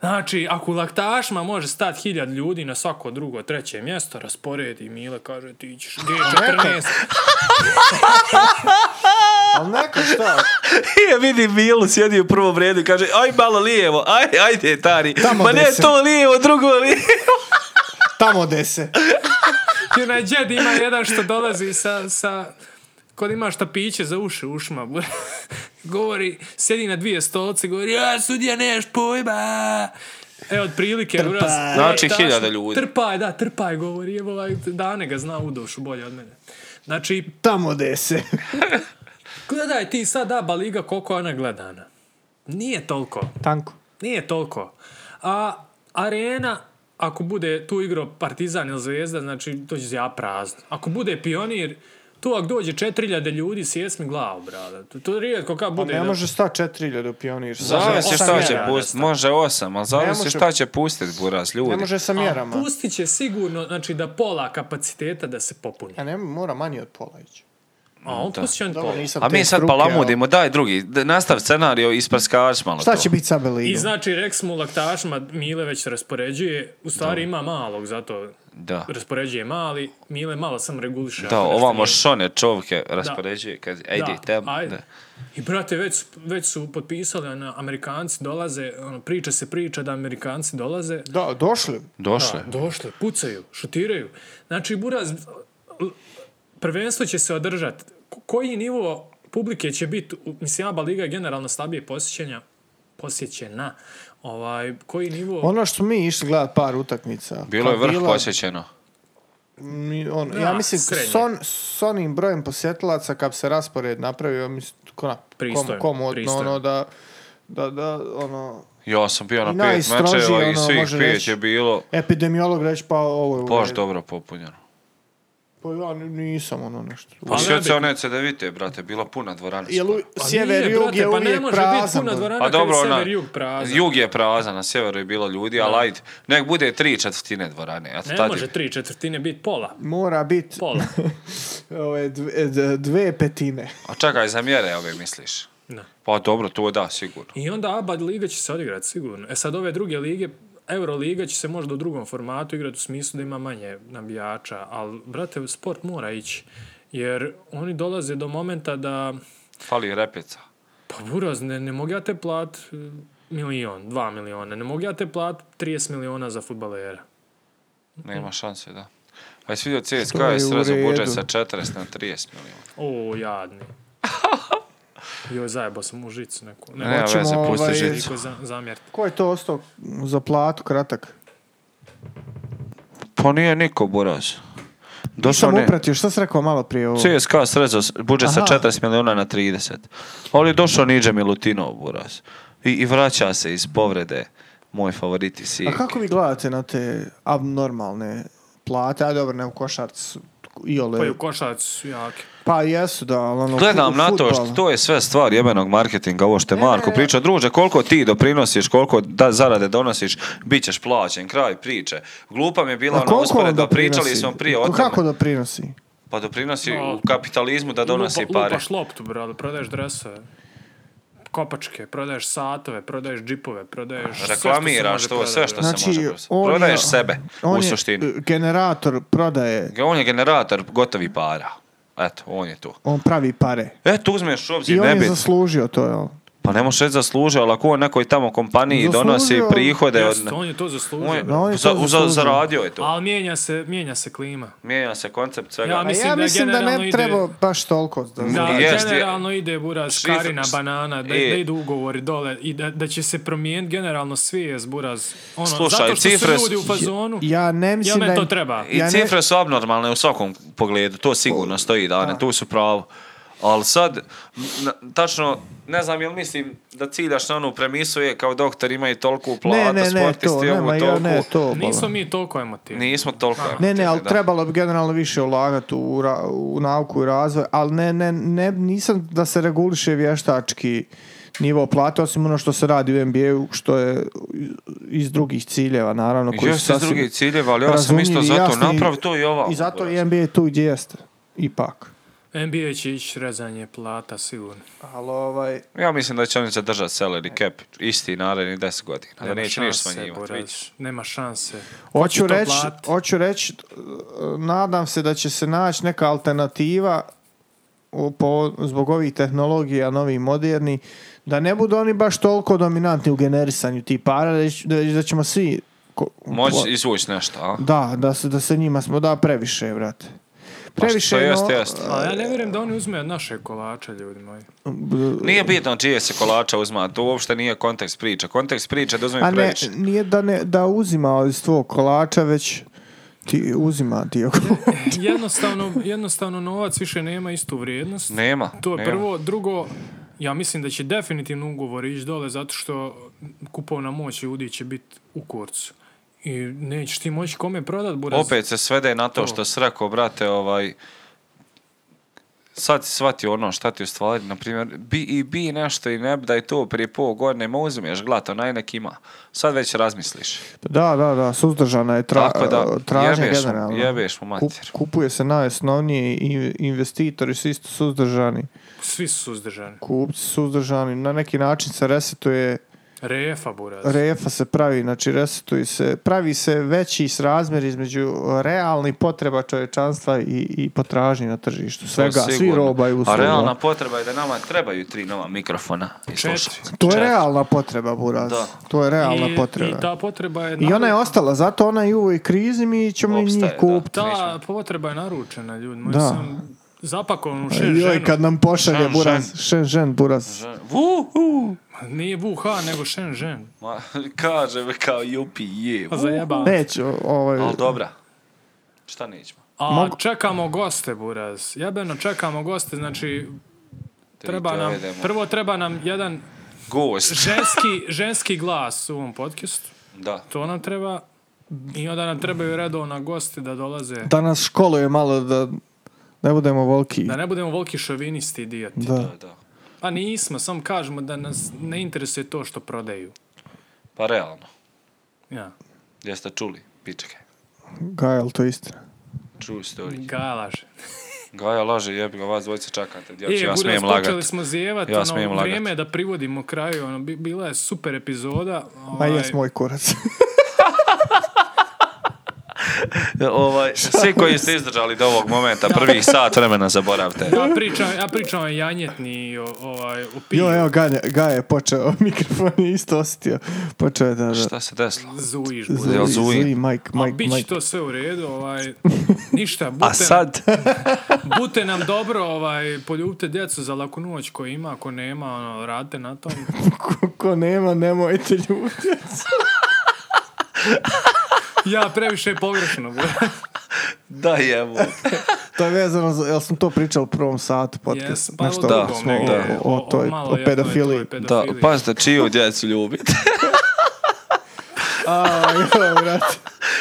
Speaker 1: Znači, ako u laktašima može stati hiljad ljudi na svako drugo, treće mjesto, rasporedi Mile, kaže ti ćeš G14.
Speaker 2: Ali neka šta?
Speaker 3: I ja vidim Milu sjedi u prvom redu i kaže, aj malo lijevo, aj, ajde Tari.
Speaker 2: Tamo
Speaker 3: Ma ne,
Speaker 2: desno.
Speaker 3: to lijevo, drugo lijevo.
Speaker 2: Tamo dese.
Speaker 1: Ti onaj džed ima jedan što dolazi sa, sa kod ima šta piće za uši u ušima. bu- govori, sjedi na dvije stolce, govori, ja sudija neš pojma. E, otprilike, trpaj.
Speaker 3: Znači, hiljada ljudi.
Speaker 1: Trpaj, da, trpaj, govori, evo, ovaj dane ga zna u dušu bolje od mene. Znači,
Speaker 2: Tamo dese.
Speaker 1: Gledaj ti sad ABA liga koliko je ona gledana. Nije toliko.
Speaker 2: Tanko.
Speaker 1: Nije toliko. A arena, ako bude tu igrao Partizan ili Zvezda, znači to će zja prazno. Ako bude Pionir, tu ako dođe 4000 ljudi, sjesmi glavu, brada. To, to rijetko kad
Speaker 2: Pa
Speaker 1: bude.
Speaker 2: ne
Speaker 1: da-
Speaker 2: može sta 4000 u pionir.
Speaker 3: Zavisi
Speaker 1: osam
Speaker 3: šta će
Speaker 1: hiljada,
Speaker 3: pustiti. Može osam, ali zavisi
Speaker 2: može-
Speaker 3: šta će pustiti Buraz, ljudi.
Speaker 2: Ne može sa
Speaker 1: A
Speaker 2: mjerama.
Speaker 1: pustit će sigurno, znači da pola kapaciteta da se popuni.
Speaker 2: A ne, mora manje od pola ići.
Speaker 1: A on pustit će on
Speaker 2: E, Dobro,
Speaker 1: pola.
Speaker 2: nisam
Speaker 3: A
Speaker 2: te
Speaker 3: mi sad
Speaker 2: struke, ali-
Speaker 3: palamudimo, daj drugi, d- nastav scenario, isprskavaš malo
Speaker 2: Šta
Speaker 3: to.
Speaker 2: će biti sa Beligom?
Speaker 1: I znači, rek smo u laktašima, Mile već se raspoređuje, u stvari ima malog, zato
Speaker 3: Da.
Speaker 1: raspoređuje mali, Mile malo sam reguliše.
Speaker 3: Da,
Speaker 1: ako nešto
Speaker 3: ovamo
Speaker 1: nije-
Speaker 3: šone čovke raspoređuje, kad ajde,
Speaker 1: Da,
Speaker 3: tem,
Speaker 1: ajde.
Speaker 3: da.
Speaker 1: I brate, već, su- već su potpisali, ono, Amerikanci dolaze, ono, priča se priča da Amerikanci dolaze.
Speaker 2: Da, došli.
Speaker 3: Došle.
Speaker 1: Da, došli, pucaju, šutiraju. Znači, Buraz, l- prvenstvo će se održati. Koji nivo publike će biti, u- mislim, ABA Liga je generalno slabije posjećenja, posjećena, ovaj, koji nivo...
Speaker 2: Ono što smo mi išli gledat par utakmica.
Speaker 3: Bilo je
Speaker 2: pa
Speaker 3: vrh
Speaker 2: bila-
Speaker 3: posjećeno.
Speaker 2: mi- ono,
Speaker 1: Da,
Speaker 2: ja mislim,
Speaker 1: srednje.
Speaker 2: son, s onim brojem posjetilaca, kad bi se raspored napravio, mislim, ko na,
Speaker 1: Pristojno,
Speaker 2: kom, komodno,
Speaker 1: pristojno.
Speaker 2: ono, da, da, da, ono,
Speaker 3: Ja sam bio na
Speaker 2: I
Speaker 3: pet
Speaker 2: najstrožije,
Speaker 3: mečeva i
Speaker 2: ono,
Speaker 3: svih
Speaker 2: može
Speaker 3: pet
Speaker 2: reći.
Speaker 3: je bilo
Speaker 2: epidemiolog reći, pa ovo je u
Speaker 3: baš
Speaker 2: redu.
Speaker 3: dobro popunjeno.
Speaker 2: Pa ja ni- nisam ono nešto.
Speaker 1: Pa ne
Speaker 3: Sjeća
Speaker 1: bi-
Speaker 3: one CDVite, brate, bila puna dvorana.
Speaker 2: Jel u-
Speaker 1: Pa
Speaker 2: sjever
Speaker 1: nije,
Speaker 2: jug
Speaker 1: brate,
Speaker 2: je
Speaker 1: pa ne
Speaker 2: uvijek
Speaker 1: može biti
Speaker 2: prazan.
Speaker 1: puna
Speaker 2: brate.
Speaker 1: dvorana
Speaker 3: Pa dobro,
Speaker 1: kad je
Speaker 3: ona,
Speaker 1: sever jug prazan.
Speaker 3: jug je prazan, na sjeveru je bilo ljudi, ali ajde, nek bude tri četvrtine dvorane. Eto,
Speaker 1: Ne
Speaker 3: tad je-
Speaker 1: može tri četvrtine biti pola.
Speaker 2: Mora biti
Speaker 1: Pola.
Speaker 2: ove dve, d- dve petine.
Speaker 3: A čekaj, za mjere ove misliš?
Speaker 1: Da.
Speaker 3: Pa dobro, to da, sigurno.
Speaker 1: I onda Abad Liga će se odigrati sigurno. E sad ove druge lige, Euroliga će se možda u drugom formatu igrati u smislu da ima manje nabijača, ali brate, sport mora ići. Jer oni dolaze do momenta da,
Speaker 3: Fali repica.
Speaker 1: pa buraz, ne, ne mogu ja te plat eh, milion, dva miliona, ne mogu ja te plat 30 miliona za futbalera.
Speaker 3: Nema šanse, da. A jesi vidio CSKA
Speaker 2: je
Speaker 3: je
Speaker 2: Mm. u
Speaker 3: srezao budžet
Speaker 2: redu.
Speaker 3: sa 40 na 30 milijuna.
Speaker 1: O, jadni. Joj, zajebao sam u žicu neku. Ne,
Speaker 3: Ne,
Speaker 2: Hoćemo,
Speaker 3: veze, pusti
Speaker 2: ovaj,
Speaker 3: žicu.
Speaker 1: niko za, zamjeriti.
Speaker 2: Ko je to ostao za platu kratak?
Speaker 3: Pa nije niko, buraz. Došao
Speaker 2: Sam
Speaker 3: ne...
Speaker 2: upratio, šta si rekao malo prije ovo?
Speaker 3: CSKA srezao s- budžet sa
Speaker 2: Aha.
Speaker 3: 40 milijuna na 30. Ali je došao Niđe Milutinov, buraz. I, I vraća se iz povrede moj favoriti si.
Speaker 2: A kako vi gledate na te abnormalne plate? A dobro, ne u košarc i
Speaker 1: Pa i
Speaker 2: ole.
Speaker 1: u košac su jaki.
Speaker 2: Pa jesu da, ali ono...
Speaker 3: Gledam
Speaker 2: fu-
Speaker 3: na to,
Speaker 2: fudbal.
Speaker 3: što to je sve stvar jebenog marketinga, ovo što je
Speaker 2: Ne, ne,
Speaker 3: Marko
Speaker 2: ne.
Speaker 3: priča. Druže, koliko ti doprinosiš, koliko da zarade donosiš, bit ćeš plaćen, kraj priče. Glupa mi je
Speaker 2: A
Speaker 3: bila ona
Speaker 2: koliko on
Speaker 3: usporedba,
Speaker 2: doprinosi?
Speaker 3: pričali smo prije o tome.
Speaker 2: Kako doprinosi?
Speaker 3: Pa doprinosi
Speaker 1: No.
Speaker 3: u kapitalizmu da donosi
Speaker 1: Lupa-
Speaker 3: pare.
Speaker 1: Lupaš loptu, brale, prodaješ dresove, kopačke, prodaješ satove, prodaješ džipove, prodaješ... sve što se
Speaker 3: Reklamiraš
Speaker 1: može
Speaker 3: to,
Speaker 1: prodati,
Speaker 3: sve što
Speaker 1: brale.
Speaker 3: se
Speaker 2: Znači,
Speaker 3: može.
Speaker 2: on je-
Speaker 3: Prodaješ sebe, u
Speaker 2: On je
Speaker 3: suštini.
Speaker 2: e, generator prodaje,
Speaker 3: Dakle, On je generator gotovi para. Eto, on je tu.
Speaker 2: on pravi pare.
Speaker 3: Eto, uzmeš u
Speaker 2: I
Speaker 3: obzir
Speaker 2: on je
Speaker 3: nebit.
Speaker 2: zaslužio to, jel?
Speaker 3: Pa ne možeš reći zaslužio, ali ako on nekoj tamo kompaniji donosi
Speaker 2: Zaslužio.
Speaker 3: prihode od...
Speaker 1: Jeste, on je to zaslužio.
Speaker 3: On je,
Speaker 1: brale.
Speaker 2: on je to
Speaker 3: za- za-
Speaker 2: zaslužio.
Speaker 3: zaradio je to.
Speaker 1: Ali mijenja se, mijenja se klima.
Speaker 3: Mijenja se koncept svega.
Speaker 1: Ja
Speaker 2: A
Speaker 1: Mislim
Speaker 2: ja
Speaker 1: da
Speaker 2: mislim da,
Speaker 1: generalno
Speaker 2: ne
Speaker 1: ide-
Speaker 2: treba baš toliko. Da,
Speaker 1: Da,
Speaker 3: jest, je.
Speaker 1: generalno ide buraz
Speaker 3: Šifr-
Speaker 1: škarina, banana, da, da
Speaker 3: E.
Speaker 1: idu ugovori dole i da, da će se promijeniti generalno svijest buraz. Ono,
Speaker 3: Slušaj,
Speaker 1: zato što su
Speaker 3: cifre su-
Speaker 1: ljudi u fazonu,
Speaker 2: Ja ne
Speaker 1: jel
Speaker 2: mislim da...
Speaker 1: me to
Speaker 2: im-
Speaker 1: treba?
Speaker 3: I
Speaker 2: Ja ne-
Speaker 3: cifre su abnormalne u svakom pogledu, to sigurno stoji, Dane, tu su pravo. Ali sad, na- tačno, ne znam jel mislim da ciljaš na onu premisu je kao doktor imaju toliko
Speaker 2: Ne,
Speaker 3: plata,
Speaker 2: ne, ne,
Speaker 3: sportisti
Speaker 2: to,
Speaker 3: ovu
Speaker 2: nema, ja
Speaker 3: toliko.
Speaker 2: ne, to.
Speaker 1: Nismo
Speaker 2: bolam.
Speaker 1: mi toliko emotivni.
Speaker 3: Nismo toliko.
Speaker 2: Ne, ne,
Speaker 3: emotivni,
Speaker 2: ali
Speaker 3: Pa, da.
Speaker 2: trebalo bi generalno više ulagati u, ra- u nauku i razvoj, ali ne, ne, ne, nisam da se reguliše vještački nivo plate, osim ono što se radi u NBA-u, što je iz drugih ciljeva, naravno. koji
Speaker 3: Još
Speaker 2: su
Speaker 3: se
Speaker 2: sasvim
Speaker 3: drugih ciljeva, ali ja sam
Speaker 2: razumljivi
Speaker 3: isto
Speaker 2: i
Speaker 3: zato
Speaker 2: jasni.
Speaker 3: naprav to i ova.
Speaker 2: I zato je NBA tu gdje jeste, ipak.
Speaker 1: NBA će ići rezanje plata, sigurno.
Speaker 2: Ali ovaj,
Speaker 3: Ja mislim da će oni zadržati salary cap isti narednih 10 godina, da neće ništa smanjivati.
Speaker 1: Boraz,
Speaker 3: vidit ćeš.
Speaker 1: Nema šanse.
Speaker 2: Hoću
Speaker 1: to
Speaker 2: reći,
Speaker 1: platit.
Speaker 2: hoću reći, e, nadam se da će se naći neka alternativa u- po, zbog ovih tehnologija, novi moderni, da ne budu oni baš toliko dominantni u generisanju tih para, da, će- da, da ćemo svi... ko-
Speaker 3: Moći izvući nešto, a?
Speaker 2: Da, da se, da se njima smo da previše, brate.
Speaker 3: Pa što
Speaker 2: je
Speaker 3: jeste,
Speaker 2: no-
Speaker 3: jeste.
Speaker 1: A ja ne vjerujem da oni uzme od naše kolača, ljudi moji.
Speaker 3: Nije bitno čije se kolača uzma, to uopšte nije kontekst priče. Kontekst priče da uzme
Speaker 2: A ne,
Speaker 3: previše.
Speaker 2: nije da, ne, da uzima iz tvog kolača, već ti uzima dio kolača.
Speaker 1: Jednostavno, jednostavno novac više nema istu vrijednost.
Speaker 3: Nema.
Speaker 1: To je
Speaker 3: nema.
Speaker 1: prvo. Drugo, ja mislim da će definitivno ugovor ići dole zato što kupovna moć ljudi će biti u kurcu. I nećeš ti moći kome prodat, buraz.
Speaker 3: Opet se svede na to
Speaker 1: To.
Speaker 3: što si rekao, brate, ovaj... Sad si shvatio ono šta ti u stvari, na primjer, bi i bi nešto i ne bi da je to prije pol godine, ma uzmiješ glato, onaj nek ima. Sad već razmisliš.
Speaker 2: Da, da, da, suzdržana je tra,
Speaker 3: Tako da,
Speaker 2: tražnja
Speaker 3: jebeš mu-
Speaker 2: generalno.
Speaker 3: jebeš mu
Speaker 2: Kup-
Speaker 3: mater.
Speaker 2: kupuje se najosnovniji i- investitori su isto suzdržani,
Speaker 1: Svi su suzdržani.
Speaker 2: kupci su suzdržani, na neki način se resetuje,
Speaker 1: Refa, buraz.
Speaker 2: refa se pravi, znači resetuje se, pravi se veći srazmjer između realnih potreba čovječanstva i, i potražnji na tržištu, svega, svi
Speaker 3: Sigurno.
Speaker 2: roba i
Speaker 3: A
Speaker 2: usluga.
Speaker 3: realna potreba je da nama trebaju tri nova mikrofona. I
Speaker 1: Četiri.
Speaker 3: slušalice.
Speaker 2: To je
Speaker 3: Četiri.
Speaker 2: realna potreba, Buraz.
Speaker 3: Da.
Speaker 2: To je realna
Speaker 1: I,
Speaker 2: potreba.
Speaker 1: I ta potreba je...
Speaker 2: I ona je ostala, zato ona i u ovoj krizi mi ćemo i
Speaker 3: Opstaje,
Speaker 2: njih
Speaker 3: da.
Speaker 2: kupiti.
Speaker 1: Ta
Speaker 3: Mislim.
Speaker 1: potreba je naručena, ljudi. Moji
Speaker 2: Da.
Speaker 1: sam zapakovan u šest
Speaker 2: Joj,
Speaker 1: ženu.
Speaker 2: kad nam pošalje
Speaker 3: Shenzhen.
Speaker 2: Buraz, Shenzhen Buraz.
Speaker 3: Vuhu!
Speaker 1: Nije Wuhan, nego Shenzhen.
Speaker 3: Ma, kaže me kao jupi je.
Speaker 1: Pa zajebam.
Speaker 2: Neću, ovaj...
Speaker 3: Ali dobra. Šta nećemo?
Speaker 1: A čekamo goste, Buraz. Jebeno, čekamo goste, znači... Treba
Speaker 3: to
Speaker 1: nam,
Speaker 3: jedemo.
Speaker 1: prvo treba nam jedan
Speaker 3: Gost.
Speaker 1: ženski, ženski glas u ovom podcastu.
Speaker 3: Da.
Speaker 1: To nam treba. I onda nam trebaju redovna gosti da dolaze.
Speaker 2: Da nas školuje malo da ne budemo volki.
Speaker 1: Da ne budemo volki šovinisti idioti.
Speaker 2: Da.
Speaker 3: Da.
Speaker 1: Pa nismo, samo kažemo da nas ne interesuje to što prodaju.
Speaker 3: Pa realno.
Speaker 1: Ja.
Speaker 3: Jeste čuli? Pičke.
Speaker 2: Gajal, to je istina.
Speaker 3: True story.
Speaker 1: Galaž.
Speaker 3: Gaja laže, jebi ga, vas dvojice čakate. Ja,
Speaker 1: E,
Speaker 3: ja
Speaker 1: Buras,
Speaker 3: smijem
Speaker 1: počeli
Speaker 3: lagati.
Speaker 1: smo zijevat,
Speaker 3: Ja smijem
Speaker 1: ono,
Speaker 3: lagat.
Speaker 1: vrijeme je da privodimo kraju, ono, bi- bila je super epizoda.
Speaker 2: Ma
Speaker 1: ovaj,
Speaker 2: jes moj kurac.
Speaker 3: Ovaj, svi koji ste izdržali do ovog momenta, prvih sat vremena zaboravte.
Speaker 1: Ja pričam, ja pričam o janjetni, o, ovaj, o piju.
Speaker 2: jo, e, evo, Gaja, Gaja je počeo, mikrofon je isto osjetio. Počeo je da... da
Speaker 3: Šta se desilo?
Speaker 1: Zujiš,
Speaker 2: zuji,
Speaker 1: bude.
Speaker 3: Jel zuji?
Speaker 2: zuji, Mike,
Speaker 1: Ma,
Speaker 2: Mike,
Speaker 1: bit će
Speaker 2: Mike.
Speaker 1: to sve u redu, ovaj, ništa, bute,
Speaker 3: A sad?
Speaker 1: bute nam dobro, ovaj, poljubite djecu za laku noć ko ima, ko nema, ono, radite na tom.
Speaker 2: Ko, ko nema, nemojte ljudi.
Speaker 1: Ja previše pogrešno.
Speaker 3: Da jemu.
Speaker 2: To je vezano, za, jel sam to pričao u prvom satu podcast?
Speaker 1: Jes, pa
Speaker 2: Nešto
Speaker 1: u
Speaker 3: Da,
Speaker 1: drugom
Speaker 2: smo
Speaker 1: negdje,
Speaker 3: da.
Speaker 2: o, o, toj,
Speaker 1: malo
Speaker 2: o
Speaker 1: je toj
Speaker 2: pedofiliji.
Speaker 3: Da, pa-
Speaker 1: pedofiliji.
Speaker 3: pazite čiju djecu ljubite.
Speaker 2: A, jo, brate.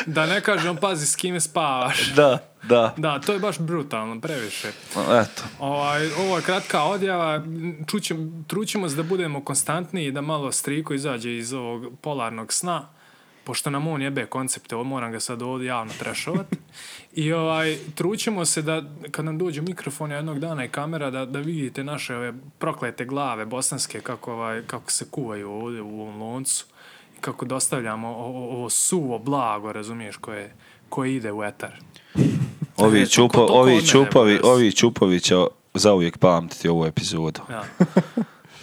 Speaker 1: Da ne kažem, pazi s kime spavaš.
Speaker 3: Da, da.
Speaker 1: Da, to je baš brutalno, previše.
Speaker 3: Eto.
Speaker 1: Ovaj, ovo je kratka odjava, čućem, trućemo se da budemo konstantniji, i da malo striko izađe iz ovog polarnog sna, pošto nam on jebe koncepte, ovo moram ga sad ovdje javno trešovat. I ovaj, trućemo se da, kad nam dođe mikrofon jednog dana i kamera, da, da vidite naše ove proklete glave bosanske, kako, ovaj, kako se kuvaju ovdje u ovom loncu i kako dostavljamo o- o- ovo suvo blago, razumiješ, koje, koje ide u etar.
Speaker 3: Ovi,
Speaker 1: Eto, ko
Speaker 3: čupo,
Speaker 1: to kod mene,
Speaker 3: ovi, čupovi,
Speaker 1: Buras?
Speaker 3: ovi čupovi će zauvijek pamtiti ovu epizodu.
Speaker 1: Ja.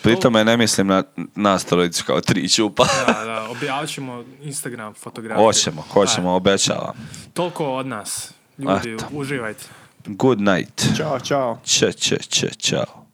Speaker 3: Pri tome ne mislim na nas trojicu kao tri čupa.
Speaker 1: Da, da, objavit ćemo Instagram fotografije.
Speaker 3: Hoćemo, hoćemo, obećavam.
Speaker 1: Aj, toliko od nas. Ljudi,
Speaker 3: Eto.
Speaker 1: uživajte.
Speaker 3: Good night.
Speaker 2: Ćao, čao.
Speaker 3: Ća, ća, ća, čao.